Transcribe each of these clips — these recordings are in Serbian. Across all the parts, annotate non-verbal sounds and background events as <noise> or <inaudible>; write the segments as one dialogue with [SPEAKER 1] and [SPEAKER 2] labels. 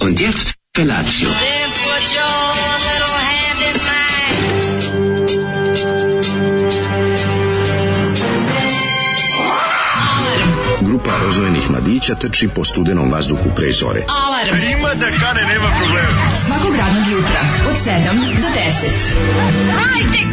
[SPEAKER 1] Und jetzt Felatio.
[SPEAKER 2] Then put your little hand in mine.
[SPEAKER 3] Grupa rozvojenih mladića trči po studenom vazduhu pre zore.
[SPEAKER 4] Alarm. Ima da kane, nema problema. Svakog radnog jutra, od 7 do 10.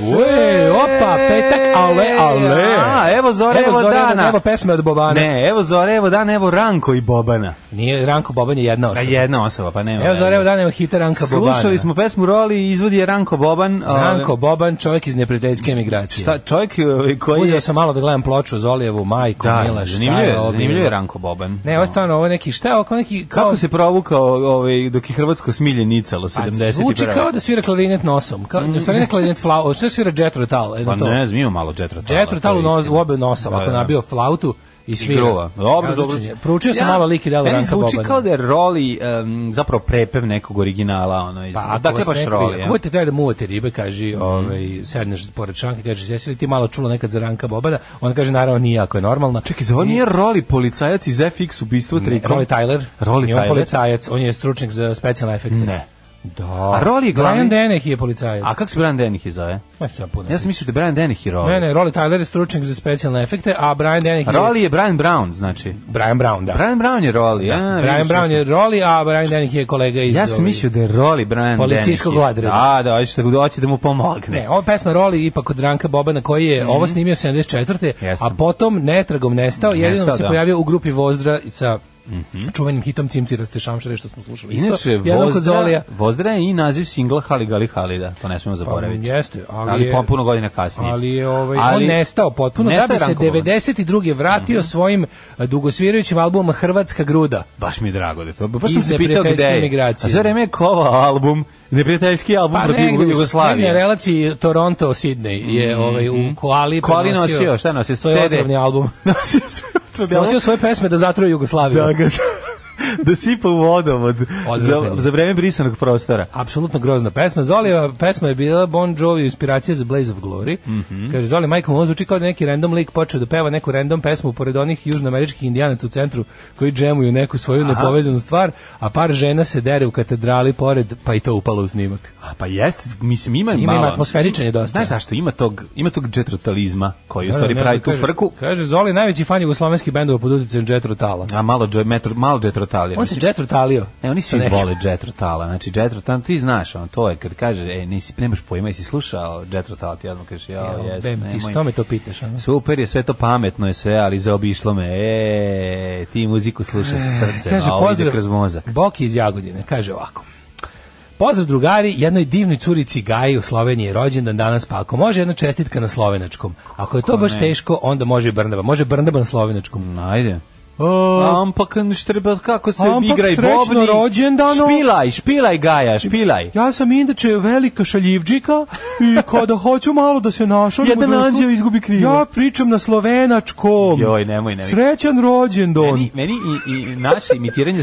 [SPEAKER 5] Ue, opa, petak, ale, ale.
[SPEAKER 6] A, evo Zore,
[SPEAKER 5] evo
[SPEAKER 6] evo
[SPEAKER 5] Zorjana,
[SPEAKER 6] Dana.
[SPEAKER 5] evo pesme od Bobana.
[SPEAKER 6] Ne, evo Zore, evo Dan, evo Ranko i Bobana.
[SPEAKER 5] Nije Ranko Boban je jedna
[SPEAKER 6] Da
[SPEAKER 5] osoba.
[SPEAKER 6] jedna osoba, pa nema.
[SPEAKER 5] Evo
[SPEAKER 6] veze.
[SPEAKER 5] Zore, evo dan, evo hita Ranka Bobana.
[SPEAKER 6] Slušali smo pesmu Roli i izvodi je Ranko Boban. ovaj,
[SPEAKER 5] Ranko Boban, čovjek iz neprijateljske emigracije.
[SPEAKER 6] Šta, čovjek ovaj, koji
[SPEAKER 5] Uzeo
[SPEAKER 6] je...
[SPEAKER 5] sam malo da gledam ploču Zolijevu, Majku,
[SPEAKER 6] Da,
[SPEAKER 5] Milaš.
[SPEAKER 6] zanimljivo je, zanimljivo je Ranko Boban. Da.
[SPEAKER 5] Ne, ovo je stvarno, ovo je neki, šta je ovo kao neki... Kao,
[SPEAKER 6] Kako se provukao ovaj, dok je Hrvatsko smilje nicalo 71.
[SPEAKER 5] Pa zvuči kao da svira klarinet nosom. Kao, mm. Stvari ne klarinet flau, šta svira Jet Rotal?
[SPEAKER 6] Pa ne znam, pa ima malo džetrotala.
[SPEAKER 5] Jet Rotal u, nos, u obe nosa,
[SPEAKER 6] Da,
[SPEAKER 5] ovako nabio flautu i svira.
[SPEAKER 6] Igrova. Dobro, dobro.
[SPEAKER 5] Odličan je. znači, Proučio sam malo lik i delo Ranka
[SPEAKER 6] Meni
[SPEAKER 5] Bobana.
[SPEAKER 6] zvuči kao da je Roli um, zapravo prepev nekog originala. Ono, iz,
[SPEAKER 5] Pa, ako
[SPEAKER 6] dakle,
[SPEAKER 5] vas
[SPEAKER 6] baš
[SPEAKER 5] neko
[SPEAKER 6] Roli.
[SPEAKER 5] vidi,
[SPEAKER 6] ja.
[SPEAKER 5] Ako budete trebali da muvate ribe, kaži,
[SPEAKER 6] Mhm.
[SPEAKER 5] ovaj, sedneš pored šanka i kažeš, jesi li ti malo čula nekad za Ranka Bobana? On kaže, naravno nije, ako je normalna.
[SPEAKER 6] Čekaj, zove nije Roli policajac iz FX ubistvo trikom?
[SPEAKER 5] Roy Tyler,
[SPEAKER 6] Rolly
[SPEAKER 5] nije on
[SPEAKER 6] Tyler?
[SPEAKER 5] policajac, on je stručnjak za specijalne efekte.
[SPEAKER 6] Ne.
[SPEAKER 5] Da.
[SPEAKER 6] A Rolly je glavni-
[SPEAKER 5] Brian Dennehy je policajac.
[SPEAKER 6] A kako se Brian Dennehy zove?
[SPEAKER 5] Ma, šta puno.
[SPEAKER 6] Ja sam mislio da je Brian Dennehy Roli.
[SPEAKER 5] Ne, ne, Rolly Tyler je stručnjak za specijalne efekte, a Brian Dennehy je
[SPEAKER 6] Roli je Brian Brown, znači.
[SPEAKER 5] Brian Brown, da.
[SPEAKER 6] Brian Brown je Roli, ja.
[SPEAKER 5] Brian Brown je Rolly, a Brian Dennehy je kolega iz...
[SPEAKER 6] znači. Ja sam
[SPEAKER 5] ovaj,
[SPEAKER 6] mislio da je Roli Brian
[SPEAKER 5] Policijskog
[SPEAKER 6] Dennehy.
[SPEAKER 5] odreda.
[SPEAKER 6] Da, da, hoće da, hoće da mu pomogne.
[SPEAKER 5] Ne, ova pesma Roli ipak od Ranka Bobana koji je ovo snimio 74.
[SPEAKER 6] Mhm. Jeste.
[SPEAKER 5] a potom netragom nestao, jedino
[SPEAKER 6] Nestao,
[SPEAKER 5] se
[SPEAKER 6] da. Mhm.
[SPEAKER 5] pojavio u grupi Vozdra sa čuvenim hitom Cimciraste šamšare što smo slušali isto.
[SPEAKER 6] Inače,
[SPEAKER 5] Jednom kod
[SPEAKER 6] Vozdra,
[SPEAKER 5] Zolija.
[SPEAKER 6] Vozdra je i naziv singla Hali Gali Hali, da, to ne smijemo zaboraviti.
[SPEAKER 5] Pa, jeste, ali
[SPEAKER 6] ali
[SPEAKER 5] je-
[SPEAKER 6] po- puno godina kasnije.
[SPEAKER 5] Ali je ovaj,
[SPEAKER 6] Ali-
[SPEAKER 5] on nestao potpuno,
[SPEAKER 6] Nestao
[SPEAKER 5] da bi
[SPEAKER 6] je
[SPEAKER 5] se
[SPEAKER 6] Ranko Boban. Mhm.
[SPEAKER 5] 92. vratio svojim eh, dugosvirajućim albumom Hrvatska gruda.
[SPEAKER 6] Baš mi je drago da je to. Baš sam
[SPEAKER 5] Iz
[SPEAKER 6] se pitao gde
[SPEAKER 5] neprijateljske
[SPEAKER 6] je. A
[SPEAKER 5] migracije.
[SPEAKER 6] sve vreme je kovao album, neprijateljski album
[SPEAKER 5] Pa
[SPEAKER 6] protiv
[SPEAKER 5] negde u srednjoj
[SPEAKER 6] Jugoslavije.
[SPEAKER 5] relaciji Toronto-Sidney je ovaj, u Koali
[SPEAKER 6] Mhm. Koali
[SPEAKER 5] prenosio
[SPEAKER 6] nosio, šta je nosio?
[SPEAKER 5] Svoj
[SPEAKER 6] CD?
[SPEAKER 5] otrovni
[SPEAKER 6] <laughs>
[SPEAKER 5] album. Nosio svoje pesme da zatruje Jugoslaviju.
[SPEAKER 6] da ga da sipa u vodovod za,
[SPEAKER 5] Odvratno.
[SPEAKER 6] za vreme brisanog prostora.
[SPEAKER 5] Apsolutno grozna pesma. Zolijeva pesma je bila Bon Jovi inspiracija za Blaze of Glory.
[SPEAKER 6] Mhm.
[SPEAKER 5] Kaže, Zoli Michael Moore zvuči kao da je neki random lik počeo da peva neku random pesmu pored onih južnoameričkih indijanaca u centru koji džemuju neku svoju nepovezanu stvar, a par žena se dere u katedrali pored, pa i to upalo u snimak.
[SPEAKER 6] A pa jeste, mislim ima,
[SPEAKER 5] Ima,
[SPEAKER 6] malo.
[SPEAKER 5] ima atmosferičan je dosta.
[SPEAKER 6] Znaš zašto? Ima tog, ima tog džetrotalizma koji u
[SPEAKER 5] Da,
[SPEAKER 6] stvari
[SPEAKER 5] ne,
[SPEAKER 6] pravi tu
[SPEAKER 5] kaže-
[SPEAKER 6] frku.
[SPEAKER 5] Kaže, Zoli najveći fan jugoslovenskih bendova pod utjecajem Jet Rotala.
[SPEAKER 6] A malo, dž, metro, malo džetrotalija.
[SPEAKER 5] On se Jet Rotalio.
[SPEAKER 6] E, oni
[SPEAKER 5] Sa
[SPEAKER 6] svi
[SPEAKER 5] nekim.
[SPEAKER 6] vole džetrotala. Znači, džetrotal, ti znaš, on, to je kad kaže, e, nisi, nemaš pojma, jesi slušao džetrotala, ti odmah kažeš, jao,
[SPEAKER 5] Evo,
[SPEAKER 6] jes,
[SPEAKER 5] bem ti,
[SPEAKER 6] nemoj.
[SPEAKER 5] što me to pitaš? ono?
[SPEAKER 6] Super je, sve to pametno je sve, ali zaobišlo me. E, ti muziku slušaš sa srcem,
[SPEAKER 5] E, Kaže,
[SPEAKER 6] a ovo ide
[SPEAKER 5] pozdrav,
[SPEAKER 6] kroz mozak.
[SPEAKER 5] Boki iz Jagodine, kaže ovako. Pozdrav drugari, jednoj divnoj curici Gaji u Sloveniji je rođendan danas, pa ako može jedna čestitka na slovenačkom. Ako je to baš
[SPEAKER 6] ne?
[SPEAKER 5] teško, onda može i Brnaba. Može Brnaba na slovenačkom.
[SPEAKER 6] Ajde.
[SPEAKER 5] O,
[SPEAKER 6] Ampak štrba, kako se
[SPEAKER 5] Ampak
[SPEAKER 6] igra i
[SPEAKER 5] srećno
[SPEAKER 6] bobni.
[SPEAKER 5] rođendano.
[SPEAKER 6] Špilaj, špilaj Gaja, špilaj.
[SPEAKER 5] ja sam inače velika šaljivđika i kada hoću malo da se našalim
[SPEAKER 6] Jedan
[SPEAKER 5] u društvu,
[SPEAKER 6] anđeo izgubi krilo.
[SPEAKER 5] Ja pričam na slovenačkom.
[SPEAKER 6] Joj, nemoj, nemoj.
[SPEAKER 5] Srećan rođendan.
[SPEAKER 6] Meni, meni i, i naše imitiranje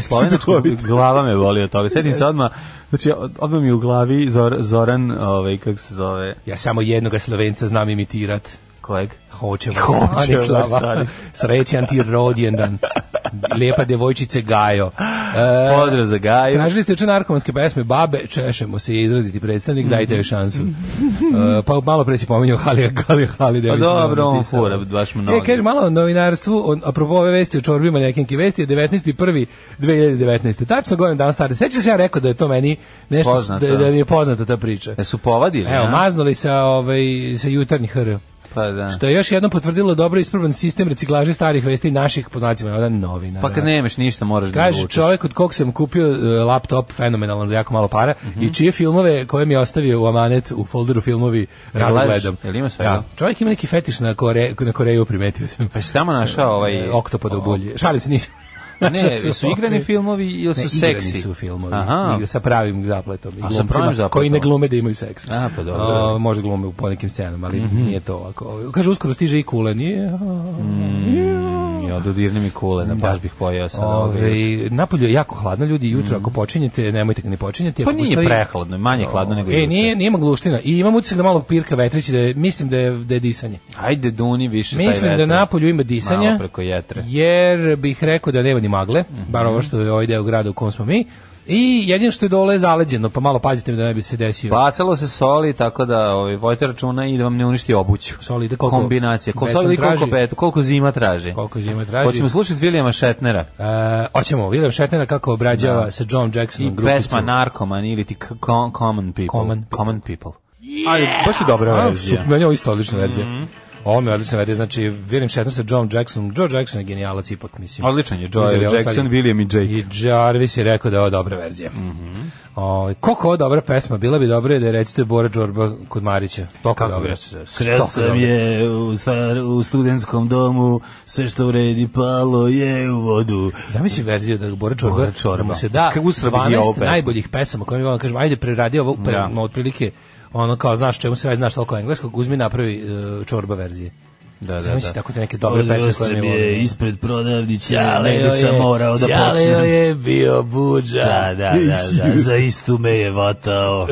[SPEAKER 5] <laughs> Šta
[SPEAKER 6] slovenačkog
[SPEAKER 5] ti je to?
[SPEAKER 6] glava me voli od toga. Sedim se odmah, znači od- odmah mi u glavi Zor, Zoran, ovaj, kako se zove,
[SPEAKER 5] Ja samo jednoga slovenca znam imitirat.
[SPEAKER 6] kojeg?
[SPEAKER 5] Hoće vas
[SPEAKER 6] Hoće vas,
[SPEAKER 5] Stanislava.
[SPEAKER 6] Stanislav.
[SPEAKER 5] Srećan ti rođendan. Lepa devojčice Gajo. E,
[SPEAKER 6] Pozdrav za Gaju.
[SPEAKER 5] Tražili ste juče narkomanske pesme Babe, češemo se je izraziti predstavnik, dajte joj šansu. E, pa malo pre si pominjao Halija Galija Hali
[SPEAKER 6] Pa
[SPEAKER 5] Davis.
[SPEAKER 6] dobro, on fura baš mnogo.
[SPEAKER 5] E, kaže, malo o novinarstvu, on, apropo ove vesti o čorbima nekenke vesti, je 19.1.2019. Tačno godin dan stari. Sećaš ja rekao da je to meni nešto,
[SPEAKER 6] Poznato.
[SPEAKER 5] da, da mi je poznata ta priča.
[SPEAKER 6] E, su povadili,
[SPEAKER 5] Evo,
[SPEAKER 6] a?
[SPEAKER 5] maznuli sa, ovaj, sa jutarnji hr.
[SPEAKER 6] Pa da.
[SPEAKER 5] Što je još jednom potvrdilo dobro ispravan sistem reciklaže starih vesti i naših poznacima, jedan novina.
[SPEAKER 6] Pa kad nemaš ništa, moraš da
[SPEAKER 5] Kaže
[SPEAKER 6] izvučeš.
[SPEAKER 5] čovjek od kog sam kupio e, laptop fenomenalan za jako malo para
[SPEAKER 6] Mhm.
[SPEAKER 5] i čije filmove koje mi je ostavio u amanet u folderu filmovi rado
[SPEAKER 6] lažeš?
[SPEAKER 5] gledam.
[SPEAKER 6] Jel ima svega?
[SPEAKER 5] Da. Čovjek ima neki fetiš na, Kore, na Koreju, primetio sam.
[SPEAKER 6] Pa si tamo našao ovaj...
[SPEAKER 5] E, Oktopoda u bulji. Šalim se, nisam.
[SPEAKER 6] <laughs>
[SPEAKER 5] <laughs> Znači,
[SPEAKER 6] Ne, su igrani filmovi ili su
[SPEAKER 5] Ne, igrani
[SPEAKER 6] seksi?
[SPEAKER 5] su filmovi.
[SPEAKER 6] Aha. Mm,
[SPEAKER 5] Igra- sa pravim zapletom. I
[SPEAKER 6] A, sa
[SPEAKER 5] glumcima
[SPEAKER 6] pravim zapletom.
[SPEAKER 5] Koji ne glume da imaju seks.
[SPEAKER 6] A, pa dobro. Mhm.
[SPEAKER 5] A, možda glume u po nekim scenama, ali nije to ovako. Kaže, uskoro stiže i kule, nije? a,
[SPEAKER 6] Jo, dodirni mi kule, da baš bih pojeo sad. Ove, Mm.
[SPEAKER 5] Ove, napolju je jako hladno, ljudi, jutro ako počinjete, nemojte ga ne počinjete.
[SPEAKER 6] pa
[SPEAKER 5] ako
[SPEAKER 6] nije
[SPEAKER 5] postoji-
[SPEAKER 6] prehladno, manje hladno nego
[SPEAKER 5] E,
[SPEAKER 6] juče.
[SPEAKER 5] nije, nije magluština. I imam utisak da malo pirka vetrić, da je, mislim da je, da je disanje.
[SPEAKER 6] Ajde, duni više taj
[SPEAKER 5] Mislim da
[SPEAKER 6] vetar.
[SPEAKER 5] napolju ima disanja.
[SPEAKER 6] Malo preko jetre. Mhm.
[SPEAKER 5] Jer bih rekao da nema ni magle, bar ovo što je ovaj deo grada u kom smo mi. I jedino što je dole zaleđeno, pa malo pazite mi da ne bi se desio.
[SPEAKER 6] Bacalo se soli, tako da ovaj, vojte računa i da vam ne uništi obuću.
[SPEAKER 5] Soli ide koliko
[SPEAKER 6] Kombinacija. Ko,
[SPEAKER 5] beton
[SPEAKER 6] soli ide koliko,
[SPEAKER 5] traži?
[SPEAKER 6] bet, koliko zima traži.
[SPEAKER 5] Koliko zima traži.
[SPEAKER 6] Hoćemo slušati Vilijama Šetnera
[SPEAKER 5] E, hoćemo, William Shatner kako obrađava sa John
[SPEAKER 6] Da. i
[SPEAKER 5] Jacksonom grupicu.
[SPEAKER 6] pesma Narkoman ili ti k- com- Common People.
[SPEAKER 5] Common people.
[SPEAKER 6] common people. Ali baš je dobra
[SPEAKER 5] A,
[SPEAKER 6] verzija. Mhm.
[SPEAKER 5] super, meni je ovo isto odlična verzija. Ovo mi je odlična verzija, znači William Shatner sa John Jacksonom. Joe Jackson je genijalac ipak, mislim.
[SPEAKER 6] Odličan je Joe
[SPEAKER 5] Mislim da ovo
[SPEAKER 6] Jackson,
[SPEAKER 5] stvari-
[SPEAKER 6] William i Jake. Mhm.
[SPEAKER 5] I Jarvis je rekao da je ovo dobra verzija. O, koliko ovo dobra pesma, bila bi dobra da je recite Bora Đorba kod Marića. Toliko
[SPEAKER 6] Kako
[SPEAKER 5] dobra.
[SPEAKER 6] bi se- Sreo
[SPEAKER 5] Toliko
[SPEAKER 6] sam
[SPEAKER 5] dobra.
[SPEAKER 6] je u, star, u studentskom domu, sve što vredi palo je u vodu.
[SPEAKER 5] Zamisli verziju da Bora Čorba,
[SPEAKER 6] Bora Čorba.
[SPEAKER 5] da mu se da
[SPEAKER 6] Kako usra bih ja ovu
[SPEAKER 5] 12
[SPEAKER 6] pesmu.
[SPEAKER 5] najboljih pesama koje mi volim, kažem, ajde preradi ovo, pre,
[SPEAKER 6] Da.
[SPEAKER 5] no, otprilike, ono kao, znaš čemu se radi, znaš toliko engleskog, uzmi napravi e, Čorba verzije.
[SPEAKER 6] Da,
[SPEAKER 5] Zamisli tako te neke dobre pesme koje mi volim.
[SPEAKER 6] ispred prodavnića,
[SPEAKER 5] da Ćaleo je bio buđa. <laughs>
[SPEAKER 6] Da, da, <laughs> da, da, za istu me je vatao.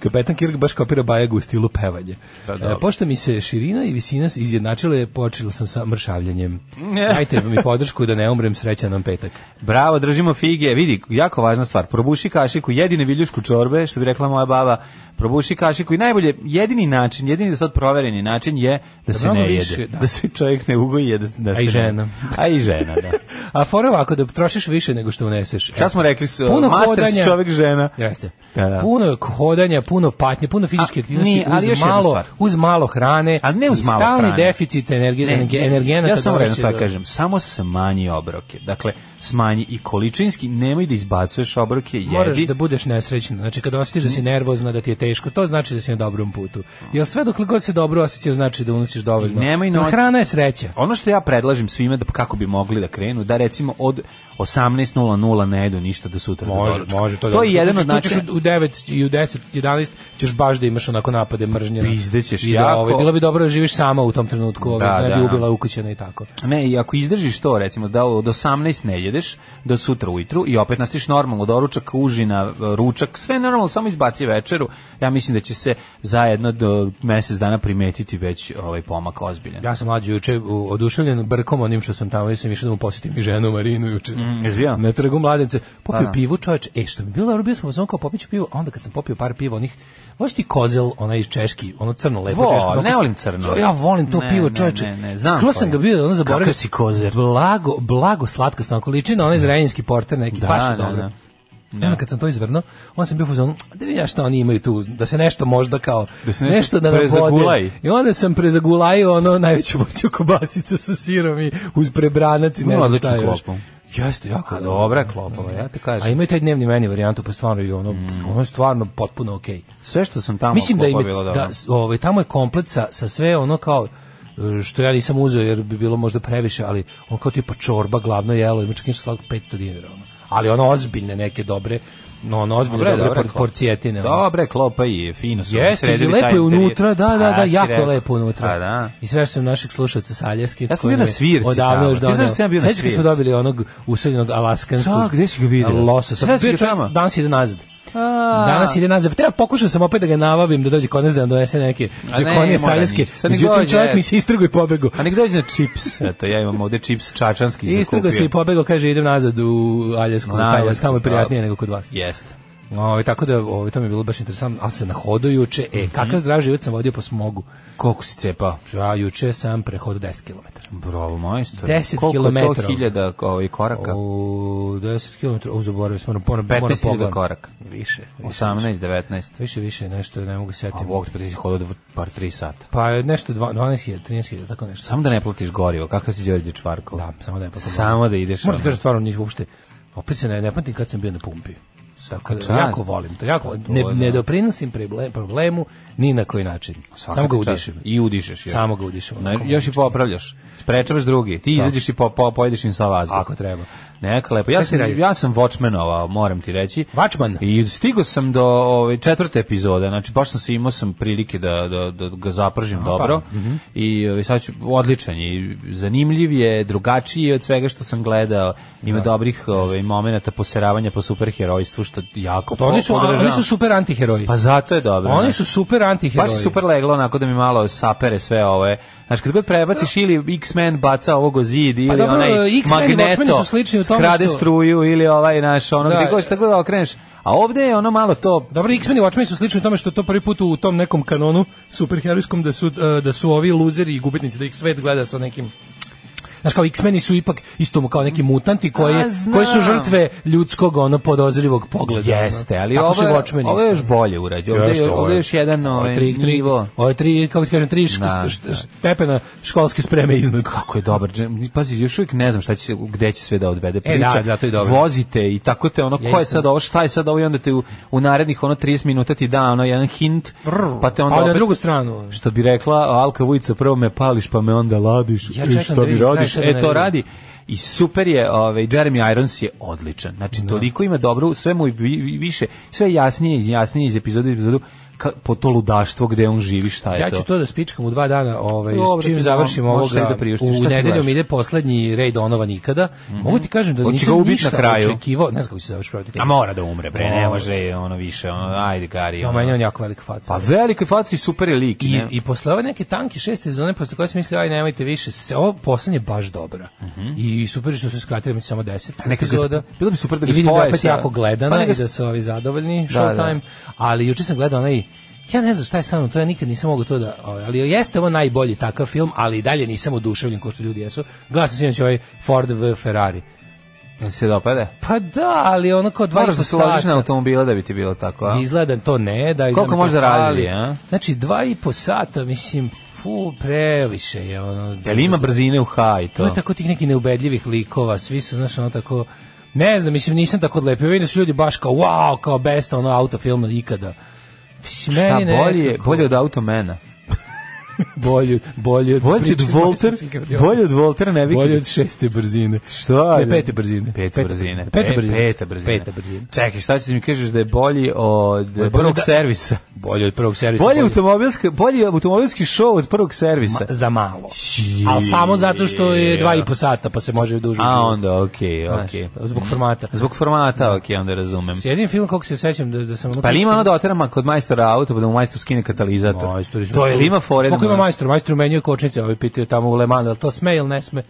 [SPEAKER 5] Kapetan Kirk baš kopira Bajegu u stilu pevanja.
[SPEAKER 6] Pa,
[SPEAKER 5] E,
[SPEAKER 6] dobro.
[SPEAKER 5] pošto mi se širina i visina izjednačila je, počela sam sa
[SPEAKER 6] <laughs>
[SPEAKER 5] mršavljanjem. Dajte mi podršku da ne umrem srećan nam petak.
[SPEAKER 6] Bravo, držimo fige. Vidi, jako važna stvar. Probuši kašiku, jedine viljušku čorbe, što bi rekla moja baba. Probuši kašiku i najbolje, jedini način, jedini do sad provereni način je da se
[SPEAKER 5] mnogo
[SPEAKER 6] ne
[SPEAKER 5] više,
[SPEAKER 6] jede.
[SPEAKER 5] da.
[SPEAKER 6] Da se čovjek ne ugoji, jede, da se
[SPEAKER 5] i
[SPEAKER 6] ne-
[SPEAKER 5] žena.
[SPEAKER 6] A i žena, da.
[SPEAKER 5] A fora ovako da trošiš više nego što uneseš.
[SPEAKER 6] Šta
[SPEAKER 5] E,
[SPEAKER 6] smo rekli? s-
[SPEAKER 5] Puno
[SPEAKER 6] masters
[SPEAKER 5] hodanja.
[SPEAKER 6] čovjek žena.
[SPEAKER 5] Jeste.
[SPEAKER 6] Da, da.
[SPEAKER 5] Puno je hodanja, puno patnje, puno fizičke
[SPEAKER 6] A,
[SPEAKER 5] aktivnosti
[SPEAKER 6] nije, ali
[SPEAKER 5] uz
[SPEAKER 6] još jedna
[SPEAKER 5] malo
[SPEAKER 6] stvar.
[SPEAKER 5] uz malo hrane.
[SPEAKER 6] A ne uz
[SPEAKER 5] i
[SPEAKER 6] malo
[SPEAKER 5] stalni
[SPEAKER 6] hrane.
[SPEAKER 5] deficit energe, <laughs> energe, energenata.
[SPEAKER 6] ja samo jedno
[SPEAKER 5] dovešće
[SPEAKER 6] stvar
[SPEAKER 5] do-
[SPEAKER 6] kažem, samo smanji obroke. Dakle, smanji i količinski, nemoj da izbacuješ obroke, jedi.
[SPEAKER 5] Moraš da budeš nesrećna. Znači kada osjetiš da si nervozna, da ti je teško, to znači da si na dobrom putu. Jer sve dokle god se dobro osjećaš znači da unosiš dovoljno.
[SPEAKER 6] I nemoj
[SPEAKER 5] Jer
[SPEAKER 6] noć-
[SPEAKER 5] Hrana je sreća.
[SPEAKER 6] Ono što ja predlažem svima da kako bi mogli da krenu, da recimo od 18.00 ne jedu ništa do sutra do
[SPEAKER 5] Može,
[SPEAKER 6] doručka.
[SPEAKER 5] može, to, je
[SPEAKER 6] to
[SPEAKER 5] dobro.
[SPEAKER 6] je jedan od
[SPEAKER 5] Znači, tu ćeš
[SPEAKER 6] načina.
[SPEAKER 5] U 9 i u 10, 11 ćeš baš da imaš onako napade mržnje. na-
[SPEAKER 6] Pizdećeš
[SPEAKER 5] i da,
[SPEAKER 6] jako.
[SPEAKER 5] Ovaj, bilo bi dobro da živiš sama u tom trenutku, ovaj,
[SPEAKER 6] Da,
[SPEAKER 5] da, ne bi
[SPEAKER 6] da.
[SPEAKER 5] ubila ukućena i tako.
[SPEAKER 6] Ne, i ako izdržiš to, recimo, da od 18 ne jedeš, do sutra ujutru i opet nastiš normalno doručak, užina, ručak, sve normalno, samo izbaci večeru, ja mislim da će se zajedno do mesec dana primetiti već ovaj pomak ozbiljan.
[SPEAKER 5] Ja sam mlađi juče u- oduševljen brkom onim što sam tamo, jer sam išao da mu posjetim i ženu Marinu juče.
[SPEAKER 6] Mm. jesi bio?
[SPEAKER 5] Na trgu mladence. Popio
[SPEAKER 6] Pa da.
[SPEAKER 5] pivu, čoveč, e, što mi je bilo dobro, bio sam u zonu kao popiću pivo, a onda kad sam popio par piva, onih, možeš ti kozel, onaj iz Češki, ono crno, lepo
[SPEAKER 6] Vo,
[SPEAKER 5] češko. onako
[SPEAKER 6] ne
[SPEAKER 5] s-
[SPEAKER 6] volim crno.
[SPEAKER 5] Ja volim to
[SPEAKER 6] Ne,
[SPEAKER 5] pivo,
[SPEAKER 6] ne,
[SPEAKER 5] čoveče.
[SPEAKER 6] ne, ne, znam
[SPEAKER 5] Skoro sam
[SPEAKER 6] koje.
[SPEAKER 5] ga bio, ono zaboravio.
[SPEAKER 6] Kakav si kozer.
[SPEAKER 5] Blago, blago slatkasno, ako liči na onaj zrenjanski porter neki,
[SPEAKER 6] Da,
[SPEAKER 5] baš je
[SPEAKER 6] da,
[SPEAKER 5] dobro.
[SPEAKER 6] da.
[SPEAKER 5] I onda kad sam to izvrnuo, onda sam bio u fazonu, da vidim ja šta oni imaju tu, da se nešto možda kao,
[SPEAKER 6] Da se nešto
[SPEAKER 5] da nam
[SPEAKER 6] prezagulaj.
[SPEAKER 5] vode. I onda sam prezagulajio ono najveću voću kobasicu sa sirom i uz prebranac i ne
[SPEAKER 6] Ima
[SPEAKER 5] znam
[SPEAKER 6] odličnu
[SPEAKER 5] šta još.
[SPEAKER 6] klopu.
[SPEAKER 5] Jeste, jako.
[SPEAKER 6] A
[SPEAKER 5] dobro.
[SPEAKER 6] Pa dobra je klopova, ja te kažem.
[SPEAKER 5] A imaju taj dnevni meni varijantu, pa stvarno i ono,
[SPEAKER 6] Mm.
[SPEAKER 5] ono je stvarno potpuno okej.
[SPEAKER 6] Sve što sam tamo
[SPEAKER 5] Mislim da
[SPEAKER 6] klopao
[SPEAKER 5] im je,
[SPEAKER 6] bilo dobro.
[SPEAKER 5] da, s- ovaj, tamo je komplet sa, sa sve ono kao e, što ja nisam uzeo jer bi bilo možda previše, ali on kao tipa čorba, glavno jelo, ima čak nešto slatko 500 dinara. Ono. Ali ono ozbiljne neke dobre, no ono ozbiljne dobre, por,
[SPEAKER 6] klop-
[SPEAKER 5] porcijetine. ono.
[SPEAKER 6] Dobre, klopa i fino da, pa su.
[SPEAKER 5] Jeste, i
[SPEAKER 6] sredili
[SPEAKER 5] lepo
[SPEAKER 6] taj
[SPEAKER 5] je
[SPEAKER 6] interijer.
[SPEAKER 5] unutra, da, da,
[SPEAKER 6] A,
[SPEAKER 5] da,
[SPEAKER 6] si
[SPEAKER 5] jako
[SPEAKER 6] rekao.
[SPEAKER 5] lepo je unutra.
[SPEAKER 6] A, da.
[SPEAKER 5] I sreo sam našeg slušalca Saljaske.
[SPEAKER 6] Ja sam
[SPEAKER 5] koji
[SPEAKER 6] bio na
[SPEAKER 5] nam je
[SPEAKER 6] svirci
[SPEAKER 5] Odavno
[SPEAKER 6] tamo.
[SPEAKER 5] još
[SPEAKER 6] Ti znaš
[SPEAKER 5] doneo.
[SPEAKER 6] da sam ja bio na
[SPEAKER 5] Sećaš kad
[SPEAKER 6] svirci?
[SPEAKER 5] smo dobili onog useljenog alaskanskog.
[SPEAKER 6] Da, gde si ga video?
[SPEAKER 5] Losa. Sad
[SPEAKER 6] Sreo si
[SPEAKER 5] bio
[SPEAKER 6] ga
[SPEAKER 5] čovjek-
[SPEAKER 6] tamo?
[SPEAKER 5] Danas ide nazad.
[SPEAKER 6] A.
[SPEAKER 5] Danas ide nazad. Treba pokušao sam opet da ga navabim da dođe kod nas da nam donese neke
[SPEAKER 6] A ne,
[SPEAKER 5] žekonije
[SPEAKER 6] mora
[SPEAKER 5] Saljaske.
[SPEAKER 6] ništa. Sad nek
[SPEAKER 5] Međutim,
[SPEAKER 6] dođe,
[SPEAKER 5] čovjek
[SPEAKER 6] eto.
[SPEAKER 5] mi se istrgo i pobegao.
[SPEAKER 6] A nek dođe na čips, eto, ja imam ovde čips čačanski zakupio.
[SPEAKER 5] Istrgo se i pobegao, kaže idem nazad u Aljasku.
[SPEAKER 6] Na
[SPEAKER 5] tamo-
[SPEAKER 6] Aljasku,
[SPEAKER 5] Tamo je prijatnije
[SPEAKER 6] da.
[SPEAKER 5] nego kod vas.
[SPEAKER 6] Jeste.
[SPEAKER 5] Ovaj, tako da ovaj, to mi je bilo baš interesantno. Ali se nahodao juče. E,
[SPEAKER 6] Mhm.
[SPEAKER 5] kakav zdrav život sam vodio po smogu.
[SPEAKER 6] Koliko si cepao?
[SPEAKER 5] Ja juče sam prehodao 10 km.
[SPEAKER 6] Bravo, majstor.
[SPEAKER 5] 10
[SPEAKER 6] Koliko je to
[SPEAKER 5] kilometara.
[SPEAKER 6] hiljada ovaj, koraka?
[SPEAKER 5] O, 10 km, o, zaboravio sam, moram, moram,
[SPEAKER 6] 15
[SPEAKER 5] moram
[SPEAKER 6] hiljada
[SPEAKER 5] pogledam.
[SPEAKER 6] koraka.
[SPEAKER 5] Više, više,
[SPEAKER 6] 18, 19.
[SPEAKER 5] više, više, nešto, ne mogu
[SPEAKER 6] A
[SPEAKER 5] setiti.
[SPEAKER 6] Bog te preti hodao dv- par 3 sata.
[SPEAKER 5] Pa je nešto dva- 12.000, 13.000, tako nešto.
[SPEAKER 6] Samo da ne platiš gorivo, kakav si Đorđe Čvarkov?
[SPEAKER 5] Da, samo da je potom.
[SPEAKER 6] Samo da ideš.
[SPEAKER 5] Moram ti
[SPEAKER 6] ono.
[SPEAKER 5] kažem stvarno njih uopšte. Opet se ne, ne pamtim kad sam bio na pumpi. Tako da
[SPEAKER 6] čast.
[SPEAKER 5] jako volim to. Jako,
[SPEAKER 6] to
[SPEAKER 5] ne,
[SPEAKER 6] je,
[SPEAKER 5] ne
[SPEAKER 6] da.
[SPEAKER 5] doprinosim preble- problemu ni na koji način.
[SPEAKER 6] Svaka
[SPEAKER 5] Samo ga
[SPEAKER 6] ti čast.
[SPEAKER 5] udišem.
[SPEAKER 6] I udišeš. Još.
[SPEAKER 5] Samo ga udišem,
[SPEAKER 6] Ne,
[SPEAKER 5] onako
[SPEAKER 6] još i popravljaš. Sprečavaš drugi. Ti izađeš i po, po, pojedeš im sa vazduh.
[SPEAKER 5] Ako treba.
[SPEAKER 6] Neka lepo. Ja
[SPEAKER 5] Šta si
[SPEAKER 6] sam,
[SPEAKER 5] radio?
[SPEAKER 6] ja sam watchmanovao, moram ti reći.
[SPEAKER 5] Watchman?
[SPEAKER 6] I stigo sam do ove, četvrte epizode, znači baš sam se imao sam prilike da, da, da ga zapržim dobro.
[SPEAKER 5] pa, mhm.
[SPEAKER 6] I ove, sad ću, odličan je, i zanimljiv je, drugačiji je od svega što sam gledao. Ima
[SPEAKER 5] Da.
[SPEAKER 6] dobrih ove, momenata poseravanja po superherojstvu, što jako
[SPEAKER 5] To oni su,
[SPEAKER 6] podržavam.
[SPEAKER 5] oni su super antiheroji.
[SPEAKER 6] Pa zato je dobro.
[SPEAKER 5] oni
[SPEAKER 6] znaš.
[SPEAKER 5] su super
[SPEAKER 6] Baš
[SPEAKER 5] antiheroji.
[SPEAKER 6] je super leglo onako da mi malo sapere sve ove. Znači kad god prebaciš ili X-Men baca ovog o zid ili
[SPEAKER 5] Da. Pa dobro,
[SPEAKER 6] onaj
[SPEAKER 5] X-Men i Watchmeni su
[SPEAKER 6] magneto
[SPEAKER 5] slični u tome
[SPEAKER 6] krade
[SPEAKER 5] što-
[SPEAKER 6] struju ili ovaj naš ono
[SPEAKER 5] Da.
[SPEAKER 6] gdje god šta god da okreneš. A ovde je ono malo to
[SPEAKER 5] Dobro, X-Men i Watchmen su slični u tome što to prvi put u tom nekom kanonu superherojskom da su, e, da su ovi luzeri i gubitnici, da ih svet gleda sa nekim Znaš, kao X-meni su ipak isto kao neki mutanti koji,
[SPEAKER 6] A, znam.
[SPEAKER 5] koji su žrtve ljudskog, ono, podozrivog pogleda. ono.
[SPEAKER 6] Jeste, ali
[SPEAKER 5] da. Tako su i
[SPEAKER 6] ovo, je-
[SPEAKER 5] Watchmeni
[SPEAKER 6] ovo je
[SPEAKER 5] isto.
[SPEAKER 6] još bolje urađeno. Ovde,
[SPEAKER 5] Jeste,
[SPEAKER 6] je- ovde je još jedan
[SPEAKER 5] ovo je
[SPEAKER 6] ovaj,
[SPEAKER 5] tri, tri,
[SPEAKER 6] nivo.
[SPEAKER 5] Ovo je tri, kako ti kažem, tri šk-
[SPEAKER 6] Da,
[SPEAKER 5] št- stepena školske spreme iznad.
[SPEAKER 6] Kako je dobar. Džem- Pazi, još uvijek ne znam šta će se- gde će sve da odvede priča.
[SPEAKER 5] da, da, to je dobro.
[SPEAKER 6] Vozite i tako te ono ko je
[SPEAKER 5] Jeste.
[SPEAKER 6] sad ovo, šta je sad ovo i onda te u, u narednih ono 30 minuta ti da ono jedan hint, pa te
[SPEAKER 5] pa ode
[SPEAKER 6] onda
[SPEAKER 5] na
[SPEAKER 6] opet-
[SPEAKER 5] drugu stranu.
[SPEAKER 6] što bi rekla Alka Vujica, prvo me pališ pa me onda ladiš.
[SPEAKER 5] Ja
[SPEAKER 6] I
[SPEAKER 5] čekam
[SPEAKER 6] šta
[SPEAKER 5] da
[SPEAKER 6] mi
[SPEAKER 5] vidim,
[SPEAKER 6] radiš?
[SPEAKER 5] kraj sebe
[SPEAKER 6] E
[SPEAKER 5] ne
[SPEAKER 6] to
[SPEAKER 5] vidim.
[SPEAKER 6] radi. I super je, ovaj Jeremy Irons je odličan.
[SPEAKER 5] Da.
[SPEAKER 6] Znači toliko ima dobro, sve mu i vi- vi- više, sve je jasnije i jasnije iz epizode u epizodu ka, po to ludaštvo gde on živi, šta je
[SPEAKER 5] Ja
[SPEAKER 6] to.
[SPEAKER 5] ću to da spičkam u dva dana, ovaj,
[SPEAKER 6] Dobro,
[SPEAKER 5] s čim
[SPEAKER 6] ti
[SPEAKER 5] završim
[SPEAKER 6] možeš
[SPEAKER 5] ovoga,
[SPEAKER 6] sve da priuštiš. Šta
[SPEAKER 5] u
[SPEAKER 6] ti
[SPEAKER 5] nedeljom
[SPEAKER 6] gledaš?
[SPEAKER 5] ide poslednji rej Donova nikada. Mogu ti kažem da
[SPEAKER 6] Hoće ga
[SPEAKER 5] nisam
[SPEAKER 6] ubit na
[SPEAKER 5] ništa
[SPEAKER 6] kraju.
[SPEAKER 5] očekivao, ne znam kako će se završiti pravo ti
[SPEAKER 6] A
[SPEAKER 5] kažem.
[SPEAKER 6] mora da umre, bre, ne
[SPEAKER 5] Ovo.
[SPEAKER 6] može ono više, ono, ajde Gari.
[SPEAKER 5] Ja,
[SPEAKER 6] Ono.
[SPEAKER 5] meni je on jako velika faca.
[SPEAKER 6] Pa velike faci super je lik.
[SPEAKER 5] I,
[SPEAKER 6] ne?
[SPEAKER 5] I posle ove neke tanke šeste sezone, posle koje sam mislio, aj nemojte više, se, ovo poslednje je baš dobra. I super je što su skratili, mi samo deset
[SPEAKER 6] Mhm. neka ga
[SPEAKER 5] epizoda.
[SPEAKER 6] sp- bilo bi super da ga
[SPEAKER 5] I vidim da
[SPEAKER 6] spoje
[SPEAKER 5] je opet
[SPEAKER 6] sa-
[SPEAKER 5] jako gledana
[SPEAKER 6] Pa neka
[SPEAKER 5] i
[SPEAKER 6] sp-
[SPEAKER 5] da su ovi zadovoljni
[SPEAKER 6] Da,
[SPEAKER 5] showtime, ali juče sam gledao onaj Ja ne znam šta je sa mnom, to ja nikad nisam mogao to da, ovaj, ali jeste ovo najbolji takav film, ali i dalje nisam oduševljen kao što ljudi jesu. Gledao sam sinoć ovaj Ford v Ferrari.
[SPEAKER 6] Jel ti se dopada?
[SPEAKER 5] Pa da, ali ono kao 20
[SPEAKER 6] Moraš da se ložiš na
[SPEAKER 5] sata.
[SPEAKER 6] automobila da bi ti bilo tako, a?
[SPEAKER 5] Izgleda to ne, da izgleda
[SPEAKER 6] Koliko
[SPEAKER 5] mi
[SPEAKER 6] može da
[SPEAKER 5] pohvali.
[SPEAKER 6] razvije, a?
[SPEAKER 5] Znači, dva i po sata, mislim, fu, previše je ono.
[SPEAKER 6] Jel ima brzine u haj to?
[SPEAKER 5] Ima tako tih nekih neubedljivih likova, svi su, znaš, ono tako, ne znam, mislim, nisam tako odlepio, vidim da su ljudi baš kao, wow, kao best, ono, autofilm ikada. Mislim,
[SPEAKER 6] Šta
[SPEAKER 5] meni
[SPEAKER 6] bolje,
[SPEAKER 5] nekako-
[SPEAKER 6] bolje od automena?
[SPEAKER 5] bolje, bolje od,
[SPEAKER 6] Bolje od
[SPEAKER 5] priče
[SPEAKER 6] Volter,
[SPEAKER 5] majstorskih kardiola.
[SPEAKER 6] bolje od Volter ne bi.
[SPEAKER 5] bolje od šeste brzine.
[SPEAKER 6] Šta?
[SPEAKER 5] Ne, pete brzine.
[SPEAKER 6] Pete brzine.
[SPEAKER 5] Pete
[SPEAKER 6] E,
[SPEAKER 5] brzine.
[SPEAKER 6] Peta brzine.
[SPEAKER 5] Peta brzine.
[SPEAKER 6] Čekaj, šta ćeš mi kažeš da je bolji od
[SPEAKER 5] Bolje
[SPEAKER 6] prvog
[SPEAKER 5] da-
[SPEAKER 6] servisa?
[SPEAKER 5] Bolje od prvog servisa.
[SPEAKER 6] Bolji automobilski, bolji automobilski show od prvog servisa.
[SPEAKER 5] Ma- za malo.
[SPEAKER 6] Či-
[SPEAKER 5] Ali samo zato što je dva i po sata, pa se može duže.
[SPEAKER 6] A Ah, onda, okej,
[SPEAKER 5] Znaš,
[SPEAKER 6] okej.
[SPEAKER 5] zbog formata.
[SPEAKER 6] Zbog formata, okej, ah, onda razumem.
[SPEAKER 5] Jedin film, koliko se sećam, da, da sam... ono-
[SPEAKER 6] Pa li ima ono da oterama kod majstora auto, pa da mu majstor skine katalizator?
[SPEAKER 5] Majstori su-
[SPEAKER 6] To je li ima fore? da
[SPEAKER 5] Koliko
[SPEAKER 6] mu-
[SPEAKER 5] ima majstor? Majstor menjuje kočnice, ovi pitaju tamo u Le Manu, jel to sme ili ne sme?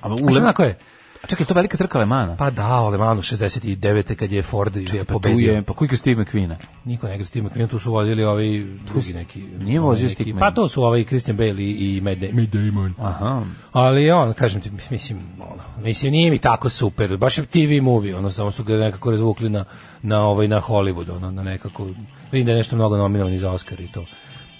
[SPEAKER 6] A, u
[SPEAKER 5] A šta
[SPEAKER 6] Lema-
[SPEAKER 5] onako je?
[SPEAKER 6] A né? čekaj, to je velika trka Lemana.
[SPEAKER 5] Pa da, u Le Manu 69. kad je Ford je
[SPEAKER 6] Tu
[SPEAKER 5] pobedio.
[SPEAKER 6] je, pa kuj Steve McQueen-a?
[SPEAKER 5] Niko ne igra Steve McQueen, tu su vozili ovi drugi neki.
[SPEAKER 6] Nije vozio
[SPEAKER 5] neki-
[SPEAKER 6] Steve
[SPEAKER 5] Pa
[SPEAKER 6] McQueen.
[SPEAKER 5] to su ovaj Christian Bale i, i Matt, Da- Matt Damon.
[SPEAKER 6] Aha.
[SPEAKER 5] Ali on, kažem ti, mis- mislim, ono, mislim, nije mi tako super, baš je TV movie, ono, samo su ga nekako razvukli na, na, ovaj, na Hollywood, ono, na nekako, vidim da je nešto mnogo nominovani za Oscar i to.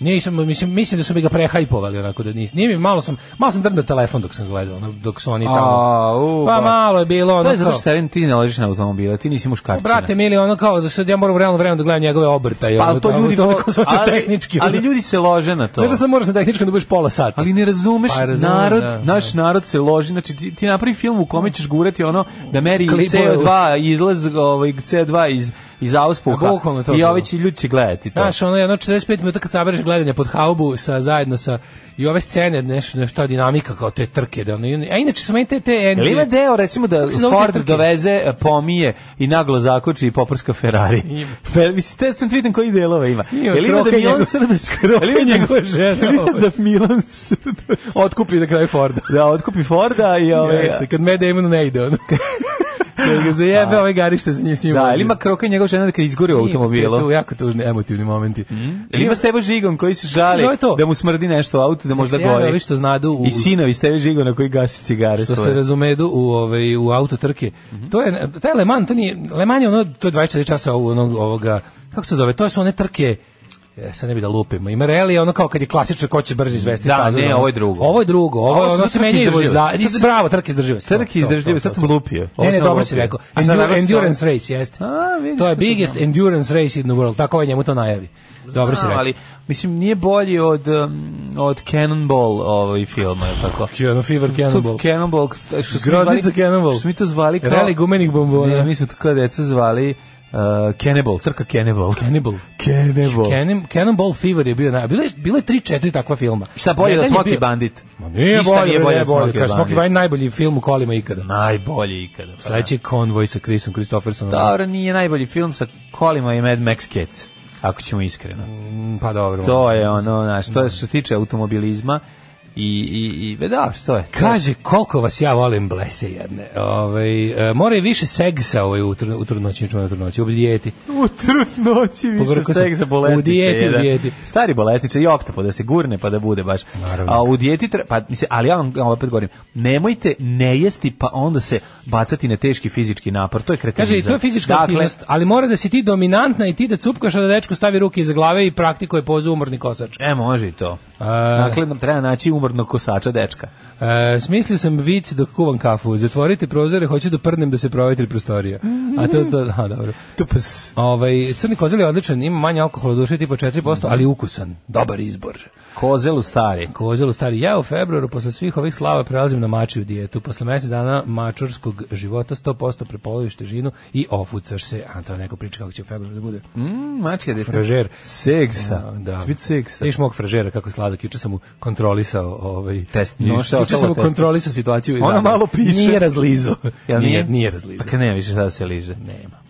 [SPEAKER 5] Nisam, mislim, mislim da su mi ga prehajpovali, onako da nis, nije mi, malo sam, malo sam drndao telefon dok sam gledao, ono, dok su oni
[SPEAKER 6] Ah, Tá
[SPEAKER 5] tamo,
[SPEAKER 6] A, u,
[SPEAKER 5] pa malo je bilo, ono,
[SPEAKER 6] To je zato
[SPEAKER 5] kao-
[SPEAKER 6] što Steven, ti ne ležiš na automobila, ti nisi
[SPEAKER 5] Pa,
[SPEAKER 6] muškarčina.
[SPEAKER 5] Brate, mili, ono kao da sad ja moram u realnom vremenu da gledam njegove obrtaje.
[SPEAKER 6] pa
[SPEAKER 5] ono,
[SPEAKER 6] ali to
[SPEAKER 5] tamo,
[SPEAKER 6] ljudi
[SPEAKER 5] ono
[SPEAKER 6] vo-
[SPEAKER 5] kao svašta
[SPEAKER 6] ali-
[SPEAKER 5] tehnički.
[SPEAKER 6] Ali
[SPEAKER 5] ono.
[SPEAKER 6] ljudi se lože na to.
[SPEAKER 5] Znaš da sad moraš na tehničkom da budeš pola sata.
[SPEAKER 6] Ali ne razumeš
[SPEAKER 5] Pa, razumem,
[SPEAKER 6] narod,
[SPEAKER 5] da,
[SPEAKER 6] naš narod se loži, znači ti, ti napravi film u kome ćeš gurati ono da meri
[SPEAKER 5] Klipove.
[SPEAKER 6] CO2, izlaz ovaj, CO2 iz, iz auspuha
[SPEAKER 5] A, bukvalno to
[SPEAKER 6] i
[SPEAKER 5] bilo.
[SPEAKER 6] ovi će ljudi će gledati to.
[SPEAKER 5] Da. Znaš, ono jedno 45 minuta kad sabereš gledanje pod haubu sa, zajedno sa i ove scene, nešto, nešto ta dinamika kao te trke. Da ono, a inače su meni te, te
[SPEAKER 6] Jel ima
[SPEAKER 5] engine,
[SPEAKER 6] deo recimo da
[SPEAKER 5] Kako se zove te
[SPEAKER 6] Ford
[SPEAKER 5] trke?
[SPEAKER 6] doveze, e, pomije i naglo zakoči i poprska Ferrari? <laughs>
[SPEAKER 5] Ima.
[SPEAKER 6] Pa, mislim, te sam vidim koji delova ima.
[SPEAKER 5] Ima,
[SPEAKER 6] Jel ima da
[SPEAKER 5] kroke
[SPEAKER 6] Milan
[SPEAKER 5] njegov-
[SPEAKER 6] Srdačka, jel ima njegov
[SPEAKER 5] njegove žene,
[SPEAKER 6] jel ima
[SPEAKER 5] ovaj.
[SPEAKER 6] da Milan Srdačka,
[SPEAKER 5] otkupi na kraju Forda.
[SPEAKER 6] da otkupi Forda i ovaj, ove...
[SPEAKER 5] Jeste, kad Matt Damon ne ide, ono. kad ga zajebe, ove garište za njim svim
[SPEAKER 6] Da,
[SPEAKER 5] vozim.
[SPEAKER 6] ili ima kroka i njegov žena da kad izgori u
[SPEAKER 5] Ima Tu
[SPEAKER 6] automobilu.
[SPEAKER 5] jako tužni emotivni momenti. Mm?
[SPEAKER 6] Ili ima Stevo Žigon koji se
[SPEAKER 5] se
[SPEAKER 6] žali
[SPEAKER 5] zove to?
[SPEAKER 6] da mu smrdi nešto u autu, da možda
[SPEAKER 5] se jave
[SPEAKER 6] gori.
[SPEAKER 5] ovi što znadu u-
[SPEAKER 6] I sinovi Steve Žigona koji gasi cigare
[SPEAKER 5] što Da se
[SPEAKER 6] svoje. Mhm.
[SPEAKER 5] razumedu u ovaj u auto trke. To je taj Le Mans, to nije Le Mans je ono to je 24 časa ovog onog- ovoga kako se zove, to su one trke Ja sad ne bi da lupimo. Ima reli je ono kao kad je klasično ko će brže izvesti
[SPEAKER 6] Da,
[SPEAKER 5] stazu,
[SPEAKER 6] ne,
[SPEAKER 5] ono-
[SPEAKER 6] ovo je drugo.
[SPEAKER 5] Ovo je drugo. Ovo,
[SPEAKER 6] Ovo
[SPEAKER 5] je
[SPEAKER 6] su
[SPEAKER 5] ono se
[SPEAKER 6] trke
[SPEAKER 5] menjaju
[SPEAKER 6] izdržljive.
[SPEAKER 5] za
[SPEAKER 6] Sad sam-
[SPEAKER 5] bravo, trke izdrživosti.
[SPEAKER 6] Trke izdržljive, sad sam lupio. Ovo
[SPEAKER 5] Ne, ne,
[SPEAKER 6] sam
[SPEAKER 5] dobro
[SPEAKER 6] lupio.
[SPEAKER 5] si rekao.
[SPEAKER 6] A ovaj? sad
[SPEAKER 5] Endu-
[SPEAKER 6] naveo sam-
[SPEAKER 5] endurance race, jeste.
[SPEAKER 6] A, vidiš
[SPEAKER 5] to je
[SPEAKER 6] kako
[SPEAKER 5] biggest
[SPEAKER 6] znam.
[SPEAKER 5] endurance race in the world. Tako je njemu to najavi. Dobro si
[SPEAKER 6] Znam,
[SPEAKER 5] rekao.
[SPEAKER 6] Ali, mislim, nije bolji od, um, od Cannonball ovaj film, je tako?
[SPEAKER 5] Ono Fever Cannonball.
[SPEAKER 6] To Cannonball. Što smo
[SPEAKER 5] Groznica
[SPEAKER 6] zvali-
[SPEAKER 5] Cannonball.
[SPEAKER 6] Što smo mi to zvali kao...
[SPEAKER 5] Reli gumenih bombona.
[SPEAKER 6] Ne, mi smo to kao deca zvali uh, Cannibal, trka Cannibal.
[SPEAKER 5] Cannibal.
[SPEAKER 6] Cannibal.
[SPEAKER 5] Cannon, Cannonball Fever je bio naj... Bilo je, bilo je 3-4 takva filma.
[SPEAKER 6] Šta bolje
[SPEAKER 5] Jedan
[SPEAKER 6] od
[SPEAKER 5] je
[SPEAKER 6] Smoky
[SPEAKER 5] bio-
[SPEAKER 6] Bandit?
[SPEAKER 5] Ma nije
[SPEAKER 6] Ništa
[SPEAKER 5] bolje,
[SPEAKER 6] nije bolje
[SPEAKER 5] bolje,
[SPEAKER 6] od
[SPEAKER 5] bolje.
[SPEAKER 6] Smoky
[SPEAKER 5] Kaže, Smoky
[SPEAKER 6] Bandit.
[SPEAKER 5] Bandit je najbolji film u kolima ikada.
[SPEAKER 6] Da. Najbolji ikada. pa da.
[SPEAKER 5] Sledeći je Convoy sa Chrisom Kristoffersonom.
[SPEAKER 6] Dobro, nije najbolji film sa kolima i Mad Max Kids, ako ćemo iskreno.
[SPEAKER 5] Mm, Pa dobro.
[SPEAKER 6] To je ono, znaš, to je što se tiče automobilizma i, i, i be da, što je. to je-
[SPEAKER 5] Kaže, koliko vas ja volim blese jedne. Ove, e, mora i više segsa ovaj, u, tr, u trudnoći, čuvane trudnoći, u dijeti.
[SPEAKER 6] U trudnoći više
[SPEAKER 5] Povrko se-
[SPEAKER 6] seks za bolesniče.
[SPEAKER 5] u dijeti,
[SPEAKER 6] jedan.
[SPEAKER 5] u dijeti.
[SPEAKER 6] Stari bolesniče i oktopo da se gurne pa da bude baš.
[SPEAKER 5] Naravno.
[SPEAKER 6] A u dijeti, tre- pa, mislim, ali ja vam ja vam opet govorim, nemojte ne jesti pa onda se bacati na teški fizički napor. To je kretinizam.
[SPEAKER 5] Kaže, i to je fizička
[SPEAKER 6] Dakle,
[SPEAKER 5] aktivnost, ali mora da si ti dominantna i ti da cupkaš, a da dečko stavi ruke iza glave i praktikuje pozu umorni kosač.
[SPEAKER 6] E, može i to. Dakle, nam treba naći umornog kosača dečka.
[SPEAKER 5] E, smislio sam vic dok kuvam kafu. Zatvorite prozore, hoću da prnem da se provetri prostorija. A to, to aha, dobro.
[SPEAKER 6] Tupas.
[SPEAKER 5] Ovaj, crni kozel je odličan, ima manje alkohola u duši, tipa 4%, ali ukusan. Dobar izbor.
[SPEAKER 6] Kozelu stari.
[SPEAKER 5] Kozel u stari. Ja u februaru posle svih ovih slava prelazim na mačiju dijetu. Posle mesec dana mačurskog života 100% prepoloviš težinu i ofucaš se. A to je neko priča kako će u februaru da bude.
[SPEAKER 6] Mm, mačka dete.
[SPEAKER 5] Fražer.
[SPEAKER 6] Seksa.
[SPEAKER 5] Da.
[SPEAKER 6] Će biti seksa.
[SPEAKER 5] Viš mog fražera kako je sladak, juče sam mu kontrolisao ovaj
[SPEAKER 6] Test,
[SPEAKER 5] nož,
[SPEAKER 6] ništa,
[SPEAKER 5] juče sam
[SPEAKER 6] ostalo
[SPEAKER 5] mu
[SPEAKER 6] test.
[SPEAKER 5] kontrolisao situaciju. i
[SPEAKER 6] Ona
[SPEAKER 5] zadnje.
[SPEAKER 6] malo piše.
[SPEAKER 5] Nije razlizao.
[SPEAKER 6] Jel
[SPEAKER 5] nije? Nije razlizao.
[SPEAKER 6] Pa kad nema više šta da se liže.
[SPEAKER 5] Nema.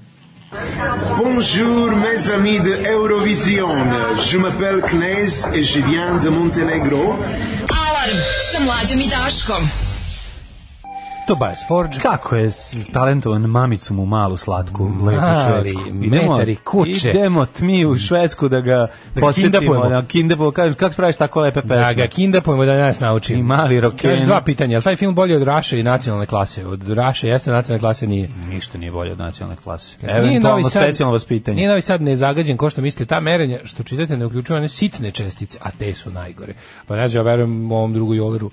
[SPEAKER 1] Bonjour mes amis de Eurovision. Je m'appelle Knez et je viens de Montenegro.
[SPEAKER 4] Alarm sa mlađom i Daškom.
[SPEAKER 5] Tobias Forge.
[SPEAKER 6] Kako je s- talentovan mamicu mu malu slatku, lepu
[SPEAKER 5] Ali,
[SPEAKER 6] švedsku.
[SPEAKER 5] metari kuće.
[SPEAKER 6] Idemo mi u Švedsku da ga
[SPEAKER 5] Da
[SPEAKER 6] da
[SPEAKER 5] ga
[SPEAKER 6] posetimo.
[SPEAKER 5] kindapujemo.
[SPEAKER 6] Da kindapujemo. Kažem, kako praviš tako lepe pesme?
[SPEAKER 5] Da ga kinda pojmo da nas nauči.
[SPEAKER 6] I mali roken.
[SPEAKER 5] Kaže dva pitanja, je li taj film bolji od Raše i nacionalne klase? Od Raše jeste, nacionalne klase nije.
[SPEAKER 6] Ništa nije bolje od nacionalne klase.
[SPEAKER 5] Nije Novi
[SPEAKER 6] Eventualno
[SPEAKER 5] Sad-
[SPEAKER 6] specijalno vaspitanje.
[SPEAKER 5] Nije Novi Sad nezagađen, ko što mislite, ta merenja što čitate ne uključuju one sitne čestice, a te su najgore. Pa ne znam, ja verujem ovom drugu Joleru,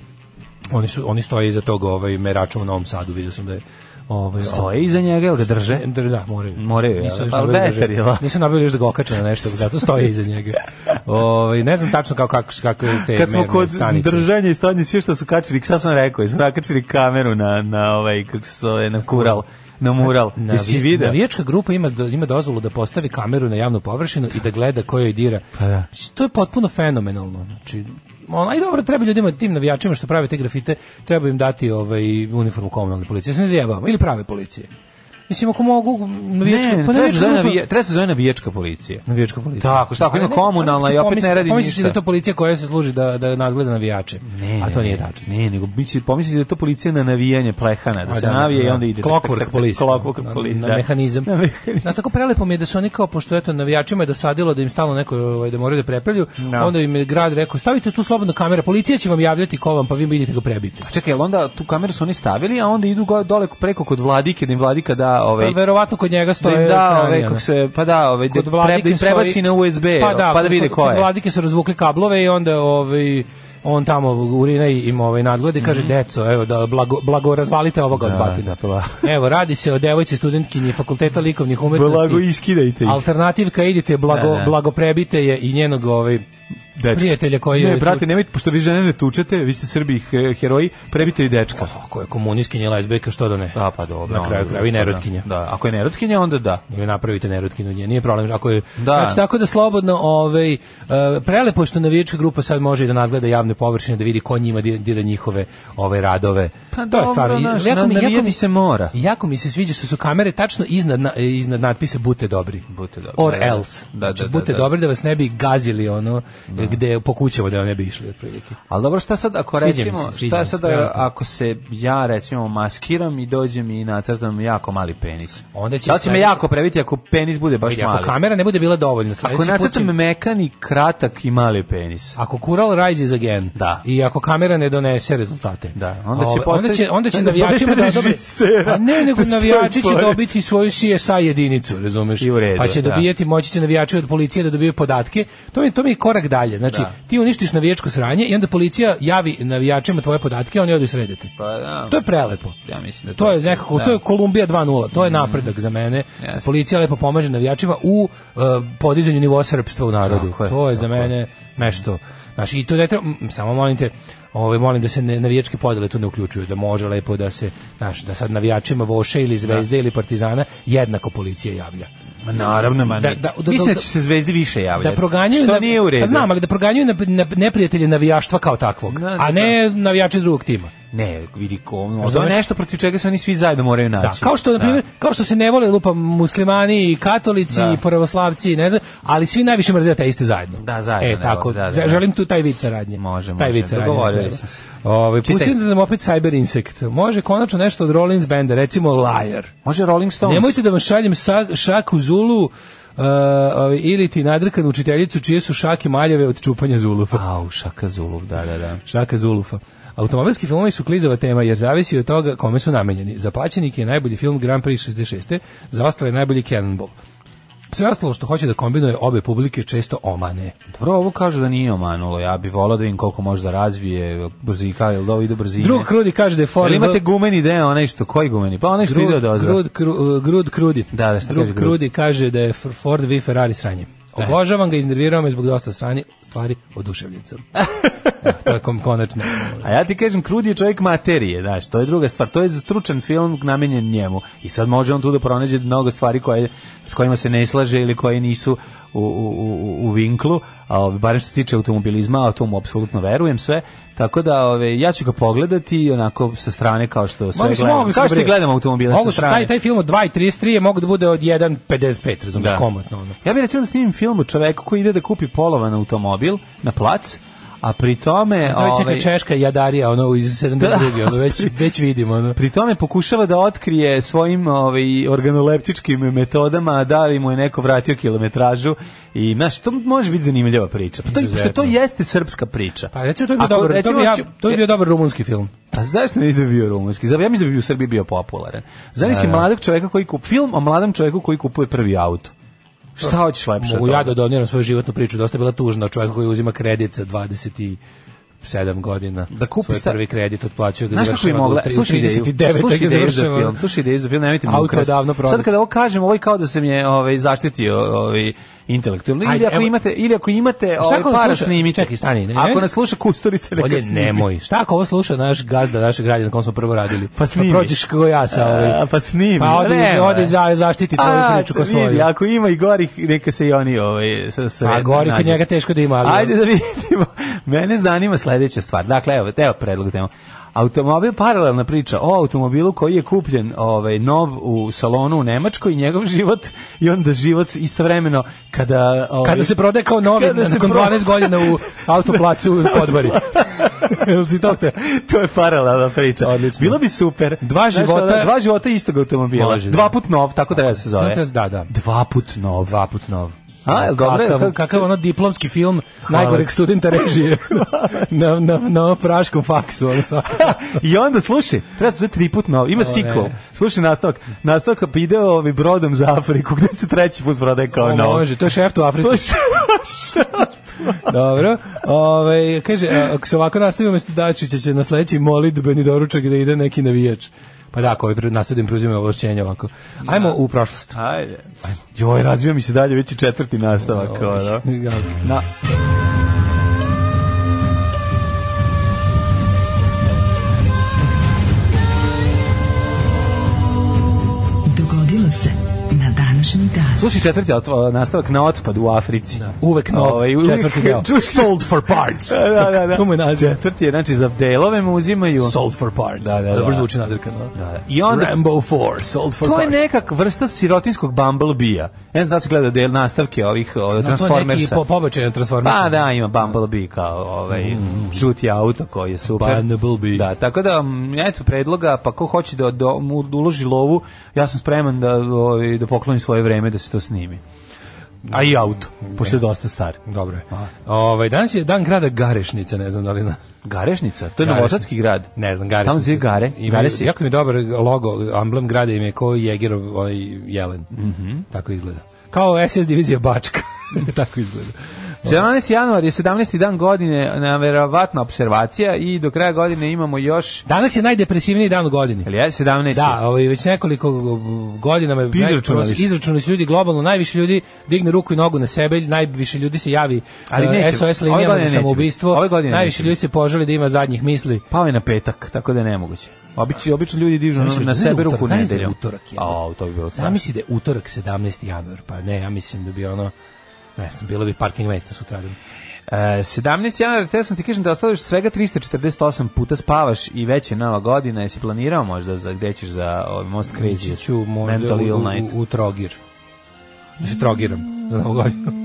[SPEAKER 5] oni, su, oni stoje iza toga ovaj, meračom u Novom Sadu, vidio sam da je Ovaj,
[SPEAKER 6] Stoje iza njega ili ga drže?
[SPEAKER 5] Da, da, moraju.
[SPEAKER 6] Moraju, jel?
[SPEAKER 5] Nisu još
[SPEAKER 6] Pa,
[SPEAKER 5] nabavili da
[SPEAKER 6] beter,
[SPEAKER 5] ga-
[SPEAKER 6] jel?
[SPEAKER 5] Nisu nabavili još da ga okače na nešto, zato stoje iza
[SPEAKER 6] <laughs>
[SPEAKER 5] njega. Ovaj ne znam tačno kako, kako, kako je te
[SPEAKER 6] Kad smo
[SPEAKER 5] E, merne
[SPEAKER 6] kod
[SPEAKER 5] stanice.
[SPEAKER 6] držanja i stanje, sve što su kačili, šta sam rekao, su nakačili kameru na, na ovaj, kako se zove, na kural, na mural.
[SPEAKER 5] Navi-
[SPEAKER 6] Jesi vidio?
[SPEAKER 5] Navijačka grupa ima do- ima dozvolu da postavi kameru na javnu površinu i da gleda ko joj dira.
[SPEAKER 6] Pa da.
[SPEAKER 5] Mislim, To je potpuno fenomenalno. Znači, on, aj dobro, treba ljudima, tim navijačima što prave te grafite, treba im dati ovaj, uniformu komunalne policije. Ja se ne zajebam. Ili prave policije. Mislim, ako mogu, navijačka,
[SPEAKER 6] Ne, ne,
[SPEAKER 5] pa
[SPEAKER 6] treba se
[SPEAKER 5] navijačka
[SPEAKER 6] zove
[SPEAKER 5] grupa-
[SPEAKER 6] navija- treba se zove navijačka policija.
[SPEAKER 5] Navijačka policija.
[SPEAKER 6] Tako, šta ako
[SPEAKER 5] Ali
[SPEAKER 6] ima
[SPEAKER 5] ne,
[SPEAKER 6] komunalna
[SPEAKER 5] kako će
[SPEAKER 6] i opet ne
[SPEAKER 5] pomisliti-
[SPEAKER 6] radi
[SPEAKER 5] pomisliti da je
[SPEAKER 6] ništa.
[SPEAKER 5] to policija koja se služi da, da nadgleda navijače. A to nije tačno.
[SPEAKER 6] Ne, nego mi će pomisliti da je to policija na navijanje plehana, da
[SPEAKER 5] A
[SPEAKER 6] se navije
[SPEAKER 5] da.
[SPEAKER 6] i onda ide.
[SPEAKER 5] Clockwork police.
[SPEAKER 6] Clockwork
[SPEAKER 5] Na-
[SPEAKER 6] police,
[SPEAKER 5] <laughs> na,
[SPEAKER 6] da.
[SPEAKER 5] mehanizam.
[SPEAKER 6] Na mehanizam.
[SPEAKER 5] Na tako prelepo mi je da su oni kao pošto eto navijačima je dosadilo da im stalno neko ovaj da moraju da prepravljaju,
[SPEAKER 6] Da.
[SPEAKER 5] onda im je grad rekao stavite tu slobodno kamere, policija će vam javljati ko vam, pa vi vidite ga prebite.
[SPEAKER 6] Čekaj, jel onda tu kameru su oni stavili, a onda idu go- dole preko kod vladike, da im vladika da...
[SPEAKER 5] Pa
[SPEAKER 6] Ovaj,
[SPEAKER 5] verovatno kod njega
[SPEAKER 6] da
[SPEAKER 5] stoje
[SPEAKER 6] im da,
[SPEAKER 5] ekrani,
[SPEAKER 6] ovaj,
[SPEAKER 5] ono.
[SPEAKER 6] kako se, pa da, ovaj, da,
[SPEAKER 5] kod
[SPEAKER 6] pre, da
[SPEAKER 5] vladike
[SPEAKER 6] im prebaci
[SPEAKER 5] stoji-
[SPEAKER 6] na USB, pa da,
[SPEAKER 5] kod-
[SPEAKER 6] vide
[SPEAKER 5] kod-
[SPEAKER 6] ko
[SPEAKER 5] kod
[SPEAKER 6] je.
[SPEAKER 5] vladike su razvukli kablove i onda ovaj on tamo urina i im ovaj nadgleda i kaže deco evo da blago, blago razvalite ovoga od batina.
[SPEAKER 6] da, pa da.
[SPEAKER 5] evo radi se o devojci studentkinji fakulteta likovnih umetnosti.
[SPEAKER 6] Blago iskidajte ih.
[SPEAKER 5] Alternativka idite blago
[SPEAKER 6] Da, da.
[SPEAKER 5] blago prebite je i njenog ovaj
[SPEAKER 6] Dečka.
[SPEAKER 5] prijatelja koji je
[SPEAKER 6] Ne, brate, nemojte, pošto vi žene ne tučete, vi ste Srbi eh, heroji, prebite i dečka.
[SPEAKER 5] Oh, Ako je komunistkinja i lezbejka, što da ne?
[SPEAKER 6] Da, pa dobro.
[SPEAKER 5] Na kraju
[SPEAKER 6] onda,
[SPEAKER 5] krajeva i
[SPEAKER 6] da,
[SPEAKER 5] nerotkinja.
[SPEAKER 6] Da, ako je nerotkinja, onda da.
[SPEAKER 5] ili napravite nerutkinu nje, nije problem. Ako je,
[SPEAKER 6] Da.
[SPEAKER 5] Znači, tako da slobodno, ovaj, e, prelepo je što navijačka grupa sad može i da nadgleda javne površine, da vidi ko njima di- dira njihove ove radove.
[SPEAKER 6] Pa dobro, znaš, na- navijati se mora.
[SPEAKER 5] Jako mi se sviđa što su kamere tačno iznad, na- iznad natpisa Bute dobri.
[SPEAKER 6] Bute dobri,
[SPEAKER 5] Or
[SPEAKER 6] da, da.
[SPEAKER 5] else.
[SPEAKER 6] Da, da,
[SPEAKER 5] Znači,
[SPEAKER 6] da,
[SPEAKER 5] Bute
[SPEAKER 6] da.
[SPEAKER 5] dobri da vas ne bi gazili ono, gde po kućama da ne bi išli otprilike.
[SPEAKER 6] Ali dobro, šta sad ako
[SPEAKER 5] Sviđa mi se,
[SPEAKER 6] recimo,
[SPEAKER 5] sviđa mi
[SPEAKER 6] šta
[SPEAKER 5] se,
[SPEAKER 6] sad
[SPEAKER 5] trenutno.
[SPEAKER 6] ako se ja recimo maskiram i dođem i nacrtam jako mali penis?
[SPEAKER 5] Onda će
[SPEAKER 6] da li će me
[SPEAKER 5] sledeći-
[SPEAKER 6] jako previti ako penis bude baš
[SPEAKER 5] Vidi,
[SPEAKER 6] mali?
[SPEAKER 5] ako kamera ne bude bila dovoljna,
[SPEAKER 6] Ako
[SPEAKER 5] sledeći put će-
[SPEAKER 6] nacrtam mekan i kratak i mali penis.
[SPEAKER 5] Ako Kural rises again
[SPEAKER 6] Da.
[SPEAKER 5] i ako kamera ne donese rezultate.
[SPEAKER 6] Da,
[SPEAKER 5] onda
[SPEAKER 6] onda će
[SPEAKER 5] će, onda će,
[SPEAKER 6] postati- <laughs>
[SPEAKER 5] onda će
[SPEAKER 6] onda
[SPEAKER 5] navijačima da
[SPEAKER 6] postati
[SPEAKER 5] dobe,
[SPEAKER 6] režisera.
[SPEAKER 5] a ne,
[SPEAKER 6] <laughs>
[SPEAKER 5] nego
[SPEAKER 6] Postoji
[SPEAKER 5] navijači će
[SPEAKER 6] pored.
[SPEAKER 5] dobiti svoju CSI jedinicu, razumeš?
[SPEAKER 6] I u redu,
[SPEAKER 5] pa će
[SPEAKER 6] da.
[SPEAKER 5] dobijati, moći će navijači od policije da dobiju podatke. To mi, to mi je korak dalje. Znači,
[SPEAKER 6] Da.
[SPEAKER 5] ti uništiš navijačko sranje i onda policija javi navijačima tvoje podatke, oni odu srediti.
[SPEAKER 6] Pa da.
[SPEAKER 5] To je prelepo.
[SPEAKER 6] Ja mislim da
[SPEAKER 5] to,
[SPEAKER 6] to-
[SPEAKER 5] je nekako,
[SPEAKER 6] da. Mhm.
[SPEAKER 5] to je Kolumbija 2.0, to je napredak za mene.
[SPEAKER 6] Jeste.
[SPEAKER 5] Policija lepo pomaže navijačima u uh, podizanju nivoa srpstva u narodu.
[SPEAKER 6] Tako je,
[SPEAKER 5] to je za
[SPEAKER 6] tako je.
[SPEAKER 5] mene nešto. Znači, i to ne treba, m, samo molim te, ovaj, molim da se ne, navijačke podele tu ne uključuju, da može lepo da se, znaš, da sad navijačima Voše ili
[SPEAKER 6] Da.
[SPEAKER 5] Zvezde ili Partizana jednako policija javlja.
[SPEAKER 6] Ma naravno, ma
[SPEAKER 5] Da-
[SPEAKER 6] neće.
[SPEAKER 5] da- da-
[SPEAKER 6] Mislim da
[SPEAKER 5] da-
[SPEAKER 6] će se zvezdi više javljati.
[SPEAKER 5] Da proganjaju
[SPEAKER 6] Što
[SPEAKER 5] nav-
[SPEAKER 6] nije u redu.
[SPEAKER 5] Pa znam, ali da proganjaju na, na, neprijatelje navijaštva kao takvog,
[SPEAKER 6] Da, da,
[SPEAKER 5] a ne navijače drugog tima.
[SPEAKER 6] Ne, vidi ko, ono
[SPEAKER 5] Razumeš?
[SPEAKER 6] je nešto protiv čega se oni svi zajedno moraju naći.
[SPEAKER 5] Da, kao što na primjer, kao što se ne vole lupa muslimani i katolici
[SPEAKER 6] Da.
[SPEAKER 5] i pravoslavci i ne znam, ali svi najviše mrze ateiste zajedno.
[SPEAKER 6] Da, zajedno
[SPEAKER 5] E
[SPEAKER 6] ne
[SPEAKER 5] tako,
[SPEAKER 6] vole, da, da,
[SPEAKER 5] za-
[SPEAKER 6] da.
[SPEAKER 5] želim tu taj vic saradnje.
[SPEAKER 6] Može,
[SPEAKER 5] taj
[SPEAKER 6] može,
[SPEAKER 5] vic saradnje.
[SPEAKER 6] dogovorili
[SPEAKER 5] treba.
[SPEAKER 6] smo se.
[SPEAKER 5] Ovaj
[SPEAKER 6] Čitaj.
[SPEAKER 5] pustite da nam opet Cyber Insect. Može konačno nešto od Rollins benda, recimo Liar.
[SPEAKER 6] Da. Može Rolling Stones.
[SPEAKER 5] Nemojte da vam šaljem sa, šaku Zulu Uh, ovaj, ili ti nadrkanu učiteljicu čije su šake maljave od čupanja Zulufa.
[SPEAKER 6] Au, šaka Zulov, da, da, da.
[SPEAKER 5] Šaka Zulufa. Automobilski filmovi su klizava tema jer zavisi od toga kome su namenjeni. Za plaćenike je najbolji film Grand Prix 66. Za ostale je najbolji Cannonball. Sve ostalo što hoće da kombinuje obe publike često omane.
[SPEAKER 6] Dobro, ovo kažu da nije omanulo. Ja bih volao da vidim koliko može da razvije brzika, jel da ovo ide brzine.
[SPEAKER 5] Drug Krudi kaže da je
[SPEAKER 6] Jel
[SPEAKER 5] Ford...
[SPEAKER 6] imate gumeni deo, onaj što, koji gumeni? Pa onaj što ide od ozra.
[SPEAKER 5] Grud, Kru- uh, Grud Krudi.
[SPEAKER 6] Da, da, šta
[SPEAKER 5] Drug
[SPEAKER 6] kaže Grud? Eh.
[SPEAKER 5] Krudi kaže da je F- Ford V Ferrari sranje. Obožavam ga, iznervirao me zbog dosta strani stvari, oduševljen
[SPEAKER 6] <laughs>
[SPEAKER 5] sam. Evo, to je kom, konačno.
[SPEAKER 6] A ja ti kažem, Krudi je čovjek materije, znaš, to je druga stvar. To je stručan film namenjen njemu. I sad može on tu da pronađe mnogo stvari koje, s kojima se ne slaže ili koje nisu u, u, u, u vinklu, a, ovaj, barem što se tiče automobilizma, a to mu apsolutno verujem sve, tako da ove, ja ću ga pogledati onako sa strane kao što sve
[SPEAKER 5] Mogu se,
[SPEAKER 6] gledam.
[SPEAKER 5] mogu se,
[SPEAKER 6] kao što
[SPEAKER 5] bre.
[SPEAKER 6] gledam automobile
[SPEAKER 5] Mogu
[SPEAKER 6] sa
[SPEAKER 5] se,
[SPEAKER 6] strane.
[SPEAKER 5] Taj, taj film od 2.33 je mogu da bude od 1.55, razumiješ, komotno ono.
[SPEAKER 6] Da. Ja bih recimo da snimim film o čoveku koji ide da kupi polovan automobil na plac, a pri tome...
[SPEAKER 5] To je već
[SPEAKER 6] ovaj, Da.
[SPEAKER 5] neka češka jadarija, ono, iz 72. ono,
[SPEAKER 6] <laughs>
[SPEAKER 5] već, već vidimo, ono.
[SPEAKER 6] Pri tome pokušava da otkrije svojim ovaj, organoleptičkim metodama da li mu je neko vratio kilometražu i znaš, to može biti zanimljiva priča. Pa to, pošto to jeste srpska priča.
[SPEAKER 5] Pa recimo, to bi bio
[SPEAKER 6] Ako,
[SPEAKER 5] dobar, to,
[SPEAKER 6] recimo,
[SPEAKER 5] bi ja,
[SPEAKER 6] ću-
[SPEAKER 5] to bi bio dobar rumunski film.
[SPEAKER 6] A zašto ne bi bio rumunski? Zato ja mislim da bi u Srbiji bio popularan. Zamisli
[SPEAKER 5] Da,
[SPEAKER 6] mladog čoveka koji kup film o mladom čoveku koji kupuje prvi auto. Šta hoćeš lepše? od
[SPEAKER 5] Mogu ja
[SPEAKER 6] toga?
[SPEAKER 5] da doniram svoju životnu priču, dosta je bila tužna čovjek koji uzima kredit sa 20 7 godina.
[SPEAKER 6] Da kupi
[SPEAKER 5] svoj
[SPEAKER 6] sta-
[SPEAKER 5] prvi kredit otplaćuje ga
[SPEAKER 6] Znaš kako bi
[SPEAKER 5] završava.
[SPEAKER 6] mogla?
[SPEAKER 5] ga u tri- u
[SPEAKER 6] Slušaj ideju.
[SPEAKER 5] 39
[SPEAKER 6] Slušaj
[SPEAKER 5] ga
[SPEAKER 6] ideju za
[SPEAKER 5] završava.
[SPEAKER 6] film. Slušaj ideju za film, nemojte mi
[SPEAKER 5] Auto je
[SPEAKER 6] ukrasti.
[SPEAKER 5] davno prodat.
[SPEAKER 6] Sad kada ovo kažem, ovo je kao da sam je ovaj, zaštitio ovaj, intelektualno. Ili,
[SPEAKER 5] Ajde,
[SPEAKER 6] ako
[SPEAKER 5] evo-
[SPEAKER 6] imate, ili ako imate
[SPEAKER 5] Šta
[SPEAKER 6] ovaj,
[SPEAKER 5] ako nas
[SPEAKER 6] para
[SPEAKER 5] sluša?
[SPEAKER 6] snimite.
[SPEAKER 5] Čekaj, stani, ne, ne.
[SPEAKER 6] Ako nas sluša Kusturica, neka
[SPEAKER 5] Bolje
[SPEAKER 6] snimi.
[SPEAKER 5] nemoj. Šta ako ovo sluša naš gazda, naš građan na kom smo prvo radili?
[SPEAKER 6] Pa snimi.
[SPEAKER 5] prođeš kao ja sa
[SPEAKER 6] A,
[SPEAKER 5] ovaj.
[SPEAKER 6] pa snimi.
[SPEAKER 5] Pa ode,
[SPEAKER 6] Ne,
[SPEAKER 5] ode
[SPEAKER 6] ne.
[SPEAKER 5] za, zaštiti tvoju
[SPEAKER 6] A,
[SPEAKER 5] priču kao
[SPEAKER 6] vidi,
[SPEAKER 5] svoju.
[SPEAKER 6] ako ima i gorih, neka se i oni ovaj, sa, sa
[SPEAKER 5] A gori kod
[SPEAKER 6] nađu.
[SPEAKER 5] njega teško da ima, ali...
[SPEAKER 6] Ajde da vidimo. <laughs> Mene zanima sledeća stvar. Dakle, evo, evo predlog tema. Automobil, paralelna priča o automobilu koji je kupljen ovaj, nov u salonu u Nemačkoj i njegov život i onda život istovremeno kada... Ovaj,
[SPEAKER 5] Kada se prodaje kao novi,
[SPEAKER 6] Kada se
[SPEAKER 5] nakon
[SPEAKER 6] proda-
[SPEAKER 5] 12 godina
[SPEAKER 6] <laughs>
[SPEAKER 5] u autoplacu u Podbari. <laughs> Jel si to te?
[SPEAKER 6] <laughs> to je paralelna priča.
[SPEAKER 5] Odlično.
[SPEAKER 6] Bilo bi super.
[SPEAKER 5] Dva
[SPEAKER 6] Znaš,
[SPEAKER 5] života-
[SPEAKER 6] ono, dva života istog automobila.
[SPEAKER 5] Može, da.
[SPEAKER 6] dva put nov, tako treba da se zove.
[SPEAKER 5] Zato- Da, da.
[SPEAKER 6] Dva put nov.
[SPEAKER 5] Dva put nov.
[SPEAKER 6] A, jel dobro?
[SPEAKER 5] Kakav,
[SPEAKER 6] Kako-
[SPEAKER 5] kakav ono diplomski film najgoreg studenta
[SPEAKER 6] <laughs>
[SPEAKER 5] režije na, na, na onom praškom faksu. Ono sva.
[SPEAKER 6] <laughs> I onda slušaj, treba se zove tri put novi, ima sequel. Slušaj nastavak, nastavak pa ide ovi brodom za Afriku, gde se treći put prodaje kao
[SPEAKER 5] O,
[SPEAKER 6] nov.
[SPEAKER 5] Može, to je šef u Africi.
[SPEAKER 6] To je š-
[SPEAKER 5] <laughs> Dobro. Ove, kaže, a, ako se ovako nastavi umesto Dačića će na sledeći molitbeni doručak da ide neki navijač. Pa da, ako ovaj pre- nastavim preuzimam ovlašćenje ovako.
[SPEAKER 6] Da.
[SPEAKER 5] Ajmo u prošlost.
[SPEAKER 6] Ajde. Joj, razvija mi se dalje, već i četvrti nastavak. ono.
[SPEAKER 5] <laughs>
[SPEAKER 6] Na,
[SPEAKER 4] Dogodilo se na današnji dan.
[SPEAKER 6] Slušaj četvrti otv- nastavak na otpad u Africi. Da.
[SPEAKER 5] Uvek nov, četvrti deo.
[SPEAKER 6] <laughs>
[SPEAKER 7] Sold for parts.
[SPEAKER 6] Da, da, da.
[SPEAKER 5] To mu je naziv.
[SPEAKER 6] Četvrti je, znači za delove mu uzimaju.
[SPEAKER 7] Sold for parts.
[SPEAKER 6] Da, da, da.
[SPEAKER 5] Dobro zvuči nadrkano.
[SPEAKER 6] Da, da. I onda
[SPEAKER 7] Rambo 4, sold for
[SPEAKER 6] to je
[SPEAKER 7] parts.
[SPEAKER 6] nekak vrsta sirotinskog Bumblebee-a. Ne znam da li se gleda del nastavke ovih o,
[SPEAKER 5] neki
[SPEAKER 6] Transformersa.
[SPEAKER 5] po, pobačaj od Transformersa.
[SPEAKER 6] Pa da, ima Bumblebee kao ovaj
[SPEAKER 5] Mm,
[SPEAKER 6] žuti auto koji je super.
[SPEAKER 5] Bumblebee.
[SPEAKER 6] Da, tako da m, eto predloga, pa ko hoće da, da mu uloži lovu, ja sam spreman da ovaj da poklonim svoje vreme da se to snimi. A i auto, pošto je dosta star.
[SPEAKER 5] Dobro je.
[SPEAKER 6] Pa.
[SPEAKER 5] Ovaj, danas je dan grada Garešnice, ne znam da li znaš.
[SPEAKER 6] Garešnica, to je
[SPEAKER 5] Garešnica.
[SPEAKER 6] Novosadski grad.
[SPEAKER 5] Ne znam, Garešnice.
[SPEAKER 6] Tamo se zove Gare.
[SPEAKER 5] Ima,
[SPEAKER 6] Gare si.
[SPEAKER 5] Jako mi je dobar logo, amblem grada im je kao Jegerov ovaj jelen.
[SPEAKER 6] Mhm.
[SPEAKER 5] Tako izgleda. Kao SS divizija Bačka. <laughs> Tako izgleda.
[SPEAKER 6] 17. januar je 17. dan godine, neverovatna observacija i do kraja godine imamo još
[SPEAKER 5] Danas je najdepresivniji dan u godini.
[SPEAKER 6] Jel je 17.
[SPEAKER 5] Da, ovaj, već nekoliko godina me
[SPEAKER 6] Izračunali su.
[SPEAKER 5] izračunali su ljudi globalno, najviše ljudi digne ruku i nogu na sebe, najviše ljudi se javi
[SPEAKER 6] Ali
[SPEAKER 5] eh,
[SPEAKER 6] neće,
[SPEAKER 5] SOS
[SPEAKER 6] ove
[SPEAKER 5] linijama
[SPEAKER 6] godine
[SPEAKER 5] za
[SPEAKER 6] neće biti.
[SPEAKER 5] samoubistvo,
[SPEAKER 6] Ove godine neće
[SPEAKER 5] najviše ljudi
[SPEAKER 6] biti.
[SPEAKER 5] se poželi da ima zadnjih misli.
[SPEAKER 6] Pao je na petak, tako da je nemoguće. Obično, obično ljudi dižu na, na sebe ruku
[SPEAKER 5] nedelju.
[SPEAKER 6] nedelju.
[SPEAKER 5] Utorak je.
[SPEAKER 6] A, to bi bilo strašno.
[SPEAKER 5] Zamisli da je utorak 17. januar, pa ne, ja mislim da bi ono, ne znam, bilo bi parking mesta sutra.
[SPEAKER 6] E, 17. januar, te sam ti kažem da ostaviš svega 348 puta spavaš i već je nova godina. Jesi planirao možda za gde ćeš za ovaj, Most
[SPEAKER 5] Ići
[SPEAKER 6] Crazy?
[SPEAKER 5] da ću možda
[SPEAKER 6] Mental
[SPEAKER 5] u,
[SPEAKER 6] Ill
[SPEAKER 5] u,
[SPEAKER 6] Night.
[SPEAKER 5] u, u Trogir. Da se Trogiram za novogodinu.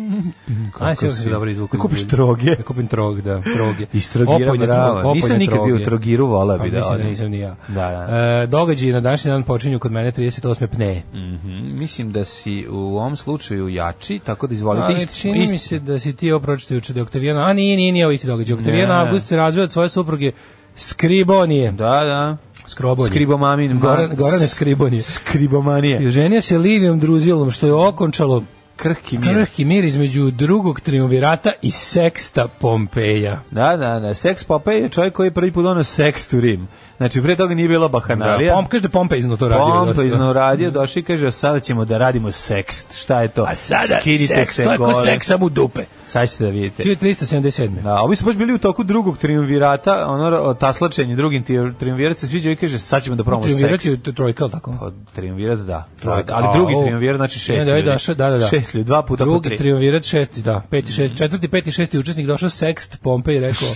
[SPEAKER 5] A, sve
[SPEAKER 6] si?
[SPEAKER 5] se dobro izvuku.
[SPEAKER 6] Da kupiš troge?
[SPEAKER 5] Da kupim trog, da, troge.
[SPEAKER 6] Istrogira
[SPEAKER 5] Opojne-
[SPEAKER 6] brava.
[SPEAKER 5] opojne
[SPEAKER 6] Nisam nikad bio u
[SPEAKER 5] troge.
[SPEAKER 6] Trogiru, vola
[SPEAKER 5] Pa,
[SPEAKER 6] bi da
[SPEAKER 5] mislim da
[SPEAKER 6] odem.
[SPEAKER 5] nisam ni ja.
[SPEAKER 6] Da, da.
[SPEAKER 5] E, događaji na današnji dan počinju kod mene 38. pneje.
[SPEAKER 6] Mhm, Mislim da si u ovom slučaju jači, tako da izvolite.
[SPEAKER 5] Ali
[SPEAKER 6] Isti-
[SPEAKER 5] čini mi
[SPEAKER 6] isti-
[SPEAKER 5] se da si ti opročito juče da je Oktavijana, a nije, nije, nije ovo isti događaj. Oktavijana
[SPEAKER 6] Ne.
[SPEAKER 5] August se razvio od svoje supruge Skribonije.
[SPEAKER 6] Da, da.
[SPEAKER 5] Skrobonije.
[SPEAKER 6] Skribomamin. da.
[SPEAKER 5] Goran, Gorane Skribonije.
[SPEAKER 6] Skribomanije.
[SPEAKER 5] I Ženio se Livijom Druzilom, što je okončalo
[SPEAKER 6] Krhki mir.
[SPEAKER 5] krhki mir između drugog triumvirata i seksta Pompeja.
[SPEAKER 6] Da, da, da. Seks Popeye je čovjek koji je prvi put donio seks u Rim. Znači, pre toga nije bila bahanalija.
[SPEAKER 5] Pom, kaže da Pompej izno to radio.
[SPEAKER 6] Pompa
[SPEAKER 5] dosta.
[SPEAKER 6] iz Novradija došao i kaže, "A sada ćemo da radimo sekst. Šta je to?
[SPEAKER 5] A Pa sada
[SPEAKER 6] Skinite
[SPEAKER 5] seks,
[SPEAKER 6] se
[SPEAKER 5] to je ko
[SPEAKER 6] gore.
[SPEAKER 5] seks sam u dupe.
[SPEAKER 6] Sad ćete da vidite.
[SPEAKER 5] 1377.
[SPEAKER 6] Da, ovi su baš bili u toku drugog triumvirata, ono taslačenje drugim tri- triumvirat se sviđa i kaže, sad ćemo da probamo
[SPEAKER 5] Triumvirat
[SPEAKER 6] seks.
[SPEAKER 5] je to trojka, ali tako?
[SPEAKER 6] Pa, Triumvirat, da.
[SPEAKER 5] Trojka.
[SPEAKER 6] Ali
[SPEAKER 5] A,
[SPEAKER 6] drugi
[SPEAKER 5] ovo-
[SPEAKER 6] triumvirat, znači šest
[SPEAKER 5] Ne, da,
[SPEAKER 6] ljudi.
[SPEAKER 5] da, še- da, da, da.
[SPEAKER 6] Šest ljudi, dva puta po
[SPEAKER 5] Drugi
[SPEAKER 6] tri. Mm.
[SPEAKER 5] triumvirat šesti, da. Peti, šest, četvrti, peti, šesti učesnik došao sekst Pompej i
[SPEAKER 6] <laughs>
[SPEAKER 5] rekao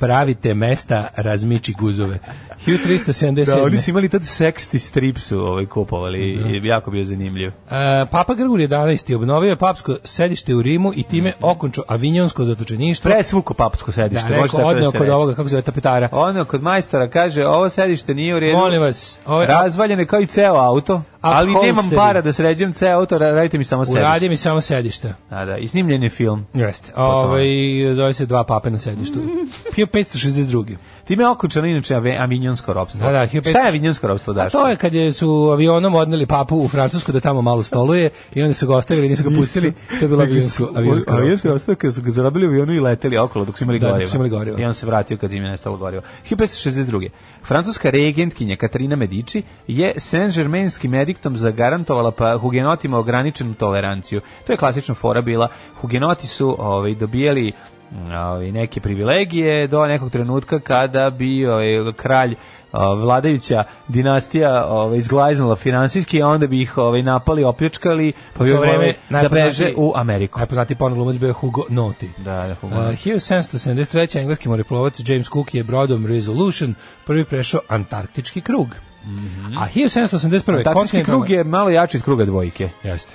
[SPEAKER 5] pravite mesta, razmiči guzove.
[SPEAKER 6] <laughs>
[SPEAKER 5] 1377.
[SPEAKER 6] Da, oni su imali tad seksti strip su ovaj, kupovali
[SPEAKER 5] Da.
[SPEAKER 6] i jako bio zanimljiv.
[SPEAKER 5] E, Papa Grgur 11. obnovio je papsko sedište u Rimu i time okončao avinjonsko zatočeništvo.
[SPEAKER 6] Presvuko papsko
[SPEAKER 5] da,
[SPEAKER 6] sedište, može
[SPEAKER 5] rekao,
[SPEAKER 6] tako da
[SPEAKER 5] odneo
[SPEAKER 6] se
[SPEAKER 5] kod
[SPEAKER 6] reče.
[SPEAKER 5] ovoga, kako se zove, tapetara.
[SPEAKER 6] Ono kod majstora kaže, ovo sedište nije u redu.
[SPEAKER 5] Molim vas, ovaj,
[SPEAKER 6] Razvaljeno je kao i ceo auto, ali
[SPEAKER 5] Upholstery.
[SPEAKER 6] nemam para da sređem ceo auto, ra- radite mi samo sedište.
[SPEAKER 5] uradi mi samo sedište.
[SPEAKER 6] Da, da, i snimljen je film.
[SPEAKER 5] Jeste.
[SPEAKER 6] tome.
[SPEAKER 5] Ovaj, zove se dva pape na <laughs> sedištu. Pio 562.
[SPEAKER 6] Time je okončano inače ave- avinjonsko robstvo.
[SPEAKER 5] Da, da, hiljadu petsto-
[SPEAKER 6] Šta je avinjonsko robstvo,
[SPEAKER 5] A
[SPEAKER 6] Daško?
[SPEAKER 5] to je kad je su avionom odneli papu u Francusku da tamo malo stoluje i onda su ga ostavili, nisu ga pustili. To je bilo avionsko, avionsko
[SPEAKER 6] Avionsko robstvo kad su ga zarobili u avionu i leteli okolo dok su imali
[SPEAKER 5] Da, dok
[SPEAKER 6] goriva.
[SPEAKER 5] su imali goriva.
[SPEAKER 6] I on se vratio kad im je nestalo goriva. 1562. Francuska regentkinja Katarina Medici je Saint-Germainskim ediktom zagarantovala pa hugenotima ograničenu toleranciju. To je klasična fora bila. Hugenoti su ovaj, dobijali mm, ovaj, neke privilegije do nekog trenutka kada bi ovaj, kralj a, vladajuća dinastija ovaj, izglaznula finansijski, a onda bi ih ovaj, napali, opljačkali, pa bi
[SPEAKER 5] To vreme
[SPEAKER 6] ovaj, da
[SPEAKER 5] najpoznatiji-
[SPEAKER 6] beže u Ameriku.
[SPEAKER 5] Najpoznatiji porno glumac bio je Hugo Noti.
[SPEAKER 6] Da, da,
[SPEAKER 5] Uh,
[SPEAKER 6] Hugo.
[SPEAKER 5] 1773. engleski moreplovac James Cook je brodom Resolution prvi prešao Antarktički krug. A 1781.
[SPEAKER 6] Taktički
[SPEAKER 5] kontinentalna-
[SPEAKER 6] Mhm. krug je malo jači od kruga dvojke.
[SPEAKER 5] Jeste.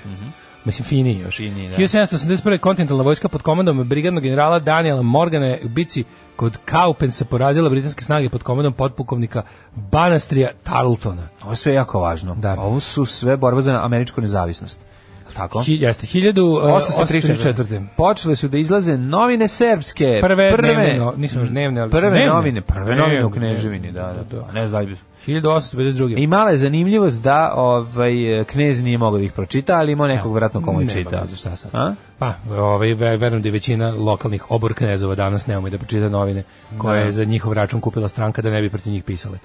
[SPEAKER 5] Mislim, finiji još.
[SPEAKER 6] Finiji, da.
[SPEAKER 5] 1781. kontinentalna vojska pod komandom brigadnog generala Daniela Morgana je u bici kod Kaupensa porazila britanske snage pod komandom potpukovnika Banastrija Tarletona.
[SPEAKER 6] Ovo sve je jako važno.
[SPEAKER 5] Da.
[SPEAKER 6] Ovo su sve borbe za američku nezavisnost. Jel Tako?
[SPEAKER 5] Hi, jeste, e,
[SPEAKER 6] e,
[SPEAKER 5] 1834.
[SPEAKER 6] Počele su da izlaze novine srpske.
[SPEAKER 5] Prve, dnevne, no, nisam još dnevne, ali su
[SPEAKER 6] prve
[SPEAKER 5] dnevne.
[SPEAKER 6] novine, prve novine u
[SPEAKER 5] Dnevne,
[SPEAKER 6] Kneževini,
[SPEAKER 5] dnevne,
[SPEAKER 6] da, da.
[SPEAKER 5] da, da.
[SPEAKER 6] A Ne znam da li bi su.
[SPEAKER 5] 1852.
[SPEAKER 6] I mala je zanimljivost da ovaj knez nije mogao da ih pročita, ali imao nekog vratno komu je
[SPEAKER 5] Nema
[SPEAKER 6] čitao.
[SPEAKER 5] veze šta sad.
[SPEAKER 6] A?
[SPEAKER 5] Pa, ovaj, ve- verujem da je većina lokalnih oborknezova danas nema da pročita novine koje
[SPEAKER 6] Da.
[SPEAKER 5] je za njihov račun kupila stranka da ne bi protiv njih pisale.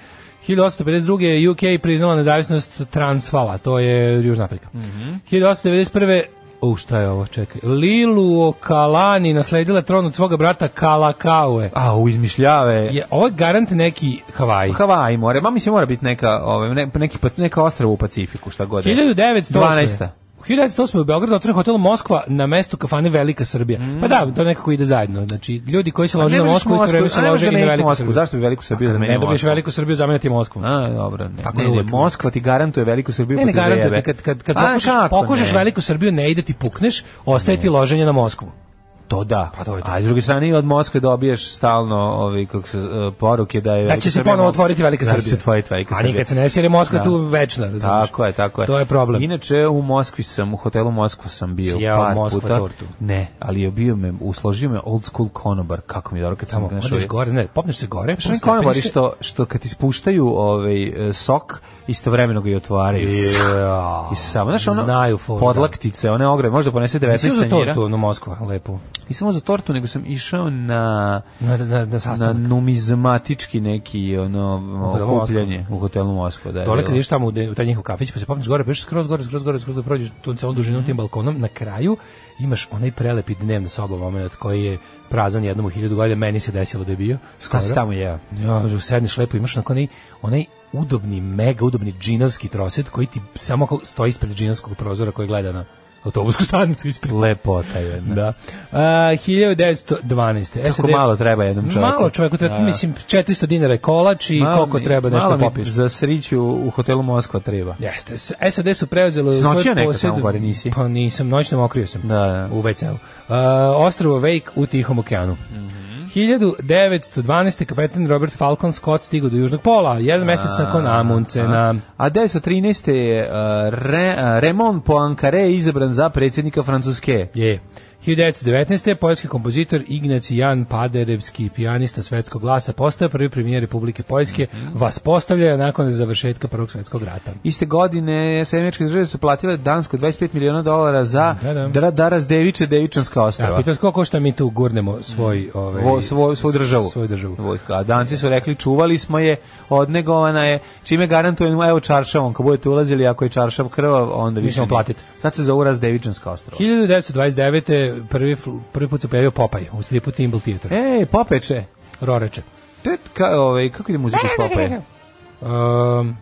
[SPEAKER 5] 1852. je UK priznala nezavisnost Transvala, to je Južna Afrika.
[SPEAKER 6] Mhm.
[SPEAKER 5] 1891. U, šta je ovo, čekaj. Lilu Kalani nasledila tron od svoga brata Kalakaue.
[SPEAKER 6] A, u izmišljave.
[SPEAKER 5] Je, ovo je garant neki Havaj.
[SPEAKER 6] Havaji more, ma mislim mora biti neka, ovaj, ne, neki, pa- neka ostrava u Pacifiku, šta god je.
[SPEAKER 5] 1912.
[SPEAKER 6] 12.
[SPEAKER 5] U 1908. u Beogradu otvoren hotel Moskva na mestu kafane Velika Srbija. Pa da, to nekako ide zajedno. Znači, ljudi koji se
[SPEAKER 6] Pa
[SPEAKER 5] lože na Moskvu, isto vreme se lože i na Veliku Srbiju.
[SPEAKER 6] Zašto bi Veliku Srbiju
[SPEAKER 5] Ne
[SPEAKER 6] zamenio
[SPEAKER 5] dobiješ
[SPEAKER 6] Moskvu?
[SPEAKER 5] Veliku Srbiju, zamenjati Moskvu.
[SPEAKER 6] A, dobro, ne.
[SPEAKER 5] Tako
[SPEAKER 6] ne,
[SPEAKER 5] je
[SPEAKER 6] ne,
[SPEAKER 5] uvek.
[SPEAKER 6] Moskva ti garantuje Veliku Srbiju
[SPEAKER 5] Ne, ne
[SPEAKER 6] pa ti
[SPEAKER 5] garantujem,
[SPEAKER 6] zajebe.
[SPEAKER 5] ti, kad, kad, kad
[SPEAKER 6] A,
[SPEAKER 5] pokušaš,
[SPEAKER 6] kako
[SPEAKER 5] pokušaš
[SPEAKER 6] ne?
[SPEAKER 5] Veliku Srbiju, ne ide ti pukneš, ostaje ti loženje na Moskvu.
[SPEAKER 6] To da.
[SPEAKER 5] Pa to je to.
[SPEAKER 6] A s druge strane i od Moskve dobiješ stalno ovi kako se e, poruke da je
[SPEAKER 5] Da će se
[SPEAKER 6] Srbija
[SPEAKER 5] ponovo
[SPEAKER 6] mo-
[SPEAKER 5] otvoriti Velika
[SPEAKER 6] da će
[SPEAKER 5] Srbija.
[SPEAKER 6] se otvoriti Velika
[SPEAKER 5] A
[SPEAKER 6] Srbija.
[SPEAKER 5] nikad se ne sjeri Moskva
[SPEAKER 6] Da.
[SPEAKER 5] tu večna, razumiješ?
[SPEAKER 6] Tako je, tako je.
[SPEAKER 5] To je problem.
[SPEAKER 6] Inače u Moskvi sam, u hotelu Moskva sam bio
[SPEAKER 5] Si jeo
[SPEAKER 6] par
[SPEAKER 5] Moskva
[SPEAKER 6] puta.
[SPEAKER 5] tortu?
[SPEAKER 6] Ne, ali je bio me, usložio me old school konobar, kako mi je Pa dobro kad sam
[SPEAKER 5] Samo,
[SPEAKER 6] našao.
[SPEAKER 5] odeš gore, ne, popneš se gore,
[SPEAKER 6] Što
[SPEAKER 5] po
[SPEAKER 6] oni konobari
[SPEAKER 5] stepenište-
[SPEAKER 6] što, što kad ispuštaju ovaj, e, sok, istovremeno ga i otvaraju. I samo, znaš, ono,
[SPEAKER 5] Znaju foru, da.
[SPEAKER 6] podlaktice, one ogromne, možda ponese 19
[SPEAKER 5] Jesi uzeo
[SPEAKER 6] tanjira.
[SPEAKER 5] tortu na Moskva, lepo.
[SPEAKER 6] Nisam uzao tortu, nego sam išao na
[SPEAKER 5] Na, na, na
[SPEAKER 6] na
[SPEAKER 5] sastanak.
[SPEAKER 6] numizmatički neki ono
[SPEAKER 5] hotelu
[SPEAKER 6] okupljanje u hotelu Moskva da je
[SPEAKER 5] Dole
[SPEAKER 6] bilo.
[SPEAKER 5] kad ideš tamo u, de, u taj njihov kafić, pa se popneš gore, peš skroz gore, skroz gore, skroz da prođeš tu celom dužinom tim balkonom, na kraju imaš onaj prelepi dnevna soba moment koji je prazan jednom u hiljadu godina, meni se desilo da je bio.
[SPEAKER 6] šta si
[SPEAKER 5] skoro.
[SPEAKER 6] tamo jeo
[SPEAKER 5] Ja, sedneš lepo, imaš onako onaj, onaj udobni, mega udobni džinovski troset koji ti samo kao stoji ispred džinovskog prozora koji gleda na autobusku <laughs> stanicu ispred.
[SPEAKER 6] lepota jedna
[SPEAKER 5] Da. Uh, 1912.
[SPEAKER 6] Kako
[SPEAKER 5] SAD
[SPEAKER 6] malo treba jednom čoveku.
[SPEAKER 5] Malo čoveku treba,
[SPEAKER 6] Da.
[SPEAKER 5] mislim, 400 dinara je kolač i
[SPEAKER 6] Malo
[SPEAKER 5] koliko
[SPEAKER 6] mi-
[SPEAKER 5] treba nešto
[SPEAKER 6] malo mi
[SPEAKER 5] popiješ.
[SPEAKER 6] za sriću u hotelu Moskva treba
[SPEAKER 5] Jeste, S- SAD su preuzeli u
[SPEAKER 6] Si
[SPEAKER 5] svoj
[SPEAKER 6] noćio nekad
[SPEAKER 5] posjed-
[SPEAKER 6] tamo gore, nisi?
[SPEAKER 5] Pa nisam, noćno mokrio sam.
[SPEAKER 6] Da, da.
[SPEAKER 5] U WC-u. Uh, ostrvo Wake u Tihom okeanu. 1912. kapetan Robert Falcon Scott stigao do južnog pola, jedan mesec nakon Amundsena.
[SPEAKER 6] a 1913. je uh, Re, uh, Raymond Poincaré izabran za predsjednika Francuske
[SPEAKER 5] Je. 1919. poljski kompozitor Ignacijan Paderevski, pijanista svetskog glasa, postao prvi premijer Republike Poljske,
[SPEAKER 6] Mhm.
[SPEAKER 5] vas postavlja nakon završetka Prvog svetskog rata.
[SPEAKER 6] Iste godine Sjemeničke države su platile Danskoj 25 miliona dolara za
[SPEAKER 5] Da, da.
[SPEAKER 6] Dra- Daras Deviče Devičanska
[SPEAKER 5] Da,
[SPEAKER 6] ostrava.
[SPEAKER 5] pitam se koliko šta mi tu gurnemo svoj... Ovaj,
[SPEAKER 6] Mhm. Vo, svo, svoju državu.
[SPEAKER 5] Svoju državu.
[SPEAKER 6] Vojska. A danci su rekli čuvali smo je, odnegovana je, čime garantujemo, evo čaršavom, kad budete ulazili, ako je čaršav krvav, onda više
[SPEAKER 5] ćemo
[SPEAKER 6] ne.
[SPEAKER 5] platiti.
[SPEAKER 6] Tad se zovu Razdevičanska ostrava.
[SPEAKER 5] 1929. prvi, prvi put se pojavio Popaj u stripu Timbal Theater,
[SPEAKER 6] Ej, E, popeče.
[SPEAKER 5] Roreče.
[SPEAKER 6] To je ka, ovaj, kako ide muzika s popeje?
[SPEAKER 5] Um,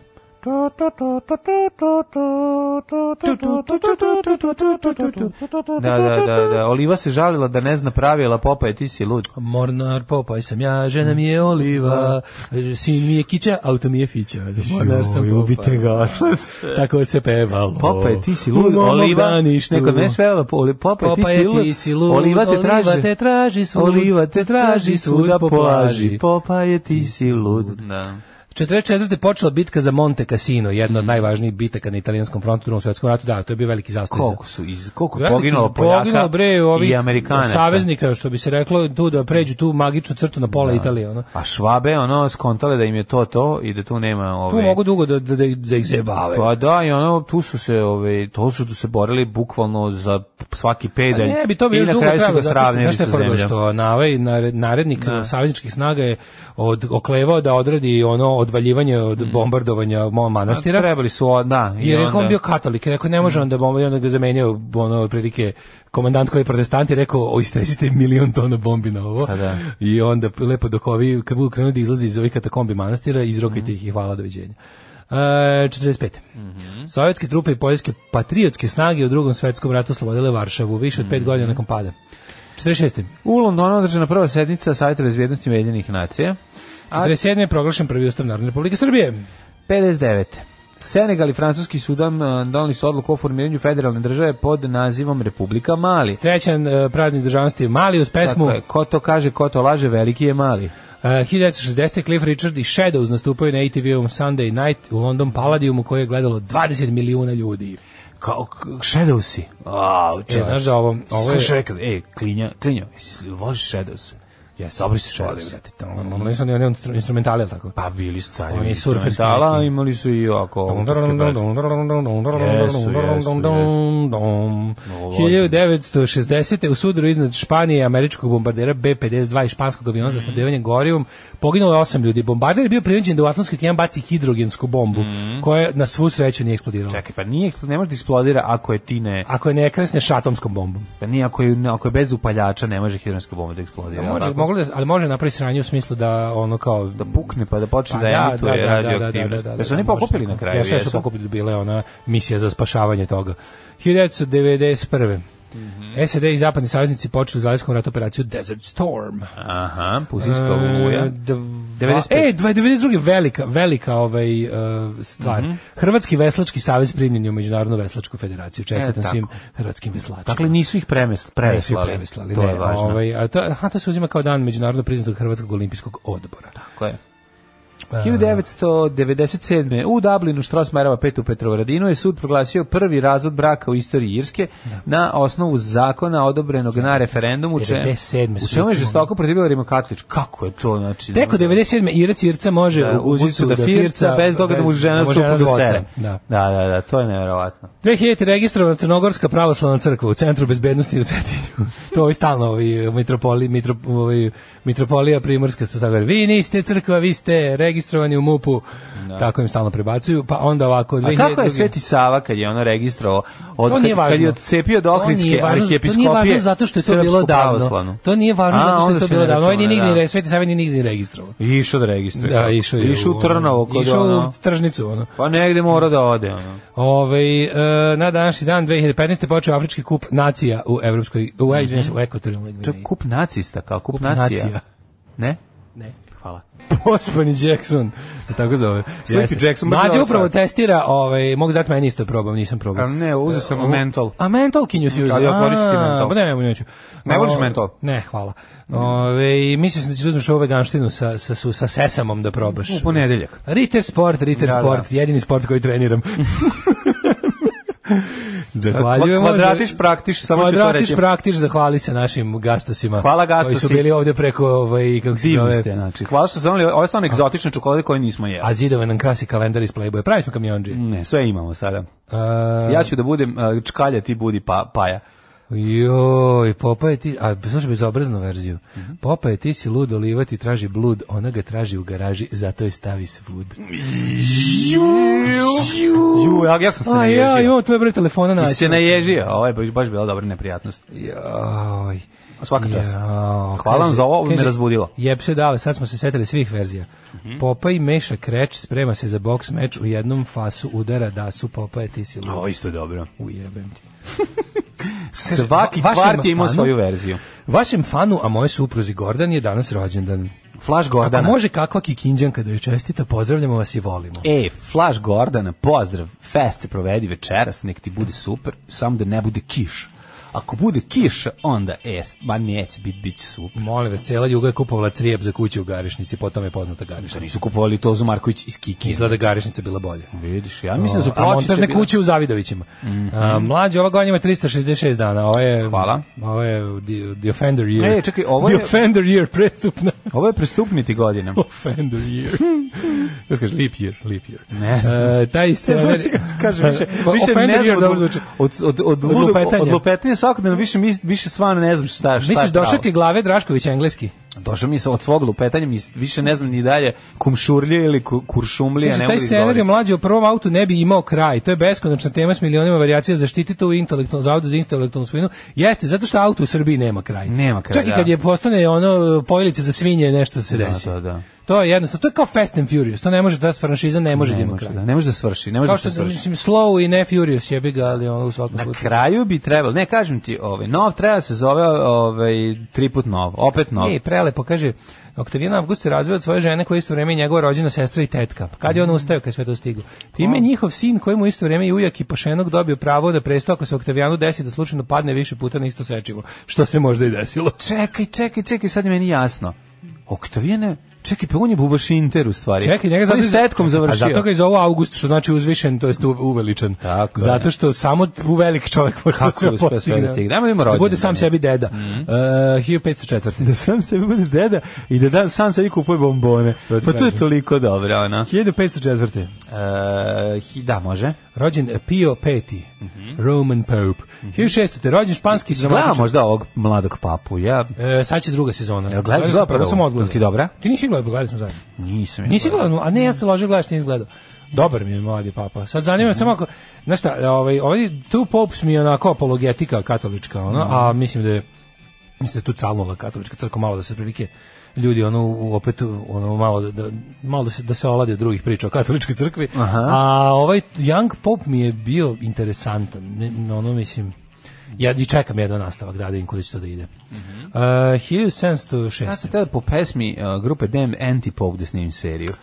[SPEAKER 6] Da, da, da, da. Oliva se žalila da ne zna pravila popaje, ti si lud.
[SPEAKER 5] Mornar Popaj sam ja, žena mi je oliva, sin mi je kića, auto mi je fića. Mornar sam Popaj.
[SPEAKER 6] ga,
[SPEAKER 5] Tako se pevalo.
[SPEAKER 6] Popaj, ti si
[SPEAKER 5] U
[SPEAKER 6] lud,
[SPEAKER 5] mom
[SPEAKER 6] oliva,
[SPEAKER 5] obdaništu.
[SPEAKER 6] neko ne da svela, popaj, ti si
[SPEAKER 5] Popaj,
[SPEAKER 6] lud,
[SPEAKER 5] ti si lud,
[SPEAKER 6] oliva te
[SPEAKER 5] oliva
[SPEAKER 6] traži,
[SPEAKER 5] te traži svud,
[SPEAKER 6] oliva te traži svuda po plaži,
[SPEAKER 5] plaži.
[SPEAKER 6] popaje, ti si lud. Da.
[SPEAKER 5] 44. počela bitka za Monte Cassino, jedna od najvažnijih bitaka na italijanskom frontu u drugom svjetskom ratu. Da, to je bio veliki zastoj.
[SPEAKER 6] Koliko su, iz, koliko je
[SPEAKER 5] Veliki
[SPEAKER 6] poginulo
[SPEAKER 5] su
[SPEAKER 6] Poljaka
[SPEAKER 5] poginulo, bre, ovih
[SPEAKER 6] i Amerikanaca.
[SPEAKER 5] saveznika, što bi se reklo, tu da pređu tu magičnu crtu na
[SPEAKER 6] Da.
[SPEAKER 5] pola Italije. Ono.
[SPEAKER 6] A švabe, ono, skontale da im je to to i da tu nema... Ove,
[SPEAKER 5] Tu mogu dugo da, da, da, ih- da ih zebave.
[SPEAKER 6] Pa da, i ono, tu su se, ove, to su tu se borili bukvalno za svaki
[SPEAKER 5] A
[SPEAKER 6] pedalj.
[SPEAKER 5] Pa ne, bi to bi
[SPEAKER 6] da I
[SPEAKER 5] još
[SPEAKER 6] na
[SPEAKER 5] dugo
[SPEAKER 6] kraju su
[SPEAKER 5] trajalo.
[SPEAKER 6] ga
[SPEAKER 5] zato što-
[SPEAKER 6] sravnili
[SPEAKER 5] znaš šta
[SPEAKER 6] sa
[SPEAKER 5] je problem?
[SPEAKER 6] zemljom. Da.
[SPEAKER 5] Što na ovaj nared- narednik savezničkih snaga je od, oklevao da odradi ono odvaljivanje od
[SPEAKER 6] Mm.
[SPEAKER 5] bombardovanja mo- manastira.
[SPEAKER 6] Trebali su, o, da. i
[SPEAKER 5] I rekao on
[SPEAKER 6] onda- Mm.
[SPEAKER 5] bio katolik, i rekao ne može on da bomba, i onda ga zamenio ono prilike komandant koji je protestant i rekao o istresite milion tona bombi na ovo.
[SPEAKER 6] Pa da.
[SPEAKER 5] I onda lepo dok ovi kad budu krenuli da izlaze iz ovih katakombi manastira, izrokajte ih i hvala doviđenja. E, 45.
[SPEAKER 6] Mhm.
[SPEAKER 5] Sovjetske trupe i poljske patriotske snage u drugom svetskom ratu oslobodile Varšavu više od
[SPEAKER 6] Mhm.
[SPEAKER 5] pet godina nakon pada. 46.
[SPEAKER 6] U Londonu održana prva sednica Savjeta bezbjednosti Ujedinjenih nacija. A
[SPEAKER 5] 47. je proglašen prvi ustav Narodne republike Srbije.
[SPEAKER 6] 59. Senegal i Francuski sudan e, doneli su odluku o formiranju federalne države pod nazivom Republika Mali.
[SPEAKER 5] Trećan e, praznik državnosti je Mali uz pesmu
[SPEAKER 6] Tako je, ko to kaže, ko to laže, veliki je mali.
[SPEAKER 5] Uh, 1960. Cliff Richard i Shadows nastupaju na ATV-ovom Sunday Night u London Palladiumu koje je gledalo 20 milijuna ljudi.
[SPEAKER 6] Kao, Shadowsi. Wow,
[SPEAKER 5] E, znaš da ovo, ovo je...
[SPEAKER 6] rekao, e, klinja, klinja, jesi, voliš Shadows? Jes, dobri su
[SPEAKER 5] Voli, brate, tamo, Oni su oni, oni instru- instrumentali, ali tako?
[SPEAKER 6] Mm. Pa bili su cari.
[SPEAKER 5] Oni
[SPEAKER 6] Oni
[SPEAKER 5] surferski
[SPEAKER 6] surferski. Dala,
[SPEAKER 5] neki.
[SPEAKER 6] imali su i ovako. autorske pesme. Jesu, jesu, Ovo je-
[SPEAKER 5] 1960. u sudaru iznad Španije američkog bombardera B-52 i španskog aviona
[SPEAKER 6] Mhm.
[SPEAKER 5] za snabdevanje gorivom poginulo je 8 ljudi. Bombarder je bio prinuđen da u Atlantski okean baci hidrogensku bombu koja na svu sreću nije eksplodirala.
[SPEAKER 6] Mhm. Čekaj, pa nije, ne može da eksplodira ako je ti ne,
[SPEAKER 5] Ako je ne kresneš atomskom bombom.
[SPEAKER 6] pa nije, ako je, ako je bez upaljača, ne može hidronska bomba da eksplodira.
[SPEAKER 5] Može,
[SPEAKER 6] Ovako,
[SPEAKER 5] moglo da, ali može napraviti sranje u smislu da ono kao
[SPEAKER 6] da pukne pa da počne da emituje radioaktivnost. Da su oni
[SPEAKER 5] možda
[SPEAKER 6] pokupili
[SPEAKER 5] tako.
[SPEAKER 6] na kraju?
[SPEAKER 5] Ja sve su pokupili, bila je ona misija za spašavanje toga. 1991.
[SPEAKER 6] Mhm.
[SPEAKER 5] SED i zapadni saveznici počeli u Zalijskom ratu operaciju Desert Storm.
[SPEAKER 6] Aha, Pusinska oluja.
[SPEAKER 5] E, dva,
[SPEAKER 6] 95.
[SPEAKER 5] e, dva- 92. velika, velika ovaj, e, stvar.
[SPEAKER 6] Mhm.
[SPEAKER 5] Hrvatski veslački savez primljen je u Međunarodnu veslačku federaciju. Čestitam
[SPEAKER 6] E, tako.
[SPEAKER 5] svim hrvatskim veslačima.
[SPEAKER 6] Dakle, nisu ih premest,
[SPEAKER 5] Nisu
[SPEAKER 6] preveslali.
[SPEAKER 5] preveslali,
[SPEAKER 6] to
[SPEAKER 5] ne,
[SPEAKER 6] je važno.
[SPEAKER 5] Ovaj, a to, aha, to se uzima kao dan međunarodno priznatog Hrvatskog olimpijskog odbora.
[SPEAKER 6] Tako je. 1997. u Dublinu Štrosmajerova 5 u Petrovaradinu je sud proglasio prvi razvod braka u istoriji Irske
[SPEAKER 5] Da.
[SPEAKER 6] na osnovu zakona odobrenog na referendumu. u čem-
[SPEAKER 5] 97.
[SPEAKER 6] U čemu je
[SPEAKER 5] suci
[SPEAKER 6] žestoko protivila Rimokatolič? Kako je to? Znači,
[SPEAKER 5] Teko 97. Irac Irca može
[SPEAKER 6] da,
[SPEAKER 5] u guzicu da
[SPEAKER 6] firca, bez toga da mu žena
[SPEAKER 5] mu
[SPEAKER 6] supu
[SPEAKER 5] žena
[SPEAKER 6] da
[SPEAKER 5] zvoca.
[SPEAKER 6] sere.
[SPEAKER 5] Da.
[SPEAKER 6] da, da, da, to je nevjerovatno.
[SPEAKER 5] 2000. registrovana Crnogorska pravoslavna crkva u Centru bezbednosti u Cetinju. <laughs> to je ovaj stalno ovi mitropoli, mitrop, ovi, mitropolija ovaj, primorska sa sagore. Vi niste crkva, vi ste registrovani u MUP-u. Tako im stalno prebacuju. Pa onda ovako...
[SPEAKER 6] Da. A kako je
[SPEAKER 5] 2002.
[SPEAKER 6] Sveti Sava kad je ono registrovao, od,
[SPEAKER 5] To
[SPEAKER 6] kad,
[SPEAKER 5] nije važno.
[SPEAKER 6] kad je odcepio do Ohridske
[SPEAKER 5] To nije važno
[SPEAKER 6] arhijepiskopije
[SPEAKER 5] zato što je to
[SPEAKER 6] Srpsku
[SPEAKER 5] bilo davno.
[SPEAKER 6] pravoslavnu?
[SPEAKER 5] To nije važno
[SPEAKER 6] A,
[SPEAKER 5] zato što je
[SPEAKER 6] onda
[SPEAKER 5] to
[SPEAKER 6] se ne
[SPEAKER 5] bilo davno. Ovaj ni
[SPEAKER 6] računa,
[SPEAKER 5] nigdje,
[SPEAKER 6] da.
[SPEAKER 5] da. Sveti Savi ni nigdje registrovao.
[SPEAKER 6] Išao da registruje.
[SPEAKER 5] Da,
[SPEAKER 6] tako.
[SPEAKER 5] išao je.
[SPEAKER 6] Išao u Trnovo kod
[SPEAKER 5] Išao
[SPEAKER 6] ono.
[SPEAKER 5] u tržnicu, ono.
[SPEAKER 6] Pa negde mora da ode, ono.
[SPEAKER 5] Ove, e, na današnji dan 2015. počeo Afrički kup nacija u Evropskoj, u, mm
[SPEAKER 6] Mhm.
[SPEAKER 5] -hmm. u Ekvatorijalnoj
[SPEAKER 6] To
[SPEAKER 5] Gvineji.
[SPEAKER 6] je kup nacista, kao kup, nacija. Ne?
[SPEAKER 5] Ne.
[SPEAKER 6] Hvala.
[SPEAKER 5] Pospani Jackson, se tako zove.
[SPEAKER 6] Sleepy
[SPEAKER 5] Jeste.
[SPEAKER 6] Jackson, baš
[SPEAKER 5] Mlađe
[SPEAKER 6] dobra
[SPEAKER 5] upravo
[SPEAKER 6] stvar.
[SPEAKER 5] testira, ovaj, mogu zati meni isto probam, nisam probao.
[SPEAKER 6] A ne, uzeo sam
[SPEAKER 5] E, u-
[SPEAKER 6] mentol.
[SPEAKER 5] A mentol kinju si uzeo?
[SPEAKER 6] Ali ja koristim
[SPEAKER 5] A,
[SPEAKER 6] mentol.
[SPEAKER 5] Pa ne, ne, neću.
[SPEAKER 6] Ne voliš
[SPEAKER 5] O,
[SPEAKER 6] mentol?
[SPEAKER 5] Ne, hvala. Ove, mislio sam da ćeš da uzmeš ovu veganštinu sa, sa, su- sa sesamom da probaš.
[SPEAKER 6] U pa ponedeljak.
[SPEAKER 5] Ritter sport, Ritter
[SPEAKER 6] Da, da.
[SPEAKER 5] sport, jedini sport koji
[SPEAKER 6] <laughs>
[SPEAKER 5] treniram. Zahvaljujemo.
[SPEAKER 6] Kvadratiš praktiš, samo ću to
[SPEAKER 5] Kvadratiš,
[SPEAKER 6] reći.
[SPEAKER 5] praktiš, zahvali se našim gastosima.
[SPEAKER 6] Hvala gastosi.
[SPEAKER 5] Koji su bili ovde preko, ovaj, kako se
[SPEAKER 6] Divni
[SPEAKER 5] zove,
[SPEAKER 6] ste, znači. Hvala što ste znali, ovo je stvarno egzotične čokolade koje nismo jeli.
[SPEAKER 5] a zidove nam krasi kalendar iz Playboya. Pravi smo kamionđi.
[SPEAKER 6] Ne, sve imamo sada.
[SPEAKER 5] A,
[SPEAKER 6] Ja ću da budem uh, čkalja, ti budi pa, paja.
[SPEAKER 5] Joj, Popa je ti, a slušaj bezobraznu verziju.
[SPEAKER 6] Mhm.
[SPEAKER 5] Popa je ti si lud, oliva ti traži blud, ona ga traži u garaži, zato je stavi svud.
[SPEAKER 6] Ju, ja, ja sam se
[SPEAKER 5] A ja, znači.
[SPEAKER 6] naježio.
[SPEAKER 5] imamo tvoj broj telefona na.
[SPEAKER 6] Ja, se naježio, ovo je baš- baš bila dobra neprijatnost.
[SPEAKER 5] Joj.
[SPEAKER 6] Svaka čast.
[SPEAKER 5] Jao,
[SPEAKER 6] Hvala vam
[SPEAKER 5] kaže-
[SPEAKER 6] za ovo, ovo me
[SPEAKER 5] kaže,
[SPEAKER 6] razbudilo.
[SPEAKER 5] Jeb se dale, sad smo se setili svih verzija.
[SPEAKER 6] Mhm.
[SPEAKER 5] Popa i Meša Kreć sprema se za boks meč u jednom fasu udara da su Popa je ti si lud.
[SPEAKER 6] Ovo isto je dobro.
[SPEAKER 5] Ujebem ti.
[SPEAKER 6] Svaki
[SPEAKER 5] va- vašem
[SPEAKER 6] kvart je imao
[SPEAKER 5] fanu?
[SPEAKER 6] svoju verziju.
[SPEAKER 5] Vašem fanu, a moje supruzi Gordan je danas rođendan.
[SPEAKER 6] Flaš
[SPEAKER 5] Ako
[SPEAKER 6] Gordana.
[SPEAKER 5] može kakva kikinđanka da joj čestita, pozdravljamo vas i volimo.
[SPEAKER 6] E, Flaš Gordana, pozdrav, fest se provedi večeras, nek ti bude super, samo da ne bude kiš. Ako bude kiša, onda es, ma neće biti, bit će super.
[SPEAKER 5] Molim vas, cijela Juga je kupovala crijep za kuću u Garišnici, potom je poznata Garišnica.
[SPEAKER 6] Nisu kupovali Tozu Marković iz Kikije.
[SPEAKER 5] Izgleda Garišnica bila bolje.
[SPEAKER 6] Vidiš, ja mislim da su
[SPEAKER 5] A
[SPEAKER 6] pločice
[SPEAKER 5] montažne
[SPEAKER 6] bile- Mhm.
[SPEAKER 5] kuće u Zavidovićima. A, mlađe, ova godina ima 366 dana. Ovo je,
[SPEAKER 6] Hvala.
[SPEAKER 5] Ovo je the, the Offender Year.
[SPEAKER 6] E, čekaj, ovo je-
[SPEAKER 5] The Offender Year, prestupna. <laughs>
[SPEAKER 6] Ovo je prestupniti <laughs> godina.
[SPEAKER 5] Offender Year. Ja se kaže, Leap Year, Leap Year.
[SPEAKER 6] Ne znam.
[SPEAKER 5] E,
[SPEAKER 6] <laughs>
[SPEAKER 5] taj scenar...
[SPEAKER 6] Zvuči, kako se kaže, da <laughs> više,
[SPEAKER 5] Ma, <laughs>
[SPEAKER 6] više
[SPEAKER 5] offender
[SPEAKER 6] ne
[SPEAKER 5] year da
[SPEAKER 6] znam
[SPEAKER 5] dobro
[SPEAKER 6] od,
[SPEAKER 5] zvuči.
[SPEAKER 6] od, od, da od,
[SPEAKER 5] Od
[SPEAKER 6] ludog-
[SPEAKER 5] lupetanja.
[SPEAKER 6] od lupetanja svakodnevno, više, mis- više stvarno ne znam šta, šta
[SPEAKER 5] Misliš,
[SPEAKER 6] je pravo.
[SPEAKER 5] došao ti glave Drašković engleski?
[SPEAKER 6] Došao mi se od svog lupetanja, mis- više ne znam ni dalje kumšurlje ili ku- kuršumlije,
[SPEAKER 5] Kaže, Znači,
[SPEAKER 6] ne
[SPEAKER 5] taj
[SPEAKER 6] mogu da
[SPEAKER 5] scenarij
[SPEAKER 6] izgovorim.
[SPEAKER 5] mlađe u prvom autu ne bi imao kraj. To je beskonačna tema s milionima varijacija. Zaštiti to u intelektualnom zavodu za intelektualnu svojinu. Jeste, zato što auto u Srbiji nema kraj.
[SPEAKER 6] Nema kraja,
[SPEAKER 5] Čak i
[SPEAKER 6] da.
[SPEAKER 5] kad je postane ono pojelice za svinje, nešto se desi.
[SPEAKER 6] Da, da, da.
[SPEAKER 5] To je jednostavno, to je kao Fast and Furious. To ne može da s franšiza ne može da
[SPEAKER 6] Ne
[SPEAKER 5] ima
[SPEAKER 6] može,
[SPEAKER 5] kraj.
[SPEAKER 6] da, ne može da svrši, ne može
[SPEAKER 5] Kao
[SPEAKER 6] da
[SPEAKER 5] što
[SPEAKER 6] se Dakle,
[SPEAKER 5] da,
[SPEAKER 6] svrši.
[SPEAKER 5] mislim slow i ne furious jebi ga, ali ono u svakom
[SPEAKER 6] Na
[SPEAKER 5] slučaju.
[SPEAKER 6] kraju bi trebalo, ne kažem ti, ovaj, nov treba da se zove ovaj, tri put nov, opet nov.
[SPEAKER 5] Ej, prelepo, kaže, Oktavijana Avgust se razveo od svoje žene koja je isto vreme i njegova rođena sestra i tetka. Pa Kad je on ustao kad je sve to stiglo? Time je njihov sin kojemu isto vreme i ujak i pašenok dobio pravo da presto ako se Oktavijanu desi da slučajno padne više puta na isto sečivo, što se možda i desilo.
[SPEAKER 6] Čekaj, čekaj, čekaj, sad je meni jasno. Oktavijene, čekaj, pa on je bubaš Inter u stvari.
[SPEAKER 5] Čekaj, njega
[SPEAKER 6] zato...
[SPEAKER 5] zato
[SPEAKER 6] je s tetkom završio.
[SPEAKER 5] A zato ga je zovu August, što znači uzvišen, to jest u- uveličan.
[SPEAKER 6] Tako je.
[SPEAKER 5] zato što samo velik čovjek može
[SPEAKER 6] Kako
[SPEAKER 5] sve
[SPEAKER 6] uspeo sve da
[SPEAKER 5] postigne.
[SPEAKER 6] stigne? Ajmo da ima
[SPEAKER 5] Da bude
[SPEAKER 6] rođendan.
[SPEAKER 5] sam sebi deda. Mm 1504. <laughs>
[SPEAKER 6] Da sam sebi bude deda i da dan sam sebi kupuje bombone. pa to je toliko dobro, ona.
[SPEAKER 5] 1504.
[SPEAKER 6] E, hi- da, može.
[SPEAKER 5] Rođen eh, Pio V, Roman Pope. 1600. te Rođen španski
[SPEAKER 6] Gleda
[SPEAKER 5] dramatičar.
[SPEAKER 6] Da, možda ovog mladog papu, ja...
[SPEAKER 5] E, sad će druga sezona.
[SPEAKER 6] Jel gledali
[SPEAKER 5] sam,
[SPEAKER 6] zapravo?
[SPEAKER 5] prvo sam odgledao.
[SPEAKER 6] Jel ti dobra?
[SPEAKER 5] Ti nisi gledao, gledali smo zajedno.
[SPEAKER 6] Nisam. je
[SPEAKER 5] Nisi
[SPEAKER 6] gledao.
[SPEAKER 5] gledao, a ne, ja ste ložio gledaš, nisi gledao. Dobar mi je mladi papa. Sad zanima me samo ako, znaš šta, ovaj, ovaj tu popes mi je onako apologetika katolička, ono, a mislim da je mislim da je tu calnula katolička crkva malo da se prilike ljudi ono u- opet ono malo da, da- malo da se da se olade drugih priča o katoličkoj crkvi. A ovaj Young Pope mi je bio interesantan. Ne- no, ono mislim ja i čekam jedno nastavak da da vidim kuda će to da ide. Mm -hmm. uh, 1706.
[SPEAKER 6] Ja sam tada po pesmi uh, grupe Damn Antipop da snimim seriju.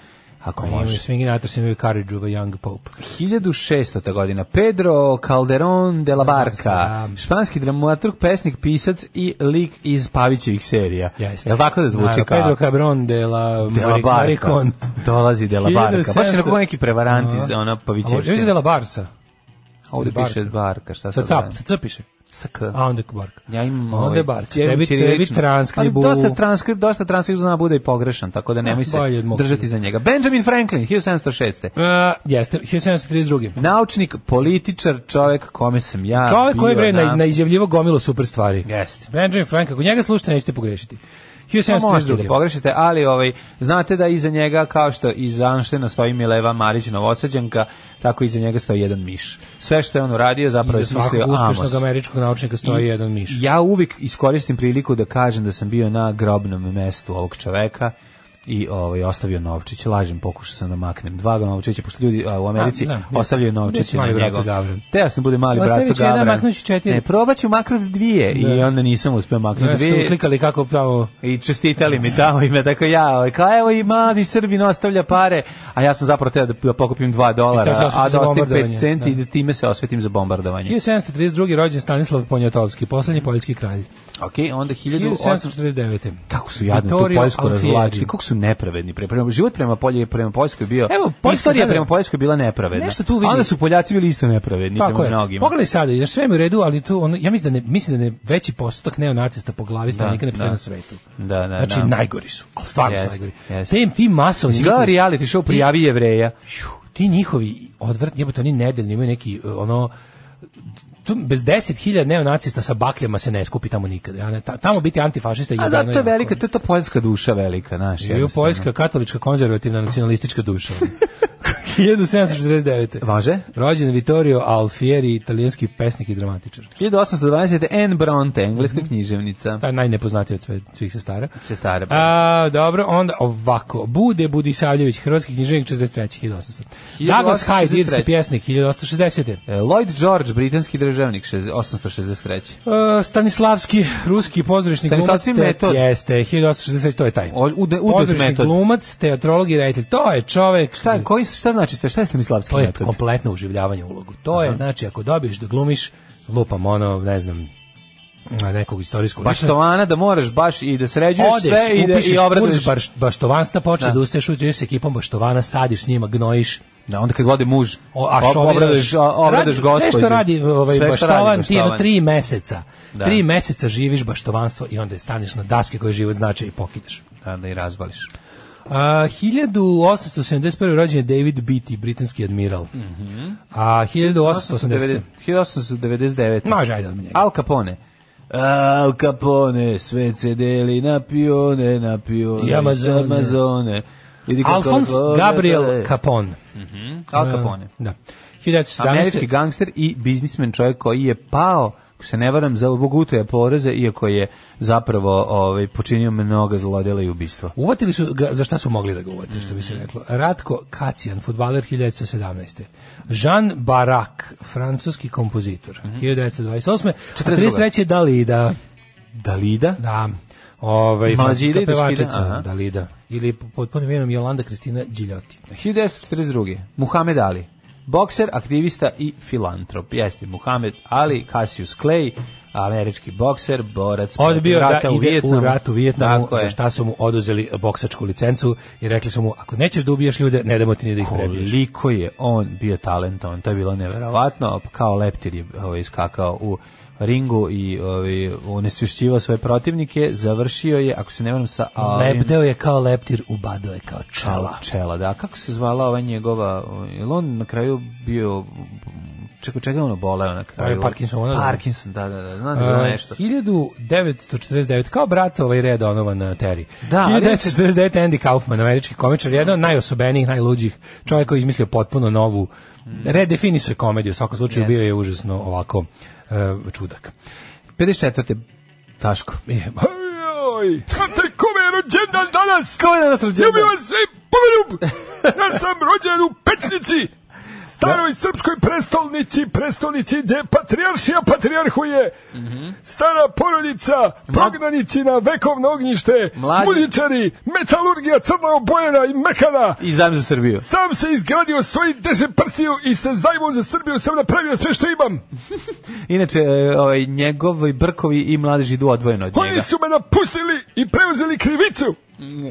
[SPEAKER 6] Ako
[SPEAKER 5] Imaju
[SPEAKER 6] možeš.
[SPEAKER 5] Swingin' Atrus, imaju Carriage of a Young Pope.
[SPEAKER 6] 1600. godina. Pedro Calderón de la Barca,
[SPEAKER 5] Sam.
[SPEAKER 6] španski dramaturg, pesnik, pisac i lik iz Pavićevih serija.
[SPEAKER 5] Jeste.
[SPEAKER 6] Jel tako da zvuči
[SPEAKER 5] Naravno,
[SPEAKER 6] kao?
[SPEAKER 5] Pedro Cabron de la,
[SPEAKER 6] De la Barca.
[SPEAKER 5] Maricon.
[SPEAKER 6] Dolazi de la Barca. Baš je
[SPEAKER 5] 1700.
[SPEAKER 6] onako neki prevarant iz ona
[SPEAKER 5] A možda
[SPEAKER 6] Pavićevih
[SPEAKER 5] da je de la Barca.
[SPEAKER 6] Ovde
[SPEAKER 5] Barca.
[SPEAKER 6] piše Barka, šta
[SPEAKER 5] Sa
[SPEAKER 6] sad?
[SPEAKER 5] cap,
[SPEAKER 6] radim?
[SPEAKER 5] sa c piše.
[SPEAKER 6] Sa K.
[SPEAKER 5] A onda je Barca.
[SPEAKER 6] Da, Ja imam
[SPEAKER 5] Onda
[SPEAKER 6] ovaj,
[SPEAKER 5] je Barca.
[SPEAKER 6] ja imam
[SPEAKER 5] Tebi- tebi
[SPEAKER 6] ćirilično.
[SPEAKER 5] transkribu-
[SPEAKER 6] Ali Dosta transkript, dosta transkript zna bude i pogrešan, tako da nemoj se
[SPEAKER 5] bolje od mog.
[SPEAKER 6] držati za njega. Benjamin Franklin, 1706.
[SPEAKER 5] Uh, jeste, 1732.
[SPEAKER 6] Naučnik, političar, čovjek kome sam ja
[SPEAKER 5] Čovjek koji je
[SPEAKER 6] bio
[SPEAKER 5] bre na,
[SPEAKER 6] na-
[SPEAKER 5] na izjavljivo gomilo super stvari.
[SPEAKER 6] Jeste.
[SPEAKER 5] Benjamin Franklin, ako njega slušate, nećete pogrešiti.
[SPEAKER 6] Pa možete da
[SPEAKER 5] 1732.
[SPEAKER 6] pogrešite, ali ovaj, znate da iza njega, kao što iza Anštena stoji Mileva Marić Novosađanka, tako iza njega stoji jedan miš. Sve što je on uradio zapravo je
[SPEAKER 5] Iza svakog
[SPEAKER 6] smislio Amos.
[SPEAKER 5] uspešnog američkog naučnika stoji
[SPEAKER 6] I-
[SPEAKER 5] jedan miš.
[SPEAKER 6] Ja uvijek iskoristim priliku da kažem da sam bio na grobnom mestu ovog čoveka i ovaj ostavio novčić. Lažem, pokušao sam da maknem dva novčića, pošto ljudi a, u Americi
[SPEAKER 5] A, da, gdje
[SPEAKER 6] ostavljaju
[SPEAKER 5] si- gdje si
[SPEAKER 6] novčiće na
[SPEAKER 5] mali brat sa
[SPEAKER 6] njegov.
[SPEAKER 5] Gavran?
[SPEAKER 6] Teo sam da bude mali
[SPEAKER 5] Ostavit
[SPEAKER 6] brat sa
[SPEAKER 5] ću jedan,
[SPEAKER 6] Gavran.
[SPEAKER 5] maknut ću četiri. Da.
[SPEAKER 6] Ne, probat ću maknuti dvije i onda nisam uspio maknuti
[SPEAKER 5] Ja ste
[SPEAKER 6] dvije.
[SPEAKER 5] uslikali kako pravo...
[SPEAKER 6] I čestitali mi tamo ime, tako ja, ovaj, kao evo i mladi Srbin ostavlja pare, a ja sam zapravo teo da, da pokupim
[SPEAKER 5] I
[SPEAKER 6] 2
[SPEAKER 5] teo se
[SPEAKER 6] dolara,
[SPEAKER 5] osvetim
[SPEAKER 6] a
[SPEAKER 5] za
[SPEAKER 6] da ostavim 5
[SPEAKER 5] bombardovanje,
[SPEAKER 6] centi
[SPEAKER 5] da.
[SPEAKER 6] i da time se osvetim za bombardovanje.
[SPEAKER 5] 1732. rođen Stanislav Poniatowski, poslednji poljski kralj.
[SPEAKER 6] Ok, onda 1800...
[SPEAKER 5] 1749.
[SPEAKER 6] Kako su jadno tu
[SPEAKER 5] Vittorio
[SPEAKER 6] Poljsku
[SPEAKER 5] Alfieri.
[SPEAKER 6] razvlačili, kako su nepravedni. Pre, prema, život prema Polje, prema Poljskoj je bio...
[SPEAKER 5] Evo, Poljska
[SPEAKER 6] Istorija
[SPEAKER 5] sada-
[SPEAKER 6] prema Poljskoj je bila nepravedna.
[SPEAKER 5] Nešto tu vidi.
[SPEAKER 6] A Onda su Poljaci bili isto nepravedni
[SPEAKER 5] Tako
[SPEAKER 6] prema
[SPEAKER 5] je.
[SPEAKER 6] mnogima.
[SPEAKER 5] Pogledaj sada, jer sve mi u redu, ali tu ono, ja mislim da ne mislim da ne veći postotak neonacista po glavi stanovnika ne postoji
[SPEAKER 6] da.
[SPEAKER 5] na svetu.
[SPEAKER 6] Da, da,
[SPEAKER 5] znači
[SPEAKER 6] da.
[SPEAKER 5] najgori su. Al stvarno
[SPEAKER 6] Jeste,
[SPEAKER 5] su najgori.
[SPEAKER 6] jeste.
[SPEAKER 5] Tem ti masovni
[SPEAKER 6] Si gledao
[SPEAKER 5] njihovi-
[SPEAKER 6] da reality show prijavi jevreja.
[SPEAKER 5] ti njihovi odvratni, jebote, oni nedeljni imaju neki uh, ono tu bez 10.000 neonacista sa bakljama se ne skupi tamo nikada. Ja ne, ta- tamo biti antifašista je
[SPEAKER 6] A
[SPEAKER 5] jedino
[SPEAKER 6] da, to je
[SPEAKER 5] jako.
[SPEAKER 6] velika, to je to poljska duša velika, znaš.
[SPEAKER 5] Živio
[SPEAKER 6] jednostavno.
[SPEAKER 5] poljska katolička konzervativna nacionalistička duša. <laughs> 1749.
[SPEAKER 6] Važe?
[SPEAKER 5] Rođen Vittorio Alfieri, italijanski pesnik i dramatičar.
[SPEAKER 6] 1820. Anne Bronte, engleska književnica.
[SPEAKER 5] Ta je najnepoznatija od sve, svih sestara.
[SPEAKER 6] Sestara. pa.
[SPEAKER 5] A, dobro, onda ovako. Bude Budisavljević, hrvatski književnik 43. 1800. Douglas Hyde, irski
[SPEAKER 6] 1863.
[SPEAKER 5] pjesnik 1860.
[SPEAKER 6] E, Lloyd George, britanski državnik, šez- 863.
[SPEAKER 5] Uh, Stanislavski, ruski pozorišni glumac.
[SPEAKER 6] Stanislavski metod.
[SPEAKER 5] Jeste, 1860, to je taj.
[SPEAKER 6] O- ude- udut
[SPEAKER 5] pozorišni
[SPEAKER 6] metod.
[SPEAKER 5] glumac, teatrolog i reditelj. To je čovek.
[SPEAKER 6] Šta, je- koji, šta znači, šta je Stanislavski
[SPEAKER 5] To je
[SPEAKER 6] metod?
[SPEAKER 5] kompletno uživljavanje u ulogu. To je, znači, ako dobiješ da glumiš, lupam ono, ne znam, nekog istorijskog
[SPEAKER 6] Baštovana, da moraš baš i da sređuješ
[SPEAKER 5] Odeš,
[SPEAKER 6] sve i da,
[SPEAKER 5] upišeš
[SPEAKER 6] i obraduješ.
[SPEAKER 5] kurs baš, baštovanstva, počne da.
[SPEAKER 6] Da.
[SPEAKER 5] ustaješ, uđeš s ekipom baštovana, sadiš s njima, gnojiš,
[SPEAKER 6] Da, onda kad vode muž,
[SPEAKER 5] O, a što
[SPEAKER 6] obradeš, obradeš
[SPEAKER 5] Sve
[SPEAKER 6] gospodin.
[SPEAKER 5] što radi ovaj,
[SPEAKER 6] Sve što radi
[SPEAKER 5] baštovan, ti jedno
[SPEAKER 6] Baštovan.
[SPEAKER 5] tri meseca.
[SPEAKER 6] Da.
[SPEAKER 5] Tri meseca živiš baštovanstvo i onda je staniš na daske koje život znači i pokideš.
[SPEAKER 6] Da, da i razvališ.
[SPEAKER 5] A, 1871. rođen je David Beatty, britanski admiral.
[SPEAKER 6] Mhm.
[SPEAKER 5] A 1880.
[SPEAKER 6] 1899.
[SPEAKER 5] Može, ajde od njega.
[SPEAKER 6] Al Capone. Al Capone, sve cedeli na pione, na pione,
[SPEAKER 5] I Amazone.
[SPEAKER 6] s Amazone. Vidi kako
[SPEAKER 5] Alfons
[SPEAKER 6] vode,
[SPEAKER 5] Gabriel
[SPEAKER 6] vode.
[SPEAKER 5] Capone.
[SPEAKER 6] da, Al Capone.
[SPEAKER 5] Da. 1917.
[SPEAKER 6] Američki gangster i biznismen čovjek koji je pao ako se ne varam, za obogutuje poreze, iako je zapravo ovaj, počinio mnoga zlodela i ubistva.
[SPEAKER 5] Uvatili su ga, za šta su mogli da ga uvate, što bi se reklo. Ratko Kacijan, futbaler 1917. Jean Barak, francuski kompozitor,
[SPEAKER 6] Mhm.
[SPEAKER 5] 1928. A 33. Dalida,
[SPEAKER 6] Dalida?
[SPEAKER 5] da, ovaj,
[SPEAKER 6] Mlađi
[SPEAKER 5] francuska
[SPEAKER 6] Ilić,
[SPEAKER 5] pevačica
[SPEAKER 6] Kida, aha.
[SPEAKER 5] Dalida, ili po- potpunim imenom Jolanda Kristina Điljoti.
[SPEAKER 6] 1942. Muhammed Ali. Bokser, aktivista i filantrop. Jeste Muhammed Ali, Cassius Clay, američki bokser, borac
[SPEAKER 5] Odbio
[SPEAKER 6] protiv
[SPEAKER 5] da
[SPEAKER 6] rata
[SPEAKER 5] ide u,
[SPEAKER 6] Vijetnamu.
[SPEAKER 5] rat u Vijetnamu,
[SPEAKER 6] Tako je.
[SPEAKER 5] za šta su mu oduzeli boksačku licencu i rekli su mu, ako nećeš da ubiješ ljude, ne damo ti ni da ih prebiješ.
[SPEAKER 6] Koliko je on bio talentovan, to je bilo neverovatno, kao leptir je ovaj, skakao u ringu i ovaj, onesvješćivao svoje protivnike, završio je, ako se ne varam, sa Alim
[SPEAKER 5] Lebdeo je kao leptir, ubadao je kao čala.
[SPEAKER 6] Čela. Čela, da. A Kako se zvala ova njegova, ovaj, jel on na kraju bio, čekaj, čega je ono boleo na kraju?
[SPEAKER 5] Ovaj Parkinson, ono da.
[SPEAKER 6] Parkinson, da, da, da, znam da je bilo
[SPEAKER 5] Uh,
[SPEAKER 6] nešto.
[SPEAKER 5] 1949, kao brat ovaj Red Donovan uh, Terry.
[SPEAKER 6] Da, ali-
[SPEAKER 5] 1949, Andy Kaufman, američki komičar, jedan od najosobenijih, najluđih, čovjek koji je izmislio potpuno novu,
[SPEAKER 8] Mm.
[SPEAKER 5] redefinisuje e, komediju, u svakom slučaju bio je užasno ovako uh, čudak.
[SPEAKER 6] 54. Taško.
[SPEAKER 5] <laughs>
[SPEAKER 8] E, Ajoj, znate kome je rođendan danas?
[SPEAKER 6] Ko je danas
[SPEAKER 8] Ja
[SPEAKER 6] rođendan?
[SPEAKER 8] bi vas sve poveljub! Ja sam rođen u Pečnici! Staroj srpskoj prestolnici, prestolnici gde patrijaršija patrijarhuje, stara porodica, prognanicina, vekovno ognjište,
[SPEAKER 6] Mladi-
[SPEAKER 8] muzičari, metalurgija crno obojena i mekana,
[SPEAKER 6] I zajm za Srbiju.
[SPEAKER 8] sam se izgradio svoji deset prstiju i sa zajmom za Srbiju sam napravio sve što imam.
[SPEAKER 6] Inače, e, ovaj, njegovi brkovi i mladež idu odvojeno od njega.
[SPEAKER 8] Oni su me napustili i preuzeli krivicu.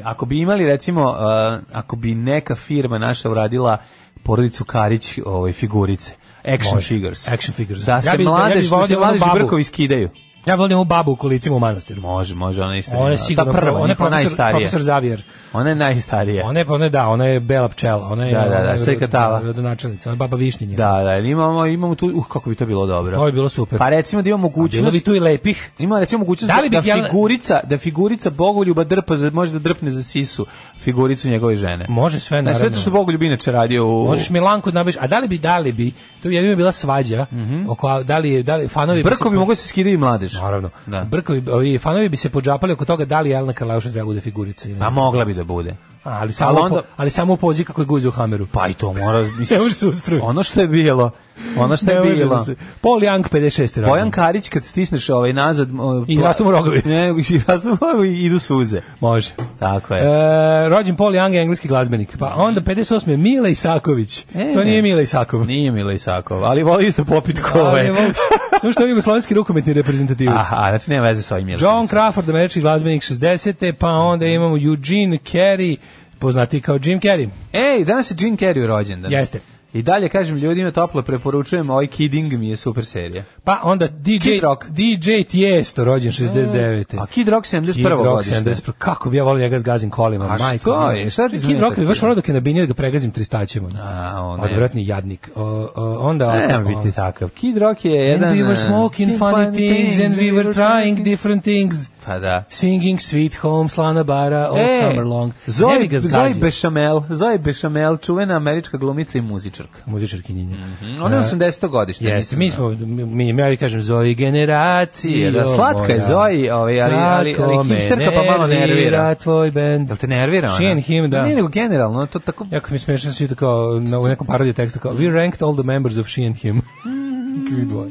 [SPEAKER 6] Ako bi imali, recimo, e, ako bi neka firma naša uradila porodicu Karić ovaj, figurice, action
[SPEAKER 5] Može.
[SPEAKER 6] figures.
[SPEAKER 5] Action figures.
[SPEAKER 6] Da se
[SPEAKER 5] Ja bi- ja bi
[SPEAKER 6] mladež, da
[SPEAKER 5] volio
[SPEAKER 6] se
[SPEAKER 5] onu
[SPEAKER 6] mladež i
[SPEAKER 5] babu.
[SPEAKER 6] brkovi skidaju.
[SPEAKER 5] Ja volim ovu babu u kolicima u manastiru.
[SPEAKER 6] Može, može, ona je isto.
[SPEAKER 5] Ona je sigurno
[SPEAKER 6] ta prva,
[SPEAKER 5] ona
[SPEAKER 6] ona
[SPEAKER 5] je
[SPEAKER 6] je
[SPEAKER 5] profesor,
[SPEAKER 6] najstarija.
[SPEAKER 5] profesor Zavijer.
[SPEAKER 6] Ona je najstarija.
[SPEAKER 5] Ona je, ona je, da, ona je bela pčela. Ona je,
[SPEAKER 6] Da, da, da,
[SPEAKER 5] ona je
[SPEAKER 6] sve katala.
[SPEAKER 5] Rodonačelnica, ona je baba Višnjenja.
[SPEAKER 6] Da, da, imamo, imamo tu, uh, kako bi to bilo dobro.
[SPEAKER 5] To je bilo super.
[SPEAKER 6] Pa recimo da
[SPEAKER 5] Bilo
[SPEAKER 6] ima
[SPEAKER 5] bi
[SPEAKER 6] mogućnost,
[SPEAKER 5] tu i lepih.
[SPEAKER 6] ima recimo mogućnost
[SPEAKER 5] Da
[SPEAKER 6] da,
[SPEAKER 5] li bi
[SPEAKER 6] da
[SPEAKER 5] Bjelana-
[SPEAKER 6] figurica, da figurica Bogoljuba drpa, za, može da drpne za sisu figuricu njegove žene.
[SPEAKER 5] Može sve,
[SPEAKER 6] Ne, sve
[SPEAKER 5] naravno.
[SPEAKER 6] to što Bogoljub inače radio u...
[SPEAKER 5] Možeš Milanku da nabaviš, a da li bi, da li bi, tu je jedino bila svađa, oko, da li, je- da li fanovi... bi se
[SPEAKER 6] Mhm. Brkovi mogu se skidaju i mladež.
[SPEAKER 5] Naravno.
[SPEAKER 6] Da.
[SPEAKER 5] Brkovi, ovi fanovi bi se podžapali oko toga da li Jelena Karlauša treba bude figurica ili ne.
[SPEAKER 6] Pa mogla bi da bude.
[SPEAKER 5] A, ali, samo
[SPEAKER 6] ali onda-
[SPEAKER 5] po- ali samo u pozi kako je guzi u hameru.
[SPEAKER 6] Pa i to mora...
[SPEAKER 5] Ne može se uspraviti.
[SPEAKER 6] Ono što je bilo, ono što
[SPEAKER 5] Ne
[SPEAKER 6] je
[SPEAKER 5] može
[SPEAKER 6] bilo...
[SPEAKER 5] da se- Paul Young 56. radnik.
[SPEAKER 6] Bojan Karić kad stisneš ovaj nazad... o,
[SPEAKER 5] I
[SPEAKER 6] pla-
[SPEAKER 5] rastu mu rogovi.
[SPEAKER 6] Ne, i rastu mu rogovi i idu suze.
[SPEAKER 5] Može.
[SPEAKER 6] Tako je.
[SPEAKER 5] E, rođen Paul Young, engleski glazbenik. Pa onda 58. Mile Isaković.
[SPEAKER 6] E,
[SPEAKER 5] to nije
[SPEAKER 6] ne.
[SPEAKER 5] Mile Isakov.
[SPEAKER 6] Nije Milo Isakov, ali voli isto popit
[SPEAKER 5] Ali
[SPEAKER 6] kove.
[SPEAKER 5] je moguće. Samo što je jugoslovenski rukometni reprezentativac.
[SPEAKER 6] <laughs> Aha, znači nema veze sa ovim Milom.
[SPEAKER 5] John Crawford, američki glazbenik 60. Pa
[SPEAKER 6] Mhm.
[SPEAKER 5] onda imamo Eugene Carey, poznati kao Jim Carrey.
[SPEAKER 6] Ej, danas je Jim Carrey rođendan.
[SPEAKER 5] Jeste.
[SPEAKER 6] I dalje kažem ljudima toplo preporučujem, ovaj Kidding mi je super serija.
[SPEAKER 5] Pa onda DJ,
[SPEAKER 6] Kid Rock.
[SPEAKER 5] DJ Tiesto, rođen 69.
[SPEAKER 6] A Kid Rock 71. godište.
[SPEAKER 5] 71. Kako bi ja volio njega s gazim kolima,
[SPEAKER 6] A
[SPEAKER 5] majko
[SPEAKER 6] što je?
[SPEAKER 5] mila.
[SPEAKER 6] Šta ti
[SPEAKER 5] Kid
[SPEAKER 6] smeta
[SPEAKER 5] Rock mi baš
[SPEAKER 6] Kid?
[SPEAKER 5] morao dok je nabinio da ga pregazim tristaćima.
[SPEAKER 6] A, o ne.
[SPEAKER 5] Odvratni jadnik. O, o, onda...
[SPEAKER 6] Ne,
[SPEAKER 5] o,
[SPEAKER 6] Nemoj biti takav. Kid Rock je
[SPEAKER 5] And
[SPEAKER 6] jedan...
[SPEAKER 5] we were
[SPEAKER 6] eh,
[SPEAKER 5] smoking funny things and we were trying different things.
[SPEAKER 6] Pa da.
[SPEAKER 5] Singing Sweet Home, Slana Bara, All
[SPEAKER 6] E,
[SPEAKER 5] Summer Long. Ne bi
[SPEAKER 6] Zoe,
[SPEAKER 5] ga
[SPEAKER 6] Zoe
[SPEAKER 5] zgazio.
[SPEAKER 6] Bechamel, Zoe Bechamel, čuvena američka glumica i muzičarka.
[SPEAKER 5] Muzičarkinjenja.
[SPEAKER 6] Mhm. Ona je 80. godište.
[SPEAKER 5] Mm, e. Jeste,
[SPEAKER 6] mislim.
[SPEAKER 5] mi smo, mi, mi, ja vi kažem, Zoji generacije.
[SPEAKER 6] Je, da, slatka je Zoji, ovaj, ali- ali- ali hipsterka pa malo nervira.
[SPEAKER 5] tvoj bend.
[SPEAKER 6] Jel te nervira ona?
[SPEAKER 5] She and him, da.
[SPEAKER 6] Ne, nego generalno, to tako...
[SPEAKER 5] Jako mi je smiješno se čita kao na, u nekom parodiju tekstu kao We ranked all the members of she and him. <laughs> Kakvi dvoje.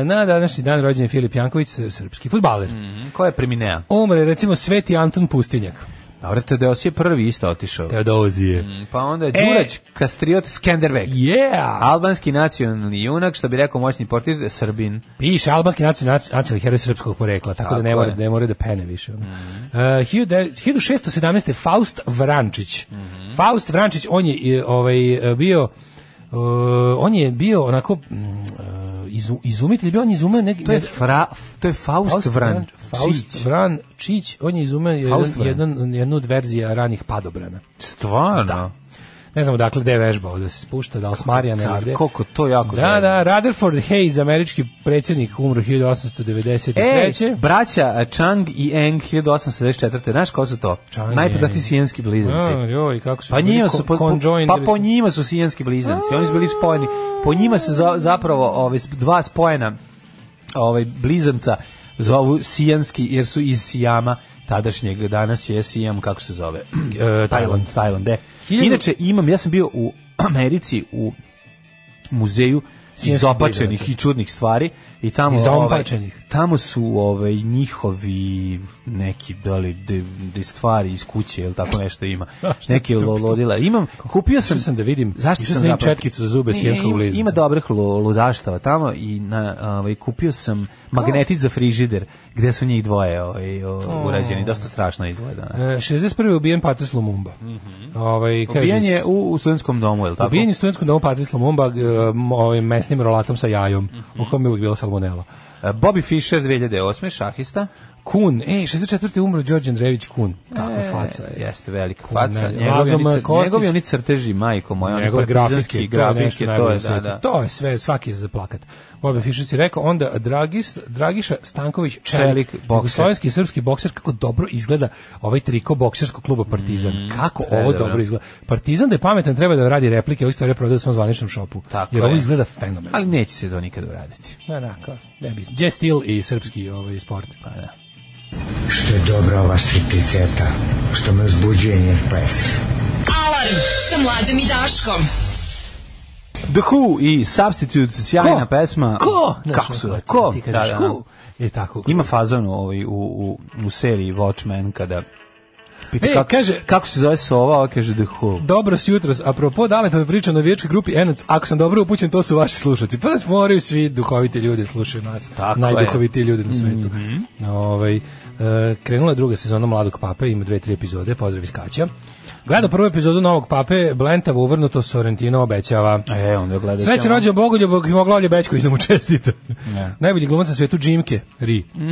[SPEAKER 5] E, na današnji dan rođen je Filip Janković, srpski futbaler.
[SPEAKER 6] Ko Mhm, je preminea?
[SPEAKER 5] Umre recimo Sveti Anton Pustinjak.
[SPEAKER 6] Dobro, Teodos je prvi isto otišao.
[SPEAKER 5] Teodozije.
[SPEAKER 6] Pa onda
[SPEAKER 5] E.
[SPEAKER 6] je Đurać, Kastriot, Skenderbeg.
[SPEAKER 5] Yeah!
[SPEAKER 6] Albanski nacionalni junak, što bi rekao moćni portir, Srbin.
[SPEAKER 5] Piše albanski nacionalni nacionalni heroj srpskog porekla, tako, da ne
[SPEAKER 6] Tako
[SPEAKER 5] mora
[SPEAKER 6] je. Mhm.
[SPEAKER 5] ne mora da pene više. ono. E, 1900 1617 Faust Vrančić.
[SPEAKER 6] Mhm.
[SPEAKER 5] Faust Vrančić, on je e, ovaj e, bio e, on je bio onako mm, e, izu- izumitelj, bio on je izumio neki
[SPEAKER 6] To je, fra, to je Faust, Vran,
[SPEAKER 5] Faust Vrančić, on je izumeo jedan,
[SPEAKER 6] Faust Vran.
[SPEAKER 5] jedan, jednu od verzija ranih padobrana.
[SPEAKER 6] Stvarno?
[SPEAKER 5] Da, Ne znam dakle gde je vežbao, da se spušta, da li s Marijana
[SPEAKER 6] Car,
[SPEAKER 5] ili gde.
[SPEAKER 6] koliko to jako
[SPEAKER 5] Da,
[SPEAKER 6] zajedno.
[SPEAKER 5] da, Rutherford Hayes, američki predsjednik, umro 1893.
[SPEAKER 6] E, braća Chang i Eng 1874. Znaš ko su to?
[SPEAKER 5] Chang i
[SPEAKER 6] Najpoznatiji
[SPEAKER 5] Eng.
[SPEAKER 6] sijenski blizanci.
[SPEAKER 5] A, joj, kako su
[SPEAKER 6] Pa
[SPEAKER 5] bili
[SPEAKER 6] njima
[SPEAKER 5] ko-
[SPEAKER 6] su po, po,
[SPEAKER 5] conjoined
[SPEAKER 6] pa
[SPEAKER 5] ili
[SPEAKER 6] po
[SPEAKER 5] su-
[SPEAKER 6] njima su sijenski blizanci. Oni su bili spojeni. Po njima se za- zapravo ove dva spojena ovaj blizanca zovu sijanski jer su iz Sijama tadašnjeg danas je Sijam kako se zove <clears throat>
[SPEAKER 5] E, Tajland.
[SPEAKER 6] Tajland de.
[SPEAKER 5] Hiljadu-
[SPEAKER 6] Inače imam ja sam bio u <clears throat> Americi u muzeju
[SPEAKER 5] Sijanskih
[SPEAKER 6] izopačenih
[SPEAKER 5] blizanaca.
[SPEAKER 6] i čudnih stvari i tamo
[SPEAKER 5] I
[SPEAKER 6] ovaj,
[SPEAKER 5] zaompačenih.
[SPEAKER 6] tamo su ovaj njihovi neki da li de, de stvari iz kuće ili tako nešto
[SPEAKER 5] <laughs>
[SPEAKER 6] ima. Neki lo- lodila. Imam kupio sam
[SPEAKER 5] Išao sam da vidim.
[SPEAKER 6] Zašto
[SPEAKER 5] Išao
[SPEAKER 6] sam
[SPEAKER 5] sam da vidim
[SPEAKER 6] zapravo-
[SPEAKER 5] četkicu za zube
[SPEAKER 6] Ne,
[SPEAKER 5] sijenskog
[SPEAKER 6] ima-
[SPEAKER 5] blizanca.
[SPEAKER 6] Ima dobrih lu- ludaštava tamo i na ovaj kupio sam magnetić za frižider gde su njih dvoje ovaj o- urađeni. Dosta strašno izgleda. da.
[SPEAKER 5] E, 61. ubijen Patrice Lumumba. ovaj, kaže,
[SPEAKER 6] Mhm. Ubijen je u, u studentskom domu, je li tako?
[SPEAKER 5] Ubijen je u studentskom domu Patrice Lumumba g- m, ovaj, ovim
[SPEAKER 6] Mhm.
[SPEAKER 5] mesnim rolatom sa jajom, u kojem je uvijek bila salmonela.
[SPEAKER 6] E, Bobby Fischer 2008. šahista.
[SPEAKER 5] Kun, ej, 64. umro Đorđe Andrejević Kun. Kakva
[SPEAKER 6] E.
[SPEAKER 5] faca je.
[SPEAKER 6] jeste velika faca.
[SPEAKER 5] ne,
[SPEAKER 6] Njegovi
[SPEAKER 5] Lazom
[SPEAKER 6] oni, cr-
[SPEAKER 5] Kostić.
[SPEAKER 6] njegovi oni crteži, majko moja, oni
[SPEAKER 5] Njegove
[SPEAKER 6] partizanski
[SPEAKER 5] grafike,
[SPEAKER 6] grafike, to je, da, da.
[SPEAKER 5] to je sve, svaki je za plakat. Bobe Fischer si rekao, onda Dragis, Dragiša Stanković
[SPEAKER 6] Čelik,
[SPEAKER 5] Čelik,
[SPEAKER 6] bokser.
[SPEAKER 5] jugoslovenski i srpski bokser, kako dobro izgleda ovaj triko bokserskog kluba Partizan. kako ovo
[SPEAKER 6] Mm, e, dobro.
[SPEAKER 5] dobro izgleda. Partizan da je pametan, treba da radi replike, ovih stvari prodaje u svom zvaničnom šopu.
[SPEAKER 6] Tako
[SPEAKER 5] jer
[SPEAKER 6] je.
[SPEAKER 5] ovo izgleda fenomenalno.
[SPEAKER 6] Ali neće se to nikad uraditi.
[SPEAKER 5] Da, da, kao, ne bi. Jazz stil i srpski ovaj sport.
[SPEAKER 6] Pa da.
[SPEAKER 9] Što je dobra ova stripticeta, što me uzbuđuje njen ples.
[SPEAKER 4] Alarm sa mlađom i Daškom.
[SPEAKER 6] The Who i Substitute, sjajna pesma.
[SPEAKER 5] Ko?
[SPEAKER 6] Kako
[SPEAKER 5] Znaš,
[SPEAKER 6] su
[SPEAKER 5] ono,
[SPEAKER 6] da? Ko?
[SPEAKER 5] Ti
[SPEAKER 6] Da,
[SPEAKER 5] kad
[SPEAKER 6] da,
[SPEAKER 5] kažeš
[SPEAKER 6] da.
[SPEAKER 5] who, je tako.
[SPEAKER 6] Ima fazon u, ovoj- u, u, u seriji Watchmen kada pita
[SPEAKER 5] E,
[SPEAKER 6] kako,
[SPEAKER 5] kaže-
[SPEAKER 6] kako se zove sova, ova kaže The Who.
[SPEAKER 5] Dobro si jutros. Apropo pa Daletove priče na vječkoj grupi Enac, ako sam dobro upućen, to su vaši slušalci. Pa nas moraju svi duhoviti ljudi da slušaju nas.
[SPEAKER 6] Tako Mhm.
[SPEAKER 5] najduhovitiji ljudi na svetu. Ovaj, e, krenula je druga sezona Mladog pape, ima dve, tri epizode, pozdrav iz Kaća. Gledao prvu epizodu Novog pape, Blentavo uvrnuto Sorrentino obećava.
[SPEAKER 6] E, onda gledaj.
[SPEAKER 5] Sreće rođen Bogoljubog i mogla Olje Bećković da mu čestita. Najbolji glumac na svetu Džimke, Ri.
[SPEAKER 6] Mhm.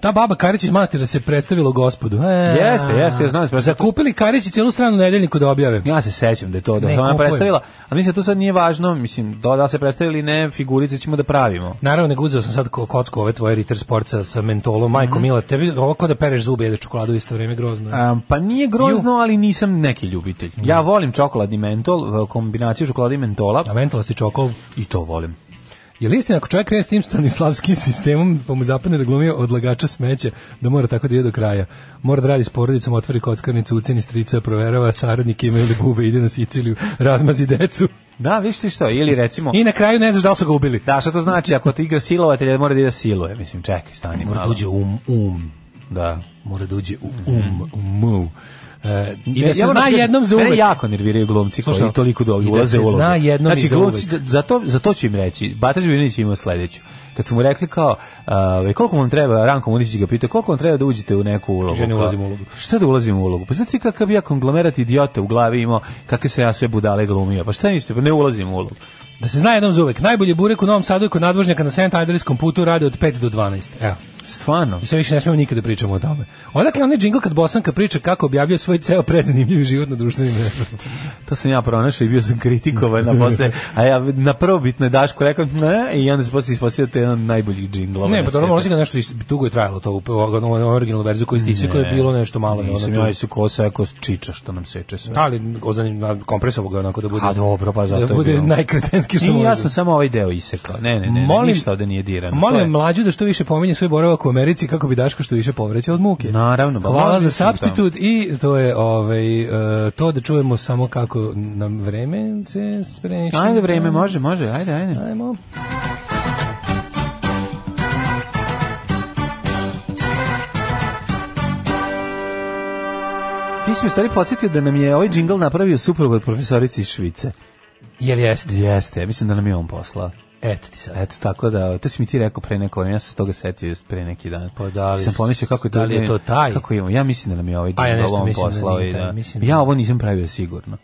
[SPEAKER 5] Ta baba Karić iz manastira se predstavila gospodu. E,
[SPEAKER 6] Jeste, jeste, ja znam. pa
[SPEAKER 5] Zakupili Karić i celu stranu nedeljniku da objave.
[SPEAKER 6] Ja se sećam da je to da
[SPEAKER 5] Ne,
[SPEAKER 6] se ona
[SPEAKER 5] kupujem.
[SPEAKER 6] predstavila, a mislim da to sad nije važno, mislim da da se predstavili ili ne, figurice ćemo da pravimo.
[SPEAKER 5] Naravno, nego uzeo sam sad ko- kocku ove tvoje Ritter Sportsa sa mentolom. Majko,
[SPEAKER 6] Mhm.
[SPEAKER 5] Mila, tebi ovo kao da pereš zube i jedeš čokoladu u isto vrijeme grozno. je.
[SPEAKER 6] Um, pa nije grozno, ali nisam neki ljubitelj. Ja volim čokoladni mentol, e, kombinaciju čokolade i mentola
[SPEAKER 5] A mentolasti čokol.
[SPEAKER 6] i to volim.
[SPEAKER 5] Je li istina ako čovjek krene s tim stanislavskim <laughs> sistemom, pa mu zapadne da glumio odlagača smeća, da mora tako da ide do kraja? Mora da radi s porodicom, otvori kockarnicu, uceni strica, proverava saradnike imaju li bube, ide na Siciliju, <laughs> razmazi decu.
[SPEAKER 6] Da, vidiš ti što, ili recimo
[SPEAKER 5] I na kraju ne znaš da li su ga ubili.
[SPEAKER 6] Da, šta to znači? Ako ti igra silovatelja, mora da ide siluje. Mislim, čekaj, stani
[SPEAKER 5] Mora
[SPEAKER 6] malo.
[SPEAKER 5] da uđe um, um.
[SPEAKER 6] Da.
[SPEAKER 5] Mora da uđe u um, um, um. E, I da se
[SPEAKER 6] Ja moram
[SPEAKER 5] zna
[SPEAKER 6] kažem,
[SPEAKER 5] jednom za
[SPEAKER 6] Mene
[SPEAKER 5] uvek.
[SPEAKER 6] jako nerviraju glumci koji
[SPEAKER 5] Slušaj,
[SPEAKER 6] toliko
[SPEAKER 5] i
[SPEAKER 6] dobro
[SPEAKER 5] da
[SPEAKER 6] ulaze
[SPEAKER 5] se
[SPEAKER 6] u ulogu.
[SPEAKER 5] zna jednom i
[SPEAKER 6] znači,
[SPEAKER 5] za
[SPEAKER 6] glumci,
[SPEAKER 5] uvek.
[SPEAKER 6] za to, za to ću im reći. Bataž Vinić ima sledeću. Kad su mu rekli kao, uh, koliko vam treba, Ranko Munić ga pitao, koliko vam treba da uđete u neku ulogu?
[SPEAKER 5] Ja ne
[SPEAKER 6] Kao,
[SPEAKER 5] ulazim u ulogu.
[SPEAKER 6] Šta da ulazim u ulogu? Pa znate kakav bi ja konglomerat idiota u glavi imao, kakve se ja sve budale glumio. Pa šta mislite, pa ne ulazim u ulogu.
[SPEAKER 5] Da se zna jednom za uvek. Najbolji burek u Novom Sadu i kod nadvožnjaka na St. Andrejskom putu rade od 5 do 12. Evo.
[SPEAKER 6] Stvarno.
[SPEAKER 5] I sve više ne smemo nikada pričamo o tome. Odakle onaj džingl kad Bosanka priča kako objavljuje svoj ceo prezanimljivi život na društvenim mrežama.
[SPEAKER 6] To sam ja pronašao i bio sam kritikovan, a posle, a ja na prvobitno je Daško rekao ne, i onda se posle ispostavio da je jedan od najboljih džinglova.
[SPEAKER 5] Ne,
[SPEAKER 6] na
[SPEAKER 5] pa dobro,
[SPEAKER 6] svetu.
[SPEAKER 5] možda ga nešto, is- dugo je trajalo to, u- u- u- u- originalnu verziju koju ste isekao je bilo nešto malo. je
[SPEAKER 6] Nisam
[SPEAKER 5] ono tu.
[SPEAKER 6] ja isu kosa, ako čiča što nam seče sve.
[SPEAKER 5] Ali ozanim kompresovo ga onako da bude.
[SPEAKER 6] A dobro, pa zato
[SPEAKER 5] da
[SPEAKER 6] je
[SPEAKER 5] bude
[SPEAKER 6] bilo.
[SPEAKER 5] najkretenski što
[SPEAKER 6] I ja
[SPEAKER 5] može.
[SPEAKER 6] sam samo ovaj deo isekao. Ne, ne, ne, molim,
[SPEAKER 5] Molim-
[SPEAKER 6] ništa ovde nije dirano. To je-
[SPEAKER 5] Molim mlađu da što više pominje svoj boravak u Americi kako bi Daško što više povraćao od muke.
[SPEAKER 6] Naravno, ba,
[SPEAKER 5] Hvala
[SPEAKER 6] molim
[SPEAKER 5] za
[SPEAKER 6] sam tamo.
[SPEAKER 5] substitut i to je ovaj e, to da čujemo samo kako nam vreme se spremi.
[SPEAKER 6] Ajde, vreme, može, može, ajde, ajde.
[SPEAKER 5] Ajmo.
[SPEAKER 6] Ti si mi u stvari podsjetio da nam je ovaj džingl napravio suprug od profesorici iz Švice.
[SPEAKER 5] Jel jeste?
[SPEAKER 6] Jeste, ja mislim da nam je on poslao.
[SPEAKER 5] Eto ti sad.
[SPEAKER 6] Eto, tako da, to si mi ti rekao pre neko, ja sam se toga setio pre neki dan.
[SPEAKER 5] Pa da li-
[SPEAKER 6] sam pomislio kako je to,
[SPEAKER 5] da li je to taj?
[SPEAKER 6] Kako imamo, ja mislim da nam je ovaj
[SPEAKER 5] A ja
[SPEAKER 6] džingl
[SPEAKER 5] nešto
[SPEAKER 6] on
[SPEAKER 5] mislim da
[SPEAKER 6] poslao.
[SPEAKER 5] nije
[SPEAKER 6] i
[SPEAKER 5] taj,
[SPEAKER 6] da,
[SPEAKER 5] mislim da-
[SPEAKER 6] ja ovo nisam pravio sigurno.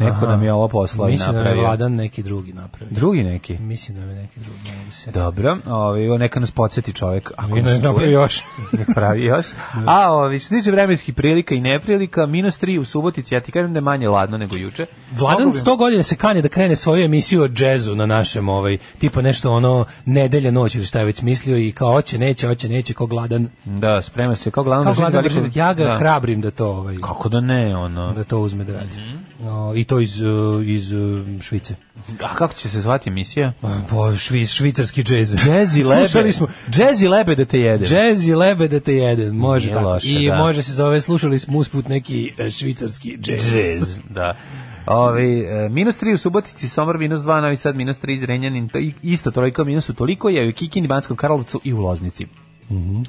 [SPEAKER 6] Neko
[SPEAKER 5] Aha.
[SPEAKER 6] nam je ovo poslao i
[SPEAKER 5] Mislim da nam je
[SPEAKER 6] napravio.
[SPEAKER 5] Vladan neki drugi napravio.
[SPEAKER 6] Drugi neki.
[SPEAKER 5] Mislim da nam je neki drugi. ne mogu se setiti.
[SPEAKER 6] Dobro, ovaj, o, neka nas podsjeti čovjek. Ako
[SPEAKER 5] I
[SPEAKER 6] nas
[SPEAKER 5] ne
[SPEAKER 6] čuje.
[SPEAKER 5] napravi
[SPEAKER 6] <laughs>
[SPEAKER 5] još.
[SPEAKER 6] Nek pravi još. A ovi, što se tiče vremenskih prilika i neprilika, minus 3 u Subotici, ja ti kažem da je manje ladno nego juče.
[SPEAKER 5] Vladan
[SPEAKER 6] Mogu bi-
[SPEAKER 5] 100 godina se kanje da krene svoju emisiju o džezu na našem, ovaj, tipa nešto ono nedelja noć ili šta je već mislio i kao oće, neće, oće, neće, ko gladan.
[SPEAKER 6] Da, sprema se kao glavno.
[SPEAKER 5] Kao gladan, mršavac. ja ga hrabrim da to, ovaj,
[SPEAKER 6] da Kako Mhm. da ne, ono.
[SPEAKER 5] da to uzme da radi. O, I to iz, e, iz e, Švice.
[SPEAKER 6] A kako će se zvati emisija?
[SPEAKER 5] Po švi, švicarski džez.
[SPEAKER 6] Jazz i Pa, lebe.
[SPEAKER 5] Slušali smo
[SPEAKER 6] Jazz i lebe da te jede.
[SPEAKER 5] Džez i lebe da te jedan, može
[SPEAKER 6] Nije
[SPEAKER 5] tako.
[SPEAKER 6] loše,
[SPEAKER 5] I
[SPEAKER 6] da.
[SPEAKER 5] može se zove, slušali smo usput neki e, švicarski džez.
[SPEAKER 6] Jazz, da. Ovi, e, minus 3 u Subotici, Somar minus 2, Novi Sad minus 3, Zrenjanin, to i- isto toliko minus u toliko je u Kikini, Banskom Karlovcu i u Loznici.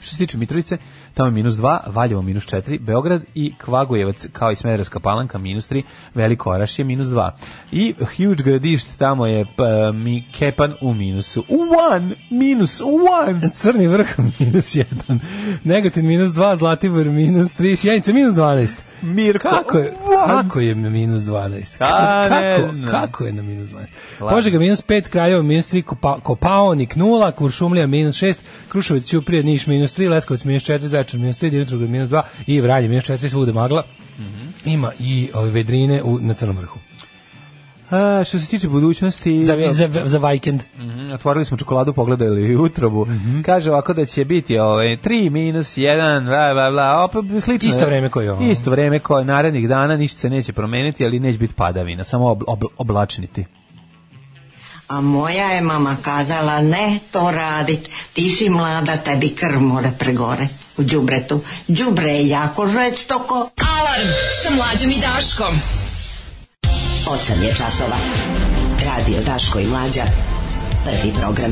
[SPEAKER 6] Što se tiče Mitrovice, tamo je minus 2, Valjevo minus 4, Beograd i Kvagojevac, kao i Smederevska palanka, minus 3, Veliko Oraš je minus 2. I Huge Gradišt, tamo je pa, mi, Kepan u minusu. One, minus one.
[SPEAKER 5] <laughs> Crni <laughs> vrh minus 1, Negotin minus 2, Zlatibor minus 3, Sjenica minus 12.
[SPEAKER 6] Mirko.
[SPEAKER 5] Kako
[SPEAKER 6] <laughs>
[SPEAKER 5] je, kako je na minus 12?
[SPEAKER 6] A,
[SPEAKER 5] Kako,
[SPEAKER 6] Pa ne
[SPEAKER 5] kako,
[SPEAKER 6] znam.
[SPEAKER 5] kako je na minus 12? Požega minus 5, Kraljevo minus 3, Kopa, Kopaonik 0, Kuršumlija minus 6, Kruševac, Ćuprija, Niš minus 3, Leskovac minus 4, Zaječar minus 3, Dimitrov minus 2 i Vranje minus 4, svuda magla.
[SPEAKER 6] Mhm.
[SPEAKER 5] Ima i ove vedrine u, na Crnom vrhu.
[SPEAKER 6] A, što se tiče budućnosti...
[SPEAKER 5] Za, za, za vikend.
[SPEAKER 6] Mhm, Otvorili smo čokoladu, pogledali utrobu.
[SPEAKER 5] Mhm.
[SPEAKER 6] Kaže ovako da će biti ovaj 3 minus 1, bla bla bla. Opet slično.
[SPEAKER 5] Isto vreme kao i ovo.
[SPEAKER 6] Isto vreme kao i narednih dana, ništa se neće promeniti, ali neće biti padavina, samo ob, ob, oblačniti.
[SPEAKER 2] A moja je mama kazala, ne to radit, ti si mlada, tebi krv mora pregore u džubretu. Džubre je jako žestoko.
[SPEAKER 4] Alarm sa mlađom i Daškom.
[SPEAKER 2] 8 je časova. Radio Daško i Mlađa. Prvi program.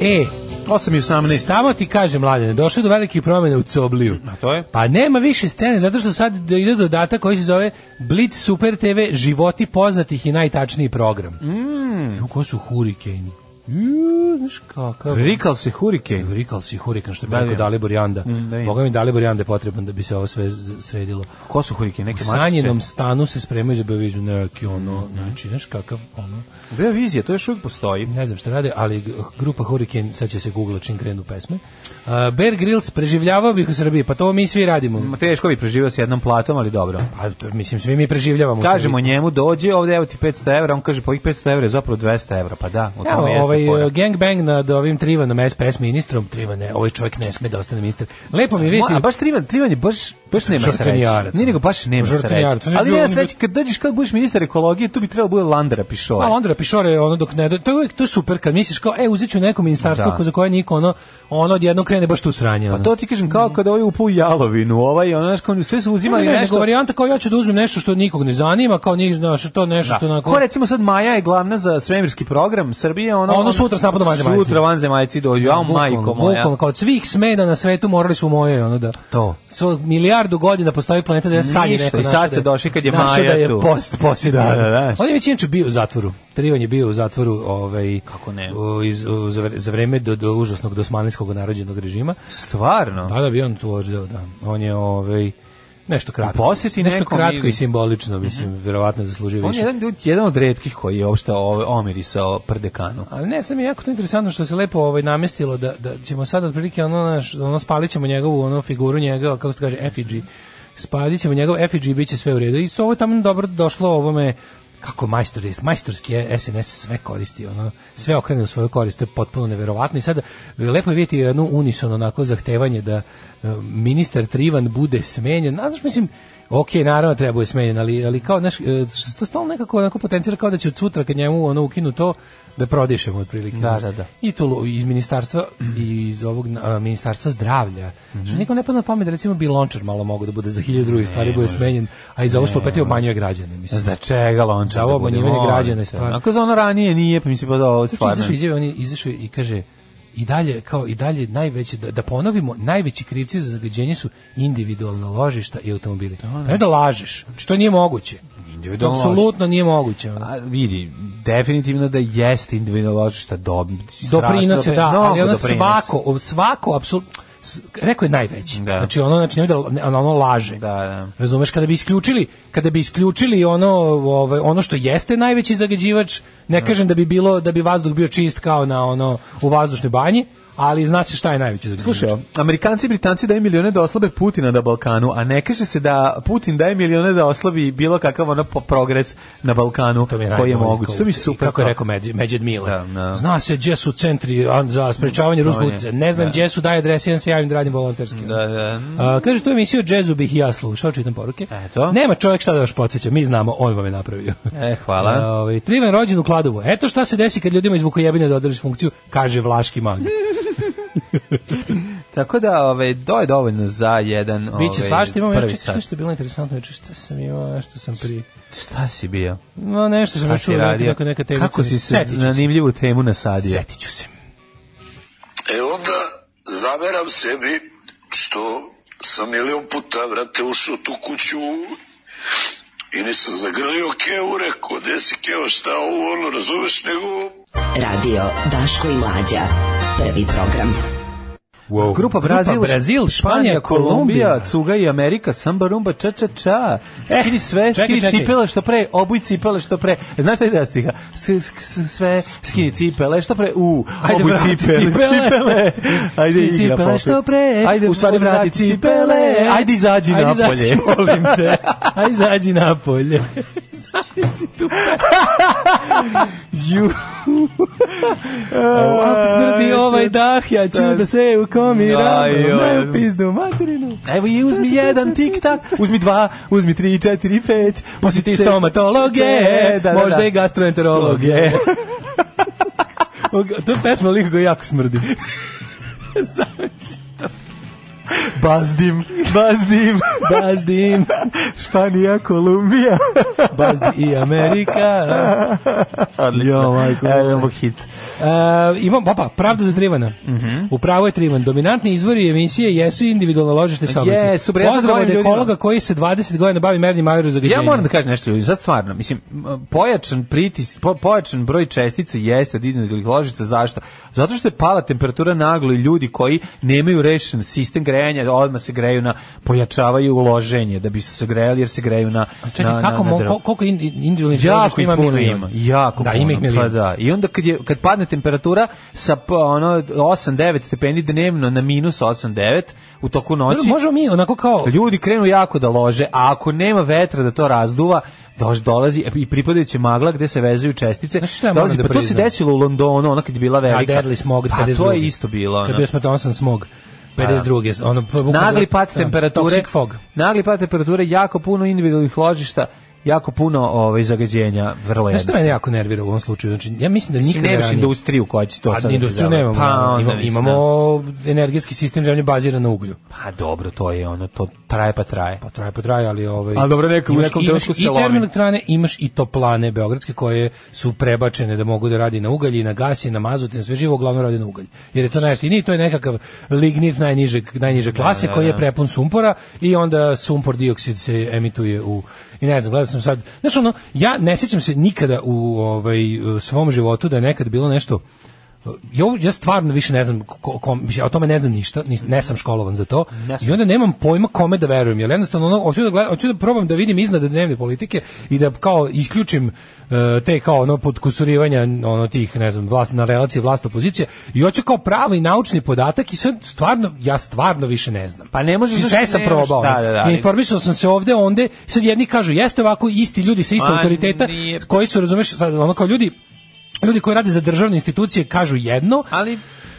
[SPEAKER 5] E,
[SPEAKER 6] 8 i 18.
[SPEAKER 5] samo ti kažem, mladene, došlo je do velikih promjena u Cobliju.
[SPEAKER 6] A to je?
[SPEAKER 5] Pa nema više scene, zato što sad ide dodatak koji se zove Blitz Super TV životi poznatih i najtačniji program. Mm. Ju, ko su Hurricane? Ju, znaš kakav...
[SPEAKER 6] Rikal se hurike.
[SPEAKER 5] Rikal si Hurricane, što bi
[SPEAKER 6] Da,
[SPEAKER 5] rekao
[SPEAKER 6] vidim.
[SPEAKER 5] Dalibor Janda.
[SPEAKER 6] da vidim.
[SPEAKER 5] Boga mi Dalibor Janda je potreban da bi se ovo sve z- sredilo.
[SPEAKER 6] Ko su hurike? Neke
[SPEAKER 5] U
[SPEAKER 6] mačkice?
[SPEAKER 5] sanjenom stanu se spremaju za beviđu neki
[SPEAKER 6] Mm.
[SPEAKER 5] ono, znači, znaš kakav ono...
[SPEAKER 6] Deo vizije, to još uvijek postoji.
[SPEAKER 5] Ne znam šta rade, ali g- grupa Hurricane, sad će se googla čim krenu pesme. Uh, Bear Grylls preživljavao bih u Srbiji, pa to mi svi radimo.
[SPEAKER 6] Ma, Teško bi preživio s jednom platom, ali dobro.
[SPEAKER 5] Pa, to- mislim, svi mi preživljavamo. u
[SPEAKER 6] Kažemo
[SPEAKER 5] Srbiji.
[SPEAKER 6] njemu, dođe ovde, evo ti 500 evra, on kaže, po ovih 500 evra je zapravo 200 evra, pa da, u tome
[SPEAKER 5] Evo,
[SPEAKER 6] jeste
[SPEAKER 5] ovaj,
[SPEAKER 6] fora.
[SPEAKER 5] uh, gangbang nad ovim Trivanom, SPS ministrom, Trivane, ovaj čovjek ne sme da ostane ministar. Lepo mi je <laughs> vidjeti...
[SPEAKER 6] Ma, a baš Trivan, Trivan je baš, baš nema sreće.
[SPEAKER 5] Žrtvenijarac.
[SPEAKER 6] Nije nego baš nema sreće.
[SPEAKER 5] Žrtvenijarac. On je
[SPEAKER 6] Ali
[SPEAKER 5] bio-
[SPEAKER 6] nema
[SPEAKER 5] on je bio-
[SPEAKER 6] sreće, kad dođeš, kad budeš ministar ekologije, tu bi trebalo bude Landera pišoje.
[SPEAKER 5] Pa Ondra Pišore, ono dok ne, do- to je uvijek to je super kad misliš kao e uzet ću neko ministarstvo
[SPEAKER 6] Da.
[SPEAKER 5] ko- za koje niko ono ono odjednom krene baš tu sranje. Ono.
[SPEAKER 6] Pa to ti kažem kao kad ovaj upao u Jalovinu, ovaj, ono, znaš, kao sve su
[SPEAKER 5] Ne,
[SPEAKER 6] uzimali
[SPEAKER 5] ne, nego
[SPEAKER 6] nešto.
[SPEAKER 5] varijanta kao ja ću da uzmem nešto što nikog ne zanima, kao njih znaš, to nešto što
[SPEAKER 6] Da.
[SPEAKER 5] onako-
[SPEAKER 6] Ko recimo sad Maja je glavna za svemirski program Srbije, ono...
[SPEAKER 5] Ono sutra s napadom vanzemaljci.
[SPEAKER 6] Sutra vanzemaljci dođu, ja majko moja.
[SPEAKER 5] Bukvalno, kao od svih smena na svetu morali su moje, ono da.
[SPEAKER 6] To.
[SPEAKER 5] Svo, milijardu godina postoji planeta Zemlja, sad je
[SPEAKER 6] Ništa,
[SPEAKER 5] neko
[SPEAKER 6] i sad
[SPEAKER 5] našao
[SPEAKER 6] ste
[SPEAKER 5] da je-
[SPEAKER 6] došli kad je
[SPEAKER 5] našao
[SPEAKER 6] Maja
[SPEAKER 5] da je
[SPEAKER 6] tu.
[SPEAKER 5] Post, posjednik.
[SPEAKER 6] Da, da, da.
[SPEAKER 5] On je već inače bio u zatvoru. Trivan je bio u zatvoru ovaj,
[SPEAKER 6] Kako ne?
[SPEAKER 5] u- iz, u- za, vre- za vreme do, do užasnog dosmanlijskog narođenog režima.
[SPEAKER 6] Stvarno?
[SPEAKER 5] Da, da, bio on tu oždeo, da. On je ovaj, nešto kratko.
[SPEAKER 6] Posjeti
[SPEAKER 5] nešto
[SPEAKER 6] nekom
[SPEAKER 5] kratko
[SPEAKER 6] ili- Mhm.
[SPEAKER 5] i simbolično, mislim, verovatno zaslužio
[SPEAKER 6] On je
[SPEAKER 5] više.
[SPEAKER 6] jedan, ljud- jedan od redkih koji je uopšte ovaj, omirisao prdekanu.
[SPEAKER 5] Ali ne, sam je jako to interesantno što se lepo ovaj namestilo da, da ćemo sad otprilike ono, naš, ono spalit ćemo njegovu ono figuru njega, kako se kaže, effigy. Spalit ćemo njegov effigy i bit će sve u redu. I su ovo je tamo dobro došlo ovome kako majstor je, majstorski je SNS sve koristi, ono, sve okrene u svoju korist, to je potpuno neverovatno i sad lepo je vidjeti jednu unison onako zahtevanje da e, ministar Trivan bude smenjen, A, znaš, mislim, Ok, naravno treba da je smenjen, ali, ali kao, znaš, e, to stalno nekako onako potencira kao da će od sutra kad njemu ono ukinu to, da prodišemo otprilike.
[SPEAKER 6] Da,
[SPEAKER 5] znaš.
[SPEAKER 6] da, da.
[SPEAKER 5] I tu lu- iz ministarstva i iz ovog a, ministarstva zdravlja.
[SPEAKER 6] Mhm.
[SPEAKER 5] Što nikom ne pada na pamet da recimo bi lončar malo mogu da bude za hiljadu drugih stvari bude smenjen, a i za ovo što opet je obmanjuje građane, mislim.
[SPEAKER 6] Za čega lončar? da
[SPEAKER 5] Za ovo obmanjivanje građana je stvar.
[SPEAKER 6] Ako za ono ranije nije, pa mi se pa da ovo
[SPEAKER 5] Znači,
[SPEAKER 6] stvarno.
[SPEAKER 5] izašao iz izjave, on je izašao i kaže i dalje kao i dalje najveći da, da ponovimo najveći krivci za zagađenje su individualna ložišta i automobili. Ne da lažeš, znači to nije moguće.
[SPEAKER 6] Individualno
[SPEAKER 5] Apsolutno nije moguće. ono.
[SPEAKER 6] A, vidi, definitivno da jeste individualno ložišta dob, strašno
[SPEAKER 5] doprinose,
[SPEAKER 6] doprin-
[SPEAKER 5] da,
[SPEAKER 6] mnogo
[SPEAKER 5] ali ono
[SPEAKER 6] doprinosi.
[SPEAKER 5] svako, svako, apsolutno, rekao je najveći.
[SPEAKER 6] Da.
[SPEAKER 5] Znači ono znači nemoj da ne- ono, ono laže.
[SPEAKER 6] Da, da.
[SPEAKER 5] Razumeš kada bi isključili, kada bi isključili ono ovaj ono što jeste najveći zagađivač, ne kažem da bi bilo da bi vazduh bio čist kao na ono u vazdušnoj banji, ali zna se šta je najveći zagađivač.
[SPEAKER 6] Slušaj, Amerikanci i Britanci daju milione da oslabe Putina na Balkanu, a ne kaže se da Putin daje milione da oslabi bilo kakav ono po- progres na Balkanu
[SPEAKER 5] To mi je
[SPEAKER 6] koji je
[SPEAKER 5] najbolje
[SPEAKER 6] moguć.
[SPEAKER 5] kao
[SPEAKER 6] To mi je
[SPEAKER 5] učenje.
[SPEAKER 6] super.
[SPEAKER 5] Kako je rekao Medj- Medjed Mile.
[SPEAKER 6] Da, da.
[SPEAKER 5] Zna se gdje su centri a, za sprečavanje ruskog
[SPEAKER 6] je.
[SPEAKER 5] utjecaja. Ne znam gdje su, daj adrese, jedan se javim da radim volonterski.
[SPEAKER 6] Da, da.
[SPEAKER 5] A, kaže, tu emisiju o džezu bih i ja slušao, čitam poruke.
[SPEAKER 6] Eto.
[SPEAKER 5] Nema čovjek šta da vas podsjeća, mi znamo, on vam je napravio.
[SPEAKER 6] E, hvala.
[SPEAKER 5] A, <laughs> ovaj, Trivan rođen u Kladovu. Eto šta se desi kad ljudima iz Vukojebine dodeliš funkciju, kaže Vlaški mag.
[SPEAKER 6] Hm. Tako da, ovaj to je dovoljno za jedan ovaj.
[SPEAKER 5] Biće svašta, imamo još
[SPEAKER 6] prvi
[SPEAKER 5] čekaj,
[SPEAKER 6] sat.
[SPEAKER 5] šta što je bilo interesantno, juče šta sam imao, nešto sam pri...
[SPEAKER 6] Šta si bio?
[SPEAKER 5] No, nešto sam
[SPEAKER 6] Šta si
[SPEAKER 5] čuo, neka,
[SPEAKER 6] radio?
[SPEAKER 5] neka, neka tema.
[SPEAKER 6] Kako si se
[SPEAKER 5] Setit ću
[SPEAKER 6] na nimljivu temu nasadio?
[SPEAKER 5] Setit ću se.
[SPEAKER 10] E onda zameram sebi što sam milion puta vrate ušao u tu kuću i nisam zagrlio Kevu, rekao, gde si Keo, šta ovo, ono, razumeš, nego
[SPEAKER 2] Radio Daško i Mlađa. Prvi program.
[SPEAKER 5] Wow.
[SPEAKER 6] Grupa Brazil,
[SPEAKER 5] Grupa Brazil, Španija, Kolumbija.
[SPEAKER 6] Cuga i Amerika, Samba, Rumba, Ča, Ča, Ča.
[SPEAKER 5] E,
[SPEAKER 6] Skini sve,
[SPEAKER 5] čekaj,
[SPEAKER 6] skini
[SPEAKER 5] čekaj.
[SPEAKER 6] cipele što pre, obuj cipele što pre. E, Znaš šta je da stiha? S, s, s- sve, skini cipele što pre, u,
[SPEAKER 5] Ajde,
[SPEAKER 6] obuj
[SPEAKER 5] vrati
[SPEAKER 6] cipele,
[SPEAKER 5] cipele.
[SPEAKER 6] cipele.
[SPEAKER 5] <laughs>
[SPEAKER 6] Ajde,
[SPEAKER 5] Skini
[SPEAKER 6] igra
[SPEAKER 5] cipele
[SPEAKER 6] popet.
[SPEAKER 5] što pre,
[SPEAKER 6] Ajde,
[SPEAKER 5] u stvari vrati cipele.
[SPEAKER 6] Ajde, izađi
[SPEAKER 5] Ajde, <laughs>
[SPEAKER 6] napolje.
[SPEAKER 5] izađi, molim te. Aj izađi napolje. Izađi tu. Ju. Ako smrdi ovaj dah, ja ću da se ukomiram.
[SPEAKER 6] Aj, joj.
[SPEAKER 5] Ne u pizdu materinu.
[SPEAKER 6] Evo je, uzmi jedan tik-tak, uzmi dva, uzmi tri, četiri, pet.
[SPEAKER 5] Posi ti stomatologe,
[SPEAKER 6] E, da, da,
[SPEAKER 5] možda
[SPEAKER 6] da.
[SPEAKER 5] i <laughs> gastroenterologe. to je pesma lika koja jako smrdi. Zamisli,
[SPEAKER 6] Bazdim, bazdim.
[SPEAKER 5] Bazdim,
[SPEAKER 6] Španija, Kolumbija.
[SPEAKER 5] Bazdi i
[SPEAKER 6] <laughs>
[SPEAKER 5] Amerika.
[SPEAKER 6] Odlično.
[SPEAKER 5] Jo, majko.
[SPEAKER 6] Evo imamo hit.
[SPEAKER 5] E, imam, papa, pravda za Trivana.
[SPEAKER 6] Mhm.
[SPEAKER 5] Upravo je Trivan. Dominantni izvori emisije jesu individualno ložište saobraćaja.
[SPEAKER 6] Jesu, bre, ja sam
[SPEAKER 5] Pozdrav od
[SPEAKER 6] govorim
[SPEAKER 5] ekologa
[SPEAKER 6] ljudima.
[SPEAKER 5] koji se 20 godina bavi mernim aerozagađenjem.
[SPEAKER 6] Ja moram da kažem nešto ljudi, sad stvarno, mislim, m, pojačan pritis, po, pojačan broj čestica jeste od individualnih ložica, zašto? Zato što je pala temperatura naglo i ljudi koji nemaju rešen sistem grejanja, odmah se greju na, pojačavaju uloženje da bi se grejali jer se greju na,
[SPEAKER 5] Čekaj,
[SPEAKER 6] na,
[SPEAKER 5] kako,
[SPEAKER 6] na,
[SPEAKER 5] mo-
[SPEAKER 6] na drvo.
[SPEAKER 5] kol- koliko in- individualnih
[SPEAKER 6] Jako
[SPEAKER 5] ložišta
[SPEAKER 6] ih
[SPEAKER 5] ima
[SPEAKER 6] puno
[SPEAKER 5] milion?
[SPEAKER 6] ima. Jako
[SPEAKER 5] da,
[SPEAKER 6] puno.
[SPEAKER 5] ima ih milion.
[SPEAKER 6] Pa da. I onda kad, je, kad padne temperatura sa p- ono 8-9 stepeni dnevno na minus 8-9 u toku
[SPEAKER 5] Dobro,
[SPEAKER 6] noći,
[SPEAKER 5] Pa da, možemo mi onako kao...
[SPEAKER 6] ljudi krenu jako da lože, a ako nema vetra da to razduva, doš dolazi i pripadajuća magla gde se vezuju čestice.
[SPEAKER 5] Znaš šta ja
[SPEAKER 6] dolazi,
[SPEAKER 5] moram da
[SPEAKER 6] pa to se
[SPEAKER 5] priznam?
[SPEAKER 6] desilo u Londonu, ona kad je bila
[SPEAKER 5] A
[SPEAKER 6] velika.
[SPEAKER 5] Deadly Smog od
[SPEAKER 6] pa
[SPEAKER 5] 52.
[SPEAKER 6] to je isto bilo.
[SPEAKER 5] Kad je
[SPEAKER 6] ono. da.
[SPEAKER 5] bio smo Thompson Smog. 52. Ono, pa bukvalno-
[SPEAKER 6] Nagli pad
[SPEAKER 5] Da,
[SPEAKER 6] temperature,
[SPEAKER 5] Toxic fog.
[SPEAKER 6] nagli pad temperature, jako puno individualnih ložišta, jako puno ovaj zagađenja,
[SPEAKER 5] Znaš što
[SPEAKER 6] vrlo jednostavno.
[SPEAKER 5] mene jako nervira u ovom slučaju? Znači, ja mislim da
[SPEAKER 6] Mislim,
[SPEAKER 5] nikada
[SPEAKER 6] nemaš
[SPEAKER 5] ranije...
[SPEAKER 6] industriju koja će to
[SPEAKER 5] Pa
[SPEAKER 6] sad...
[SPEAKER 5] industriju
[SPEAKER 6] da-
[SPEAKER 5] nemamo.
[SPEAKER 6] Pa, onda
[SPEAKER 5] imamo,
[SPEAKER 6] mislim,
[SPEAKER 5] imamo energetski sistem zemlje baziran na uglju.
[SPEAKER 6] da. Pa dobro, to je ono, to traje pa traje.
[SPEAKER 5] Pa traje, pa traje, ali... Ovaj,
[SPEAKER 6] Ali dobro, neko- u
[SPEAKER 5] imaš-
[SPEAKER 6] nekom
[SPEAKER 5] imaš
[SPEAKER 6] trenutku se lomi.
[SPEAKER 5] I termoelektrane, imaš i toplane beogradske koje su prebačene da mogu da radi na ugalj i na gas i na mazut i na sve živo, uglavnom radi na ugalj. Jer je to najjeftinije, i to je nekakav lignit najniže, najniže klase koji je prepun sumpora i onda sumpor dioksid se emituje u... I ne znam, gledao sam sad... Znaš ono, ja ne sjećam se nikada u ovaj, u svom životu da je nekad bilo nešto ja, ja stvarno više ne znam ko, ko, mislim, ja o tome ne znam ništa, nis, ne sam školovan za to i onda nemam pojma kome da verujem jer jednostavno ono, hoću, da gleda, hoću da probam da vidim iznad dnevne politike i da kao isključim e, te kao ono podkusurivanja ono tih ne znam vlast, na relaciji vlast opozicija i hoću kao pravi naučni podatak i sad stvarno ja stvarno više ne znam
[SPEAKER 6] Pa ne možeš...
[SPEAKER 5] sve sam
[SPEAKER 6] nemaš-
[SPEAKER 5] probao.
[SPEAKER 6] Da,
[SPEAKER 5] ono.
[SPEAKER 6] da, da.
[SPEAKER 5] Informisao sam se ovde, onde. Sad jedni kažu jeste ovako isti ljudi sa istog
[SPEAKER 6] Ma,
[SPEAKER 5] autoriteta
[SPEAKER 6] Pa nije.
[SPEAKER 5] koji su razumeš sad ono kao ljudi ljudi koji rade za državne institucije kažu jedno,
[SPEAKER 6] Ali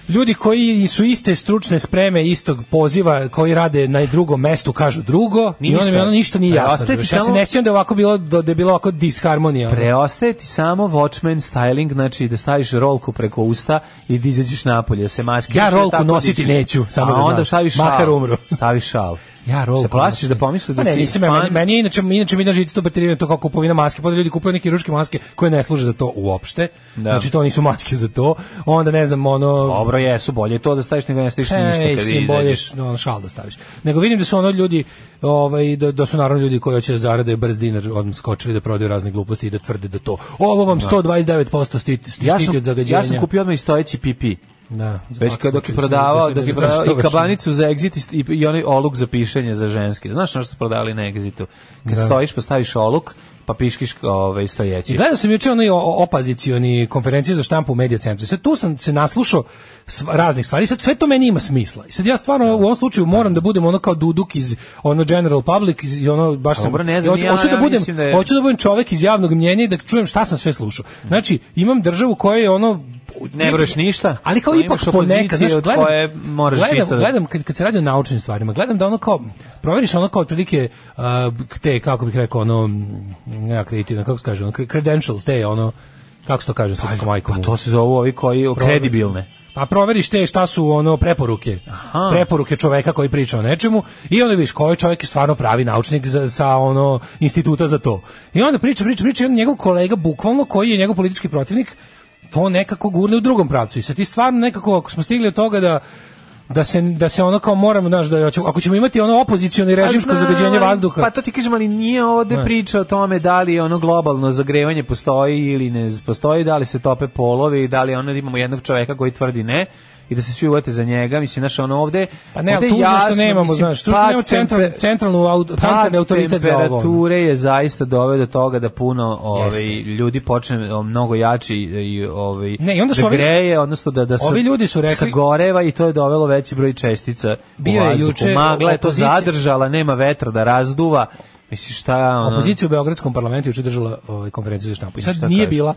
[SPEAKER 5] ljudi koji su iste stručne spreme istog poziva koji rade na drugom mestu kažu drugo
[SPEAKER 6] Nije
[SPEAKER 5] i onda
[SPEAKER 6] ništa.
[SPEAKER 5] mi ono ništa nije
[SPEAKER 6] Ali
[SPEAKER 5] jasno.
[SPEAKER 6] ostaje ti
[SPEAKER 5] razumeš. Ja se
[SPEAKER 6] samo-
[SPEAKER 5] ne sjećam da je ovako bilo da da je bilo ovako disharmonija. ono.
[SPEAKER 6] Preostaje ti samo Watchmen styling, znači da staviš rolku preko usta i da izađeš napolje, da se maske.
[SPEAKER 5] Ja rolku nositi neću, samo
[SPEAKER 6] A
[SPEAKER 5] da
[SPEAKER 6] onda
[SPEAKER 5] znaš.
[SPEAKER 6] staviš šal.
[SPEAKER 5] Makar umru.
[SPEAKER 6] Staviš šal.
[SPEAKER 5] Ja rolku.
[SPEAKER 6] Se plašiš da
[SPEAKER 5] nosim.
[SPEAKER 6] pomisli da
[SPEAKER 5] Pa ne,
[SPEAKER 6] si
[SPEAKER 5] nisam, ja,
[SPEAKER 6] fan?
[SPEAKER 5] meni, meni je inače, inače mi na žicu to baterije to kao kupovina maske, pa da ljudi kupuju neke ruške maske koje ne služe za to uopšte.
[SPEAKER 6] Da.
[SPEAKER 5] Znači to nisu maske za to. Onda ne znam, ono...
[SPEAKER 6] Dobro, jesu, bolje je to da staviš nego ne staviš ništa.
[SPEAKER 5] Ej,
[SPEAKER 6] kad
[SPEAKER 5] sim,
[SPEAKER 6] izađeš.
[SPEAKER 5] bolje š- no, šal da staviš. Nego vidim da su ono ljudi, ovaj, da, da su naravno ljudi koji hoće da zarade brz dinar, odmah skočili da prodaju razne gluposti i da tvrde da to. Ovo vam 129% štiti, štiti
[SPEAKER 6] Ja sam,
[SPEAKER 5] od zagađenja.
[SPEAKER 6] ja sam kupio odmah i stojeći pipi.
[SPEAKER 5] Da,
[SPEAKER 6] Već kad dok je prodavao, dok je prodavao i kabanicu za exit i, i onaj oluk za pišanje za ženske. Znaš ono što su prodavali na exitu? Kad
[SPEAKER 5] Da.
[SPEAKER 6] stojiš, postaviš oluk, pa piškiš ovaj, stojeći.
[SPEAKER 5] I gledao sam juče onaj o- o- opozicioni konferenciju za štampu u medija centru. Sad tu sam se naslušao sv- raznih stvari. Sad sve to meni ima smisla. I sad ja stvarno u ovom slučaju moram da budem ono kao Duduk iz ono General Public iz- i ono baš sam
[SPEAKER 6] Dobro, ne znam,
[SPEAKER 5] hoću,
[SPEAKER 6] ja-
[SPEAKER 5] hoću da
[SPEAKER 6] ja
[SPEAKER 5] budem
[SPEAKER 6] mislim da je-
[SPEAKER 5] hoću da budem čovek iz javnog mnjenja i da čujem šta sam sve slušao. Znači, imam državu koja je ono
[SPEAKER 6] Ne veruješ ništa,
[SPEAKER 5] Ali kao
[SPEAKER 6] ali
[SPEAKER 5] ipak
[SPEAKER 6] imaš
[SPEAKER 5] ponekad,
[SPEAKER 6] opoziciju
[SPEAKER 5] znaš,
[SPEAKER 6] od
[SPEAKER 5] gledam,
[SPEAKER 6] koje moraš
[SPEAKER 5] gledam,
[SPEAKER 6] isto da-
[SPEAKER 5] gledam kad, kad se radi o naučnim stvarima, gledam da ono kao, proveriš ono kao otprilike a, te, kako bih rekao, ono, ne akreditivno, kako se kaže, ono, cre- credentials, te, ono, kako se to kaže srpskom majkom?
[SPEAKER 6] Pa to se zovu ovi koji kredibilne.
[SPEAKER 5] Pa proveriš te šta su ono preporuke. Preporuke čoveka koji priča o nečemu i onda vidiš koji čovjek je stvarno pravi naučnik za, sa ono instituta za to. I onda priča, priča, priča i onda njegov kolega bukvalno koji je njegov politički protivnik to nekako gurne u drugom pravcu. I sad ti stvarno nekako ako smo stigli od toga da da se da se ono kao moramo znaš da hoćemo- ako ćemo imati ono opozicioni režimsko
[SPEAKER 6] Pa znam,
[SPEAKER 5] zagađenje vazduha.
[SPEAKER 6] Pa to ti kažem, ali nije ovde priča o tome da li ono globalno zagrevanje da postoji ili ne postoji, da li se tope polovi, da li ono imamo jednog čoveka koji tvrdi ne i da se svi uvate za njega, mislim, znaš, ono ovde...
[SPEAKER 5] Pa ne,
[SPEAKER 6] ovde
[SPEAKER 5] ali tužno što
[SPEAKER 6] jasno,
[SPEAKER 5] nemamo,
[SPEAKER 6] mislim, pa
[SPEAKER 5] znaš, tužno
[SPEAKER 6] pad
[SPEAKER 5] nemamo central-
[SPEAKER 6] tempe-
[SPEAKER 5] centralnu au-
[SPEAKER 6] pad
[SPEAKER 5] centralni autoritet za ovo.
[SPEAKER 6] temperature je zaista doveo do toga da puno ovaj,
[SPEAKER 5] Jeste.
[SPEAKER 6] ljudi počne o, mnogo jači i ovaj,
[SPEAKER 5] Ne, i onda su
[SPEAKER 6] da
[SPEAKER 5] ovi-
[SPEAKER 6] greje, odnosno da, da se
[SPEAKER 5] ovi ljudi su rekli-
[SPEAKER 6] sagoreva i to je dovelo veći broj čestica
[SPEAKER 5] Bio
[SPEAKER 6] u
[SPEAKER 5] je
[SPEAKER 6] vazduhu.
[SPEAKER 5] juče
[SPEAKER 6] Magla je to
[SPEAKER 5] opozicija-
[SPEAKER 6] zadržala, nema vetra da razduva. Mislim, šta... Ono,
[SPEAKER 5] Opozicija u Beogradskom parlamentu je juče držala ovaj, konferenciju za štampu. I sad
[SPEAKER 6] Šta
[SPEAKER 5] nije
[SPEAKER 6] kažeš?
[SPEAKER 5] bila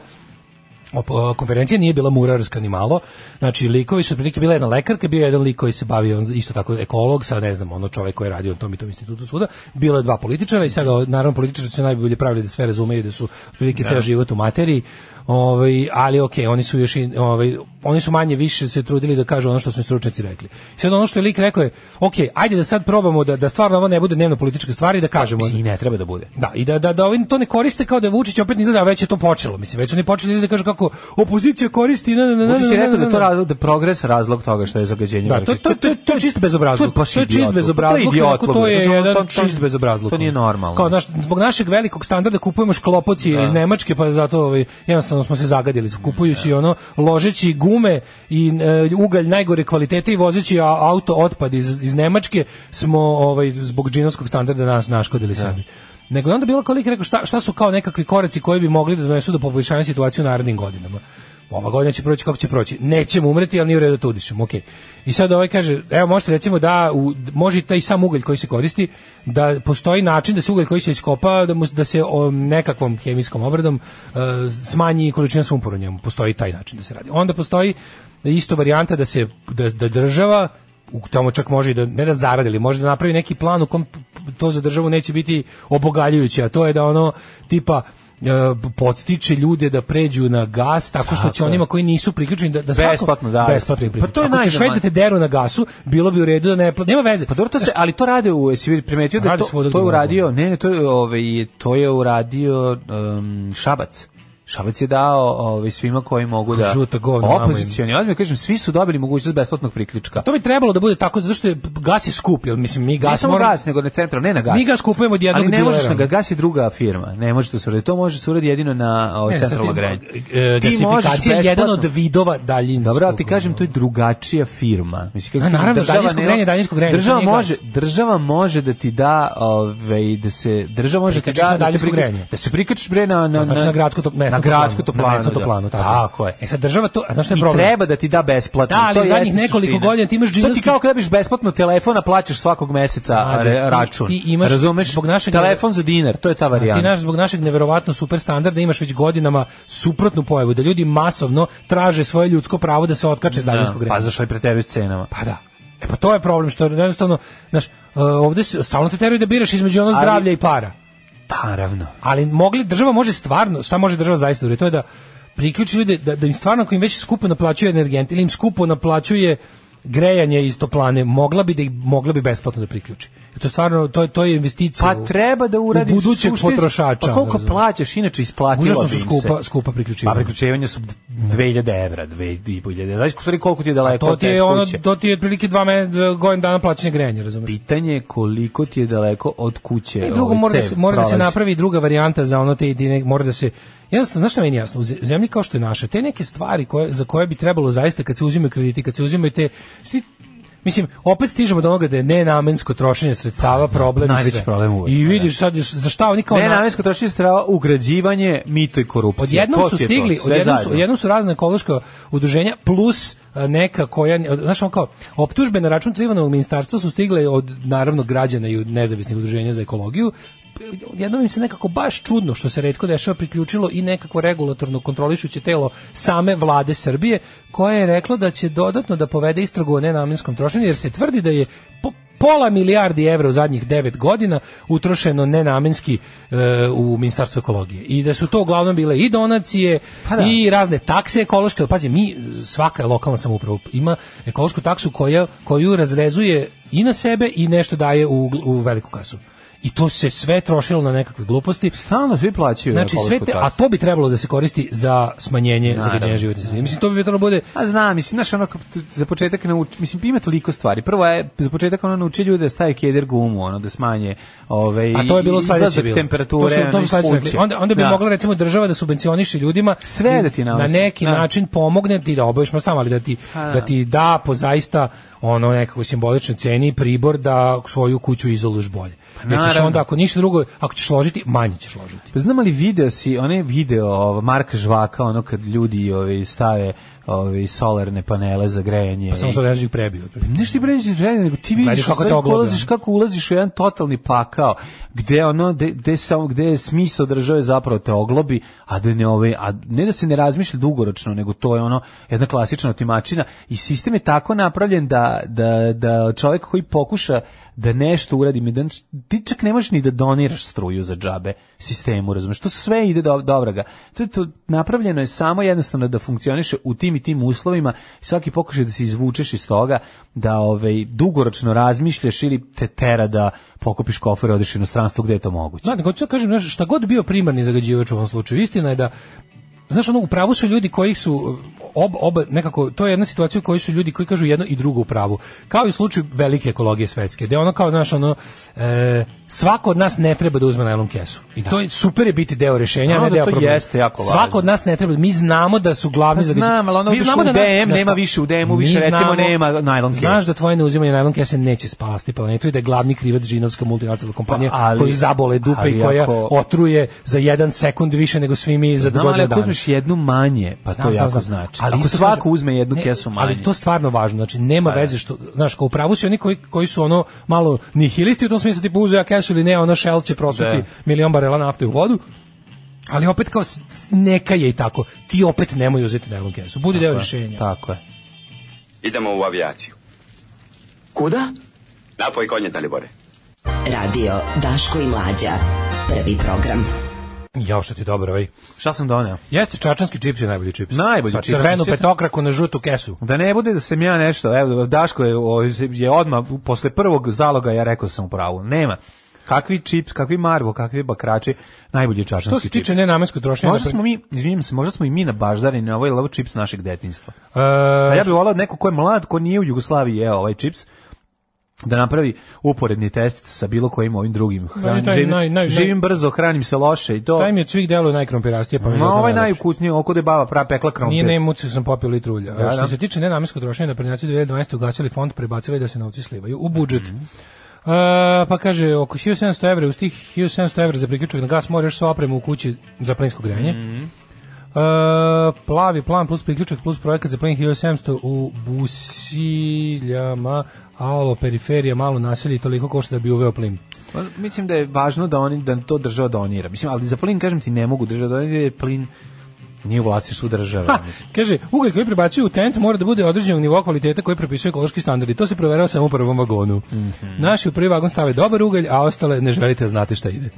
[SPEAKER 5] op- konferencija nije bila murarska ni malo. Znači, likovi su otprilike bila jedna lekarka, bio je jedan lik koji se bavio on isto tako ekolog, sad ne znam, ono čovek koji je radio u tom i tom institutu svuda. Bilo je dva političara i sad, o, naravno, političari su se najbolje pravili da sve razumeju, da su otprilike ceo život u materiji. Ovaj, ali ok, oni su još i, ovaj, oni su manje više se trudili da kažu ono što su im stručnjaci rekli. I sad ono što je lik rekao je, ok, ajde da sad probamo da, da stvarno ovo ne bude dnevno politička stvar i da kažemo.
[SPEAKER 6] mislim, I ne treba da bude.
[SPEAKER 5] Da, i da, da, da ovi to ne koriste kao da je Vučić opet ne izlazi, a već je to počelo, mislim, već su oni počeli izlazi da kažu kako opozicija koristi, na, na, na, na,
[SPEAKER 6] Vučić
[SPEAKER 5] na,
[SPEAKER 6] je
[SPEAKER 5] na,
[SPEAKER 6] rekao da je
[SPEAKER 5] na,
[SPEAKER 6] to
[SPEAKER 5] na.
[SPEAKER 6] razlog, da je progres razlog toga što je zagađenje.
[SPEAKER 5] Da, to,
[SPEAKER 6] Amerike.
[SPEAKER 5] to, to, to je čist bezobrazluk.
[SPEAKER 6] To je baš
[SPEAKER 5] čist
[SPEAKER 6] idiotluk.
[SPEAKER 5] bezobrazluk.
[SPEAKER 6] To je idiotluk,
[SPEAKER 5] onako, To je
[SPEAKER 6] razumem,
[SPEAKER 5] jedan
[SPEAKER 6] to- to-
[SPEAKER 5] čist bezobrazluk.
[SPEAKER 6] to nije normalno. Da.
[SPEAKER 5] Kao, naš, zbog našeg velikog standarda kupujemo šklopoci iz Nemačke, pa zato ovaj, jednostavno smo se zagadili.
[SPEAKER 6] Da.
[SPEAKER 5] Kupujući ono, ložeći gume i e, ugalj najgore kvalitete i vozeći a- auto otpad iz, iz Nemačke, smo ovaj, zbog džinovskog standarda nas naškodili
[SPEAKER 6] Da.
[SPEAKER 5] sebi. Nego je onda bilo koliko rekao šta, šta su kao nekakvi koreci koji bi mogli da donesu do poboljšanja situacije u narednim godinama ova godina će proći kako će proći. Nećemo umreti, ali nije u redu da to udišemo. Okay. I sad ovaj kaže, evo možete recimo da u, može i taj sam ugalj koji se koristi, da postoji način da se ugalj koji se iskopa, da, mu, da se o, nekakvom hemijskom obradom e, smanji količina sumpora u njemu. Postoji taj način da se radi. Onda postoji isto varijanta da se da, da država u tamo čak može i da ne da zaradi, ali može da napravi neki plan u kom p- p- to za državu neće biti obogaljujuće, a to je da ono tipa e, podstiče ljude da pređu na gas tako što će
[SPEAKER 6] Tako je.
[SPEAKER 5] onima koji nisu priključeni da, da svako-
[SPEAKER 6] Besplatno daje.
[SPEAKER 5] besplatno im
[SPEAKER 6] Pa to je
[SPEAKER 5] priključe. Ako ćeš
[SPEAKER 6] najnormalnije.
[SPEAKER 5] već da te deru na gasu, bilo bi u redu da ne pla- nema veze.
[SPEAKER 6] Pa dobro, to se, ali to rade u, jesi vidi, primetio da je
[SPEAKER 5] Radi
[SPEAKER 6] to,
[SPEAKER 5] svuda
[SPEAKER 6] to je
[SPEAKER 5] gde
[SPEAKER 6] uradio, ne, ne, to je, ovaj, to je uradio um, Šabac. Šabac je dao ovaj, svima koji mogu da...
[SPEAKER 5] Žuto govno, mama im.
[SPEAKER 6] Opozicioni, odmah kažem, svi su dobili mogućnost besplatnog priključka.
[SPEAKER 5] To bi trebalo da bude tako zato što je gas je skup, jel mislim mi
[SPEAKER 6] Ne
[SPEAKER 5] gas
[SPEAKER 6] samo
[SPEAKER 5] moramo-
[SPEAKER 6] gas, nego na centru, ne na gas.
[SPEAKER 5] Mi gas kupujemo od jednog
[SPEAKER 6] Ali ne
[SPEAKER 5] dilera.
[SPEAKER 6] možeš na gas, gas je druga firma. Ne može to se uradi. To može se uradi jedino na ovaj,
[SPEAKER 5] Ne, sad ti-
[SPEAKER 6] centralno grejanje.
[SPEAKER 5] e, gasifikacija je jedan od
[SPEAKER 6] besplatno-
[SPEAKER 5] vidova daljinskog.
[SPEAKER 6] Dobro, ali ti kažem, to je drugačija firma. Mislim,
[SPEAKER 5] A, Da, naravno,
[SPEAKER 6] država
[SPEAKER 5] daljinsko
[SPEAKER 6] nema-
[SPEAKER 5] grejanje je daljinsko grejanje,
[SPEAKER 6] Država
[SPEAKER 5] to nije
[SPEAKER 6] može, država može da ti da, ovaj, da se, država može da ti
[SPEAKER 5] Prikačiš na
[SPEAKER 6] da, da, ti
[SPEAKER 5] daljinsko
[SPEAKER 6] prikačiš-
[SPEAKER 5] grejanje.
[SPEAKER 6] da se prikačiš bre na, na,
[SPEAKER 5] Znači na gradsku to, mesnu
[SPEAKER 6] na gradsku toplanu.
[SPEAKER 5] Na mesnu
[SPEAKER 6] da.
[SPEAKER 5] toplanu, tako.
[SPEAKER 6] Tako je.
[SPEAKER 5] E sad država to, a znaš šta je
[SPEAKER 6] I
[SPEAKER 5] problem?
[SPEAKER 6] treba da ti da besplatno.
[SPEAKER 5] Da, ali
[SPEAKER 6] to
[SPEAKER 5] u zadnjih
[SPEAKER 6] jeste
[SPEAKER 5] nekoliko
[SPEAKER 6] suština.
[SPEAKER 5] godina ti imaš
[SPEAKER 6] To ti
[SPEAKER 5] džinovski-
[SPEAKER 6] kao kada biš besplatno telefon, a plaćaš svakog meseca
[SPEAKER 5] Mlađe,
[SPEAKER 6] re-
[SPEAKER 5] ti-
[SPEAKER 6] račun.
[SPEAKER 5] ti imaš
[SPEAKER 6] Razumeš?
[SPEAKER 5] zbog našeg-
[SPEAKER 6] Telefon za dinar, to je ta
[SPEAKER 5] Ti
[SPEAKER 6] varijanta.
[SPEAKER 5] naš, zbog našeg neverovatno super standarda imaš već godinama suprotnu pojavu da ljudi masovno traže svoje ljudsko pravo da se otkače iz daljinskog
[SPEAKER 6] Da, Pa
[SPEAKER 5] grejanja.
[SPEAKER 6] zašto je preteruju s cenama?
[SPEAKER 5] Pa da. E pa to je problem što jednostavno, znaš, e, ovde se stalno te teraju da biraš između ono
[SPEAKER 6] Ali-
[SPEAKER 5] zdravlja i para.
[SPEAKER 6] Pa, Naravno.
[SPEAKER 5] Ali mogli država može stvarno, šta može država zaista uraditi, to je da priključi ljude da, da im stvarno ako im već skupo naplaćuje energent ili im skupo naplaćuje grejanje iz toplane, mogla bi da ih, mogla bi besplatno da priključi. Jer To je stvarno to je to je investicija.
[SPEAKER 6] Pa
[SPEAKER 5] u-
[SPEAKER 6] treba da uradi
[SPEAKER 5] u budućeg potrošača.
[SPEAKER 6] Pa koliko
[SPEAKER 5] razumeš.
[SPEAKER 6] plaćaš, inače isplatilo
[SPEAKER 5] Užasno
[SPEAKER 6] bi
[SPEAKER 5] su
[SPEAKER 6] im
[SPEAKER 5] skupa,
[SPEAKER 6] se.
[SPEAKER 5] skupa
[SPEAKER 6] Pa
[SPEAKER 5] priključivanja.
[SPEAKER 6] priključivanje su 2000 evra, 2500. Znaš u stvari koliko ti je daleko
[SPEAKER 5] to
[SPEAKER 6] od
[SPEAKER 5] ti
[SPEAKER 6] te
[SPEAKER 5] je ono,
[SPEAKER 6] kuće?
[SPEAKER 5] to ti je otprilike dva me, dva godina dana plaćanja grejanja, razumiješ?
[SPEAKER 6] Pitanje je koliko ti je daleko od kuće.
[SPEAKER 5] I drugo
[SPEAKER 6] ovaj
[SPEAKER 5] mora da
[SPEAKER 6] cev
[SPEAKER 5] se mora da se
[SPEAKER 6] prolazi.
[SPEAKER 5] napravi druga varijanta za ono te idine, mora da se jednostavno znaš šta meni je jasno u ze- zemlji kao što je naša te neke stvari koje za koje bi trebalo zaista kad se uzimaju krediti, kad se uzimaju te svi Mislim, opet stižemo do onoga da je nenamensko trošenje sredstava problem i
[SPEAKER 6] najveći
[SPEAKER 5] sve.
[SPEAKER 6] problem uvek,
[SPEAKER 5] I
[SPEAKER 6] da.
[SPEAKER 5] vidiš sad još- za šta oni kao
[SPEAKER 6] Ne,
[SPEAKER 5] na-
[SPEAKER 6] namensko trošenje strava, ugrađivanje, mito i korupcija. To
[SPEAKER 5] Odjednom su
[SPEAKER 6] ti je to,
[SPEAKER 5] stigli,
[SPEAKER 6] sve
[SPEAKER 5] odjednom su,
[SPEAKER 6] zajedno.
[SPEAKER 5] odjednom su razne ekološka udruženja plus e, neka koja, znaš ono kao, optužbe na račun Trivanovog ministarstva su stigle od naravno građana i od nezavisnih udruženja za ekologiju, odjednom im se nekako baš čudno što se redko dešava priključilo i nekako regulatorno kontrolišuće telo same vlade Srbije koje je reklo da će dodatno da povede istragu o nenamenskom trošenju jer se tvrdi da je po- pola milijardi evra u zadnjih devet godina utrošeno nenamenski e, u Ministarstvu ekologije. I da su to uglavnom bile i donacije
[SPEAKER 6] Pa da.
[SPEAKER 5] i razne takse ekološke. Pazi, mi, svaka lokalna samouprava ima ekološku taksu koja, koju razrezuje i na sebe i nešto daje u, gl- u veliku kasu. i to se sve trošilo na nekakve gluposti.
[SPEAKER 6] Stalno svi plaćaju.
[SPEAKER 5] Znači sve te, a to bi trebalo da se koristi za smanjenje
[SPEAKER 6] Naravno.
[SPEAKER 5] zagađenja životne sredine. Mislim to bi trebalo da bude
[SPEAKER 6] A znam, mislim, znaš, ono, kao t- za početak nauči, mislim, ima toliko stvari. Prvo je, za početak ono nauči ljude da staje keder gumu, ono, da smanje ove,
[SPEAKER 5] A to je bilo sledeće bilo.
[SPEAKER 6] temperature,
[SPEAKER 5] To su- to
[SPEAKER 6] ono,
[SPEAKER 5] su
[SPEAKER 6] iz
[SPEAKER 5] sledeće
[SPEAKER 6] kuće.
[SPEAKER 5] rekli. Onda, onda bi
[SPEAKER 6] Da.
[SPEAKER 5] mogla recimo država da subvencioniše ljudima
[SPEAKER 6] Sve da ti
[SPEAKER 5] na
[SPEAKER 6] namesti.
[SPEAKER 5] neki
[SPEAKER 6] Da.
[SPEAKER 5] način pomogne ti da obaviš, ma sam, ali da ti,
[SPEAKER 6] Pa da.
[SPEAKER 5] da ti da po zaista ono nekako simboličnoj ceni pribor da svoju kuću izoluješ bolje. Jer ćeš
[SPEAKER 6] Pa naravno.
[SPEAKER 5] onda, ako ništa drugo, ako ćeš ložiti, manje ćeš ložiti.
[SPEAKER 6] Pa Znam li video si, onaj video ova, Marka Žvaka, ono kad ljudi ove, stave ove, solarne panele za grejanje.
[SPEAKER 5] Pa samo
[SPEAKER 6] i-
[SPEAKER 5] što energiju prebio.
[SPEAKER 6] Nešto ti pređe žene, nego ti vidiš
[SPEAKER 5] Gledaš
[SPEAKER 6] kako
[SPEAKER 5] kako te
[SPEAKER 6] kako
[SPEAKER 5] oglobi,
[SPEAKER 6] ulaziš
[SPEAKER 5] ono.
[SPEAKER 6] kako ulaziš u jedan totalni pakao, gde ono gde, gde samo gde je smisao države zapravo te oglobi, a da ne ove, a ne da se ne razmišlja dugoročno, nego to je ono jedna klasična otimačina i sistem je tako napravljen da da da čovjek koji pokuša da nešto uradi, mi da ti čak ne možeš ni da doniraš struju za džabe sistemu, razumeš? To sve ide do, dobra ga. To je to napravljeno je samo jednostavno da funkcioniše u tim i tim uslovima. Svaki pokušaj da se izvučeš iz toga, da ovaj dugoročno razmišljaš ili te tera da pokupiš kofer i odeš u inostranstvo gde je to moguće.
[SPEAKER 5] Da, nego ću kažem, znaš, šta god bio primarni zagađivač u ovom slučaju, istina je da znaš, ono, u pravu su ljudi koji su ob, oba, nekako, to je jedna situacija u kojoj su ljudi koji kažu jedno i drugo u pravu. Kao i u slučaju velike ekologije svetske, gde ono kao, znaš, ono, e, svako od nas ne treba da uzme najlon kesu. I to je super je biti deo rešenja, a
[SPEAKER 6] Da. Naravno
[SPEAKER 5] ne deo
[SPEAKER 6] da to
[SPEAKER 5] problema.
[SPEAKER 6] jeste jako
[SPEAKER 5] Svako
[SPEAKER 6] važno.
[SPEAKER 5] od nas ne treba, mi znamo da su glavni
[SPEAKER 6] Pa znam, ali ono
[SPEAKER 5] mi
[SPEAKER 6] odeš
[SPEAKER 5] znamo
[SPEAKER 6] u
[SPEAKER 5] da na-
[SPEAKER 6] DM,
[SPEAKER 5] znaš
[SPEAKER 6] nema
[SPEAKER 5] šta,
[SPEAKER 6] više u DM-u,
[SPEAKER 5] mi
[SPEAKER 6] više recimo nema najlon
[SPEAKER 5] Znaš
[SPEAKER 6] kesu.
[SPEAKER 5] da tvoje neuzimanje najlon kese neće spasti planetu i da je glavni krivac žinovska multinacionalna kompanija
[SPEAKER 6] Pa, ali-
[SPEAKER 5] koju zabole dupe
[SPEAKER 6] ali
[SPEAKER 5] i koja
[SPEAKER 6] ako-
[SPEAKER 5] otruje za jedan sekund više nego svi mi za
[SPEAKER 6] Znam, ali
[SPEAKER 5] godinu
[SPEAKER 6] ako
[SPEAKER 5] dana.
[SPEAKER 6] uzmeš jednu manje, pa
[SPEAKER 5] Znam,
[SPEAKER 6] to
[SPEAKER 5] znam,
[SPEAKER 6] jako
[SPEAKER 5] znam.
[SPEAKER 6] znači. ako
[SPEAKER 5] isto
[SPEAKER 6] svako
[SPEAKER 5] kažem-
[SPEAKER 6] uzme jednu
[SPEAKER 5] ne,
[SPEAKER 6] kesu manje. Pa da.
[SPEAKER 5] Ali to je stvarno važno, znači nema veze što, znaš, kao u pravu su oni koji, koji su ono malo nihilisti u tom smislu, tipu uzeo ja kesu ili ne, ono Shell će prosuti
[SPEAKER 6] Da.
[SPEAKER 5] milion barela nafte u vodu, ali opet kao s- neka je i tako, ti opet nemoj uzeti najlon kesu, budi deo rješenja.
[SPEAKER 6] Tako je.
[SPEAKER 8] Idemo u avijaciju.
[SPEAKER 4] Kuda?
[SPEAKER 8] Napoj konje, Dalibore.
[SPEAKER 4] Radio Daško i Mlađa. Prvi program.
[SPEAKER 5] Jao što ti je dobro, ovaj.
[SPEAKER 6] Šta sam doneo?
[SPEAKER 5] Jeste čačanski čips je najbolji čips.
[SPEAKER 6] Najbolji
[SPEAKER 5] Sa
[SPEAKER 6] čips.
[SPEAKER 5] crvenu
[SPEAKER 6] Sjeti-
[SPEAKER 5] petokraku na žutu kesu.
[SPEAKER 6] Da ne bude da sam ja nešto, evo, Daško je, o, je odmah, posle prvog zaloga ja rekao da sam u pravu, nema. Kakvi čips, kakvi marvo, kakvi bakrači, najbolji čačanski
[SPEAKER 5] To
[SPEAKER 6] čips.
[SPEAKER 5] se tiče nenamenskog trošenja.
[SPEAKER 6] Možda smo mi, izvinjam se, možda smo i mi na baždari na ovaj lov čips našeg detinjstva. A
[SPEAKER 5] E,
[SPEAKER 6] ja bih volao neko ko je mlad, ko nije u Jugoslaviji jeo ovaj čips, da napravi uporedni test sa bilo kojim ovim drugim. Hranim,
[SPEAKER 5] Da taj
[SPEAKER 6] živim,
[SPEAKER 5] naj- naj-
[SPEAKER 6] živim brzo, hranim se loše i to.
[SPEAKER 5] Taj E, mi od svih deluje najkrompirastije, pa mi je
[SPEAKER 6] Ma
[SPEAKER 5] zato
[SPEAKER 6] ovaj
[SPEAKER 5] najlepši.
[SPEAKER 6] najukusniji, oko da je baba pra pekla krompir.
[SPEAKER 5] Nije nemuci sam popio litru ulja.
[SPEAKER 6] Da,
[SPEAKER 5] Što
[SPEAKER 6] da.
[SPEAKER 5] se tiče nenamenskog trošenja, naprednjaci 2012. ugasili fond, prebacili da se novci slivaju u budžet.
[SPEAKER 6] Mhm.
[SPEAKER 5] E, pa kaže, oko 1700 evra, uz tih 1700 evra za priključak na gas moraš sva opremu u kući za plinsko grejanje.
[SPEAKER 6] Mhm.
[SPEAKER 5] E, plavi plan plus priključak plus projekat za plin 1700 u Busiljama, alo, periferija, malo naselje i toliko košta da bi uveo plin.
[SPEAKER 6] Pa, Mislim da je važno da oni da to država donira. Mislim, ali za plin kažem ti ne mogu država da donira jer plin nije u vlasništvu države.
[SPEAKER 5] <laughs> Ha,
[SPEAKER 6] mislim.
[SPEAKER 5] kaže, ugalj koji prebacuju u tent mora da bude određenog nivoa kvaliteta koji propisuje ekološki standardi. To se proverava samo u prvom vagonu. Naši u prvi vagon stave dobar ugalj, a ostale ne želite da znate šta ide.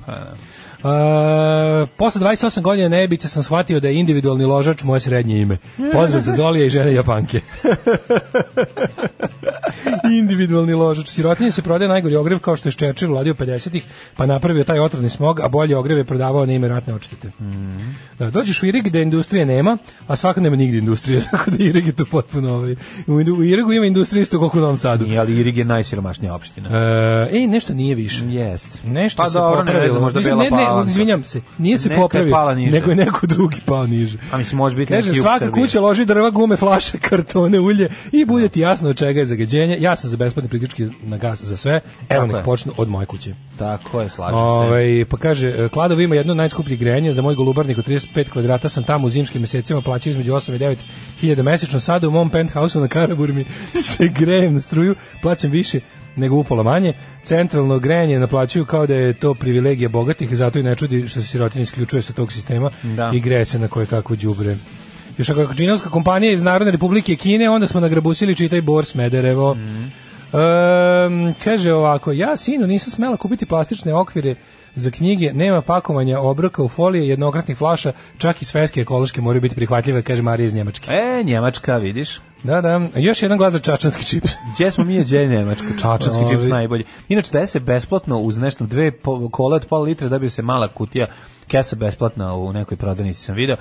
[SPEAKER 5] E, posle 28 godina nebice sam shvatio da je individualni ložač moje srednje ime. Pozdrav za Zolija i žene Japanke. <laughs> individualni ložač. Sirotinje se prodaje najgori ogrev kao što je Ščečer uladio 50-ih, pa napravio taj otrovni smog, a bolje ogrev je prodavao na ime ratne odštete.
[SPEAKER 6] Mhm.
[SPEAKER 5] Da, dođeš u Irig gde industrije nema, a svaka nema nigde industrije, <laughs> tako da Irig je to potpuno ovaj. U, Indu- u Irigu ima industrije isto koliko u Novom Sadu.
[SPEAKER 6] Nije, ali Irig je najsiromašnija opština.
[SPEAKER 5] E, ej, nešto nije više.
[SPEAKER 6] Jest.
[SPEAKER 5] Nešto
[SPEAKER 6] pa
[SPEAKER 5] se
[SPEAKER 6] dobro, ne
[SPEAKER 5] popravilo.
[SPEAKER 6] znam, možda
[SPEAKER 5] Mislim,
[SPEAKER 6] Bela
[SPEAKER 5] ne, ne,
[SPEAKER 6] Palanka.
[SPEAKER 5] izvinjam se. Nije se
[SPEAKER 6] Neka je
[SPEAKER 5] popravio,
[SPEAKER 6] pala niže.
[SPEAKER 5] nego je neko drugi pao niže.
[SPEAKER 6] Pa mislim, može biti
[SPEAKER 5] Kaže,
[SPEAKER 6] neki jug
[SPEAKER 5] svaka
[SPEAKER 6] Srbije.
[SPEAKER 5] kuća loži drva, gume, flaše, <laughs> kartone, ulje i bude ti jasno od čega je zagađenje. Ja sam za besplatne priključke na gas za sve. Evo
[SPEAKER 6] Tako
[SPEAKER 5] nek
[SPEAKER 6] je.
[SPEAKER 5] počnu od moje kuće.
[SPEAKER 6] Tako je, slažem se.
[SPEAKER 5] Ovaj pa kaže, e, Kladovo ima jedno najskuplje grejanje, za moj golubarnik od 35 kvadrata sam tamo u zimskim mesecima plaćao između 8 i 9 hiljada mesečno, sada u mom penthouse na Karaburmi <laughs> se grejem na struju, plaćam više nego upola manje. Centralno grejanje naplaćuju kao da je to privilegija bogatih, zato i ne čudi što se sirotin isključuje sa tog sistema
[SPEAKER 6] Da.
[SPEAKER 5] i greje se na koje kakvo đubre. Još ako je džinovska kompanija iz Narodne republike Kine, onda smo nagrabusili čitaj Bor Smederevo. Ehm, kaže ovako, ja sinu nisam smela kupiti plastične okvire za knjige, nema pakovanja obroka u folije, jednokratnih flaša, čak i sveske ekološke moraju biti prihvatljive, kaže Marija iz Njemačke.
[SPEAKER 6] E, Njemačka, vidiš.
[SPEAKER 5] Da, da. Još jedan glas za čačanski čips. <laughs>
[SPEAKER 6] Gdje smo mi, a gdje je Nemačka? Čačanski čips najbolji. Inače, daje se besplatno uz nešto dve po- kola od pola litra, dobio se mala kutija, kesa besplatna u nekoj prodavnici sam video.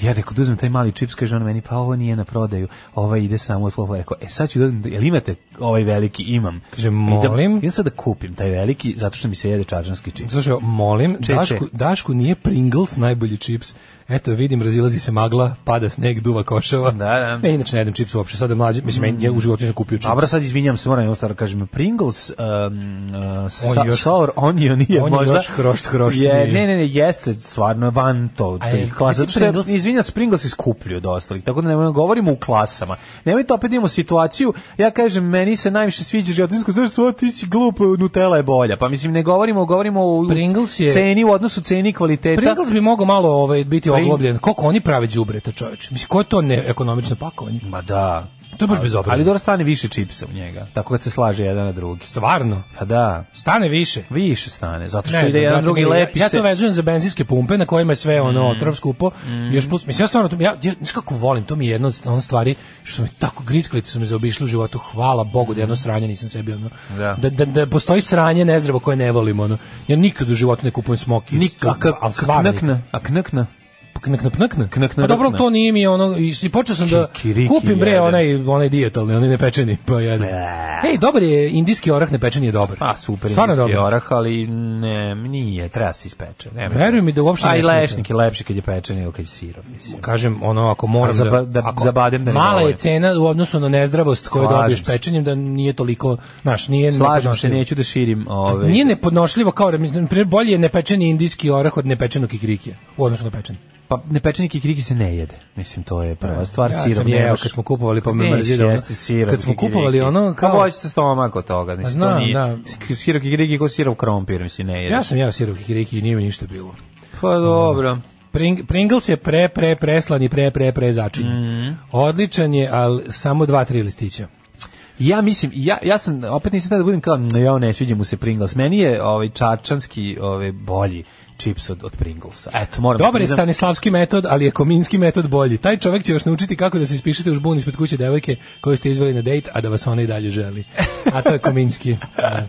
[SPEAKER 6] Ja rekao, da uzmem taj mali čips, kaže on meni, pa ovo nije na prodaju, ovaj ide samo od kola. Rekao, e sad ću dodam, jel imate ovaj veliki? Imam.
[SPEAKER 5] Kaže,
[SPEAKER 6] Idem-
[SPEAKER 5] molim.
[SPEAKER 6] Idem sad da kupim taj veliki, zato što mi se jede čačanski čips.
[SPEAKER 5] Slušaj, molim,
[SPEAKER 6] Če, če.
[SPEAKER 5] Dašku, Dašku nije Pringles najbolji čips. Eto, vidim, razilazi se magla, pada sneg, duva košava.
[SPEAKER 6] Da, da.
[SPEAKER 5] Ne, inače ne jedem čips uopšte, sad je mlađi, mislim, ja u životu nisam kupio čips.
[SPEAKER 6] Abra, sad izvinjam se, moram jednu stvar da kažem. Pringles, um, uh, sa,
[SPEAKER 5] On još-
[SPEAKER 6] sour onion je
[SPEAKER 5] on je
[SPEAKER 6] možda...
[SPEAKER 5] još hrošt, hrošt
[SPEAKER 6] je,
[SPEAKER 5] nije.
[SPEAKER 6] ne, ne, ne, jeste stvarno van to.
[SPEAKER 5] A je-
[SPEAKER 6] tih klasa.
[SPEAKER 5] mislim,
[SPEAKER 6] Zato što je,
[SPEAKER 5] Pringles-
[SPEAKER 6] izvinjam se, Pringles je skuplji od ostalih. Tako da ne govorimo u klasama. Nemojte opet da imamo situaciju, ja kažem, meni se najviše sviđa životinsko, zato što "O, ti si glup, Nutella je bolja. Pa mislim, ne govorimo, govorimo o
[SPEAKER 5] Pringles je-
[SPEAKER 6] ceni, u odnosu ceni i kvaliteta.
[SPEAKER 5] Pringles bi mogao malo ovaj, biti
[SPEAKER 6] Pring-
[SPEAKER 5] oglobljen. Koliko oni prave đubreta, čoveče? Mislim, ko je to neekonomično pakovanje?
[SPEAKER 6] Ma da.
[SPEAKER 5] To je baš
[SPEAKER 6] Ali
[SPEAKER 5] bezobrazno.
[SPEAKER 6] dobro stane više čipsa u njega. Tako kad se slaže jedan na drugi.
[SPEAKER 5] Stvarno,
[SPEAKER 6] Pa da.
[SPEAKER 5] stane više.
[SPEAKER 6] Više stane, zato što
[SPEAKER 5] Ne
[SPEAKER 6] ide
[SPEAKER 5] znam,
[SPEAKER 6] jedan
[SPEAKER 5] brate,
[SPEAKER 6] drugi
[SPEAKER 5] ja-
[SPEAKER 6] lepi
[SPEAKER 5] ja,
[SPEAKER 6] se. Mm.
[SPEAKER 5] to vezujem za benzinske pumpe na kojima je sve ono otrov skupo. Još plus, mislim ja stvarno to- ja, ja znaš kako volim, to mi je jedna od ono stvari što mi tako grickalice su me zaobišle u životu. Hvala Bogu da jedno sranje nisam sebi ono.
[SPEAKER 6] Mm. Da.
[SPEAKER 5] Da, da, da postoji sranje nezdravo koje ne volim ono. Ja nikad u životu ne kupujem smoki.
[SPEAKER 6] Nikak,
[SPEAKER 5] al stvarno. nikad.
[SPEAKER 6] knakna, a knakna.
[SPEAKER 5] Knak, knak, knak, knak.
[SPEAKER 6] Knak,
[SPEAKER 5] Pa
[SPEAKER 6] knak,
[SPEAKER 5] dobro,
[SPEAKER 6] knak.
[SPEAKER 5] to nije mi ono, i, i počeo sam da
[SPEAKER 6] Kikiriki
[SPEAKER 5] kupim bre
[SPEAKER 6] jedan.
[SPEAKER 5] onaj, onaj dijetalni, onaj nepečeni, pa jedan. Ej, dobar je, indijski orah nepečeni je dobar.
[SPEAKER 6] Pa super
[SPEAKER 5] Stvarno
[SPEAKER 6] je
[SPEAKER 5] dobar.
[SPEAKER 6] orah, ali ne, nije, treba se ispeče. Ne,
[SPEAKER 5] Veruj mi da uopšte
[SPEAKER 6] A
[SPEAKER 5] ne
[SPEAKER 6] i
[SPEAKER 5] smeta.
[SPEAKER 6] lešnik je lepši kad je pečen nego kad je sirov, mislim.
[SPEAKER 5] kažem ono ako moram
[SPEAKER 6] A za
[SPEAKER 5] da,
[SPEAKER 6] ba- da-
[SPEAKER 5] ako
[SPEAKER 6] za badem da ne
[SPEAKER 5] mala je
[SPEAKER 6] dovolim.
[SPEAKER 5] cena u odnosu na nezdravost koju
[SPEAKER 6] Slažem
[SPEAKER 5] dobiješ
[SPEAKER 6] se.
[SPEAKER 5] pečenjem da nije toliko znaš nije
[SPEAKER 6] Slažem se,
[SPEAKER 5] nepodnošljivo.
[SPEAKER 6] neću da širim ove...
[SPEAKER 5] nije nepodnošljivo kao mislim, na primjer bolje je nepečeni indijski orah od nepečenog kikrikija u odnosu na pečeni
[SPEAKER 6] Pa nepečeni kikiriki se ne jede. Mislim, to je prva stvar.
[SPEAKER 5] ja
[SPEAKER 6] sirov
[SPEAKER 5] sam
[SPEAKER 6] ne
[SPEAKER 5] jeo
[SPEAKER 6] možeš-
[SPEAKER 5] kad smo kupovali pa me
[SPEAKER 6] Nećeš
[SPEAKER 5] mrzi da ono-
[SPEAKER 6] jesti sirov
[SPEAKER 5] kad smo
[SPEAKER 6] kikiriki.
[SPEAKER 5] kupovali ono
[SPEAKER 6] Pa
[SPEAKER 5] kao
[SPEAKER 6] boći se stomak od toga. Mislim,
[SPEAKER 5] znam,
[SPEAKER 6] to nije...
[SPEAKER 5] da.
[SPEAKER 6] s- Sirov kikiriki je kao sirov krompir, mislim, ne jede.
[SPEAKER 5] ja sam jeo sirov kikiriki i nije mi ništa bilo
[SPEAKER 6] Pa dobro.
[SPEAKER 5] Pring, Pringles je pre, pre, preslan i pre, pre, pre začinjen. Odličan je, ali samo dva, tri listića.
[SPEAKER 6] Ja mislim, ja, ja sam, opet nisam tada da budem kao, "Mm, ja ne sviđa mu se Pringles. Meni je ovaj, čačanski ovaj, bolji čips od, od Pringlesa. Eto, moram da
[SPEAKER 5] Dobar je
[SPEAKER 6] priznam.
[SPEAKER 5] stanislavski metod, ali je kominski metod bolji. Taj čovek će vas naučiti kako da se ispišete u žbun ispred kuće devojke koju ste izveli na dejt, a da vas ona i dalje želi. A to je
[SPEAKER 6] <laughs>
[SPEAKER 5] kominski. Da.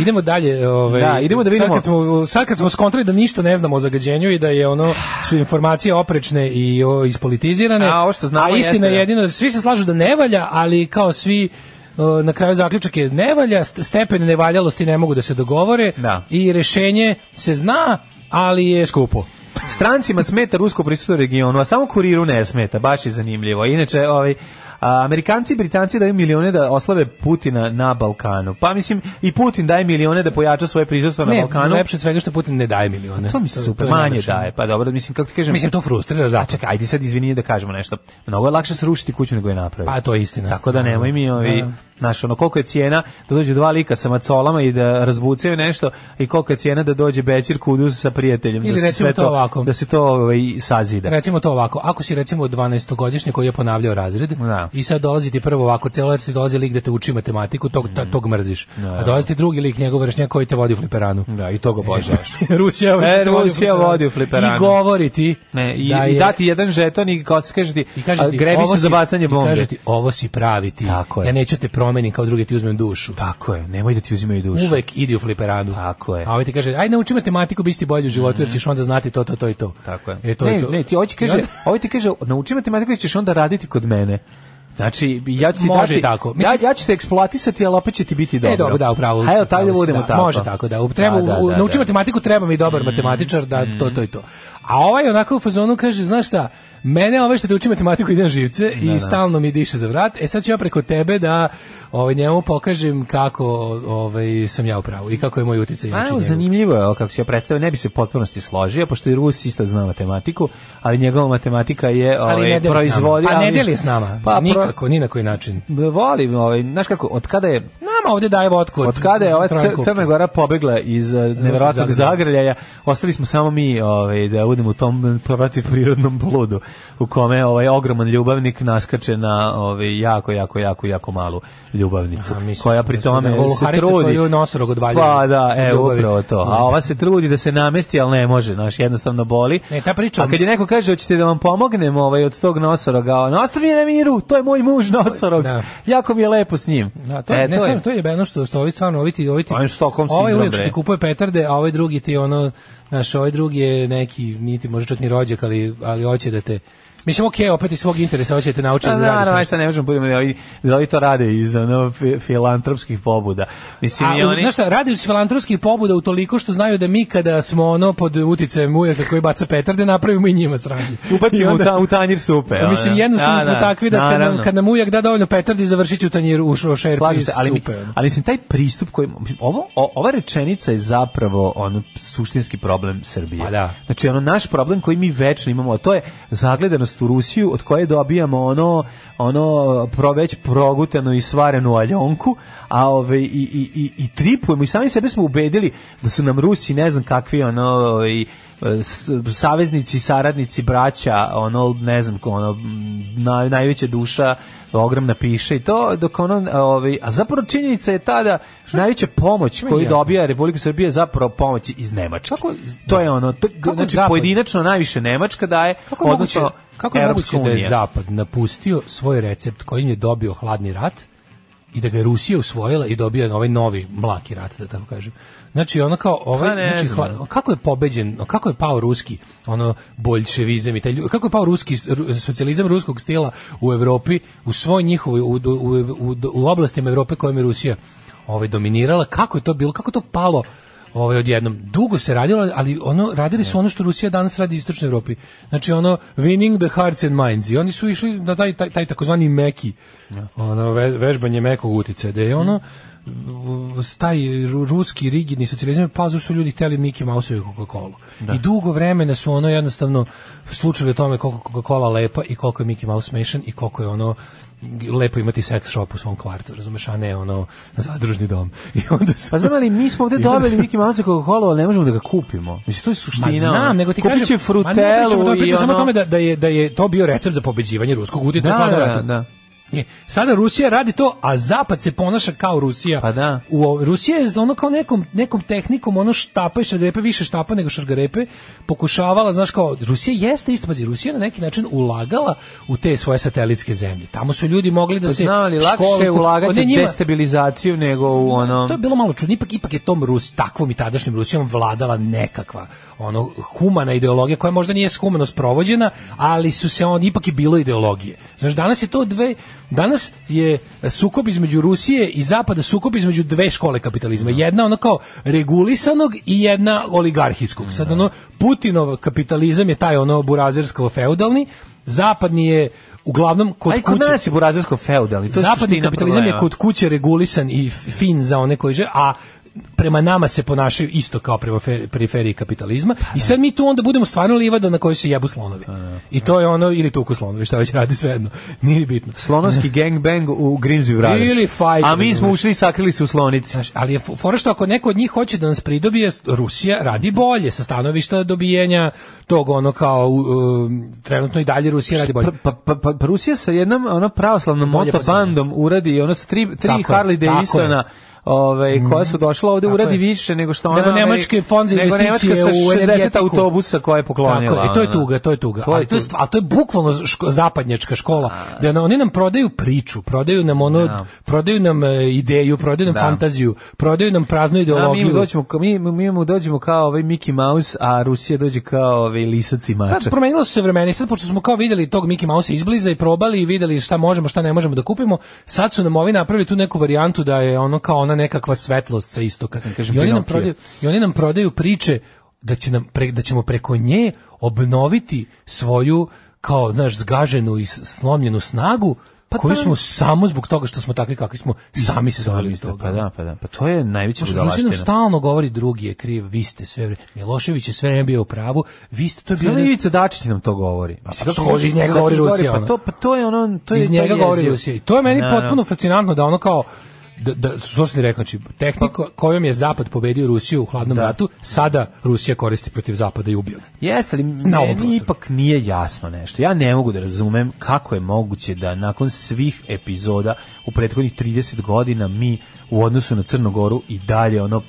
[SPEAKER 5] Idemo dalje. Ovaj,
[SPEAKER 6] Da, idemo da
[SPEAKER 5] Sad
[SPEAKER 6] vidimo.
[SPEAKER 5] kad smo, sad kad smo skontrali da ništa ne znamo o zagađenju i da je ono su informacije oprečne i o, ispolitizirane,
[SPEAKER 6] A, ovo što znamo
[SPEAKER 5] a istina
[SPEAKER 6] jeste,
[SPEAKER 5] je
[SPEAKER 6] da.
[SPEAKER 5] jedino, svi se slažu da ne valja, ali kao svi o, na kraju zaključak je ne valja, st- stepen nevaljalosti ne mogu da se dogovore
[SPEAKER 6] Da.
[SPEAKER 5] i rešenje se zna, ali je skupo.
[SPEAKER 6] Strancima smeta rusko prisutno u regionu, a samo kuriru ne smeta, baš je zanimljivo. Inače, ovaj, a, Amerikanci i Britanci daju milione da oslave Putina na Balkanu. Pa mislim, i Putin daje milione da pojača svoje prizorstvo na
[SPEAKER 5] ne,
[SPEAKER 6] Balkanu.
[SPEAKER 5] lepše od svega što Putin ne daje milione.
[SPEAKER 6] To mi se super,
[SPEAKER 5] je
[SPEAKER 6] manje
[SPEAKER 5] najlepše.
[SPEAKER 6] daje. Pa dobro, mislim, kako ti kažem...
[SPEAKER 5] Mislim, to frustrira zato.
[SPEAKER 6] Čekaj, ajde sad izvini da kažemo nešto. Mnogo je lakše srušiti kuću nego je napraviti.
[SPEAKER 5] Pa, to je istina.
[SPEAKER 6] Tako da nemoj mi ovi,
[SPEAKER 5] Da.
[SPEAKER 6] znaš, ono, koliko je cijena da dođu dva lika sa macolama i da razbucaju nešto i koliko je cijena da dođe Bećir kuduz sa prijateljem.
[SPEAKER 5] Ili
[SPEAKER 6] da se
[SPEAKER 5] recimo
[SPEAKER 6] sve
[SPEAKER 5] to ovako.
[SPEAKER 6] Da se to ovaj, sazida.
[SPEAKER 5] Recimo to ovako, ako si recimo 12-godišnji koji je ponavljao razred
[SPEAKER 6] Da.
[SPEAKER 5] i sad dolazi ti prvo ovako, celo jer ti dolazi lik da te uči matematiku, tog,
[SPEAKER 6] Mm.
[SPEAKER 5] ta- tog mrziš. A dolazi ti drugi lik, njegov vršnjak koji te vodi u fliperanu.
[SPEAKER 6] Da, i to
[SPEAKER 5] E.
[SPEAKER 6] ga
[SPEAKER 5] <laughs>
[SPEAKER 6] božaš.
[SPEAKER 5] Rusija,
[SPEAKER 6] E,
[SPEAKER 5] te vodi u
[SPEAKER 6] <laughs> Rusija
[SPEAKER 5] fliperanu.
[SPEAKER 6] vodi u fliperanu.
[SPEAKER 5] I govori ti
[SPEAKER 6] Ne, i,
[SPEAKER 5] da
[SPEAKER 6] i
[SPEAKER 5] je-
[SPEAKER 6] dati jedan žeton i kao se kaže ti,
[SPEAKER 5] I kaže
[SPEAKER 6] a,
[SPEAKER 5] ti,
[SPEAKER 6] grebi
[SPEAKER 5] ovo
[SPEAKER 6] se za
[SPEAKER 5] si-
[SPEAKER 6] bacanje
[SPEAKER 5] i
[SPEAKER 6] bombe.
[SPEAKER 5] kaže ti, ovo si pravi ti.
[SPEAKER 6] Tako je.
[SPEAKER 5] Ja neću te promenim kao drugi ti uzmem dušu.
[SPEAKER 6] Tako je, nemoj da ti uzimaju dušu.
[SPEAKER 5] Uvek idi u fliperanu.
[SPEAKER 6] Tako je. Mhm.
[SPEAKER 5] A ovaj ti kaže, aj nauči matematiku, bit će ti bolji u životu, jer ćeš onda znati to, to, to i to.
[SPEAKER 6] Tako je.
[SPEAKER 5] E, to
[SPEAKER 6] ne,
[SPEAKER 5] je to.
[SPEAKER 6] ne, ti hoće
[SPEAKER 5] I
[SPEAKER 6] kaže,
[SPEAKER 5] onda-
[SPEAKER 6] hoće ti kaže, nauči matematiku i ćeš onda raditi kod mene. Znači, ja ću ti
[SPEAKER 5] Može
[SPEAKER 6] dati,
[SPEAKER 5] i tako.
[SPEAKER 6] Ja,
[SPEAKER 5] Mislim-
[SPEAKER 6] ja ću te eksploatisati, ali opet će ti biti dobro.
[SPEAKER 5] E, dobro, da, upravo.
[SPEAKER 6] Hajde, taj da
[SPEAKER 5] upravo si,
[SPEAKER 6] budemo tako.
[SPEAKER 5] Može tako, da. U- Treba,
[SPEAKER 6] Da, da,
[SPEAKER 5] u-
[SPEAKER 6] da,
[SPEAKER 5] nauči
[SPEAKER 6] da. Mhm.
[SPEAKER 5] matematiku, treba mi dobar matematičar, da, to, to i to. A ovaj onako u fazonu kaže, znaš šta, mene ove što te uči matematiku ide na živce
[SPEAKER 6] Da,
[SPEAKER 5] i stalno mi diše za vrat, e sad ću ja preko tebe da ovaj, njemu pokažem kako ovaj, sam ja u pravu i kako je moj utjecaj.
[SPEAKER 6] Pa,
[SPEAKER 5] jači
[SPEAKER 6] evo,
[SPEAKER 5] njegov.
[SPEAKER 6] zanimljivo je ovo kako se ja predstavio, ne bi se u potpunosti složio, pošto i Rus isto zna matematiku, ali njegova matematika je
[SPEAKER 5] Ali
[SPEAKER 6] ovaj,
[SPEAKER 5] ne deli s nama.
[SPEAKER 6] proizvodi...
[SPEAKER 5] Pa ne
[SPEAKER 6] ali-
[SPEAKER 5] deli s nama,
[SPEAKER 6] Pa, pro-
[SPEAKER 5] nikako, ni na koji način.
[SPEAKER 6] volim, ovaj, znaš kako, od kada je...
[SPEAKER 5] Na, nama ovde daje votku.
[SPEAKER 6] Od kada je ova cr,
[SPEAKER 5] Trajkovke.
[SPEAKER 6] Crna Gora pobegla iz eh, neverovatnog
[SPEAKER 5] zagrljaja.
[SPEAKER 6] zagrljaja, ostali smo samo mi ovaj, da budemo u tom protiv prirodnom bludu u kome ovaj ogroman ljubavnik naskače na ovaj, jako, jako, jako, jako malu ljubavnicu.
[SPEAKER 5] A, mislim,
[SPEAKER 6] koja pri
[SPEAKER 5] mislim,
[SPEAKER 6] tome
[SPEAKER 5] da,
[SPEAKER 6] se
[SPEAKER 5] voluharica
[SPEAKER 6] trudi.
[SPEAKER 5] koju nosorog odvaljuje
[SPEAKER 6] Pa da,
[SPEAKER 5] od
[SPEAKER 6] e,
[SPEAKER 5] ljubavi.
[SPEAKER 6] upravo to. A ova se trudi da se namesti, ali ne može, znaš, jednostavno boli.
[SPEAKER 5] Ne, ta priča-
[SPEAKER 6] A kad je neko kaže, hoćete da vam pomognem ovaj, od tog nosoroga, a on, ostavi me na miru, to je moj muž nosorog.
[SPEAKER 5] Da.
[SPEAKER 6] Jako mi je lepo s njim. E,
[SPEAKER 5] Da, to, je, ne, stvarno, to je jebeno što, što ovi stvarno, ovi ti, ovi ti,
[SPEAKER 6] Pa im Stockholm
[SPEAKER 5] ovaj
[SPEAKER 6] sindrom,
[SPEAKER 5] uvijek što
[SPEAKER 6] bre.
[SPEAKER 5] ti kupuje petarde, a ovaj drugi ti ono, znaš, ovaj drugi je neki, niti može čak ni rođak, ali, ali hoće da te, mislim, okej, opet iz svog interesa hoće da te nauči da,
[SPEAKER 6] Da,
[SPEAKER 5] radiš nešto.
[SPEAKER 6] naravno, aj sad ne možemo budemo da ovi, da ovi to rade iz ono, fi- filantropskih pobuda. Mislim, i
[SPEAKER 5] A,
[SPEAKER 6] oni...
[SPEAKER 5] znaš šta, radi iz filantropskih pobuda u toliko što znaju da mi kada smo ono pod uticajem ujaka koji baca petarde, napravimo i njima sranje. I
[SPEAKER 6] Ubacimo u,
[SPEAKER 5] onda-
[SPEAKER 6] ta, u tanjir supe.
[SPEAKER 5] Pa mislim,
[SPEAKER 6] ono.
[SPEAKER 5] jednostavno
[SPEAKER 6] Da,
[SPEAKER 5] smo
[SPEAKER 6] da,
[SPEAKER 5] takvi da kad nam,
[SPEAKER 6] naravno.
[SPEAKER 5] kad nam ujak da dovoljno petardi, završit će u tanjiru, u šo- šerpi
[SPEAKER 6] Slažem se, ali, mi-
[SPEAKER 5] supe, ono.
[SPEAKER 6] ali mislim, taj pristup koji... mislim, Ovo, o- ova rečenica je zapravo ono, suštinski problem Srbije.
[SPEAKER 5] Pa da.
[SPEAKER 6] Znači, ono, naš problem koji mi večno imamo, a to je zagledanost u Rusiju, od koje dobijamo ono, ono pro, već progutanu i svarenu aljonku, a ove, i, i, i, i tripujemo i sami sebe smo ubedili da su nam Rusi, ne znam kakvi, ono, i saveznici, saradnici, braća, ono, ne znam, ono, m, naj, najveća duša, ogromna piše i to, dok ono, a, ovaj, a zapravo činjenica je tada najveća pomoć
[SPEAKER 5] mi
[SPEAKER 6] koju
[SPEAKER 5] jasno.
[SPEAKER 6] dobija Republika Srbije je zapravo pomoć iz Nemačke.
[SPEAKER 5] Kako-
[SPEAKER 6] to je ono, to,
[SPEAKER 5] Kako
[SPEAKER 6] znači
[SPEAKER 5] zapad-
[SPEAKER 6] pojedinačno najviše Nemačka daje,
[SPEAKER 5] Kako je moguće,
[SPEAKER 6] odnosno
[SPEAKER 5] kako je
[SPEAKER 6] Evropska
[SPEAKER 5] moguće da je
[SPEAKER 6] unija.
[SPEAKER 5] Zapad napustio svoj recept kojim je dobio hladni rat i da ga je Rusija usvojila i dobio ovaj novi mlaki rat, da tako kažem. Znači, ono kao, ovaj,
[SPEAKER 6] Pa ne
[SPEAKER 5] znači,
[SPEAKER 6] znam.
[SPEAKER 5] hla- kako je pobeđen, kako je pao ruski, ono, boljševizam i taj lju- kako je pao ruski, s- ru- socijalizam ruskog stila u Evropi, u svoj njihovoj, u, u, u, u, u oblastima Evrope kojom je Rusija ovaj, dominirala, kako je to bilo, kako je to palo ovaj odjednom dugo se radilo ali ono radili su ono što Rusija danas radi u istočnoj Evropi znači ono winning the hearts and minds i oni su išli na taj taj, taj takozvani meki ono ve- vežbanje mekog uticaja da je ono v- v- taj ru- ruski rigidni socijalizam pa zato su ljudi hteli Mickey Mouse i Coca-Colu.
[SPEAKER 6] Da.
[SPEAKER 5] I dugo vremena su ono jednostavno slučali o tome koliko je Coca-Cola lepa i koliko je Mickey Mouse smešan i koliko je ono g- lepo imati sex shop u svom kvartu, razumeš, a ne ono zadružni dom. <laughs> I onda su
[SPEAKER 6] Pa znam ali mi smo ovde dobili Mickey Mouse i Coca-Cola, ali ne možemo da ga kupimo. Mislim, to je suština.
[SPEAKER 5] Ma znam, nego ti
[SPEAKER 6] Kupit će
[SPEAKER 5] kažem,
[SPEAKER 6] frutelu
[SPEAKER 5] ma ne pričamo o tome,
[SPEAKER 6] i
[SPEAKER 5] pričamo samo o
[SPEAKER 6] ono-
[SPEAKER 5] tome da, da, je, da je to bio recept za pobeđivanje ruskog utjecaja
[SPEAKER 6] Da,
[SPEAKER 5] hladnog
[SPEAKER 6] da,
[SPEAKER 5] rata.
[SPEAKER 6] da.
[SPEAKER 5] Je, E, sada Rusija radi to, a Zapad se ponaša kao Rusija.
[SPEAKER 6] Pa da.
[SPEAKER 5] U, o- Rusija je ono kao nekom, nekom tehnikom, ono štapa i šargarepe, više štapa nego šargarepe, pokušavala, znaš kao, Rusija jeste isto, pazi, Rusija je na neki način ulagala u te svoje satelitske zemlje. Tamo su ljudi mogli da
[SPEAKER 6] Pa
[SPEAKER 5] se...
[SPEAKER 6] znam, ali lakše
[SPEAKER 5] škole-
[SPEAKER 6] je ulagati
[SPEAKER 5] Ovdje
[SPEAKER 6] u
[SPEAKER 5] njima-
[SPEAKER 6] destabilizaciju nego u ono...
[SPEAKER 5] to je bilo malo čudno, ipak, ipak je tom Rus, takvom i tadašnjom Rusijom vladala nekakva ono, humana ideologija koja možda nije humano sprovođena, ali su se on, ipak je bilo ideologije. Znaš, danas je to dve, danas je sukob između Rusije i Zapada sukob između dve škole kapitalizma.
[SPEAKER 6] Da.
[SPEAKER 5] Jedna ono kao regulisanog i jedna oligarhijskog.
[SPEAKER 6] Da.
[SPEAKER 5] Sad ono, Putinov kapitalizam je taj ono burazersko-feudalni, zapadni je uglavnom kod
[SPEAKER 6] Aj, kod
[SPEAKER 5] kuće
[SPEAKER 6] nas je burazersko feudalni, to je
[SPEAKER 5] zapadni
[SPEAKER 6] suština
[SPEAKER 5] kapitalizam je
[SPEAKER 6] problema.
[SPEAKER 5] kod kuće regulisan i f- fin za one koji žele, a prema nama se ponašaju isto kao prema fe- periferiji kapitalizma i sad mi tu onda budemo stvarno livada na kojoj se jebu slonovi. I to je ono, ili tuku slonovi, šta već radi svejedno, nije bitno.
[SPEAKER 6] Slonovski gangbang u Grimsby Brothers.
[SPEAKER 5] Ili fight,
[SPEAKER 6] A mi smo
[SPEAKER 5] razumeš.
[SPEAKER 6] ušli i sakrili se u slonici.
[SPEAKER 5] Znaš, ali je fo- fora što ako neko od njih hoće da nas pridobije, Rusija radi bolje sa stanovišta dobijenja tog ono kao u- um, trenutno i dalje Rusija radi bolje.
[SPEAKER 6] Pa, pa, pa, pa, pa Rusija sa jednom ono pravoslavnom
[SPEAKER 5] Bolje
[SPEAKER 6] moto
[SPEAKER 5] poznanje.
[SPEAKER 6] bandom uradi ono sa tri, tri
[SPEAKER 5] Tako je,
[SPEAKER 6] Harley
[SPEAKER 5] tako je.
[SPEAKER 6] Davidsona ovaj, koja su došla ovde
[SPEAKER 5] Tako
[SPEAKER 6] uradi
[SPEAKER 5] je.
[SPEAKER 6] više nego što ona
[SPEAKER 5] Nego
[SPEAKER 6] ovaj,
[SPEAKER 5] nemački fond za
[SPEAKER 6] nego
[SPEAKER 5] investicije
[SPEAKER 6] Nemačka sa
[SPEAKER 5] u
[SPEAKER 6] 60
[SPEAKER 5] energetiku.
[SPEAKER 6] autobusa koja je poklonila
[SPEAKER 5] Tako je, i to je
[SPEAKER 6] ono.
[SPEAKER 5] tuga, to je tuga. ali, to je,
[SPEAKER 6] tuga.
[SPEAKER 5] stvar- ali to je bukvalno ško- zapadnjačka škola. Da na- oni nam prodaju priču, prodaju nam ono, prodaju nam e, ideju, prodaju nam
[SPEAKER 6] Da.
[SPEAKER 5] fantaziju, prodaju nam praznu
[SPEAKER 6] Da, mi
[SPEAKER 5] ideologiju.
[SPEAKER 6] mu dođemo kao- mi mi mu dođemo kao ovaj Mickey Mouse, a Rusija dođe kao ovaj lisac i
[SPEAKER 5] Pa,
[SPEAKER 6] mačak.
[SPEAKER 5] promenilo su se vremena i sad pošto smo kao videli tog Mickey Mouse izbliza i probali i videli šta možemo, šta ne možemo da kupimo, sad su nam ovi napravili tu neku varijantu da je ono kao ona nekakva svetlost sa istoka.
[SPEAKER 6] kažem
[SPEAKER 5] I oni, nam
[SPEAKER 6] Pinokio.
[SPEAKER 5] prodaju, I oni nam prodaju priče da, će nam pre- da ćemo preko nje obnoviti svoju kao, znaš, zgaženu i s- slomljenu snagu
[SPEAKER 6] Pa
[SPEAKER 5] koju smo samo zbog toga što smo takvi kakvi smo sami se doveli do toga.
[SPEAKER 6] Izvolite, Pa da, pa da. Pa to je najveća
[SPEAKER 5] Pošto Rusija nam
[SPEAKER 6] budalaština.
[SPEAKER 5] stalno govori drugi je kriv, vi ste sve vreme. Milošević je sve vreme bio u pravu, vi ste to je bio
[SPEAKER 6] Samo
[SPEAKER 5] jedan-
[SPEAKER 6] Ivica Dačić nam to govori. Mislim,
[SPEAKER 5] zato
[SPEAKER 6] kako
[SPEAKER 5] Pa, što iz njega
[SPEAKER 6] zato
[SPEAKER 5] govori
[SPEAKER 6] što
[SPEAKER 5] Rusija,
[SPEAKER 6] Pa
[SPEAKER 5] ono.
[SPEAKER 6] to, pa to je ono... To je,
[SPEAKER 5] iz
[SPEAKER 6] to je
[SPEAKER 5] njega govori
[SPEAKER 6] jezivo.
[SPEAKER 5] Rusija. I To je meni
[SPEAKER 6] Da, da.
[SPEAKER 5] potpuno fascinantno da ono kao da, da što sam ti rekao, znači, tehnika
[SPEAKER 6] Pa-
[SPEAKER 5] kojom je Zapad pobedio Rusiju u hladnom
[SPEAKER 6] Da.
[SPEAKER 5] ratu, sada Rusija koristi protiv Zapada i ubio ga.
[SPEAKER 6] Jeste li,
[SPEAKER 5] Na ovom prostoru.
[SPEAKER 6] meni ipak nije jasno nešto. Ja ne mogu da razumem kako je moguće da nakon svih epizoda u prethodnih 30 godina mi u odnosu na Crnogoru i dalje ono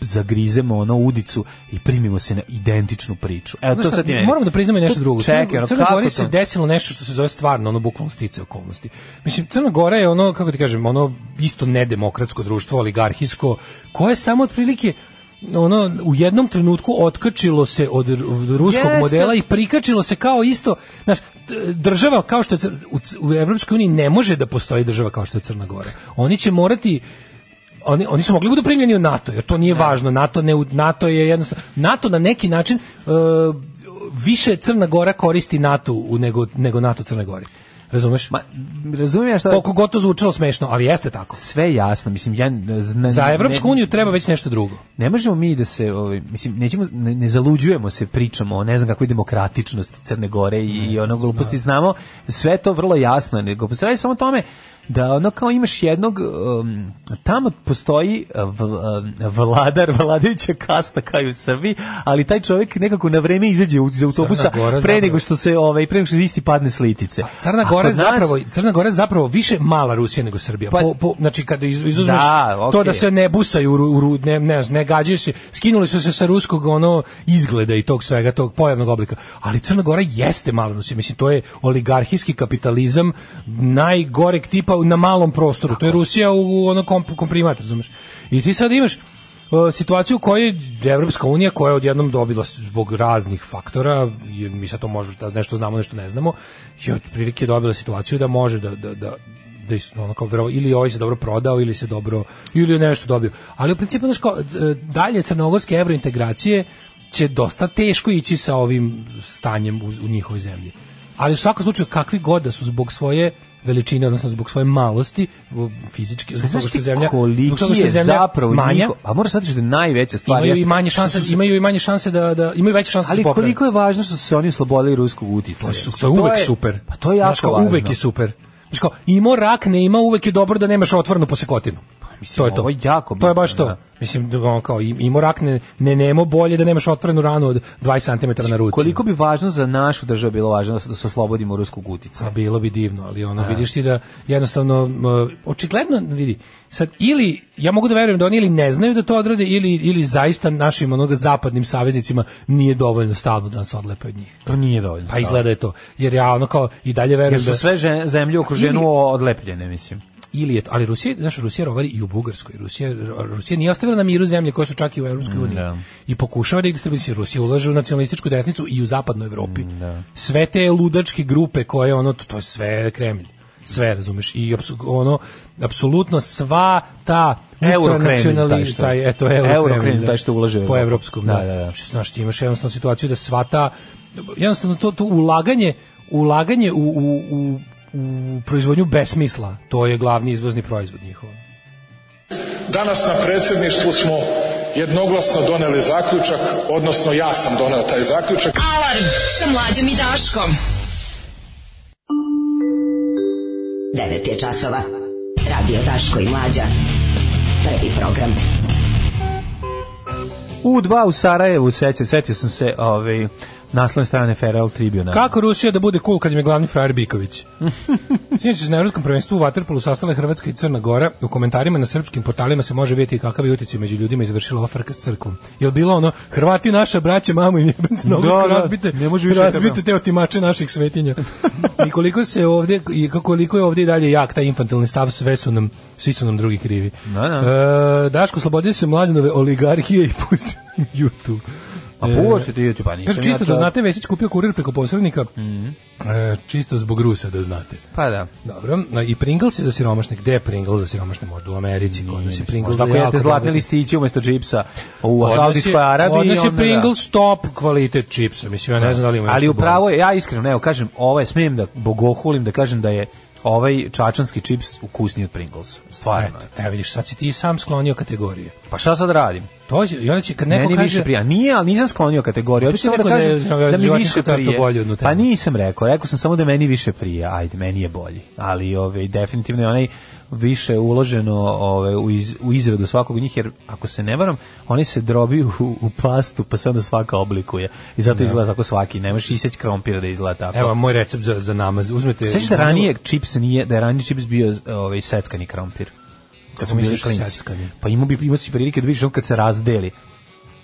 [SPEAKER 6] zagrizemo ono udicu i primimo se na identičnu priču. Evo E, to
[SPEAKER 5] Znaš šta,
[SPEAKER 6] sad ti meni-
[SPEAKER 5] moramo da priznamo i nešto
[SPEAKER 6] Tu
[SPEAKER 5] drugo.
[SPEAKER 6] Čekaj,
[SPEAKER 5] Crno-
[SPEAKER 6] ono,
[SPEAKER 5] Crnoj
[SPEAKER 6] kako
[SPEAKER 5] Gori
[SPEAKER 6] to?
[SPEAKER 5] se desilo nešto što se zove stvarno ono bukvalno stice okolnosti. Mislim Crna Gora je ono kako ti kažem, ono isto nedemokratsko društvo, oligarhijsko, koje je samo otprilike ono u jednom trenutku otkačilo se od ru- ruskog
[SPEAKER 6] Jeste.
[SPEAKER 5] modela i prikačilo se kao isto, znaš, d- država kao što je Cr- u, C- u Evropskoj uniji ne može da postoji država kao što je Crna Gora. Oni će morati oni, oni su mogli da budu primljeni u NATO, jer to nije važno. NATO, ne, u- NATO je jednostavno... NATO na neki način e, više Crna Gora koristi NATO u nego, nego NATO Crne Gori. Razumeš?
[SPEAKER 6] Ma, razumijem ja šta...
[SPEAKER 5] Koliko god to zvučalo smešno, ali jeste tako.
[SPEAKER 6] Sve jasno, mislim, ja... Zna,
[SPEAKER 5] Za
[SPEAKER 6] ne-
[SPEAKER 5] Evropsku uniju treba već nešto drugo.
[SPEAKER 6] ne možemo mi da se ovaj mislim nećemo ne, ne zaluđujemo se pričamo o ne znam kakvoj demokratičnosti Crne Gore i, i
[SPEAKER 5] da.
[SPEAKER 6] ono gluposti znamo sve to vrlo jasno nego se radi samo o tome da ono kao imaš jednog um, tamo postoji uh, vl- um, vladar <laughs> vladajuća kasta kao i u Srbiji ali taj čovjek nekako na vreme izađe u- iz autobusa
[SPEAKER 5] Crna Gora
[SPEAKER 6] pre
[SPEAKER 5] zapravo- Pa,
[SPEAKER 6] nego što se ovaj pre nego što isti padne s litice
[SPEAKER 5] Crna
[SPEAKER 6] A
[SPEAKER 5] Gora je
[SPEAKER 6] kod nas-
[SPEAKER 5] zapravo Crna Gora je zapravo više mala Rusija nego Srbija.
[SPEAKER 6] Pa-
[SPEAKER 5] po, po, znači kada iz, izuzmeš
[SPEAKER 6] Da,
[SPEAKER 5] to
[SPEAKER 6] okej.
[SPEAKER 5] da se ne busaju u, ru- u ru- ne ne, znam, ne gađaju se, skinuli su se sa ruskog ono izgleda i tog svega tog pojavnog oblika. Ali Crna Gora jeste mala Rusija, mislim to je oligarhijski kapitalizam najgoreg tipa na malom prostoru. To je Rusija u, u ono komp, komprimat, razumeš? I ti sad imaš e, situaciju u kojoj je Evropska unija koja je odjednom dobila s- zbog raznih faktora, jer mi sad to možemo da nešto znamo, nešto ne znamo, je otprilike dobila situaciju da može da, da, da, da is- ono kao verovo- ili ovaj se dobro prodao ili se dobro ili je nešto dobio. Ali u principu znaš kao e, dalje crnogorske evrointegracije će dosta teško ići sa ovim stanjem u, u njihovoj zemlji. Ali u svakom slučaju kakvi god da su zbog svoje veličine, odnosno zbog svoje malosti, u- fizički, zbog
[SPEAKER 6] Znaš
[SPEAKER 5] toga što je
[SPEAKER 6] ti
[SPEAKER 5] zemlja, zbog
[SPEAKER 6] koliki
[SPEAKER 5] toga što je
[SPEAKER 6] je
[SPEAKER 5] zemlja
[SPEAKER 6] zapravo
[SPEAKER 5] manja,
[SPEAKER 6] niko, a moraš shvatiti da je najveća stvar
[SPEAKER 5] imaju i
[SPEAKER 6] jeste-
[SPEAKER 5] manje šanse, imaju i manje šanse da, da imaju veće šanse da
[SPEAKER 6] Ali
[SPEAKER 5] se poprave.
[SPEAKER 6] koliko je važno što su se oni oslobodili ruskog
[SPEAKER 5] Pa
[SPEAKER 6] uticaja.
[SPEAKER 5] To je, to je uvek super.
[SPEAKER 6] Pa to je jako
[SPEAKER 5] Znaš kao,
[SPEAKER 6] važno.
[SPEAKER 5] Uvek je super. Znaš kao, imao rak, ne ima, uvek je dobro da nemaš otvornu posekotinu.
[SPEAKER 6] Pa mislim,
[SPEAKER 5] to je to.
[SPEAKER 6] ovo je jako
[SPEAKER 5] to je baš to.
[SPEAKER 6] bitno, da.
[SPEAKER 5] Mislim, ono kao, im- imao rak, ne, ne nemo bolje da nemaš otvorenu ranu od 20 cm na ruci.
[SPEAKER 6] Znači, Koliko bi važno za našu državu bilo važno da se da se oslobodimo ruskog
[SPEAKER 5] A
[SPEAKER 6] uticaja.
[SPEAKER 5] Pa bilo bi divno, ali ono, vidiš ti da jednostavno, m, očigledno, vidi, sad ili, ja mogu da verujem da oni ili ne znaju da to odrade, ili, ili zaista našim onoga zapadnim saveznicima nije dovoljno stalno da nas odlepe od njih.
[SPEAKER 6] To nije dovoljno.
[SPEAKER 5] Pa izgleda je to. Jer ja ono kao i dalje verujem
[SPEAKER 6] Da. Jer su
[SPEAKER 5] da...
[SPEAKER 6] sve žen- zemlje u okruženju
[SPEAKER 5] Ili-
[SPEAKER 6] odlepljene, mislim.
[SPEAKER 5] ili je to, ali Rusija, znaš, Rusija rovari i u Bugarskoj. Rusija, Rusija nije ostavila na miru zemlje koje su čak i u Evropskoj uniji.
[SPEAKER 6] da.
[SPEAKER 5] I pokušava da ih distribucije. Rusija ulaže u nacionalističku desnicu i u zapadnoj Evropi.
[SPEAKER 6] Mm, da.
[SPEAKER 5] Sve te ludačke grupe koje ono, to, to je sve Kremlj. Sve, razumeš, i apsu- ono, apsolutno sva ta
[SPEAKER 6] Eurokremlj,
[SPEAKER 5] ultranacionali-
[SPEAKER 6] taj što-
[SPEAKER 5] taj, eto,
[SPEAKER 6] Eurokremlj,
[SPEAKER 5] Eurokremlj, da.
[SPEAKER 6] taj što ulaže u
[SPEAKER 5] po
[SPEAKER 6] Evropu.
[SPEAKER 5] evropskom,
[SPEAKER 6] Da,
[SPEAKER 5] da,
[SPEAKER 6] da, da.
[SPEAKER 5] Znači, znaš, ti imaš jednostavno situaciju da sva ta, jednostavno to, to ulaganje, ulaganje u, u, u, u proizvodnju besmisla, to je glavni izvozni proizvod njihov.
[SPEAKER 8] Danas na predsjedništvu smo jednoglasno doneli zaključak, odnosno ja sam doneo taj zaključak.
[SPEAKER 4] Alarm sa mlađom i Daškom.
[SPEAKER 2] 9 je časova. Radio Daško i Mlađa. Prvi program.
[SPEAKER 6] U dva u Sarajevu, sećam, setio sam se ovaj, naslovne strane Feral Tribuna.
[SPEAKER 5] Kako Rusija da bude cool kad im je glavni frajer Biković? <laughs> Sinoć se na Evropskom prvenstvu u Waterpolu sastale Hrvatska i Crna Gora. U komentarima na srpskim portalima se može vidjeti kakav je uticaj među ljudima izvršila ova frka s crkvom. Jel bilo ono, Hrvati naša braća, mamu im jebate nogu,
[SPEAKER 6] Da, da,
[SPEAKER 5] razbite,
[SPEAKER 6] ne može više
[SPEAKER 5] razbite
[SPEAKER 6] tebe.
[SPEAKER 5] te otimače naših svetinja. I koliko se ovdje, i kako- koliko je ovdje i dalje jak taj infantilni stav, sve su nam, svi su nam drugi krivi.
[SPEAKER 6] Da, da.
[SPEAKER 5] E, Daško, slobodio se mladinove oligarhije i pustio im YouTube.
[SPEAKER 6] A puvaš se ti YouTube, pa nisam
[SPEAKER 5] E. Kaže, čisto
[SPEAKER 6] ja to- Mhm.
[SPEAKER 5] da znate, Vesić kupio kurir preko posrednika. E, čisto zbog Rusa da znate.
[SPEAKER 6] Pa da.
[SPEAKER 5] Dobro, no, i Pringles je za siromašne. Gde je Pringles za siromašne? Možda u Americi, kod nas je Pringles za
[SPEAKER 6] Možda ako jedete
[SPEAKER 5] jako
[SPEAKER 6] zlatne
[SPEAKER 5] bogate.
[SPEAKER 6] listiće umesto džipsa u
[SPEAKER 5] Kod nas je-
[SPEAKER 6] Saudijskoj Arabiji.
[SPEAKER 5] Kod nas je
[SPEAKER 6] onda da.
[SPEAKER 5] Pringles top kvalitet čipsa. Mislim, ja ne znam da li ima
[SPEAKER 6] Ali
[SPEAKER 5] nešto
[SPEAKER 6] upravo je, ja iskreno, ne, evo, kažem, ovaj, smijem da bogohulim, da kažem da je ovaj čačanski čips ukusniji od Pringlesa.
[SPEAKER 5] bolje.
[SPEAKER 6] Stvarno.
[SPEAKER 5] Eto,
[SPEAKER 6] je.
[SPEAKER 5] evo vidiš, sad si ti sam sklonio kategorije.
[SPEAKER 6] Pa šta sad radim?
[SPEAKER 5] To je, i onda će kad neko
[SPEAKER 6] Meni
[SPEAKER 5] kaže...
[SPEAKER 6] više prija. Nije, ali nisam sklonio kategoriju.
[SPEAKER 5] Pa ti si
[SPEAKER 6] Hoću samo da
[SPEAKER 5] rekao da je
[SPEAKER 6] kažem da, mi
[SPEAKER 5] životinjsko
[SPEAKER 6] više
[SPEAKER 5] carstvo
[SPEAKER 6] prije.
[SPEAKER 5] bolje od Nutelle.
[SPEAKER 6] Pa nisam rekao, rekao sam samo da meni više prija. Ajde, meni je bolji. Ali ovaj, definitivno je onaj više uloženo ove, u, iz, u izradu svakog od njih, jer ako se ne varam, oni se drobiju u, u plastu, pa se onda svaka oblikuje. I
[SPEAKER 5] Da.
[SPEAKER 6] zato izgleda tako svaki, nemaš iseć krompira da izgleda tako.
[SPEAKER 5] Evo moj recept za, za namaz. Uzmete...
[SPEAKER 6] Sećaš da ranije čips nije, da je ranije čips bio ovaj seckani krompir. Kad smo bili
[SPEAKER 5] Misliš
[SPEAKER 6] klinci.
[SPEAKER 5] seckani?
[SPEAKER 6] Pa imao bi imao si prilike da vidiš on kad se razdeli.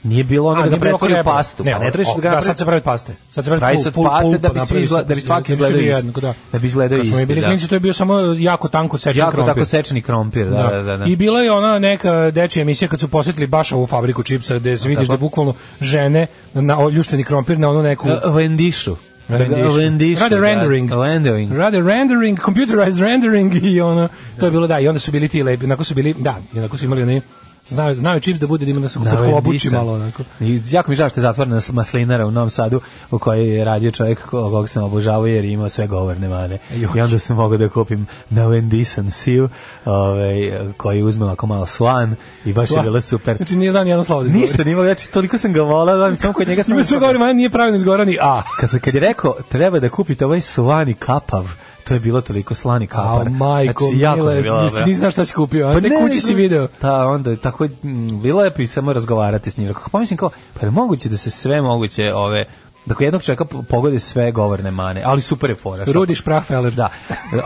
[SPEAKER 6] Nije bilo ono
[SPEAKER 5] A,
[SPEAKER 6] da ga
[SPEAKER 5] nije bilo
[SPEAKER 6] pretvori u
[SPEAKER 5] krema.
[SPEAKER 6] pastu.
[SPEAKER 5] Ne,
[SPEAKER 6] pa
[SPEAKER 5] o-
[SPEAKER 6] ne trebaš
[SPEAKER 5] o,
[SPEAKER 6] da ga
[SPEAKER 5] da,
[SPEAKER 6] pre-
[SPEAKER 5] sad se pravi od paste. Sad se pravi
[SPEAKER 6] Pravi se
[SPEAKER 5] pul-
[SPEAKER 6] od
[SPEAKER 5] pul-
[SPEAKER 6] paste
[SPEAKER 5] pulpa,
[SPEAKER 6] da bi svi
[SPEAKER 5] napravi se-
[SPEAKER 6] izgleda- da bi svaki
[SPEAKER 5] da bi svi
[SPEAKER 6] izgledao
[SPEAKER 5] bili
[SPEAKER 6] isto.
[SPEAKER 5] jednako, da.
[SPEAKER 6] Da bi izgledao
[SPEAKER 5] Kad smo mi
[SPEAKER 6] isto,
[SPEAKER 5] bili
[SPEAKER 6] da.
[SPEAKER 5] klinci, to je bio samo jako tanko sečen
[SPEAKER 6] Jako
[SPEAKER 5] krompir.
[SPEAKER 6] tako sečeni krompir, da, da, da. da.
[SPEAKER 5] I bila je ona neka dečija emisija kad su posjetili baš ovu fabriku čipsa gde se vidiš da bukvalno žene na o- ljušteni krompir na onu neku
[SPEAKER 6] Na Vendišu.
[SPEAKER 5] Rendition.
[SPEAKER 6] Vendišu,
[SPEAKER 5] Rather
[SPEAKER 6] da,
[SPEAKER 5] rendering.
[SPEAKER 6] Rendering.
[SPEAKER 5] Rather rendering, computerized rendering i ono, to je bilo da, i onda su bili ti lepi, onako su bili, da, i onako su imali oni, znaju, znaju čips da bude da ima da su
[SPEAKER 6] Da,
[SPEAKER 5] kod klobuči
[SPEAKER 6] Vendisa.
[SPEAKER 5] malo onako.
[SPEAKER 6] I jako mi žao što je zatvorena s- maslinara u Novom Sadu u kojoj je radio čovjek kog sam obožavao jer je imao sve govorne mane. I onda sam mogao da kupim na Wendisan siv ovaj, koji uzme ovako malo slan i baš je bilo super.
[SPEAKER 5] Znači nije znao ni jedno slovo da izgovori.
[SPEAKER 6] <laughs> Ništa, nimao, znači toliko sam ga volao, da samo kod njega sam...
[SPEAKER 5] Ima sve govori, man, nije pravilno izgovora ni A.
[SPEAKER 6] Kad, se, kad je rekao, treba da kupite ovaj slani kapav, to je bilo toliko slani kapar.
[SPEAKER 5] A majko,
[SPEAKER 6] Znači, jako mi je
[SPEAKER 5] mile,
[SPEAKER 6] bilo
[SPEAKER 5] nis,
[SPEAKER 6] dobro.
[SPEAKER 5] nis znaš šta si kupio, a
[SPEAKER 6] Pa
[SPEAKER 5] ne,
[SPEAKER 6] ne,
[SPEAKER 5] kući si
[SPEAKER 6] nego-
[SPEAKER 5] video.
[SPEAKER 6] Da, onda je tako mm, bilo je pri samo razgovarati s njim. Rekao, pomislim kao, pa je moguće da se sve moguće ove da kod jednog čovjeka po- pogode sve govorne mane, ali super je fora. šta-
[SPEAKER 5] Rudiš Prahfeller.
[SPEAKER 6] Da.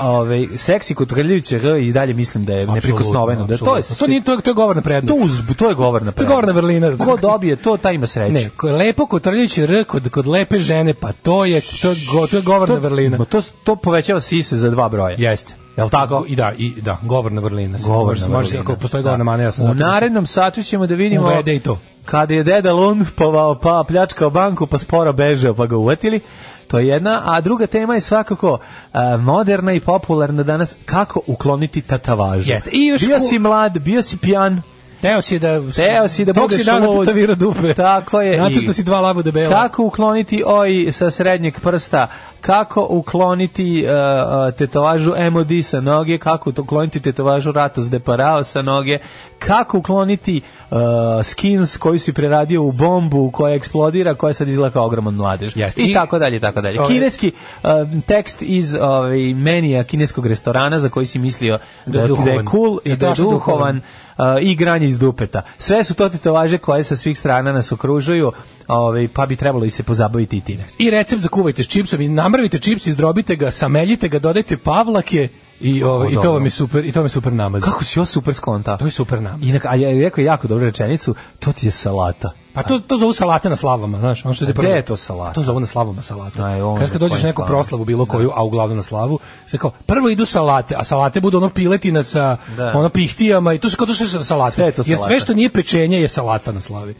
[SPEAKER 6] Ove, seksi kod Krljevića R i dalje mislim da je neprikosnoveno. Da to je
[SPEAKER 5] to nije to, to je govorna
[SPEAKER 6] to,
[SPEAKER 5] prednost.
[SPEAKER 6] uz, to je govorna
[SPEAKER 5] To je govorna
[SPEAKER 6] prednost.
[SPEAKER 5] vrlina.
[SPEAKER 6] Ko dobije to, taj ima sreću.
[SPEAKER 5] Ne, ko- lepo kotrljić R kod, kod lepe žene, pa to je, to je, go, to je govorna
[SPEAKER 6] to,
[SPEAKER 5] vrlina.
[SPEAKER 6] ma To, to povećava sise za dva broja.
[SPEAKER 5] Jeste.
[SPEAKER 6] Jel tako?
[SPEAKER 5] I da, i da, govorna vrlina.
[SPEAKER 6] Govorna
[SPEAKER 5] Može se,
[SPEAKER 6] vrlina.
[SPEAKER 5] ako postoji govorna
[SPEAKER 6] Da.
[SPEAKER 5] mana, ja sam
[SPEAKER 6] U
[SPEAKER 5] zato.
[SPEAKER 6] narednom satu ćemo da vidimo
[SPEAKER 5] Uvede i to.
[SPEAKER 6] kada je deda lumpovao, pa pljačkao banku, pa sporo bežao, pa ga uvatili. To je jedna, a druga tema je svakako a, moderna i popularna danas, kako ukloniti tatavažu.
[SPEAKER 5] Jeste. I još
[SPEAKER 6] bio
[SPEAKER 5] ku-
[SPEAKER 6] si mlad, bio si pijan,
[SPEAKER 5] Teo si da...
[SPEAKER 6] teo si da
[SPEAKER 5] Tog
[SPEAKER 6] budeš
[SPEAKER 5] si dao
[SPEAKER 6] lud.
[SPEAKER 5] na tatavira dupe.
[SPEAKER 6] Tako je.
[SPEAKER 5] Nacrto
[SPEAKER 6] I-
[SPEAKER 5] si dva labuda bela.
[SPEAKER 6] Kako ukloniti oj sa srednjeg prsta? Kako ukloniti uh, tetovažu MOD sa noge? Kako to- ukloniti tetovažu Ratos de Parao sa noge? Kako ukloniti uh, skins koji si preradio u bombu koja eksplodira, koja sad izgleda kao ogroman mladež?
[SPEAKER 5] Jeste.
[SPEAKER 6] I,
[SPEAKER 5] I- ovaj
[SPEAKER 6] tako dalje, i tako dalje.
[SPEAKER 5] Ove-
[SPEAKER 6] Kineski uh, tekst iz ovaj, menija kineskog restorana za koji si mislio
[SPEAKER 5] Da
[SPEAKER 6] da,
[SPEAKER 5] je
[SPEAKER 6] da, je
[SPEAKER 5] duhovan.
[SPEAKER 6] cool i da je
[SPEAKER 5] Strašno duhovan.
[SPEAKER 6] duhovan uh, i granje iz dupeta. Sve su to tetovaže koje sa svih strana nas okružuju, ovaj, pa bi trebalo i se pozabaviti i time.
[SPEAKER 5] I recept za kuvajte s čipsom. I namrvite čips, izdrobite ga, sameljite ga, dodajte pavlake i, ovaj, i to
[SPEAKER 6] dobro.
[SPEAKER 5] vam je super, i to vam je super namaz.
[SPEAKER 6] Kako si ovo super skonta?
[SPEAKER 5] To je super namaz.
[SPEAKER 6] Inak, a ja je rekao jako dobru rečenicu, to ti je salata.
[SPEAKER 5] Pa to, to zovu salate na slavama, znaš, ono što ide
[SPEAKER 6] A gde
[SPEAKER 5] prvo.
[SPEAKER 6] je to salata?
[SPEAKER 5] To zovu na slavama salata.
[SPEAKER 6] Aj, ovo pa
[SPEAKER 5] Kad
[SPEAKER 6] na
[SPEAKER 5] kad dođeš
[SPEAKER 6] kojim
[SPEAKER 5] na neku
[SPEAKER 6] slavama?
[SPEAKER 5] proslavu bilo koju, a uglavnom na slavu, se kao prvo idu salate, a salate budu ono piletina sa
[SPEAKER 6] Da.
[SPEAKER 5] ono pihtijama i to se kao to su sve salate.
[SPEAKER 6] Sve je to
[SPEAKER 5] Jer sve
[SPEAKER 6] salata.
[SPEAKER 5] što nije pečenje je salata na slavi.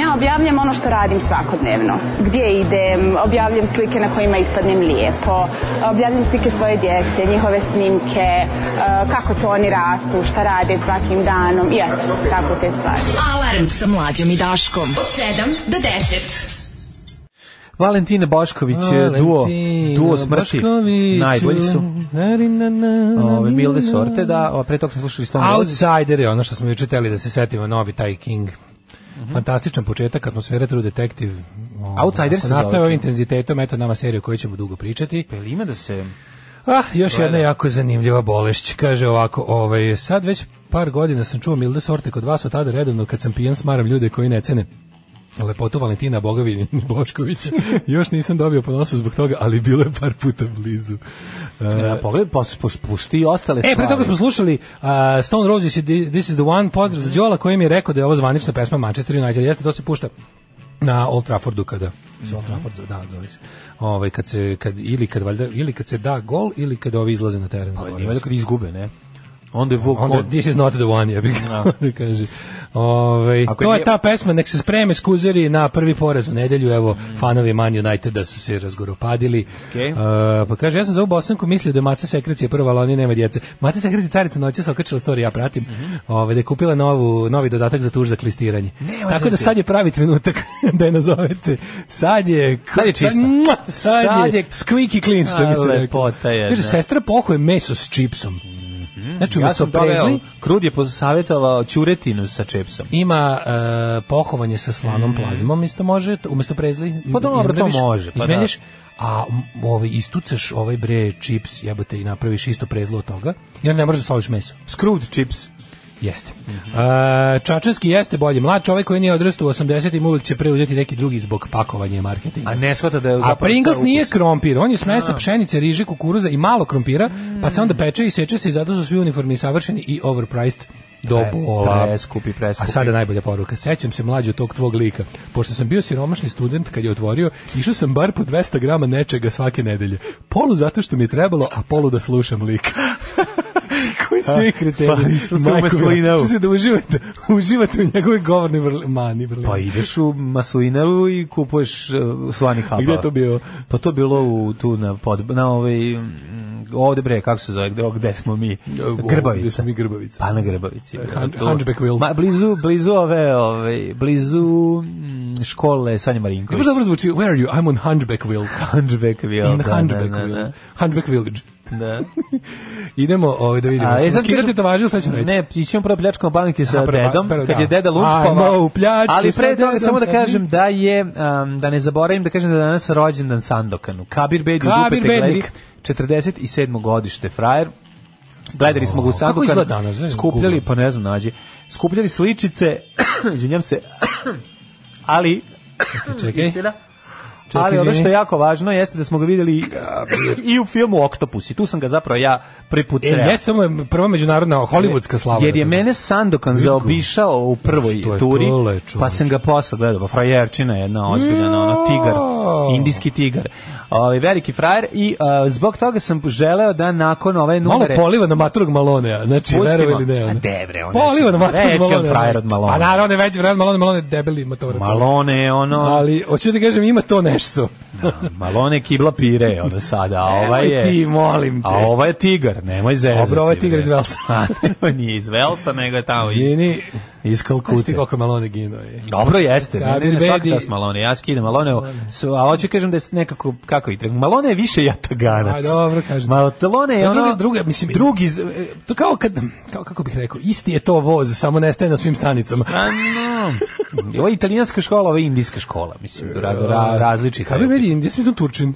[SPEAKER 2] Ja objavljam ono što radim svakodnevno. Gdje idem, objavljam slike na kojima ispadnem lijepo, objavljam slike svoje djece, njihove snimke, e, kako to oni rastu, šta rade svakim danom, i eto, tako te stvari.
[SPEAKER 4] Alarm sa mlađom i Daškom. Od 7 do 10.
[SPEAKER 6] Valentina Bošković, eh, duo, duo smrti, najbolji su. Ove, milde sorte, da, a pre toga smo slušali Stone Roses.
[SPEAKER 5] Outsider je ono što smo juče teli da se setimo, novi taj King. Fantastičan početak, atmosfera True Detective. Ovo,
[SPEAKER 6] Outsider se
[SPEAKER 5] ako nastave
[SPEAKER 6] zove.
[SPEAKER 5] ovim intenzitetom, eto nama seriju koju ćemo dugo pričati.
[SPEAKER 6] Pa jel ima da se...
[SPEAKER 5] Ah, još
[SPEAKER 6] je
[SPEAKER 5] jedna
[SPEAKER 6] da.
[SPEAKER 5] jako zanimljiva bolešć. Kaže ovako, ovaj, sad već par godina sam čuo milde sorte kod vas od tada redovno kad sam pijan smaram ljude koji ne cene lepotu Valentina Bogovi <laughs>
[SPEAKER 6] <laughs>
[SPEAKER 5] Boškovića. Još nisam dobio po nosu zbog toga, ali bilo je par puta blizu.
[SPEAKER 6] Ja, pogledaj, pa, pa, pusti i ostale stvari.
[SPEAKER 5] E, pre toga smo slušali uh, Stone Roses i Thi- This is the One, pozdrav za Đola koji mi je rekao da je ovo zvanična pesma Manchester United. Jeste, to se pušta na Old Traffordu kada se Old Trafford zove, da, zove se. Ovaj, kad se, kad, ili, kad, valjda, ili kad se da gol ili kad ovi izlaze na teren. zaboravio
[SPEAKER 6] Ima da
[SPEAKER 5] sam.
[SPEAKER 6] kad izgube, ne? Onda je Vuk
[SPEAKER 5] Onda,
[SPEAKER 6] on.
[SPEAKER 5] this is not the one, ja bih <laughs> da kaže. Ovaj,
[SPEAKER 6] Da. Ako
[SPEAKER 5] to
[SPEAKER 6] je
[SPEAKER 5] je
[SPEAKER 6] nije-
[SPEAKER 5] ta pesma, nek se spreme skuzeri na prvi porez u nedelju, evo, fanovi Man Uniteda da su se razgoropadili.
[SPEAKER 6] Mm. Okej.
[SPEAKER 5] E, pa kaže, ja sam za ovu bosanku mislio da je Maca Sekrecija prva, ali oni nema djece. Maca Sekrecija carica noće se okačila story, ja pratim,
[SPEAKER 6] Mhm.
[SPEAKER 5] ovaj, da je kupila novu, novi dodatak za tuž za klistiranje. Tako da sad je pravi trenutak <laughs> da je nazovete. Sad je...
[SPEAKER 6] Sad je čista.
[SPEAKER 5] mua, Sad,
[SPEAKER 6] Sad
[SPEAKER 5] je,
[SPEAKER 6] je-
[SPEAKER 5] squeaky clean, što bi
[SPEAKER 6] A,
[SPEAKER 5] se reklo.
[SPEAKER 6] lepota jedna. Mhm.
[SPEAKER 5] Kaže, sestra pohuje meso s čipsom. Znači,
[SPEAKER 6] ja
[SPEAKER 5] umjesto
[SPEAKER 6] sam doveo,
[SPEAKER 5] prezli,
[SPEAKER 6] Krud je posavetovao ćuretinu sa čepsom.
[SPEAKER 5] ima e, pohovanje sa slanom plazmom, isto može, to- umesto prezli.
[SPEAKER 6] Pa dobro, to
[SPEAKER 5] izmrviš,
[SPEAKER 6] može, pa da.
[SPEAKER 5] izmenjaš, a m, ovaj, istucaš ovaj bre čips, jebote, i napraviš isto prezlo od toga, i onda ne možeš da soliš meso.
[SPEAKER 6] Screwed chips.
[SPEAKER 5] Jeste. A, Čačanski jeste bolji. Mlad čovjek koji nije odrastao u 80-im uvek će preuzeti neki drugi zbog pakovanja i marketinga.
[SPEAKER 6] A ne shvata da je
[SPEAKER 5] A
[SPEAKER 6] zapravo
[SPEAKER 5] Pringles
[SPEAKER 6] car
[SPEAKER 5] nije
[SPEAKER 6] ukus.
[SPEAKER 5] krompir, on je smesa pšenice, riže, kukuruza i malo krompira, pa se onda peče i seče se i zato su svi uniformi savršeni i overpriced do
[SPEAKER 6] Pre-
[SPEAKER 5] bola.
[SPEAKER 6] preskupi, preskupi.
[SPEAKER 5] A sada najbolja poruka. Sećam se mlađu tog tvog lika. Pošto sam bio siromašni student kad je otvorio, išao sam bar po 200 grama nečega svake nedelje. Polu zato što mi je trebalo, a polu da slušam
[SPEAKER 6] <laughs>
[SPEAKER 5] lika. Koji ste vi kreteni?
[SPEAKER 6] Pa, išlo se u
[SPEAKER 5] Majko,
[SPEAKER 6] Maslinovu.
[SPEAKER 5] što se da uživate, uživate u njegovoj govorni vrli, mani vrli.
[SPEAKER 6] Pa ideš u Masuinaru i kupuješ uh, slani kapa.
[SPEAKER 5] A gde je to bio?
[SPEAKER 6] Pa to bilo u, tu na, pod, na ovaj, mm, ovde bre, kako se zove, gde, gde smo mi? Grbavica.
[SPEAKER 5] Gde smo mi Grbavica.
[SPEAKER 6] Pa na Grbavici.
[SPEAKER 5] E, Hun-
[SPEAKER 6] Tu-
[SPEAKER 5] Hunchback Will.
[SPEAKER 6] Ma, blizu, blizu ove, ove, blizu mm, škole Sanja Marinković.
[SPEAKER 5] Kako dobro zvuči, where are you? I'm on Hunchback Will.
[SPEAKER 6] Hunchback Will.
[SPEAKER 5] In
[SPEAKER 6] da,
[SPEAKER 5] Hunchback
[SPEAKER 6] da, da,
[SPEAKER 5] Will.
[SPEAKER 6] da.
[SPEAKER 5] Hunchback Village.
[SPEAKER 6] Da.
[SPEAKER 5] Idemo ovaj, da vidimo.
[SPEAKER 6] A, e,
[SPEAKER 5] Ćemo
[SPEAKER 6] sad
[SPEAKER 5] skidati
[SPEAKER 6] kažem-
[SPEAKER 5] tovažu, sad ćemo reći.
[SPEAKER 6] Ne, ićemo prvo pljačkom banke sa
[SPEAKER 5] Aha, prvo-
[SPEAKER 6] dedom,
[SPEAKER 5] prvo,
[SPEAKER 6] kad
[SPEAKER 5] da.
[SPEAKER 6] je deda
[SPEAKER 5] Ajmo u
[SPEAKER 6] lunčkova.
[SPEAKER 5] pljačku
[SPEAKER 6] Ali
[SPEAKER 5] sa
[SPEAKER 6] pre toga
[SPEAKER 5] dedom,
[SPEAKER 6] samo da
[SPEAKER 5] sad
[SPEAKER 6] kažem
[SPEAKER 5] mi.
[SPEAKER 6] da je, um, da ne zaboravim da kažem da je danas rođendan Sandokanu. Kabir Bedi u
[SPEAKER 5] Kabir
[SPEAKER 6] dupe te gledi,
[SPEAKER 5] Bednik.
[SPEAKER 6] 47. godište, frajer. Gledali smo ga u
[SPEAKER 5] O, kako
[SPEAKER 6] Sandokanu.
[SPEAKER 5] izgleda danas, ne znam,
[SPEAKER 6] Skupljali,
[SPEAKER 5] Google.
[SPEAKER 6] pa ne znam, nađi. Skupljali sličice, <coughs> izvinjam se, ali...
[SPEAKER 5] Čekaj.
[SPEAKER 6] Istina.
[SPEAKER 5] Čekaj,
[SPEAKER 6] ali ono
[SPEAKER 5] izvini.
[SPEAKER 6] što je jako važno jeste da smo ga videli um, i u filmu Oktopus i tu sam ga zapravo ja prvi put
[SPEAKER 5] E,
[SPEAKER 6] sreo.
[SPEAKER 5] jeste ovo je prva međunarodna hollywoodska slava.
[SPEAKER 6] Jer je
[SPEAKER 5] da
[SPEAKER 6] mene Sandokan
[SPEAKER 5] Vidi ga.
[SPEAKER 6] zaobišao u prvoj
[SPEAKER 5] Što je
[SPEAKER 6] turi,
[SPEAKER 5] dole, čoveče.
[SPEAKER 6] pa sam ga posle gledao, pa frajerčina je jedna ozbiljna, ono, tigar,
[SPEAKER 5] Jao.
[SPEAKER 6] indijski tigar. Ovaj veliki frajer i a, zbog toga sam želeo da nakon ove
[SPEAKER 5] Malo
[SPEAKER 6] numere...
[SPEAKER 5] poliva na maturog Malonea, znači
[SPEAKER 6] Pustimo.
[SPEAKER 5] verovi ili ne.
[SPEAKER 6] A
[SPEAKER 5] ono.
[SPEAKER 6] de, bre, on
[SPEAKER 5] Poliva
[SPEAKER 6] neće-
[SPEAKER 5] na maturog
[SPEAKER 6] veći on
[SPEAKER 5] Malonea.
[SPEAKER 6] frajer od Malonea.
[SPEAKER 5] A naravno, on je veći frajer od Malone, Malone je debeli matorac.
[SPEAKER 6] Malone je ono...
[SPEAKER 5] Ali, hoću da kažem, ima to nešto.
[SPEAKER 6] Malone je kibla pire, ono sada, a ovaj je...
[SPEAKER 5] Nemoj ti, molim te.
[SPEAKER 6] A ovaj je tigar, nemoj zezati.
[SPEAKER 5] Dobro, ovaj je tigar
[SPEAKER 6] bre.
[SPEAKER 5] iz Velsa.
[SPEAKER 6] <laughs> A, nije iz Velsa, nego je tamo iz,
[SPEAKER 5] Izvini.
[SPEAKER 6] iz
[SPEAKER 5] Znaš ti
[SPEAKER 6] Kalkute.
[SPEAKER 5] koliko je Malone ginuo je.
[SPEAKER 6] Dobro jeste, ne, ne,
[SPEAKER 5] Kabir
[SPEAKER 6] ne, svaka
[SPEAKER 5] Bedi.
[SPEAKER 6] čast Malone, ja skidam Malone, a hoću kažem da je nekako, kako i Malone je više jataganac.
[SPEAKER 5] A, dobro, kažem.
[SPEAKER 6] Malone je
[SPEAKER 5] Druga-
[SPEAKER 6] E, ono,
[SPEAKER 5] druga, mislim, e,
[SPEAKER 6] drugi, z-
[SPEAKER 5] To kao kad, kao, kako bih rekao, isti je to voz, samo nestaje na svim stanicama.
[SPEAKER 6] a no, ovo je italijanska škola, ovo je indijska škola, mislim, ra, ra, različita.
[SPEAKER 5] E, Kabir Bedi, ja sam mislio Turčin.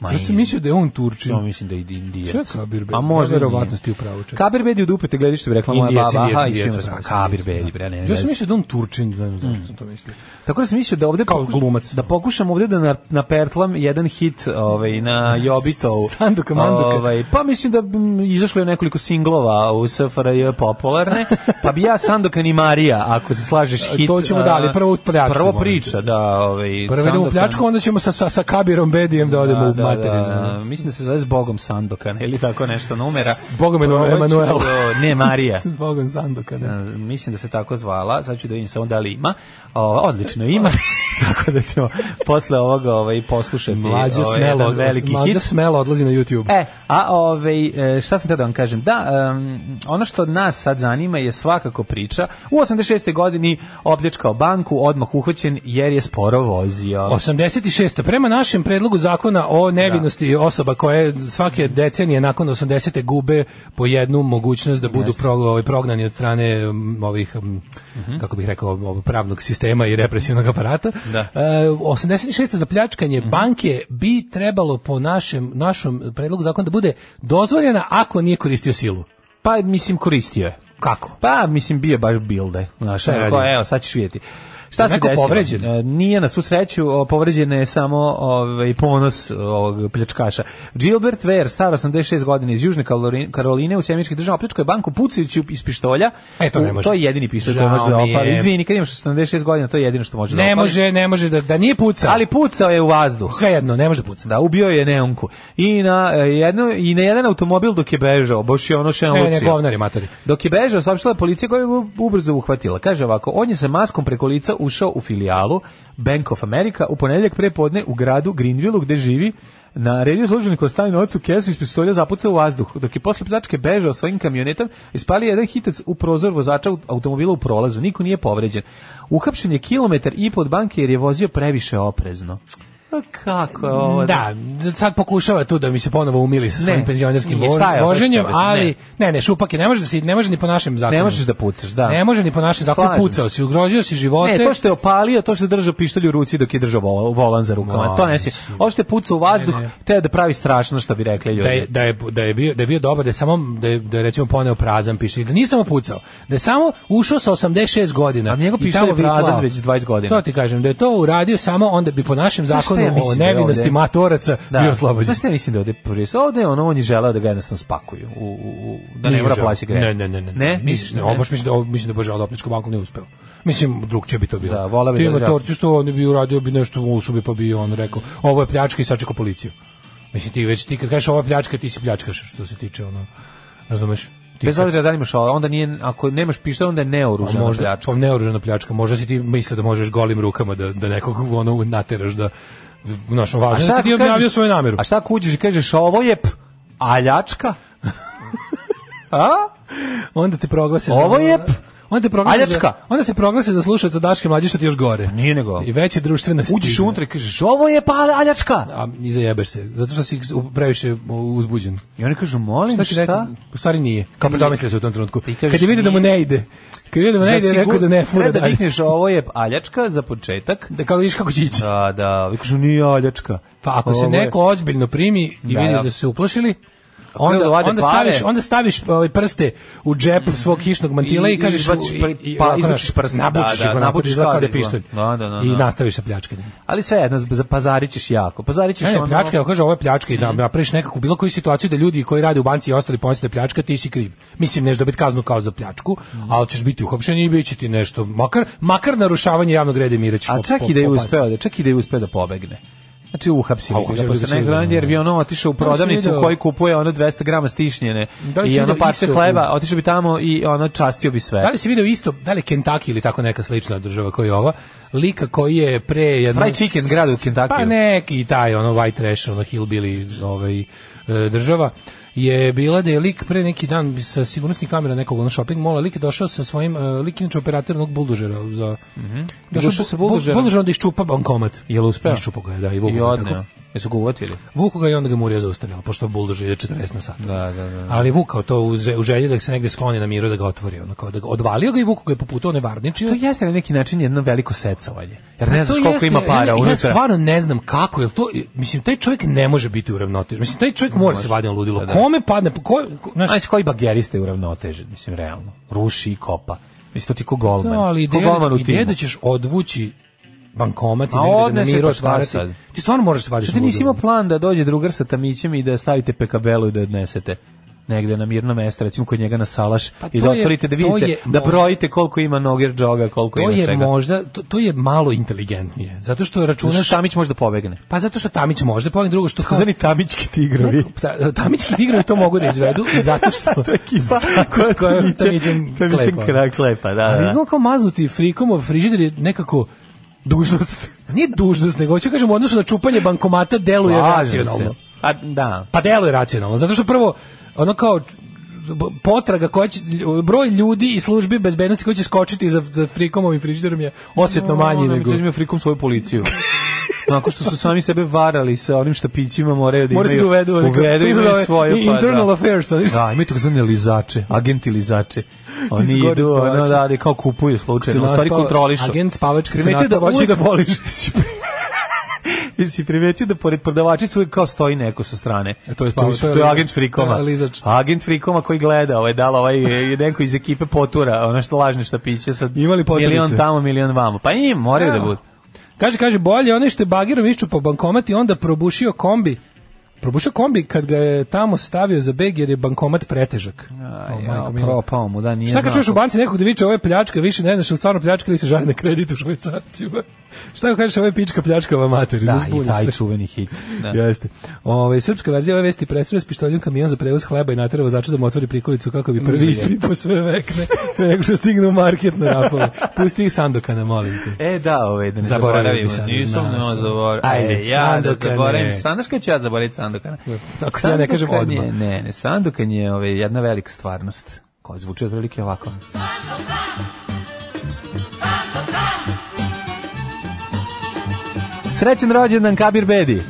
[SPEAKER 6] Ma,
[SPEAKER 5] Ja sam mislio da je on Turčin.
[SPEAKER 6] Ja mislim da je Indijac.
[SPEAKER 5] Sve Kabir Bedi.
[SPEAKER 6] A možda i nije.
[SPEAKER 5] Verovatno si ti u pravu, čak.
[SPEAKER 6] Kabir Bedi u dupe te gledaš, što bi rekla moja
[SPEAKER 5] Indijac,
[SPEAKER 6] baba.
[SPEAKER 5] Indijac,
[SPEAKER 6] Aha, i
[SPEAKER 5] Indijac,
[SPEAKER 6] svima
[SPEAKER 5] da,
[SPEAKER 6] sam. Hmm.
[SPEAKER 5] da,
[SPEAKER 6] Kabir
[SPEAKER 5] da.
[SPEAKER 6] Bedi, bre, ne
[SPEAKER 5] Ja sam
[SPEAKER 6] veze.
[SPEAKER 5] mislio da je on Turčin, ne znam zašto sam to mislio.
[SPEAKER 6] Tako da sam mislio da ovde
[SPEAKER 5] Kao
[SPEAKER 6] pokušam-
[SPEAKER 5] glumac.
[SPEAKER 6] Da pokušam ovde da na, napertlam jedan hit ovaj,
[SPEAKER 5] <laughs>
[SPEAKER 6] na Jobitov.
[SPEAKER 5] Sanduka Manduka.
[SPEAKER 6] Ovaj, pa mislim da bi m, izašlo je nekoliko singlova u SFRJ popularne. Pa bi ja Sandokan i Marija, ako se slažeš hit.
[SPEAKER 5] to ćemo da, ali
[SPEAKER 6] a,
[SPEAKER 5] prvo u pljačku
[SPEAKER 6] Prvo
[SPEAKER 5] moram
[SPEAKER 6] priča,
[SPEAKER 5] ti.
[SPEAKER 6] da. Ovaj,
[SPEAKER 5] Prvo idemo u
[SPEAKER 6] Sandokan-
[SPEAKER 5] pljačku, onda ćemo sa, sa, sa Kabirom Bedijem da odemo
[SPEAKER 6] da,
[SPEAKER 5] u
[SPEAKER 6] da,
[SPEAKER 5] materinu.
[SPEAKER 6] da, mislim da se zove s Bogom Sandokan ili tako nešto numera.
[SPEAKER 5] S Bogom
[SPEAKER 6] Probat ću
[SPEAKER 5] Emanuel.
[SPEAKER 6] da- Ne,
[SPEAKER 5] <laughs>
[SPEAKER 6] Marija.
[SPEAKER 5] S Bogom Sandoka, ne.
[SPEAKER 6] E, mislim da se tako zvala, sad ću da vidim samo da li ima. O, odlično ima, <laughs> tako da ćemo posle ovoga ovaj, poslušati
[SPEAKER 5] Mlađa
[SPEAKER 6] ovaj,
[SPEAKER 5] smelo,
[SPEAKER 6] jedan veliki
[SPEAKER 5] mlađa
[SPEAKER 6] hit.
[SPEAKER 5] smelo odlazi na YouTube.
[SPEAKER 6] E, a ovaj, e, šta sam te da vam kažem? Da, em, ono što nas sad zanima je svakako priča. U 86. godini opljačkao banku, odmah uhvaćen jer je sporo vozio.
[SPEAKER 5] 86. Prema našem predlogu zakona o nevinosti
[SPEAKER 6] Da.
[SPEAKER 5] osoba koje svake decenije nakon 80. gube po jednu mogućnost da budu pro, ovaj, prognani od strane um, ovih, um,
[SPEAKER 6] Mhm.
[SPEAKER 5] kako bih rekao, ovog pravnog sistema i represivnog aparata.
[SPEAKER 6] Da. Mhm.
[SPEAKER 5] E, 86. za pljačkanje banke bi trebalo po našem, našom predlogu zakona da bude dozvoljena ako nije koristio silu.
[SPEAKER 6] Pa, mislim, koristio je.
[SPEAKER 5] Kako?
[SPEAKER 6] Pa, mislim, bio je baš bilde. Znaš,
[SPEAKER 5] Šta je
[SPEAKER 6] onako,
[SPEAKER 5] radio?
[SPEAKER 6] evo, sad ćeš vidjeti. Šta
[SPEAKER 5] Je
[SPEAKER 6] se
[SPEAKER 5] neko
[SPEAKER 6] desilo?
[SPEAKER 5] povređen?
[SPEAKER 6] E, Nije na svu sreću, o, povređen je samo ovaj, ponos ovog pljačkaša. Gilbert Ware, star 86 godina iz Južne Kalori- Karoline u Sjemičkih država, opljačkao je banku pucajući iz pištolja.
[SPEAKER 5] E, to ne
[SPEAKER 6] U-
[SPEAKER 5] može.
[SPEAKER 6] To je jedini pištolj koji
[SPEAKER 5] Žao
[SPEAKER 6] može da
[SPEAKER 5] mi je.
[SPEAKER 6] opali. Izvini, kad imaš 86 godina, to je jedino što može da opali.
[SPEAKER 5] Ne može, ne može da, da nije pucao.
[SPEAKER 6] Ali pucao je u vazduh.
[SPEAKER 5] Svejedno, ne može da puca.
[SPEAKER 6] Da, ubio je neonku. I na, e, jedno, i na jedan automobil dok je bežao, baš je ono što je
[SPEAKER 5] Ne, E, ne,
[SPEAKER 6] lucio.
[SPEAKER 5] govnari, matori.
[SPEAKER 6] Dok je bežao, saopštila je policija koja je u- ubrzo uhvatila. Kaže ovako, on je sa maskom preko lica ušao u filijalu Bank of America u ponedeljak prepodne u gradu Greenvilleu gde živi Naredio službenik da stavi novac u kesu i iz pištolja zapucao u vazduh, dok je posle pljačke bežao svojim kamionetom i spalio jedan hitac u prozor vozača aut- automobila u prolazu. Niko nije povređen. Uhapšen je kilometar i pod banke jer je vozio previše oprezno. Pa kako je ovo?
[SPEAKER 5] Da, sad pokušava tu da mi se ponovo umili sa svojim
[SPEAKER 6] Ne,
[SPEAKER 5] penzionerskim
[SPEAKER 6] nije, šta je
[SPEAKER 5] vož-
[SPEAKER 6] ovo
[SPEAKER 5] voženjem,
[SPEAKER 6] što je ovo?
[SPEAKER 5] ali ne, ne, šupak je, ne može da se ne može ni po našem zakonu.
[SPEAKER 6] Ne možeš da pucaš, da.
[SPEAKER 5] Ne može ni po našem zakonu
[SPEAKER 6] Slažem
[SPEAKER 5] pucao
[SPEAKER 6] se.
[SPEAKER 5] si, ugrozio si živote.
[SPEAKER 6] Ne, to što je opalio, to što je držao pištolj u ruci dok je držao vol- volan za rukama.
[SPEAKER 5] Ma,
[SPEAKER 6] to ne si. Ovo što je pucao u vazduh,
[SPEAKER 5] Ne, ne.
[SPEAKER 6] teo da pravi strašno što bi rekli ljudi.
[SPEAKER 5] da je, da je da je bio da je bio dobar da je samo da je, da je recimo poneo prazan pištolj da nije samo pucao da je samo ušao sa 86 godina
[SPEAKER 6] A njegov
[SPEAKER 5] i
[SPEAKER 6] pištolj
[SPEAKER 5] tamo
[SPEAKER 6] je prazan
[SPEAKER 5] vitlao.
[SPEAKER 6] već 20 godina.
[SPEAKER 5] to ti kažem da je to uradio samo onda bi po našem
[SPEAKER 6] Znaš šta
[SPEAKER 5] zakonu
[SPEAKER 6] ja
[SPEAKER 5] o
[SPEAKER 6] mislim da je
[SPEAKER 5] nevinosti
[SPEAKER 6] ovde?
[SPEAKER 5] matoraca bio oslobođen
[SPEAKER 6] Da. Znaš šta ja mislim da ovde prije? Ovde je ono, on je želeo da ga jednostavno spakuju. U, u, u, da ne
[SPEAKER 5] Nije
[SPEAKER 6] mora
[SPEAKER 5] žao.
[SPEAKER 6] plaći gre.
[SPEAKER 5] Ne, ne, ne, ne. Ne,
[SPEAKER 6] Misliš,
[SPEAKER 5] mislim, ne, baš mislim da ovo- mislim da Bože Alopničku banku ne uspeo. Mislim drugčije bi to bilo.
[SPEAKER 6] Da, voleo bi
[SPEAKER 5] Ti
[SPEAKER 6] da je
[SPEAKER 5] motorci što on bi uradio bi nešto u usubi pa bi on rekao ovo je pljačka i sačekao policiju. Mislim ti već ti kad kažeš ovo je pljačka ti si pljačkaš što se tiče ono razumeš? Ti
[SPEAKER 6] Bez
[SPEAKER 5] kad-
[SPEAKER 6] obzira da li imaš, ovo, onda nije, ako nemaš pištolj, onda je
[SPEAKER 5] Pa
[SPEAKER 6] neoružan.
[SPEAKER 5] možda
[SPEAKER 6] Možda.
[SPEAKER 5] pljačka. neoružana pljačka. Možda si ti mislio da možeš golim rukama da, da nekog ono nateraš da znaš, važno je da si ti objavio svoju nameru.
[SPEAKER 6] A šta ako uđeš i kažeš, ovo je p, aljačka? A?
[SPEAKER 5] Onda te proglase
[SPEAKER 6] Ovo
[SPEAKER 5] za...
[SPEAKER 6] je p-
[SPEAKER 5] Onda te proglase
[SPEAKER 6] Aljačka. Pa
[SPEAKER 5] za, onda se proglase za slušaoca Daške mlađe što ti još gore.
[SPEAKER 6] Nije nego.
[SPEAKER 5] I veće društvena
[SPEAKER 6] Uđeš
[SPEAKER 5] stigma.
[SPEAKER 6] unutra i kažeš, ovo je pa aljačka.
[SPEAKER 5] A i zajebeš se, zato što si u- previše uzbuđen.
[SPEAKER 6] I oni kažu, molim, šta?
[SPEAKER 5] Šta si rekao? U stvari nije. Kao predomislio se u tom trenutku.
[SPEAKER 6] Ti kažeš
[SPEAKER 5] Kad je vidio da mu ne ide. Kad je vidio da mu ne
[SPEAKER 6] Za
[SPEAKER 5] ide, je rekao
[SPEAKER 6] sigur-
[SPEAKER 5] da ne fura
[SPEAKER 6] Treba da
[SPEAKER 5] dalje.
[SPEAKER 6] vikneš, ovo je aljačka za početak.
[SPEAKER 5] Da kao vidiš kako će ići.
[SPEAKER 6] Da, da, vi kažu, nije aljačka.
[SPEAKER 5] Pa ako se
[SPEAKER 6] Ovo je-
[SPEAKER 5] neko ozbiljno primi i
[SPEAKER 6] Da,
[SPEAKER 5] vidiš
[SPEAKER 6] da.
[SPEAKER 5] da su se uplašili,
[SPEAKER 6] krenu da
[SPEAKER 5] onda,
[SPEAKER 6] vade
[SPEAKER 5] onda
[SPEAKER 6] pare. Mm.
[SPEAKER 5] staviš, onda staviš ovaj, prste u džep svog hišnog mantila
[SPEAKER 6] I-
[SPEAKER 5] i,
[SPEAKER 6] i
[SPEAKER 5] kažeš...
[SPEAKER 6] izbaciš
[SPEAKER 5] u-
[SPEAKER 6] pri- pa
[SPEAKER 5] ovako,
[SPEAKER 6] izbaciš
[SPEAKER 5] znaš,
[SPEAKER 6] prste, da,
[SPEAKER 5] Nabučiš
[SPEAKER 6] da,
[SPEAKER 5] ga,
[SPEAKER 6] nabučiš
[SPEAKER 5] nabučiš ga kao da je
[SPEAKER 6] kadigu.
[SPEAKER 5] pištolj.
[SPEAKER 6] Da, da, da,
[SPEAKER 5] I
[SPEAKER 6] da.
[SPEAKER 5] nastaviš sa pljačkanjem.
[SPEAKER 6] Ali sve jedno, pazarićeš jako. Pazarićeš
[SPEAKER 5] Ne, ne,
[SPEAKER 6] ono- Mm.
[SPEAKER 5] pljačka, ako kaže ovo je pljačka i da napraviš nekakvu bilo koju situaciju da ljudi koji rade u banci i ostali pomisle da je pljačka, ti si kriv. Mislim, neš dobiti kaznu kao za pljačku,
[SPEAKER 6] Mm.
[SPEAKER 5] ali ćeš biti uhapšen i bit će ti nešto, makar, makar narušavanje javnog reda i mira ćeš
[SPEAKER 6] A
[SPEAKER 5] po-
[SPEAKER 6] čak
[SPEAKER 5] po-
[SPEAKER 6] i da je
[SPEAKER 5] popaziti.
[SPEAKER 6] uspeo, da čak i da je uspeo da pobegne. Znači
[SPEAKER 5] A,
[SPEAKER 6] uhapsi ga
[SPEAKER 5] uhapsili Pa,
[SPEAKER 6] ga
[SPEAKER 5] ga
[SPEAKER 6] posle
[SPEAKER 5] sigurno,
[SPEAKER 6] nekog dana, jer bi ono otišao u
[SPEAKER 5] Da li si
[SPEAKER 6] prodavnicu
[SPEAKER 5] video-
[SPEAKER 6] u kojoj kupuje ono 200 grama stišnjene
[SPEAKER 5] Da li si
[SPEAKER 6] i ono
[SPEAKER 5] video
[SPEAKER 6] parče
[SPEAKER 5] isto-
[SPEAKER 6] hleba, otišao bi tamo i ono častio bi sve.
[SPEAKER 5] Da li si video isto, da li je Kentucky ili tako neka slična država koja je ova, lika koji je pre... Jedno,
[SPEAKER 6] Fried chicken grade u Kentuckyju.
[SPEAKER 5] Pa neki taj, ono, white trash, ono, hillbilly ovaj, e, država je bila da je lik pre neki dan sa sigurnosnih kamera nekog ono shopping mola lik je došao sa svojim e, lik je inače operator onog buldožera za došao
[SPEAKER 6] Mhm. Došao sa
[SPEAKER 5] bu- bu-
[SPEAKER 6] buldožerom.
[SPEAKER 5] buldožerom da iščupa bankomat
[SPEAKER 6] Jel uspeo?
[SPEAKER 5] iščupa ga je, da i vuku
[SPEAKER 6] I
[SPEAKER 5] ga tako.
[SPEAKER 6] odneo. Jesu ga uvatili?
[SPEAKER 5] Vuku ga i onda ga Murija zaustavljala, pošto buldožer ide 40 na sat.
[SPEAKER 6] Da, da, da.
[SPEAKER 5] Ali je vukao to u, ze- u želji da se negde skloni na miru da ga otvori, ono kao da ga odvalio ga i vuku ga je poputao nevarničio.
[SPEAKER 6] To jeste na neki način jedno veliko secovanje. Jer ne
[SPEAKER 5] Pa To
[SPEAKER 6] znaš koliko
[SPEAKER 5] jeste,
[SPEAKER 6] ima para
[SPEAKER 5] ja, ja
[SPEAKER 6] unutra.
[SPEAKER 5] stvarno ne znam kako, jel to, mislim, taj čovjek ne može biti uravnotežen. Mislim, taj čovjek mora se vaditi na ludilo.
[SPEAKER 6] Da, da.
[SPEAKER 5] Kome padne, po ko, ko, znaš,
[SPEAKER 6] Znaš koji bagerista je uravnotežen, mislim, realno. Ruši i kopa. Mislim, to ti ko golman.
[SPEAKER 5] no, ali
[SPEAKER 6] ko
[SPEAKER 5] ideja,
[SPEAKER 6] golman u
[SPEAKER 5] da- ideja
[SPEAKER 6] timu.
[SPEAKER 5] da ćeš odvući bankomat i
[SPEAKER 6] A
[SPEAKER 5] negde da na
[SPEAKER 6] odnese,
[SPEAKER 5] miru
[SPEAKER 6] pa šta
[SPEAKER 5] otvarati.
[SPEAKER 6] sad?
[SPEAKER 5] Ti stvarno moraš se vaditi
[SPEAKER 6] Što ti
[SPEAKER 5] na
[SPEAKER 6] nisi
[SPEAKER 5] ludilo.
[SPEAKER 6] imao plan da dođe drugar sa tamićem i da stavite pekabelu i da odnesete negde na mirno mesto, recimo kod njega na salaš
[SPEAKER 5] Pa
[SPEAKER 6] i
[SPEAKER 5] to
[SPEAKER 6] da
[SPEAKER 5] je-
[SPEAKER 6] otvorite
[SPEAKER 5] to
[SPEAKER 6] da vidite,
[SPEAKER 5] je
[SPEAKER 6] da
[SPEAKER 5] možda-
[SPEAKER 6] brojite koliko ima nogir džoga, koliko
[SPEAKER 5] To
[SPEAKER 6] ima
[SPEAKER 5] je
[SPEAKER 6] čega.
[SPEAKER 5] možda, to, to je malo inteligentnije. Zato što
[SPEAKER 6] Zato
[SPEAKER 5] računaš
[SPEAKER 6] što Tamić može da pobegne.
[SPEAKER 5] Pa zato što Tamić može, pa ovim drugo što kao...
[SPEAKER 6] Zani Tamićki tigrovi.
[SPEAKER 5] Ta- Tamićki tigrovi to mogu da izvedu zato što...
[SPEAKER 6] <laughs>
[SPEAKER 5] Pa,
[SPEAKER 6] To je ekipa <laughs>
[SPEAKER 5] zato
[SPEAKER 6] koja
[SPEAKER 5] što je
[SPEAKER 6] Tamićem
[SPEAKER 5] Tamićem
[SPEAKER 6] Tamićem
[SPEAKER 5] klepa.
[SPEAKER 6] kra- klepa. Da,
[SPEAKER 5] Ali
[SPEAKER 6] da.
[SPEAKER 5] on kao maznuti frikomov frižider je nekako dužnost. <laughs> Nije dužnost, nego hoću da kažem u odnosu na čupanje bankomata deluje
[SPEAKER 6] Slažem
[SPEAKER 5] racionalno.
[SPEAKER 6] se. A, da.
[SPEAKER 5] Pa deluje racionalno, zato što prvo, ono kao b- potraga koja će, broj ljudi i službi bezbednosti koji će skočiti za, za frikomovim frižiderom je osjetno manji
[SPEAKER 6] Ono,
[SPEAKER 5] nego...
[SPEAKER 6] mi uzme frikom svoju
[SPEAKER 5] <laughs>
[SPEAKER 6] policiju. Nakon što su sami sebe varali sa onim štapićima, moraju da imaju...
[SPEAKER 5] Moraju se da uvedu, ono kao-
[SPEAKER 6] uvedu, imaju
[SPEAKER 5] izazove
[SPEAKER 6] svoje,
[SPEAKER 5] i
[SPEAKER 6] pa
[SPEAKER 5] internal
[SPEAKER 6] da.
[SPEAKER 5] affairs, ali
[SPEAKER 6] Da, imaju tako zvane lizače, agenti
[SPEAKER 5] <laughs>
[SPEAKER 6] lizače. Oni
[SPEAKER 5] Iz gore
[SPEAKER 6] idu, ono,
[SPEAKER 5] spavača.
[SPEAKER 6] da, da, kao kupuju slučajno, u
[SPEAKER 5] Kad se
[SPEAKER 6] stvari
[SPEAKER 5] naspava-
[SPEAKER 6] kontrolišu.
[SPEAKER 5] agent spavač kad se
[SPEAKER 6] Primetio
[SPEAKER 5] naspava, hoće
[SPEAKER 6] uvijek-
[SPEAKER 5] da boliš.
[SPEAKER 6] <laughs> Jesi primetio da pored prodavačice uvijek kao stoji neko sa strane? Pa,
[SPEAKER 5] E, to je spavač,
[SPEAKER 6] to,
[SPEAKER 5] to
[SPEAKER 6] je
[SPEAKER 5] je
[SPEAKER 6] agent frikoma.
[SPEAKER 5] to je lizač.
[SPEAKER 6] Agent frikoma koji gleda, ovaj, da li ovaj je neko iz ekipe potura, ono što lažne štapiće sa
[SPEAKER 5] Imali poturice.
[SPEAKER 6] milion tamo, milion vamo. Pa im, moraju da
[SPEAKER 5] Da.
[SPEAKER 6] budu.
[SPEAKER 5] <laughs> Kaže, kaže, bolje onaj što je bagirom išću po bankomat i onda probušio kombi. Probušio kombi kad ga je tamo stavio za beg jer je bankomat pretežak. O, majko mila.
[SPEAKER 6] propao mu, da, nije
[SPEAKER 5] Šta kad
[SPEAKER 6] znao
[SPEAKER 5] čuješ u
[SPEAKER 6] ko-
[SPEAKER 5] banci nekog da viče ovo je pljačka, više ne znaš je li stvarno pljačka ili se žali na kredit u švajcarcima. <laughs> Šta kad kažeš ovo je pička pljačka ova materi,
[SPEAKER 6] Da, i
[SPEAKER 5] zbunjiš
[SPEAKER 6] taj
[SPEAKER 5] se.
[SPEAKER 6] čuveni hit. <laughs> Da.
[SPEAKER 5] Jeste. Ove, srpska verzija ove vesti presura s pištoljom kamion za prevoz hleba i natera vozača da mu otvori prikolicu kako bi prvi ispipo sve vekne pre nego što stigne u market na rapove. Pusti ih Sandokana, molim te.
[SPEAKER 6] E, da, ove, da ne
[SPEAKER 5] Zaboravio
[SPEAKER 6] zaboravimo.
[SPEAKER 5] bi Sandu,
[SPEAKER 6] Nisam,
[SPEAKER 5] znao
[SPEAKER 6] no,
[SPEAKER 5] sam.
[SPEAKER 6] zaboravim.
[SPEAKER 5] Ajde,
[SPEAKER 6] E, ja da
[SPEAKER 5] Sandokane.
[SPEAKER 6] zaboravim. Sandaš kada ću ja zaboraviti Sandokana?
[SPEAKER 5] Ako ti ja ne kažem
[SPEAKER 6] Sandokan je-
[SPEAKER 5] odmah.
[SPEAKER 6] Ne, ne, Sandokan je ove, jedna velika stvarnost. Koja zvuči otprilike ovako. Srećan rođendan Kabir Bedi.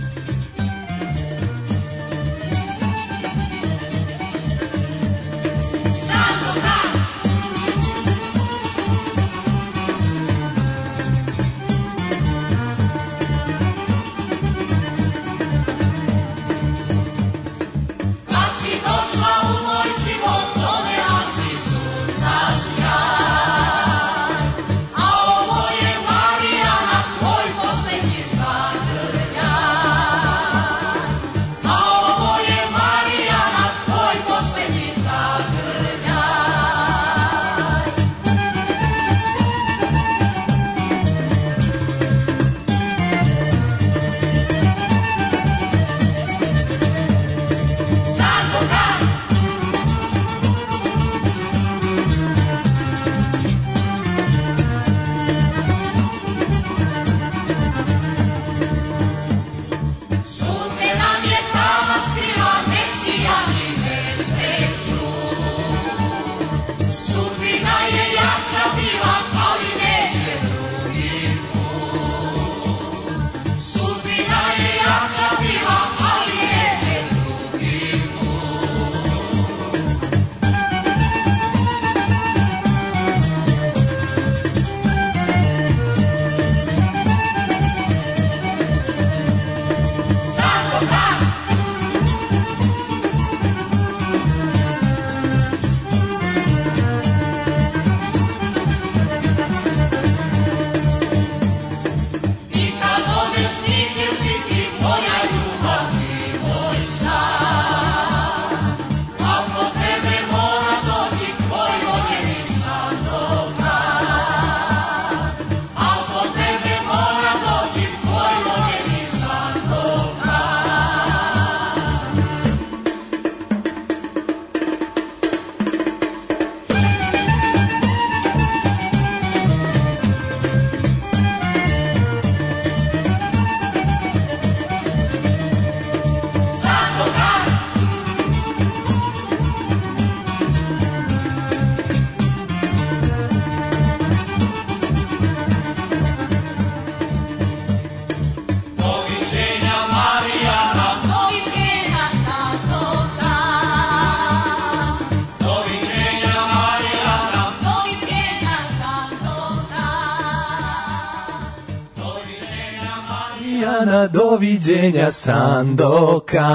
[SPEAKER 5] doviđenja Sandoka.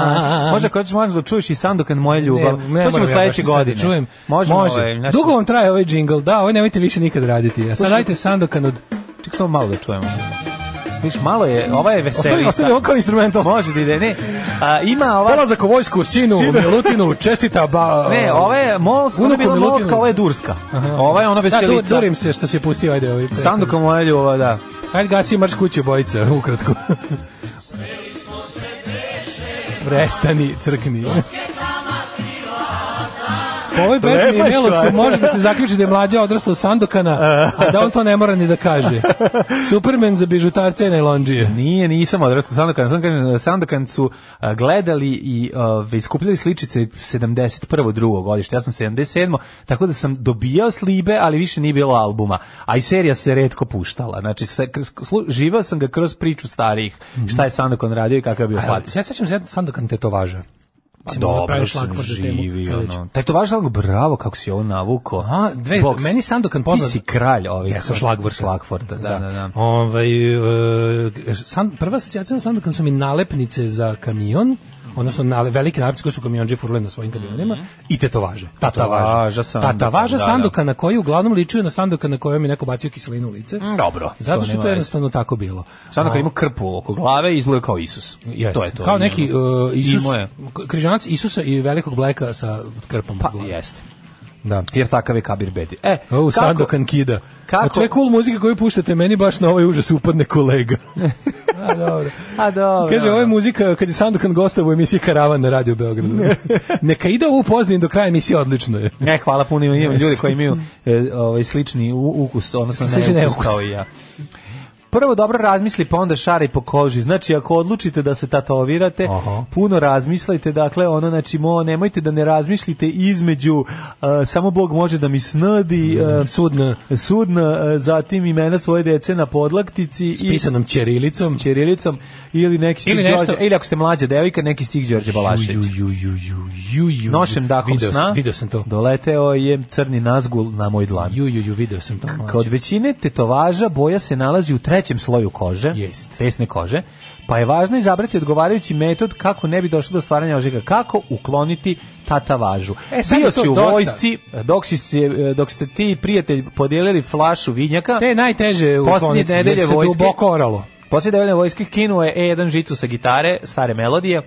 [SPEAKER 6] Može ako hoćeš možeš da čuješ i Sandokan moja ljubav.
[SPEAKER 5] Ne, ne
[SPEAKER 6] to ćemo
[SPEAKER 5] moram ja
[SPEAKER 6] sledeće
[SPEAKER 5] baš sad da
[SPEAKER 6] godine.
[SPEAKER 5] Čujem.
[SPEAKER 6] Možemo,
[SPEAKER 5] Može.
[SPEAKER 6] ovaj, znači-
[SPEAKER 5] Dugo vam traje ovaj džingl. Da, ovaj nemojte više nikad raditi. A sad dajte Sandokan od...
[SPEAKER 6] Ček samo malo da čujemo. Viš, malo je, ova je veseli.
[SPEAKER 5] Ostavi, ostavi ovo kao instrumental.
[SPEAKER 6] <laughs> Može da ide, ne. A, ima ova...
[SPEAKER 5] Polazak u vojsku, sinu, ovaj- Milutinu, čestita ba...
[SPEAKER 6] Ne, ova je Molska, ona je
[SPEAKER 5] Unuku
[SPEAKER 6] bila
[SPEAKER 5] Milutinu.
[SPEAKER 6] Molska, ova je Durska. Ova je ona
[SPEAKER 5] Da, du,
[SPEAKER 6] veselica.
[SPEAKER 5] durim se što si je pustio, ajde ovaj.
[SPEAKER 6] Sandokan moja ljubav, da.
[SPEAKER 5] Ajde gasi marš kuće bojica, <laughs> ukratko. Prestani, crkni. Po ovoj pesmi
[SPEAKER 6] Lepa je
[SPEAKER 5] imelo se,
[SPEAKER 6] stvar.
[SPEAKER 5] može da se zaključi da je mlađa odrasla u Sandokana, a da on to ne mora ni da kaže. Superman za bižutarce i najlonđije.
[SPEAKER 6] Nije, nisam odrastao Sandokan. Sandokan, Sandokan su a, gledali i uh, iskupljali sličice 71. drugog godišta. Ja sam 77. Tako da sam dobijao slibe, ali više nije bilo albuma. A i serija se redko puštala. Znači, se, kroz, slu- živeo sam ga kroz priču starijih.
[SPEAKER 5] Mhm.
[SPEAKER 6] Šta je Sandokan radio i kakav je bio
[SPEAKER 5] Pa, Ja
[SPEAKER 6] fac.
[SPEAKER 5] se sećam se Sandokan tetovaža. Mislim,
[SPEAKER 6] Dobro
[SPEAKER 5] napraviš
[SPEAKER 6] sam
[SPEAKER 5] šlagvort za temu
[SPEAKER 6] živi,
[SPEAKER 5] sledeću.
[SPEAKER 6] ono. Taj to važno, bravo kako si ovo navuko.
[SPEAKER 5] A, dve, meni Sandokan
[SPEAKER 6] Ti
[SPEAKER 5] poznat.
[SPEAKER 6] si kralj ovih.
[SPEAKER 5] Ja sam šlagvorta.
[SPEAKER 6] Šlagvorta, da, da, da.
[SPEAKER 5] Ovaj, e, san, prva asocijacija na Sandokan su mi nalepnice za kamion, odnosno nale, velike nalepnice koje su kamionđe furle na svojim kamionima
[SPEAKER 6] Mhm.
[SPEAKER 5] i tetovaže. Tatavaža.
[SPEAKER 6] Tatavaža Sandokan,
[SPEAKER 5] Tatavaža
[SPEAKER 6] da, da.
[SPEAKER 5] Sandokan na koji uglavnom ličuju na Sandokan na kojem je neko bacio kiselinu u lice.
[SPEAKER 6] Mm, Dobro.
[SPEAKER 5] Zato što
[SPEAKER 6] nema
[SPEAKER 5] to je
[SPEAKER 6] veze.
[SPEAKER 5] jednostavno tako bilo.
[SPEAKER 6] Sandokan ima krpu oko glave i izgleda kao Isus.
[SPEAKER 5] Jeste.
[SPEAKER 6] To je to.
[SPEAKER 5] Kao neki e, Isus,
[SPEAKER 6] Imao je.
[SPEAKER 5] križanac Isusa i velikog bleka sa krpom.
[SPEAKER 6] Pa,
[SPEAKER 5] u glavi.
[SPEAKER 6] jeste.
[SPEAKER 5] Da.
[SPEAKER 6] Jer takav je Kabir Bedi. E,
[SPEAKER 5] O, Sandokan kida.
[SPEAKER 6] Kako?
[SPEAKER 5] Od sve cool muzike koju puštate, meni baš na ovaj užas upadne kolega. A, dobro.
[SPEAKER 6] <laughs> A dobro.
[SPEAKER 5] Kaže, ovo je muzika kad je Sandokan gostao u emisiji Karavan na Radio
[SPEAKER 6] <laughs>
[SPEAKER 5] Beogradu. Neka ide ovo upoznajem do kraja emisije, odlično je.
[SPEAKER 6] Ne, hvala puno, imam imam ljudi koji imaju e, ovaj, slični u- ukus, odnosno
[SPEAKER 5] Slični
[SPEAKER 6] ne ukus
[SPEAKER 5] neukus.
[SPEAKER 6] kao i ja. prvo dobro razmisli, pa onda šaraj po koži. Znači, ako odlučite da se tatovirate,
[SPEAKER 5] Aha.
[SPEAKER 6] puno razmislite, dakle, ono, znači, mo, nemojte da ne razmislite između e, samo Bog može da mi snadi,
[SPEAKER 5] Mhm.
[SPEAKER 6] e,
[SPEAKER 5] Sudna
[SPEAKER 6] sudna, e, zatim imena svoje dece na podlaktici
[SPEAKER 5] s pisanom ćirilicom.
[SPEAKER 6] i čirilicom, ili neki stih
[SPEAKER 5] Ili
[SPEAKER 6] ili,
[SPEAKER 5] nešto-
[SPEAKER 6] ili ako ste mlađa devojka, neki stih Đorđe Balašević.
[SPEAKER 5] Ju, ju, ju, ju, ju, ju.
[SPEAKER 6] Nošem dahom
[SPEAKER 5] video, sam-
[SPEAKER 6] sna,
[SPEAKER 5] Video sam to.
[SPEAKER 6] doleteo je crni nazgul na moj dlan.
[SPEAKER 5] Ju, ju, ju, video sam to.
[SPEAKER 6] Kod većine tetovaža boja se nalazi u trećem sloju kože,
[SPEAKER 5] Jest.
[SPEAKER 6] tesne kože, pa je važno izabrati odgovarajući metod kako ne bi došlo do stvaranja ožiga, kako ukloniti tatavažu.
[SPEAKER 5] E, sad
[SPEAKER 6] Bio
[SPEAKER 5] je to
[SPEAKER 6] si u
[SPEAKER 5] dosta.
[SPEAKER 6] vojsci, dok, si, se- dok ste ti i prijatelj podijelili flašu vinjaka,
[SPEAKER 5] Te je najteže u
[SPEAKER 6] Posljednje
[SPEAKER 5] konci, jer
[SPEAKER 6] nedelje
[SPEAKER 5] se
[SPEAKER 6] vojske-
[SPEAKER 5] duboko oralo.
[SPEAKER 6] Poslije develjne vojske skinuo je E1 žicu sa gitare, stare melodije,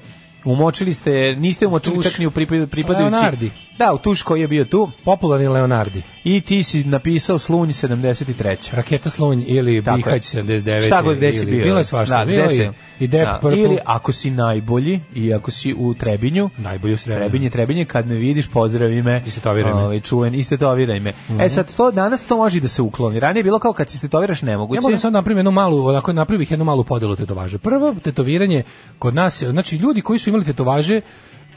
[SPEAKER 6] umočili ste, niste umočili
[SPEAKER 5] Tuš.
[SPEAKER 6] čak ni u pripa- pripadajući...
[SPEAKER 5] Leonardi.
[SPEAKER 6] Da, u tuš koji je bio tu.
[SPEAKER 5] Popularni Leonardi.
[SPEAKER 6] I ti si napisao Slunj 73.
[SPEAKER 5] Raketa Slunj ili
[SPEAKER 6] Tako je.
[SPEAKER 5] Bihać 79.
[SPEAKER 6] Šta god gde si
[SPEAKER 5] ili-
[SPEAKER 6] bio.
[SPEAKER 5] Bilo je svašta.
[SPEAKER 6] Da,
[SPEAKER 5] bilo
[SPEAKER 6] gde
[SPEAKER 5] je
[SPEAKER 6] se-
[SPEAKER 5] i Depp
[SPEAKER 6] da,
[SPEAKER 5] Purple.
[SPEAKER 6] Ili ako si najbolji i ako si u Trebinju,
[SPEAKER 5] Najbolji u Srebrenu.
[SPEAKER 6] Trebinje, Trebinje, kad me vidiš, pozdravi me.
[SPEAKER 5] Istetoviraj me. Mhm.
[SPEAKER 6] Ovaj, čuven, istetoviraj me. E sad, to, danas to može i da se ukloni. Ranije je bilo kao kad se istetoviraš nemoguće.
[SPEAKER 5] Ja mogu da sad napravim jednu malu, onako napravim bih jednu malu podelu tetovaže. Prvo tetoviranje kod nas, je- znači ljudi koji su imali tetovaže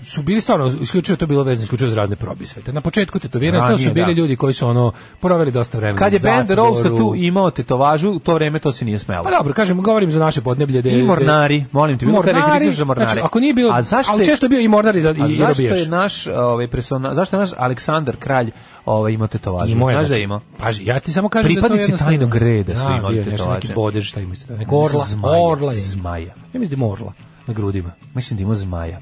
[SPEAKER 5] su bili stvarno isključivo to je bilo vezano isključivo za razne probisvete. Na početku tetoviranja to
[SPEAKER 6] Ranije,
[SPEAKER 5] su bili
[SPEAKER 6] da.
[SPEAKER 5] ljudi koji su ono proveli dosta vremena.
[SPEAKER 6] Kad je
[SPEAKER 5] u
[SPEAKER 6] band
[SPEAKER 5] zatvoru.
[SPEAKER 6] Roast tu imao tetovažu, u to vreme to se nije smelo.
[SPEAKER 5] Pa dobro, kažem, govorim za naše podneblje. gde-
[SPEAKER 6] I mornari, molim te, bilo karakteristično za mornare.
[SPEAKER 5] Znači, ako nije bio,
[SPEAKER 6] A zašto
[SPEAKER 5] ali
[SPEAKER 6] je-
[SPEAKER 5] često je bio i mornari za, da, i,
[SPEAKER 6] A
[SPEAKER 5] i
[SPEAKER 6] zašto
[SPEAKER 5] robijaš.
[SPEAKER 6] je naš ovaj persona, zašto je naš Aleksandar kralj ovaj ima tetovažu?
[SPEAKER 5] I moje,
[SPEAKER 6] Znaš da
[SPEAKER 5] znači,
[SPEAKER 6] ima.
[SPEAKER 5] paži, ja ti samo kažem da to
[SPEAKER 6] Pripadnici
[SPEAKER 5] jednostavno-
[SPEAKER 6] tajnog reda su
[SPEAKER 5] Da,
[SPEAKER 6] imali
[SPEAKER 5] bio je nešto
[SPEAKER 6] tetovaže.
[SPEAKER 5] Neki bodež, šta ima isto to, neko orla,
[SPEAKER 6] Zmaja,
[SPEAKER 5] orla je.
[SPEAKER 6] zmaja.
[SPEAKER 5] Ja mislim da ima orla na grudima.
[SPEAKER 6] Mislim da ima zmaja.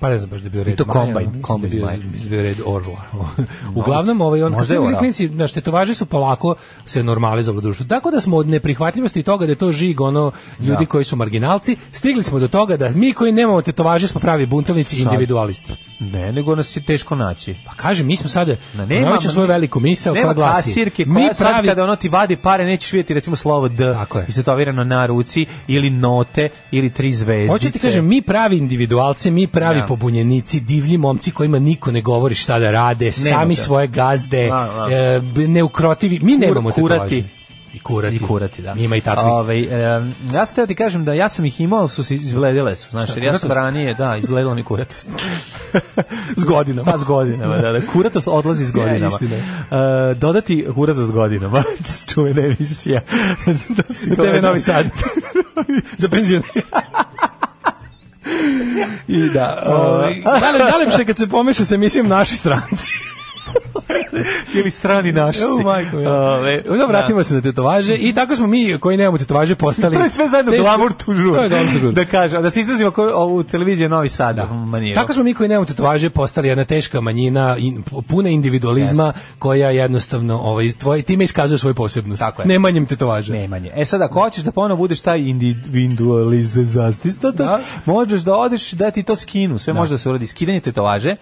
[SPEAKER 5] Pa ne znam baš da je bio red.
[SPEAKER 6] to
[SPEAKER 5] Maja,
[SPEAKER 6] kombajn,
[SPEAKER 5] mislim
[SPEAKER 6] kombajn
[SPEAKER 5] da je bio,
[SPEAKER 6] zmaja.
[SPEAKER 5] mislim da je bio red
[SPEAKER 6] <laughs>
[SPEAKER 5] orla. Uglavnom, ovaj, on, kad
[SPEAKER 6] Možda
[SPEAKER 5] su
[SPEAKER 6] je
[SPEAKER 5] bili
[SPEAKER 6] orao.
[SPEAKER 5] klinici, znaš, tetovaže su polako se normalizovali u društvu. Tako da smo od neprihvatljivosti i toga da je to žig, ono, ljudi
[SPEAKER 6] Da.
[SPEAKER 5] koji su marginalci, stigli smo do toga da mi koji nemamo tetovaže smo pravi buntovnici i
[SPEAKER 6] Sad.
[SPEAKER 5] individualisti.
[SPEAKER 6] Ne, nego nas je teško naći.
[SPEAKER 5] Pa kažem, mi smo sada,
[SPEAKER 6] Na,
[SPEAKER 5] ponovit ću svoju veliku misao koja
[SPEAKER 6] nema
[SPEAKER 5] glasi.
[SPEAKER 6] kasirke koja mi sad kada ono ti vadi pare nećeš vidjeti recimo slovo D
[SPEAKER 5] Tako je.
[SPEAKER 6] istetovirano na ruci ili note ili tri zvezdice.
[SPEAKER 5] Hoću ti kažem, mi pravi individualci, mi pravi
[SPEAKER 6] Ja.
[SPEAKER 5] pobunjenici, divlji momci kojima niko ne govori šta da rade, sami
[SPEAKER 6] toga.
[SPEAKER 5] svoje gazde,
[SPEAKER 6] A, a.
[SPEAKER 5] e, b- neukrotivi, mi nemamo
[SPEAKER 6] Da, kurati.
[SPEAKER 5] tetovaže. I kurati.
[SPEAKER 6] I kurati, da.
[SPEAKER 5] Ima i takvi.
[SPEAKER 6] Ovaj, em, ja sam teo ti kažem da ja sam ih imao, ali su se izgledale su. Znaš, jer ja sam
[SPEAKER 5] kuratost?
[SPEAKER 6] ranije, da, izgledalo mi
[SPEAKER 5] <laughs>
[SPEAKER 6] kurat.
[SPEAKER 5] S godinama.
[SPEAKER 6] Pa s godinama, da, da. Kuratost odlazi s godinama.
[SPEAKER 5] istina
[SPEAKER 6] E, dodati kuratost s godinama. <laughs> Čuvena
[SPEAKER 5] <laughs>
[SPEAKER 6] emisija. da si
[SPEAKER 5] Na TV Novi
[SPEAKER 6] <laughs>
[SPEAKER 5] Sad. Za penzion. I <laughs> da. Ovaj, da li, da lepše kad se pomeša sa emisijom naši stranci?
[SPEAKER 6] <laughs> Ili strani našci.
[SPEAKER 5] U, majko, ja.
[SPEAKER 6] Ove,
[SPEAKER 5] Dobro, vratimo se na tetovaže i tako smo mi koji nemamo tetovaže postali...
[SPEAKER 6] Da. To je sve zajedno
[SPEAKER 5] teško-
[SPEAKER 6] glamur tu žur.
[SPEAKER 5] To je glamur tu žur.
[SPEAKER 6] Da kažem, da se izrazimo ko- ovu televiziju Novi Sad da. maniru.
[SPEAKER 5] Tako smo mi koji nemamo tetovaže postali jedna teška manjina in, puna individualizma koja jednostavno ovaj tvoj time iskazuje svoju posebnost.
[SPEAKER 6] Tako je.
[SPEAKER 5] Nemanjem tetovaža.
[SPEAKER 6] Nemanje. E sad, ako hoćeš da ponovo budeš taj individualist zastistata,
[SPEAKER 5] Da.
[SPEAKER 6] možeš da odeš da ti to skinu. Sve može da se uradi. Skidanje tetovaže.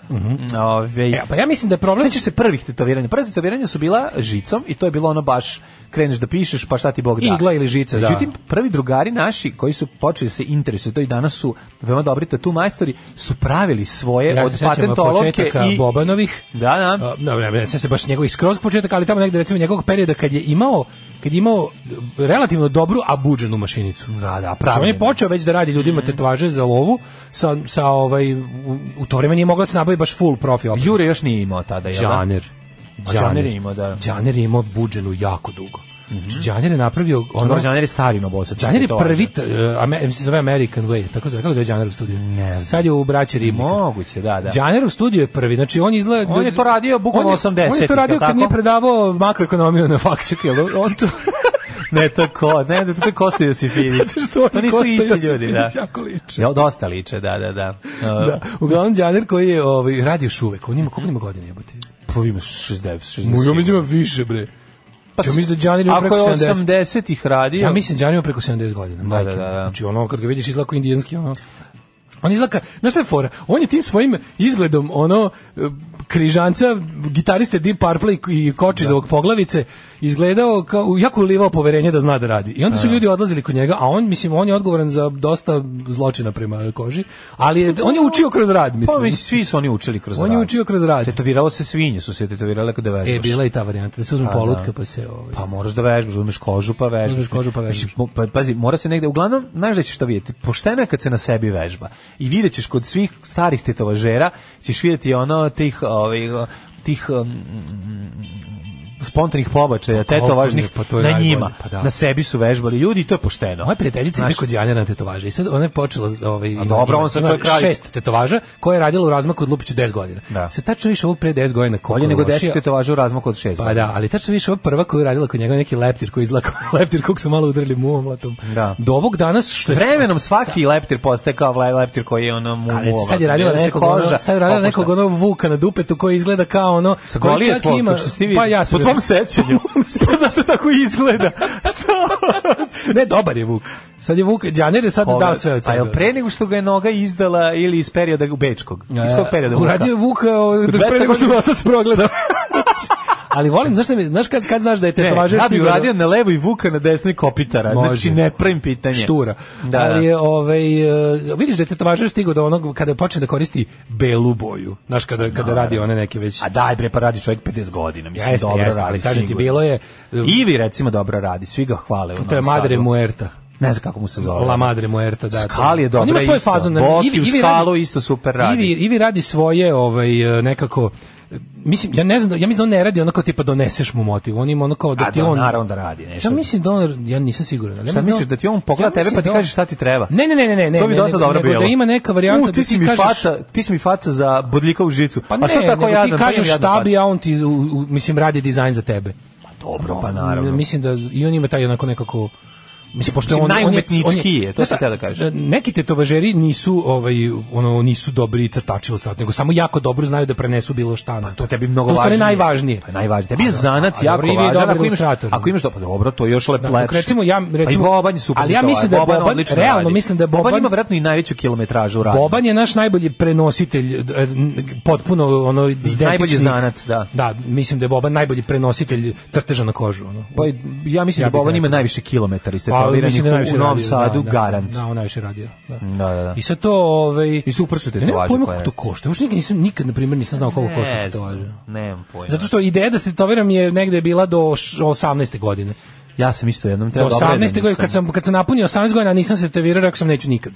[SPEAKER 6] Ove,
[SPEAKER 5] E, pa ja mislim da je problem
[SPEAKER 6] Sećaš se prvih tetoviranja. Prva tetoviranja su bila žicom i to je bilo ono baš kreneš da pišeš, pa šta ti Bog da.
[SPEAKER 5] Igla ili žica, da.
[SPEAKER 6] Međutim, prvi drugari naši koji su počeli da se interesuju, to i danas su veoma dobri tatu majstori, su pravili svoje
[SPEAKER 5] ja
[SPEAKER 6] od
[SPEAKER 5] se sećam
[SPEAKER 6] patentoloke
[SPEAKER 5] početaka
[SPEAKER 6] i...
[SPEAKER 5] Bobanovih.
[SPEAKER 6] Da, da.
[SPEAKER 5] A, ne, ne, ne, sećam se baš njegovih skroz početaka, ali tamo negde recimo njegovog perioda kad je imao kad je imao relativno dobru abuđenu mašinicu.
[SPEAKER 6] Da, Mhm. da,
[SPEAKER 5] Znači, on
[SPEAKER 6] pravilno.
[SPEAKER 5] je počeo već da radi ljudima tetovaže za lovu, sa, sa ovaj, u, u to vreme nije mogla da se nabavi baš full profi oprema.
[SPEAKER 6] Jure još nije imao tada, jel? da?
[SPEAKER 5] Džaner.
[SPEAKER 6] A Džaner je imao, da.
[SPEAKER 5] Džaner je imao budženu jako dugo. Znači, Džaner je napravio ono...
[SPEAKER 6] Dobro, Džaner je da. stari novosac.
[SPEAKER 5] Džaner je
[SPEAKER 6] tetovaža.
[SPEAKER 5] prvi, t- uh, Ame- mislim, se zove American Way, tako se zove, kako se zove Džaner u studiju?
[SPEAKER 6] Ne znam.
[SPEAKER 5] Sad je u braći Ribnika.
[SPEAKER 6] Moguće, da, da.
[SPEAKER 5] Džaner u studiju je prvi, znači on izgleda...
[SPEAKER 6] On je to radio bukvalno
[SPEAKER 5] On je-
[SPEAKER 6] 80-ih,
[SPEAKER 5] On je to radio
[SPEAKER 6] jel tako?
[SPEAKER 5] kad nije predavao makroekonomiju na faksu. da?
[SPEAKER 6] Čekaj, jel on <laughs> to... ne, to ko, ne, to je
[SPEAKER 5] <laughs>
[SPEAKER 6] Kosta Josifidić.
[SPEAKER 5] Zato što
[SPEAKER 6] to
[SPEAKER 5] oni
[SPEAKER 6] nisu
[SPEAKER 5] Kosta
[SPEAKER 6] isti ljudi, da.
[SPEAKER 5] Josifidić jako liče.
[SPEAKER 6] Jel, dosta liče, da, da, da. Mhm. Uh,
[SPEAKER 5] Da. Uglavnom, Džaner koji je ovaj, radio još uvek, on ima, koliko on ima godine jebote?
[SPEAKER 6] Pa imaš 69, 60.
[SPEAKER 5] Mu, ja mislim da ima više, bre.
[SPEAKER 6] Pa,
[SPEAKER 5] ja mislim da Džaner ima
[SPEAKER 6] Ako
[SPEAKER 5] preko
[SPEAKER 6] je
[SPEAKER 5] 70.
[SPEAKER 6] 80-ih radio...
[SPEAKER 5] Ja mislim da on ima preko 70 godina. Da,
[SPEAKER 6] da, da, da.
[SPEAKER 5] Znači ono kad ga vidiš izgleda kao indijanski ono. On izgleda, ka- znaš šta je fora? On je tim svojim izgledom ono križanca, gitariste Deep Purple i koči
[SPEAKER 6] Da.
[SPEAKER 5] za ovog poglavice, izgledao kao, jako ulivao poverenje da zna da radi. I onda su ljudi odlazili kod njega, a on, mislim, on je odgovoran za dosta zločina prema koži, ali je- on je učio kroz rad,
[SPEAKER 6] Pa
[SPEAKER 5] mislim.
[SPEAKER 6] mislim, da. svi su oni učili kroz
[SPEAKER 5] da On
[SPEAKER 6] rad.
[SPEAKER 5] je učio kroz rad.
[SPEAKER 6] Tetoviralo se svinje, su se tetovirale kada vežbaš.
[SPEAKER 5] E, bila je ta varijanta, da se uzme
[SPEAKER 6] Pa,
[SPEAKER 5] polutka
[SPEAKER 6] da.
[SPEAKER 5] pa se... Ovaj,
[SPEAKER 6] Pa moraš da vežbaš, uzmeš kožu pa vežbaš.
[SPEAKER 5] Uzmeš kožu pa vežbaš.
[SPEAKER 6] Mislim, mo- pa, pazi, mora se negde, uglavnom, znaš da ćeš to vidjeti. Pošteno je kad se na sebi vežba. I vidjet ćeš kod svih starih tetovažera, ćeš vidjeti ono tih, ovaj, tih um, spontanih pobačaja,
[SPEAKER 5] koliko
[SPEAKER 6] tetovažnih
[SPEAKER 5] ne, pa to je
[SPEAKER 6] na
[SPEAKER 5] najbolje,
[SPEAKER 6] njima.
[SPEAKER 5] pa da.
[SPEAKER 6] Na sebi su vežbali ljudi i to je pošteno.
[SPEAKER 5] Moja prijateljica ide
[SPEAKER 6] Znaš,
[SPEAKER 5] kod Janjana na tetovaže i sad ona je počela ovaj
[SPEAKER 6] A dobro, on sad
[SPEAKER 5] ima
[SPEAKER 6] čovjek radi.
[SPEAKER 5] šest tetovaža koje je radila u razmaku od Lupiću 10 godina.
[SPEAKER 6] Da.
[SPEAKER 5] Se tačno više ovo pre 10 godina koliko
[SPEAKER 6] Bolje nego
[SPEAKER 5] je lošija.
[SPEAKER 6] deset tetovaža u razmaku od šest.
[SPEAKER 5] Pa da, ali tačno više ova prva koju je radila kod njega neki leptir koji izlako <laughs> leptir kog su malo udarili muvom latom.
[SPEAKER 6] Da.
[SPEAKER 5] Do ovog danas što je
[SPEAKER 6] Vremenom svaki leptir postaje kao vla- leptir koji je ono mu
[SPEAKER 5] Ali
[SPEAKER 6] mu
[SPEAKER 5] sad je
[SPEAKER 6] ovako,
[SPEAKER 5] radila
[SPEAKER 6] da se
[SPEAKER 5] nekog,
[SPEAKER 6] koža
[SPEAKER 5] ono, sad je radila
[SPEAKER 6] opušta.
[SPEAKER 5] nekog ono vuka na dupetu koji izgleda kao ono...
[SPEAKER 6] Sa
[SPEAKER 5] koji
[SPEAKER 6] goli je
[SPEAKER 5] čak
[SPEAKER 6] tvoj,
[SPEAKER 5] ima-
[SPEAKER 6] kako ste vi?
[SPEAKER 5] Pa ja sam...
[SPEAKER 6] po tvom
[SPEAKER 5] <laughs>
[SPEAKER 6] sećanju. Pa zato tako i izgleda.
[SPEAKER 5] ne, dobar je vuk. Sad je vuk, Đaner je sad dao sve od
[SPEAKER 6] A
[SPEAKER 5] sebe. da.
[SPEAKER 6] jel pre nego što ga je noga izdala ili iz perioda u Bečkog? Iz kog perioda
[SPEAKER 5] E, Uradio je Vuka o,
[SPEAKER 6] Kod
[SPEAKER 5] da pre
[SPEAKER 6] 200
[SPEAKER 5] nego što <laughs> me otac progledao. Ali volim, znaš, šta mi, znaš kad, kad znaš da je
[SPEAKER 6] Ne,
[SPEAKER 5] tetovažer
[SPEAKER 6] ja bi
[SPEAKER 5] stigao do-
[SPEAKER 6] uradio na levoj Vuka na desnoj kopitara. Znači, ne pravim pitanje.
[SPEAKER 5] Štura.
[SPEAKER 6] Da,
[SPEAKER 5] Ali
[SPEAKER 6] da.
[SPEAKER 5] je, ovaj, e, vidiš da je tetovažer stigao do onog kada počne da koristi belu boju. Znaš, kada, kada radi one neke već...
[SPEAKER 6] Da, A daj bre, pa radi čovjek 50 godina. Mislim,
[SPEAKER 5] Jeste,
[SPEAKER 6] dobro
[SPEAKER 5] jeste,
[SPEAKER 6] radi.
[SPEAKER 5] ali kažem ti,
[SPEAKER 6] sigurno.
[SPEAKER 5] bilo je- e,
[SPEAKER 6] Ivi, recimo, dobro radi. Svi ga hvale. u
[SPEAKER 5] To je
[SPEAKER 6] Novom
[SPEAKER 5] Madre
[SPEAKER 6] Sadu.
[SPEAKER 5] Muerta.
[SPEAKER 6] Ne znam kako mu se zove.
[SPEAKER 5] La Madre Muerta, da.
[SPEAKER 6] Skali je
[SPEAKER 5] to. On
[SPEAKER 6] dobra
[SPEAKER 5] ima svoju da, fazu.
[SPEAKER 6] isto. Boki u Skalu isto super radi.
[SPEAKER 5] Ivi, Ivi radi svoje ovaj, eh, nekako mislim ja ne znam da- ja mislim da on ne radi onako tipa doneseš mu motiv on ima ono kao da
[SPEAKER 6] A
[SPEAKER 5] ti
[SPEAKER 6] da,
[SPEAKER 5] on
[SPEAKER 6] naravno da radi nešto.
[SPEAKER 5] ja mislim da on ja nisam siguran ali ja
[SPEAKER 6] Šta
[SPEAKER 5] mislim
[SPEAKER 6] misliš da ti on pogleda
[SPEAKER 5] ja
[SPEAKER 6] tebe
[SPEAKER 5] mislim
[SPEAKER 6] pa ti
[SPEAKER 5] da on-
[SPEAKER 6] kaže šta ti treba?
[SPEAKER 5] Ne, ne, ne, ne, ne, ne.
[SPEAKER 6] To bi
[SPEAKER 5] ne,
[SPEAKER 6] dosta
[SPEAKER 5] nego-
[SPEAKER 6] dobro
[SPEAKER 5] nego
[SPEAKER 6] bilo.
[SPEAKER 5] Da ima neka varijanta
[SPEAKER 6] U, ti
[SPEAKER 5] da
[SPEAKER 6] si
[SPEAKER 5] ti
[SPEAKER 6] mi
[SPEAKER 5] kažeš
[SPEAKER 6] faca, ti si mi faca za bodljika u žicu.
[SPEAKER 5] Pa
[SPEAKER 6] a
[SPEAKER 5] ne,
[SPEAKER 6] šta tako
[SPEAKER 5] nego
[SPEAKER 6] jadan?
[SPEAKER 5] ti
[SPEAKER 6] Pa imam
[SPEAKER 5] kažeš
[SPEAKER 6] jadnu
[SPEAKER 5] šta
[SPEAKER 6] facu.
[SPEAKER 5] bi, a on ti, u- u- mislim, radi dizajn za tebe.
[SPEAKER 6] Dobro, pa naravno.
[SPEAKER 5] Mislim da i on ima taj onako nekako Mislim, pošto je
[SPEAKER 6] Mislim,
[SPEAKER 5] on, on je-
[SPEAKER 6] najumetničkiji
[SPEAKER 5] on
[SPEAKER 6] je, to
[SPEAKER 5] Znaš
[SPEAKER 6] sam
[SPEAKER 5] šta, e,
[SPEAKER 6] htio da kažem.
[SPEAKER 5] Neki tetovažeri nisu, ovaj, ono, nisu dobri crtači ili srat, nego samo jako dobro znaju da prenesu bilo šta. Pa
[SPEAKER 6] to tebi mnogo
[SPEAKER 5] To u stvari
[SPEAKER 6] važnije.
[SPEAKER 5] najvažnije.
[SPEAKER 6] Pa najvažnije. Tebi je
[SPEAKER 5] da,
[SPEAKER 6] zanat
[SPEAKER 5] a dobro,
[SPEAKER 6] jako
[SPEAKER 5] Ivi je
[SPEAKER 6] važan.
[SPEAKER 5] dobar
[SPEAKER 6] Ako imaš,
[SPEAKER 5] ilustrator.
[SPEAKER 6] ako imaš dobro, dobro, to je još lep,
[SPEAKER 5] Da,
[SPEAKER 6] lepše.
[SPEAKER 5] dok recimo ja- recimo-
[SPEAKER 6] pa i Boban je super.
[SPEAKER 5] ali ja
[SPEAKER 6] to,
[SPEAKER 5] mislim da je Boban-
[SPEAKER 6] odlično
[SPEAKER 5] realno
[SPEAKER 6] radi.
[SPEAKER 5] mislim da je Boban-
[SPEAKER 6] ima vratno i najveću kilometražu rada.
[SPEAKER 5] Boban je naš najbolji prenositelj, e, n- potpuno ono identični.
[SPEAKER 6] Najbolji zanat, da.
[SPEAKER 5] Da, mislim da je Boban najbolji prenositelj crteža na kožu. Ono.
[SPEAKER 6] Pa i- ja mislim
[SPEAKER 5] Ja
[SPEAKER 6] da
[SPEAKER 5] bih
[SPEAKER 6] Boban ima
[SPEAKER 5] rekao.
[SPEAKER 6] najviše kilometara iz
[SPEAKER 5] Pa, mislim da je
[SPEAKER 6] tetoviranih
[SPEAKER 5] najviše
[SPEAKER 6] u Novom
[SPEAKER 5] radio,
[SPEAKER 6] Sadu,
[SPEAKER 5] da, da,
[SPEAKER 6] garant.
[SPEAKER 5] Da, on najviše radio. Da.
[SPEAKER 6] Da, da, da.
[SPEAKER 5] I sad to, ovaj...
[SPEAKER 6] I super su
[SPEAKER 5] Ja nemam
[SPEAKER 6] tetovaže.
[SPEAKER 5] pojma
[SPEAKER 6] koje-
[SPEAKER 5] kako to košta. Uopšte nikad nisam, nikad, na primjer, nisam znao koliko košta
[SPEAKER 6] Ne
[SPEAKER 5] tetovaže.
[SPEAKER 6] znam, Nemam pojma.
[SPEAKER 5] Zato što ideja da se tetoviram je negde bila do š- 18. godine.
[SPEAKER 6] Ja sam isto jednom
[SPEAKER 5] Do
[SPEAKER 6] trebao da obredem,
[SPEAKER 5] 18. godine,
[SPEAKER 6] nisam.
[SPEAKER 5] kad sam, kad sam napunio 18 godina, a nisam se tetovirao, rekao sam neću nikad.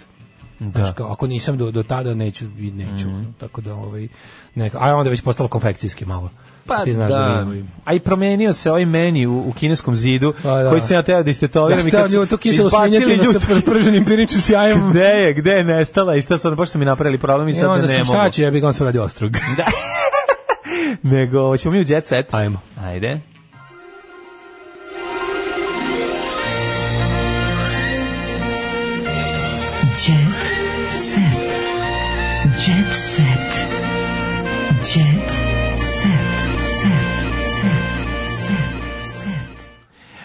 [SPEAKER 6] Da.
[SPEAKER 5] Znaš, kao, ako nisam do, do tada, neću, i neću.
[SPEAKER 6] Mhm.
[SPEAKER 5] Tako da, ovaj, neka, a onda je već postalo konfekcijski malo.
[SPEAKER 6] Pa
[SPEAKER 5] Ti znaš da,
[SPEAKER 6] da.
[SPEAKER 5] mi, ovaj,
[SPEAKER 6] A i promenio se ovaj meni u, u kineskom zidu,
[SPEAKER 5] Pa da.
[SPEAKER 6] koji sam ja teo da istetoviram. i
[SPEAKER 5] Ja
[SPEAKER 6] kad
[SPEAKER 5] stavljam
[SPEAKER 6] su
[SPEAKER 5] to kiselo
[SPEAKER 6] izbacili
[SPEAKER 5] svinjetinu sa
[SPEAKER 6] ljutu-
[SPEAKER 5] prženim piričnim <laughs> sjajem.
[SPEAKER 6] Gde je, gde je nestala i šta sad, baš su mi napravili problem i
[SPEAKER 5] I
[SPEAKER 6] sad
[SPEAKER 5] E, onda
[SPEAKER 6] da ne
[SPEAKER 5] sam
[SPEAKER 6] mogu.
[SPEAKER 5] šta ću, ja bih on se radio ostrog.
[SPEAKER 6] Nego, ćemo mi u jet set?
[SPEAKER 5] Ajmo.
[SPEAKER 6] Ajde.
[SPEAKER 4] Jet set. Jet set. Jet set. Set. Set. Set. Set.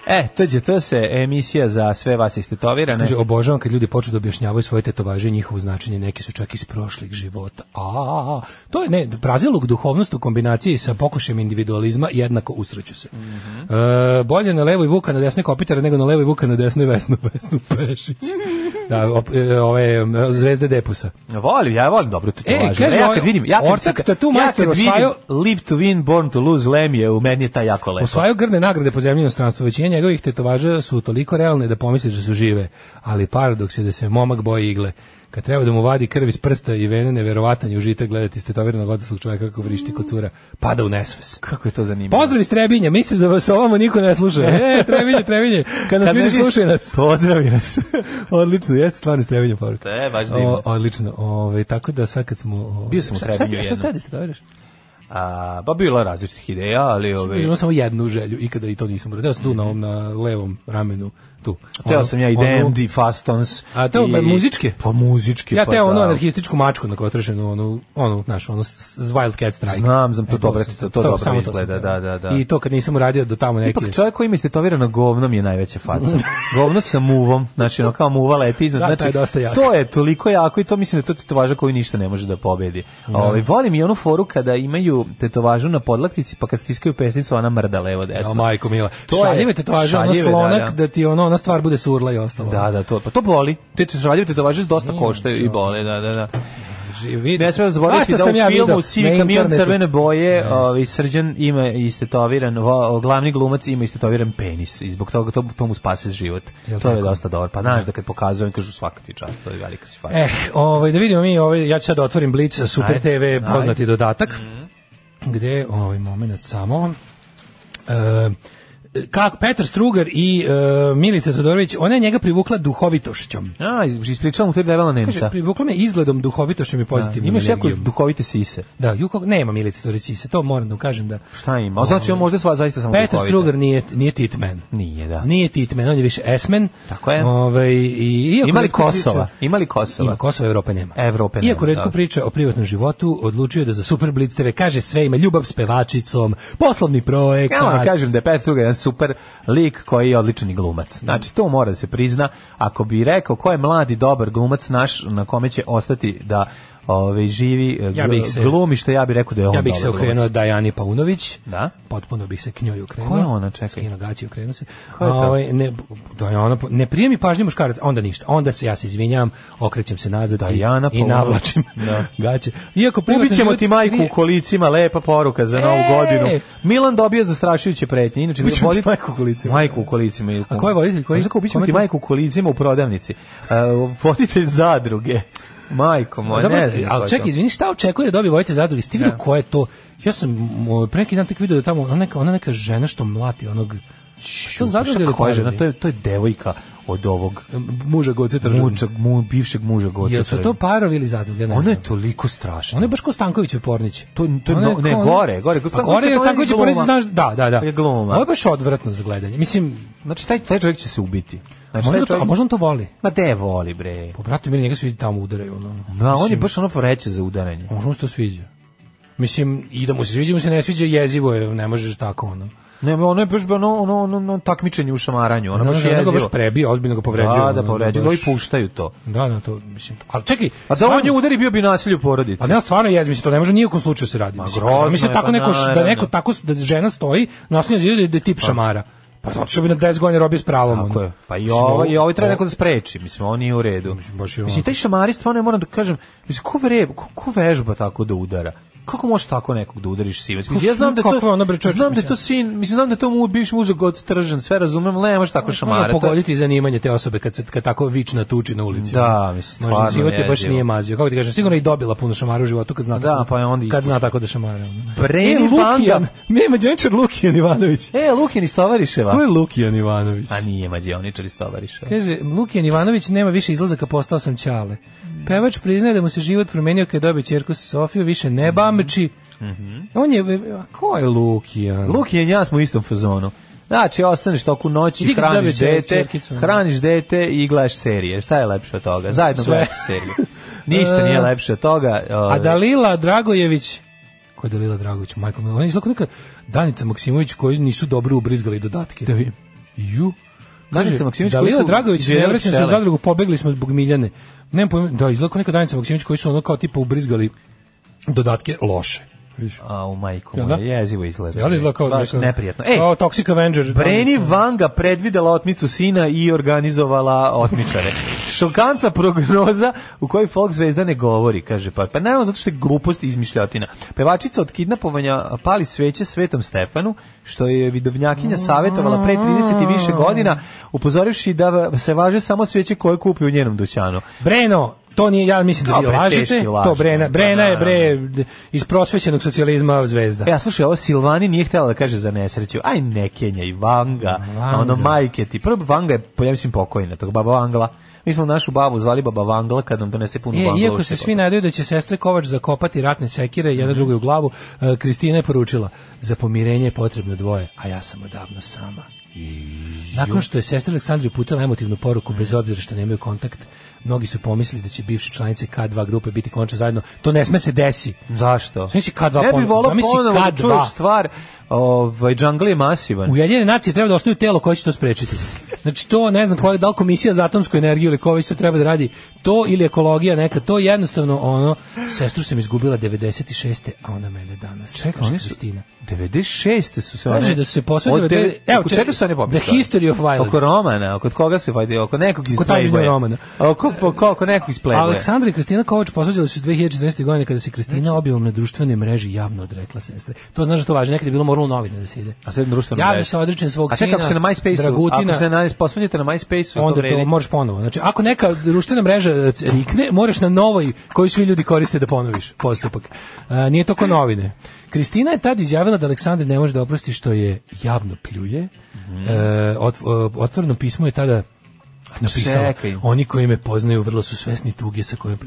[SPEAKER 6] E, to je to se emisija za sve vas istetovirane.
[SPEAKER 5] Kaže, obožavam kad ljudi počnu da objašnjavaju svoje tetovaže i njihovo značenje, neki su čak iz prošlih života. A, to je ne, praziluk duhovnost u kombinaciji sa pokušajem individualizma jednako usreću se. E, bolje na levoj vuka na desnoj kopitara nego na levoj vuka na desnoj vesnu, vesnu pešić. da, op, e, ove e, zvezde depusa.
[SPEAKER 6] Volim, ja volim dobro tetovažu.
[SPEAKER 5] E, kaže
[SPEAKER 6] ja
[SPEAKER 5] ovaj
[SPEAKER 6] kad vidim, ja kad,
[SPEAKER 5] ortak
[SPEAKER 6] kad-
[SPEAKER 5] tattoo
[SPEAKER 6] ja
[SPEAKER 5] majstor
[SPEAKER 6] kad vidim
[SPEAKER 5] osvajao-
[SPEAKER 6] Live to win, born to lose, lem je, u meni je taj jako lepo.
[SPEAKER 5] Osvajao grdne nagrade po zemlji i inostranstvu, većina njegovih tetovaža su toliko realne da pomisliš da su žive, ali paradoks je da se momak boji igle. Kad treba da mu vadi krv iz prsta i vene, neverovatan je užitak gledati stetoviranog odraslog čovjeka kako vrišti kod cura, pada u nesves.
[SPEAKER 6] Kako je to zanimljivo.
[SPEAKER 5] Pozdrav iz Trebinja, mislim da vas ovamo niko ne
[SPEAKER 6] <laughs>
[SPEAKER 5] sluša. E, Trebinje, Trebinje, kad nas
[SPEAKER 6] Kad ne
[SPEAKER 5] vidiš,
[SPEAKER 6] vidiš,
[SPEAKER 5] slušaj nas. <laughs>
[SPEAKER 6] Pozdravi nas. <laughs>
[SPEAKER 5] Odlično, jeste stvarno iz Trebinja poruka.
[SPEAKER 6] E, baš divno.
[SPEAKER 5] O, Odlično, Ove, tako da sad kad smo... ove,
[SPEAKER 6] Bio sam u
[SPEAKER 5] šta- šta
[SPEAKER 6] Trebinju
[SPEAKER 5] ste- Šta
[SPEAKER 6] jednom.
[SPEAKER 5] ste da stetoviraš?
[SPEAKER 6] A, ba bilo je različitih ideja, ali
[SPEAKER 5] Ove...
[SPEAKER 6] ove, Mhm.
[SPEAKER 5] Imao samo jednu želju, ikada i to nisam uradio. Ja sam tu na, ovom, na levom ramenu, tu.
[SPEAKER 6] teo
[SPEAKER 5] Ono-
[SPEAKER 6] sam ja i
[SPEAKER 5] onu-
[SPEAKER 6] DMD, Fastons.
[SPEAKER 5] A teo
[SPEAKER 6] i-
[SPEAKER 5] muzičke?
[SPEAKER 6] Pa muzičke.
[SPEAKER 5] Ja
[SPEAKER 6] pa
[SPEAKER 5] teo onu
[SPEAKER 6] da.
[SPEAKER 5] anarhističku mačku na kostrešenu, onu, onu, znaš, onu s- s Wildcat Strike. E,
[SPEAKER 6] Znam, znam, to dobro-
[SPEAKER 5] sam-
[SPEAKER 6] to- to dobro
[SPEAKER 5] samo sam
[SPEAKER 6] izgleda,
[SPEAKER 5] teo.
[SPEAKER 6] da, da, da.
[SPEAKER 5] I to kad nisam uradio do tamo neke...
[SPEAKER 6] Ipak čovjek koji ima istetovirano govno mi je najveća
[SPEAKER 5] <laughs>
[SPEAKER 6] faca. govno sa muvom, znači ono kao muva leti iznad.
[SPEAKER 5] Da, taj
[SPEAKER 6] znači,
[SPEAKER 5] je dosta jak.
[SPEAKER 6] To
[SPEAKER 5] Da.
[SPEAKER 6] je toliko jako i to mislim da je to tetovaža koju ništa ne može da pobedi. A, Ovaj, volim i onu foru kada imaju imaju tetovažu na podlaktici, pa kad stiskaju pesnicu, ona mrda levo desno.
[SPEAKER 5] O, majko mila. To šaljive tetovaže, ono
[SPEAKER 6] šaljive,
[SPEAKER 5] slonak, da,
[SPEAKER 6] da, da.
[SPEAKER 5] ti ono, ona stvar bude surla i ostalo.
[SPEAKER 6] Da, da, to, pa to boli. Te te šaljive tetovaže dosta koštaju i bole, da, da, da. Ne smemo zaboraviti da u filmu Sivi kamion crvene boje, ovaj Srđan ima istetoviran, vo- glavni glumac ima istetoviran penis i zbog toga to, to mu spase život.
[SPEAKER 5] Jel
[SPEAKER 6] to je
[SPEAKER 5] tako?
[SPEAKER 6] dosta dobro. Pa znaš da kad pokazujem kažu svaka ti čast, to je velika si faka.
[SPEAKER 5] Eh, ovaj, da vidimo mi, ovaj, ja ću sad da otvorim Blitz Super
[SPEAKER 6] Ajde, Mhm.
[SPEAKER 5] TV, poznati
[SPEAKER 6] ajde.
[SPEAKER 5] dodatak, gde, ovaj moment samo, e, kako Petar Strugar i e, Milica Todorović, ona je njega privukla duhovitošćom.
[SPEAKER 6] A, iz- ispričala mu te debela Nemca.
[SPEAKER 5] Kaže, privukla me izgledom, duhovitošćom i pozitivnim
[SPEAKER 6] Da, Imaš jako
[SPEAKER 5] energijom.
[SPEAKER 6] duhovite sise.
[SPEAKER 5] Da, Juko, nema Milica Todorović, se to moram da kažem da...
[SPEAKER 6] Šta ima? A Znači, on možda sva zaista samo
[SPEAKER 5] Petar
[SPEAKER 6] duhovite.
[SPEAKER 5] Strugar nije, nije titman.
[SPEAKER 6] Nije, da.
[SPEAKER 5] Nije titman, on je više esmen.
[SPEAKER 6] Tako je.
[SPEAKER 5] Ovaj, i, iako
[SPEAKER 6] Ima li
[SPEAKER 5] retko priča-
[SPEAKER 6] Kosova? Ima li Kosova?
[SPEAKER 5] Ima Kosova, Evrope nema.
[SPEAKER 6] Evrope nema,
[SPEAKER 5] Iako redko
[SPEAKER 6] da.
[SPEAKER 5] priča o privatnom životu, odlučio je da za Super Blitz TV kaže sve ima ljubav s pevačicom, poslovni projekt.
[SPEAKER 6] Ja vam kažem da je Petar Strugar jedan super lik koji je odličan i glumac. Znači, to mora da se prizna. Ako bi rekao ko je mladi, dobar glumac naš, na kome će ostati da ove, živi e,
[SPEAKER 5] Ja bih se-
[SPEAKER 6] glumište, ja bih rekao da je on
[SPEAKER 5] Ja bih se
[SPEAKER 6] dobar
[SPEAKER 5] okrenuo
[SPEAKER 6] glumac.
[SPEAKER 5] Dajani Paunović.
[SPEAKER 6] Da?
[SPEAKER 5] Potpuno bih se k njoj okrenuo.
[SPEAKER 6] Ko je ona, čekaj?
[SPEAKER 5] Skino gaći okrenuo se.
[SPEAKER 6] Ko je to?
[SPEAKER 5] A, ovaj, ne, Dajana, Pa- ne prije mi pažnje muškarac, onda ništa. Onda se ja se izvinjavam, okrećem se nazad i-
[SPEAKER 6] Dajana
[SPEAKER 5] i,
[SPEAKER 6] Paunović.
[SPEAKER 5] navlačim
[SPEAKER 6] Da.
[SPEAKER 5] <laughs> gaće. Iako privatni
[SPEAKER 6] Ubit ćemo
[SPEAKER 5] život
[SPEAKER 6] ti majku
[SPEAKER 5] nije-
[SPEAKER 6] u kolicima, lepa poruka za novu
[SPEAKER 5] E!
[SPEAKER 6] godinu. Milan dobio zastrašujuće pretnje. Inače,
[SPEAKER 5] Ubit ćemo ti
[SPEAKER 6] vodi-
[SPEAKER 5] majku u kolicima.
[SPEAKER 6] Majku u kolicima. ili-
[SPEAKER 5] A ko je voditelj? Koji-
[SPEAKER 6] Znaš kako, ubit ćemo
[SPEAKER 5] kome
[SPEAKER 6] ti
[SPEAKER 5] to?
[SPEAKER 6] majku u kolicima u prodavnici. Uh, voditelj zadruge. Majko moja,
[SPEAKER 5] Dobro,
[SPEAKER 6] Pa ne znam. ko
[SPEAKER 5] ali
[SPEAKER 6] je
[SPEAKER 5] čekaj,
[SPEAKER 6] to.
[SPEAKER 5] izvini, šta očekuje da dobije vojte zadruge? Ste vidio ko je to? Ja sam m, pre neki dan tek video da tamo ona neka, ona neka žena što mlati onog što
[SPEAKER 6] Ču,
[SPEAKER 5] zadruge
[SPEAKER 6] šta
[SPEAKER 5] ili
[SPEAKER 6] koja je žena?
[SPEAKER 5] parodi?
[SPEAKER 6] to je to je devojka od ovog
[SPEAKER 5] muža Goce Tržan.
[SPEAKER 6] muča, mu, bivšeg muža Goca.
[SPEAKER 5] Mm. Jel su to
[SPEAKER 6] Tržana.
[SPEAKER 5] parovi ili zadruge? Ne
[SPEAKER 6] Ona
[SPEAKER 5] znam.
[SPEAKER 6] je toliko strašna.
[SPEAKER 5] Ona je baš ko Stankovićev Pornić.
[SPEAKER 6] To- to je
[SPEAKER 5] Ona
[SPEAKER 6] no- ne,
[SPEAKER 5] kao-
[SPEAKER 6] gore, gore. Ko
[SPEAKER 5] Pa
[SPEAKER 6] Stankovićev
[SPEAKER 5] gore je
[SPEAKER 6] Pornić
[SPEAKER 5] Stanković
[SPEAKER 6] je
[SPEAKER 5] Pornić,
[SPEAKER 6] gluma.
[SPEAKER 5] znaš, da, da, da.
[SPEAKER 6] Je gluma.
[SPEAKER 5] Ovo je baš odvratno za gledanje. Mislim,
[SPEAKER 6] Znači taj taj čovjek će se ubiti. Znači
[SPEAKER 5] možda,
[SPEAKER 6] taj
[SPEAKER 5] to, a
[SPEAKER 6] čovjek
[SPEAKER 5] možda on to voli.
[SPEAKER 6] Ma de voli bre.
[SPEAKER 5] Po bratu mili njega svi tamo udaraju. Ono.
[SPEAKER 6] Da, on je
[SPEAKER 5] Mislim,
[SPEAKER 6] baš ono vreće za udaranje.
[SPEAKER 5] Možda mu se to sviđa. Mislim, i da mu se sviđa, i mu se ne sviđa, jezivo je, ne možeš tako, ono.
[SPEAKER 6] Ne, ono je baš ono ono ono, ono takmičenje u šamaranju, ono
[SPEAKER 5] Ona
[SPEAKER 6] baš
[SPEAKER 5] žena ga da, baš
[SPEAKER 6] jezivo.
[SPEAKER 5] prebija, ozbiljno ga povređuje.
[SPEAKER 6] Da,
[SPEAKER 5] ono,
[SPEAKER 6] da, povređuju,
[SPEAKER 5] baš-
[SPEAKER 6] ovi puštaju to.
[SPEAKER 5] Da, da, to mislim. Ali čekaj,
[SPEAKER 6] A da
[SPEAKER 5] stvarno-
[SPEAKER 6] on nju udari bio bi nasilje u porodici.
[SPEAKER 5] Pa ne, stvarno je, mislim, to ne može ni u kom slučaju se radi. Mislim,
[SPEAKER 6] grozno
[SPEAKER 5] mislim
[SPEAKER 6] je,
[SPEAKER 5] tako
[SPEAKER 6] pa
[SPEAKER 5] neko, š- da
[SPEAKER 6] naravno.
[SPEAKER 5] neko tako, da žena stoji, naslanja zida da- da je tip šamara. Pa zato što bi na 10 godina robio s pravom.
[SPEAKER 6] Tako
[SPEAKER 5] ono.
[SPEAKER 6] je. Pa i
[SPEAKER 5] Mislim,
[SPEAKER 6] ovo, i ovo treba
[SPEAKER 5] ovo-
[SPEAKER 6] neko da spreči, mislim, on nije u redu.
[SPEAKER 5] Mislim, baš je
[SPEAKER 6] Mislim,
[SPEAKER 5] onako.
[SPEAKER 6] taj šamari stvarno, ja moram da kažem, mislim, ko, vre, ko, ko vežba tako da udara? Kako možeš tako nekog da udariš sinac? Mislim, ja znam da je
[SPEAKER 5] Pa Kakva
[SPEAKER 6] to,
[SPEAKER 5] je ona, bre, čoveče,
[SPEAKER 6] znam da je to
[SPEAKER 5] mislim.
[SPEAKER 6] sin, mislim, znam da je to mu bivši muž god stržen, sve razumem, ali ne možeš tako
[SPEAKER 5] Može
[SPEAKER 6] šamara.
[SPEAKER 5] pogoditi zanimanje te osobe kad se kad tako vična tuči na ulici.
[SPEAKER 6] Da, mislim,
[SPEAKER 5] Možda
[SPEAKER 6] stvarno
[SPEAKER 5] život je baš
[SPEAKER 6] jezivo.
[SPEAKER 5] nije mazio. Kako ti kažem, sigurno je i dobila puno šamara u životu kad zna
[SPEAKER 6] Da,
[SPEAKER 5] tako,
[SPEAKER 6] pa je onda
[SPEAKER 5] kad zna
[SPEAKER 6] ispušta.
[SPEAKER 5] tako da šamara. ono.
[SPEAKER 6] Breni
[SPEAKER 5] e, Lukijan,
[SPEAKER 6] Vanda.
[SPEAKER 5] ne, mađaničar Lukijan Ivanović.
[SPEAKER 6] E, Lukin iz Tovariševa.
[SPEAKER 5] Ko je Lukijan Ivanović?
[SPEAKER 6] A Pa nije mađioničar iz Tovariševa.
[SPEAKER 5] Kaže, Lukijan Ivanović nema više izlazaka, postao sam ćale. Pevač priznaje da mu se život promenio kad je dobio čerku Sofiju, više ne bamči.
[SPEAKER 6] Mhm.
[SPEAKER 5] On je, a ko je Lukijan?
[SPEAKER 6] Lukin i ja smo u istom fazonu. Znači, ostaneš toku
[SPEAKER 5] Vidi
[SPEAKER 6] noći,
[SPEAKER 5] kad
[SPEAKER 6] hraniš
[SPEAKER 5] zabije
[SPEAKER 6] dete,
[SPEAKER 5] ćerkicu, ne?
[SPEAKER 6] hraniš dete i gledaš serije. Šta je lepše od toga? Zajedno
[SPEAKER 5] Sve.
[SPEAKER 6] gledaš serije.
[SPEAKER 5] <laughs>
[SPEAKER 6] Ništa nije
[SPEAKER 5] E,
[SPEAKER 6] lepše od toga.
[SPEAKER 5] A da?
[SPEAKER 6] ovaj.
[SPEAKER 5] Dalila Dragojević, ko je Dalila Dragojević, majko mila, ona je izlako neka Danica Maksimović koju nisu dobro ubrizgali dodatke. Da vidim. Ju.
[SPEAKER 6] Danica
[SPEAKER 5] Kaže,
[SPEAKER 6] Maksimović koju
[SPEAKER 5] Dalila
[SPEAKER 6] su
[SPEAKER 5] Dragojević, ne
[SPEAKER 6] izveli
[SPEAKER 5] vraćam se u
[SPEAKER 6] pčele.
[SPEAKER 5] zadrugu, pobegli smo zbog Miljane. Nemam pojma, da, izlako neka Danica Maksimović koji su ono kao tipa ubrizgali dodatke loše. Viš.
[SPEAKER 6] A u majku
[SPEAKER 5] Jel
[SPEAKER 6] moja,
[SPEAKER 5] da?
[SPEAKER 6] jezivo izgleda.
[SPEAKER 5] Jel izgleda kao
[SPEAKER 6] Baš
[SPEAKER 5] neka-
[SPEAKER 6] neprijatno. E, Ej,
[SPEAKER 5] kao Toxic Avenger. da
[SPEAKER 6] Breni
[SPEAKER 5] Danica.
[SPEAKER 6] Vanga predvidela otmicu sina i organizovala otmičare. Šokantna prognoza u kojoj Fox zvezda ne govori, kaže pa. Pa naravno zato što je glupost i izmišljotina. Pevačica od kidnapovanja pali sveće Svetom Stefanu, što je vidovnjakinja savjetovala pre 30 i više godina, upozorivši da se važe samo sveće koje kupi u njenom dućanu.
[SPEAKER 5] Breno, to nije, ja mislim da vi
[SPEAKER 6] Dobre,
[SPEAKER 5] lažete.
[SPEAKER 6] teški laž,
[SPEAKER 5] To Brena,
[SPEAKER 6] da,
[SPEAKER 5] Brena je bre
[SPEAKER 6] naravno.
[SPEAKER 5] d- iz prosvećenog socijalizma zvezda.
[SPEAKER 6] E, a slušaj, ovo Silvani nije htjela da kaže za nesreću. Aj, ne Kenja i Vanga.
[SPEAKER 5] Vanga.
[SPEAKER 6] A ono, majke ti. Prvo, Vanga je, po- ja mislim, pokojna, tako, baba Vangla. Mi smo našu babu zvali baba Vangla kad nam donese puno
[SPEAKER 5] E,
[SPEAKER 6] Vangla.
[SPEAKER 5] iako se svi nadaju da će sestre Kovač zakopati ratne sekire jedna drugoj u glavu, e, Kristina je poručila za pomirenje je potrebno dvoje, a ja sam odavno sama. Nakon što je sestra Aleksandri putala emotivnu poruku bez obzira što nemaju kontakt, mnogi su pomislili da će bivše članice K2 grupe biti končno zajedno. To ne sme se desi.
[SPEAKER 6] Zašto?
[SPEAKER 5] Zamisli K2
[SPEAKER 6] Ne bi
[SPEAKER 5] ponovo,
[SPEAKER 6] volao
[SPEAKER 5] zamisli
[SPEAKER 6] ponovo da
[SPEAKER 5] K2.
[SPEAKER 6] čuješ stvar. Ovaj, džangle je masivan.
[SPEAKER 5] Ujedinjene nacije treba da osnuju telo koje će to sprečiti. Znači to ne znam koja da li komisija za atomsku energiju ili koji se treba da radi. to ili ekologija neka, to je jednostavno ono, sestru sam izgubila 96. a ona mene danas.
[SPEAKER 6] Čekaj,
[SPEAKER 5] kaže
[SPEAKER 6] oni su-
[SPEAKER 5] Kristina.
[SPEAKER 6] 96. su se one...
[SPEAKER 5] Kaže da su se posvađale
[SPEAKER 6] Od te-
[SPEAKER 5] bili- evo,
[SPEAKER 6] oko
[SPEAKER 5] čekaj,
[SPEAKER 6] čega su one pobjegale?
[SPEAKER 5] The History of Violence.
[SPEAKER 6] Oko romana, oko koga se vadi, oko nekog iz
[SPEAKER 5] Oko Times New
[SPEAKER 6] Playboya.
[SPEAKER 5] Romana.
[SPEAKER 6] Oko, oko, oko nekog iz Playboya.
[SPEAKER 5] Aleksandra i Kristina Kovač posvađale su se 2014. godine kada se
[SPEAKER 6] Znači.
[SPEAKER 5] Kristina objavom na društvenoj mreži javno odrekla sestre. To znaš da to važi, nekada je bilo moralo u novine da se ide.
[SPEAKER 6] A sad društveno
[SPEAKER 5] Javno
[SPEAKER 6] mrežu.
[SPEAKER 5] se odričem svog
[SPEAKER 6] A čekaj, ako
[SPEAKER 5] sina,
[SPEAKER 6] se na MySpace-u,
[SPEAKER 5] Dragutina-
[SPEAKER 6] ako se na, posvađate na MySpace-u, to
[SPEAKER 5] onda to,
[SPEAKER 6] vredi.
[SPEAKER 5] moraš ponovo. Znači, ako neka društvena mreža e, c- rikne, moraš na novoj koju svi ljudi koriste da ponoviš postupak. A, nije to ko novine. Kristina je tad izjavila da Aleksandar ne može da oprosti što je javno pljuje.
[SPEAKER 6] Mhm.
[SPEAKER 5] E, ot- e, otvoreno pismo je tada napisala.
[SPEAKER 6] čekaj.
[SPEAKER 5] Oni koji me poznaju vrlo su svesni tuge sa kojom...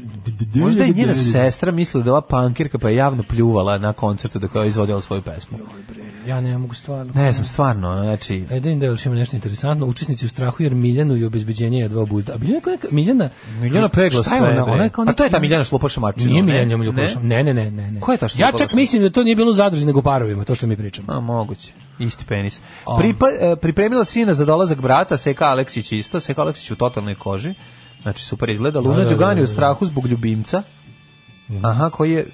[SPEAKER 6] Možda je
[SPEAKER 5] <laughs>
[SPEAKER 6] njena sestra mislila da je ova pankirka pa je javno pljuvala na koncertu dok je izvodila svoju pesmu.
[SPEAKER 5] Ja ne mogu stvarno.
[SPEAKER 6] Ne znam, stvarno, ono, znači...
[SPEAKER 5] E, da im da još ima nešto interesantno. Učesnici u strahu jer Miljanu i obezbeđenje jedva obuzda. A Miljana, koja je neka- Miljana,
[SPEAKER 6] Miljana pegla
[SPEAKER 5] Šta je
[SPEAKER 6] sve.
[SPEAKER 5] ona?
[SPEAKER 6] bre.
[SPEAKER 5] Ona je kao
[SPEAKER 6] A to je ta
[SPEAKER 5] neki-
[SPEAKER 6] Miljana Šlupaša Marčina.
[SPEAKER 5] Nije
[SPEAKER 6] ne?
[SPEAKER 5] Miljan Ljomljub Lukašov. Ne, ne, ne, ne, ne.
[SPEAKER 6] Ko je ta što
[SPEAKER 5] Ja
[SPEAKER 6] je
[SPEAKER 5] čak
[SPEAKER 6] Lukašov?
[SPEAKER 5] mislim da to nije bilo u zadruzi nego u parovima, to što mi pričamo.
[SPEAKER 6] A, moguće. Isti penis.
[SPEAKER 5] A.
[SPEAKER 6] Pripa, e, pripremila sina za dolazak brata, Seka Aleksić isto, Seka Aleksić u totalnoj koži. Znači, super izgleda. Luna
[SPEAKER 5] Da, da, da,
[SPEAKER 6] Đugani
[SPEAKER 5] da, Mhm.
[SPEAKER 6] u
[SPEAKER 5] da.
[SPEAKER 6] strahu zbog ljubimca. Aha, koji je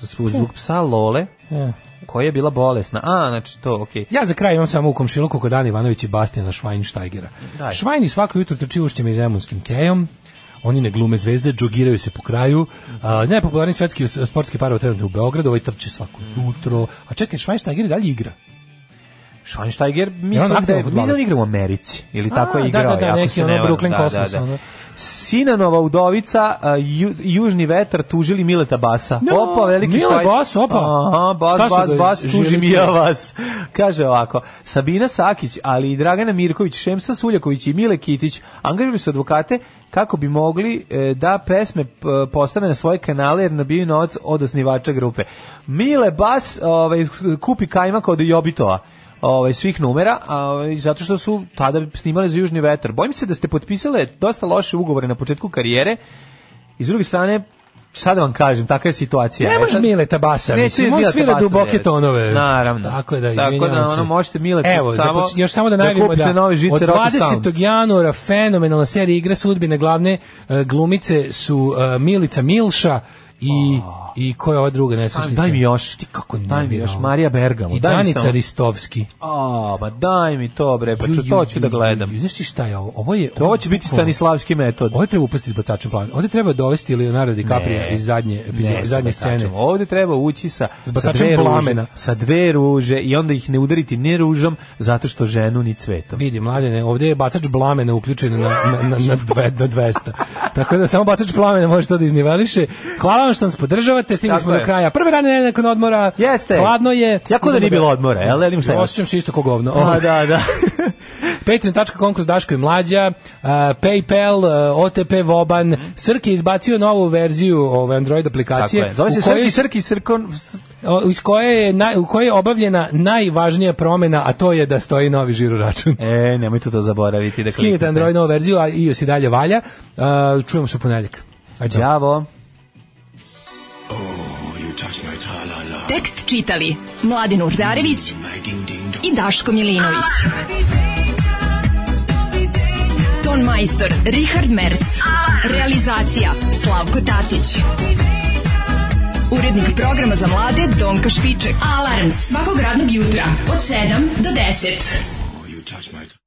[SPEAKER 6] zbog, zbog psa Lole,
[SPEAKER 5] Ja.
[SPEAKER 6] koja je bila bolesna. A, znači to, okej.
[SPEAKER 5] E. Ja za kraj imam samo u komšiluku kod Ani Ivanović i Bastijana Švajnštajgera.
[SPEAKER 6] Daj.
[SPEAKER 5] Švajni svako jutro trči ušćem i zemunskim kejom, oni ne glume zvezde, džogiraju se po kraju. A, najpopularniji svetski s- sportski par trenutno u Beogradu, ovaj trči svako jutro. A čekaj, Švajnštajger i dalje igra.
[SPEAKER 6] Schweinsteiger
[SPEAKER 5] Je on
[SPEAKER 6] mislim da
[SPEAKER 5] aktivan
[SPEAKER 6] je,
[SPEAKER 5] fudbaler?
[SPEAKER 6] mislim da on igra u Americi ili
[SPEAKER 5] A,
[SPEAKER 6] tako
[SPEAKER 5] da,
[SPEAKER 6] je igrao.
[SPEAKER 5] da, da,
[SPEAKER 6] ako
[SPEAKER 5] neki
[SPEAKER 6] se
[SPEAKER 5] ono
[SPEAKER 6] ne varam, da,
[SPEAKER 5] Brooklyn Cosmos, ono.
[SPEAKER 6] Sinanova udovica, a, ju- južni vetar tužili Mileta Basa.
[SPEAKER 5] No,
[SPEAKER 6] opa, veliki
[SPEAKER 5] Mile
[SPEAKER 6] taj-
[SPEAKER 5] Bas, opa.
[SPEAKER 6] Aha, Bas,
[SPEAKER 5] Šta su
[SPEAKER 6] Bas,
[SPEAKER 5] ga
[SPEAKER 6] Bas, tuži
[SPEAKER 5] želite?
[SPEAKER 6] Mija vas. Kaže ovako, Sabina Sakić, ali i Dragana Mirković, Šemsa Suljaković i Mile Kitić angažili su advokate kako bi mogli e, da pesme p- postave na svoje kanale jer nabiju novac od osnivača grupe. Mile Bas ovaj, kupi kajmak od Jobitova ovaj svih numera, a ovaj, zato što su tada snimali za Južni vetar. Bojim se da ste potpisale dosta loše ugovore na početku karijere. I s druge strane, sad vam kažem, takva je situacija.
[SPEAKER 5] Ne
[SPEAKER 6] E,
[SPEAKER 5] može
[SPEAKER 6] sad-
[SPEAKER 5] Mile Tabasa,
[SPEAKER 6] Neće
[SPEAKER 5] mislim, on
[SPEAKER 6] Mile
[SPEAKER 5] svira
[SPEAKER 6] Tabasa
[SPEAKER 5] duboke
[SPEAKER 6] dirati.
[SPEAKER 5] tonove. da
[SPEAKER 6] Naravno.
[SPEAKER 5] Tako da,
[SPEAKER 6] Tako
[SPEAKER 5] izvinjavam
[SPEAKER 6] da, ono,
[SPEAKER 5] se.
[SPEAKER 6] možete Mile
[SPEAKER 5] Evo,
[SPEAKER 6] samo,
[SPEAKER 5] započ- još samo da najavimo
[SPEAKER 6] kupite
[SPEAKER 5] da,
[SPEAKER 6] nove žice
[SPEAKER 5] od
[SPEAKER 6] Rocky Sound.
[SPEAKER 5] 20. januara fenomenalna serija Igra sudbine glavne e, glumice su e, Milica Milša i i koja je ova druga nesrećnica?
[SPEAKER 6] Oh. Daj mi još, ti
[SPEAKER 5] kako ne
[SPEAKER 6] daj mi
[SPEAKER 5] bi
[SPEAKER 6] još,
[SPEAKER 5] ovo.
[SPEAKER 6] Marija Bergamo,
[SPEAKER 5] I
[SPEAKER 6] daj mi
[SPEAKER 5] Danica
[SPEAKER 6] samo.
[SPEAKER 5] Ristovski.
[SPEAKER 6] A, pa daj mi to, bre, pa ću,
[SPEAKER 5] Ju,
[SPEAKER 6] to
[SPEAKER 5] ju,
[SPEAKER 6] ću da
[SPEAKER 5] ju,
[SPEAKER 6] gledam.
[SPEAKER 5] ju, ju, Znaš ti šta je ovo? Ovo je...
[SPEAKER 6] To će biti stanislavski metod.
[SPEAKER 5] Ovo treba upasti s bacačem plan. Ovdje treba dovesti Leonardo DiCaprio
[SPEAKER 6] Ne.
[SPEAKER 5] iz zadnje, epizode,
[SPEAKER 6] Ne, da sa
[SPEAKER 5] zadnje
[SPEAKER 6] bacačem.
[SPEAKER 5] scene.
[SPEAKER 6] Ovde treba ući sa, sa,
[SPEAKER 5] bacačem
[SPEAKER 6] dve ruže,
[SPEAKER 5] plamena.
[SPEAKER 6] sa dve ruže i onda ih ne udariti ni ružom zato što ženu ni cvetom.
[SPEAKER 5] Vidi, mladene, ovdje je batač blamena uključen na, na, na, na, dve, na 200. Tako da samo batač blamena može to da izniveliše. Hvala vam što nas podržavate, stigli
[SPEAKER 6] Tako
[SPEAKER 5] smo
[SPEAKER 6] je.
[SPEAKER 5] do kraja. Prve rane nedelje nakon odmora,
[SPEAKER 6] Jeste.
[SPEAKER 5] hladno je.
[SPEAKER 6] Jako da nije bilo odmora, jel? Elim šta je?
[SPEAKER 5] Osjećam se isto kao govno. Ovaj.
[SPEAKER 6] A, da, da.
[SPEAKER 5] <laughs> Patreon.com kroz Daško i Mlađa, uh, Paypal, uh, OTP Voban, Srki je izbacio novu verziju ove Android
[SPEAKER 6] Tako
[SPEAKER 5] aplikacije.
[SPEAKER 6] je. Zove se
[SPEAKER 5] u kojoj
[SPEAKER 6] Srki, Srki, Srkon... s-
[SPEAKER 5] O, iz koje je naj, u kojoj je obavljena najvažnija promena, a to je da stoji novi žiro račun.
[SPEAKER 6] E, nemojte to zaboraviti. Da
[SPEAKER 5] Skinite
[SPEAKER 6] kliknete.
[SPEAKER 5] Android novu verziju, a iOS i dalje valja. Uh, čujemo se u ponedjeljak. Ajde.
[SPEAKER 6] Đavo.
[SPEAKER 4] Tekst čitali Mladin Urdarević i Daško Milinović. Ton majstor Richard Merc. Realizacija Slavko Tatić. Urednik programa za mlade Donka Špiček. Alarms svakog radnog jutra od 7 do 10.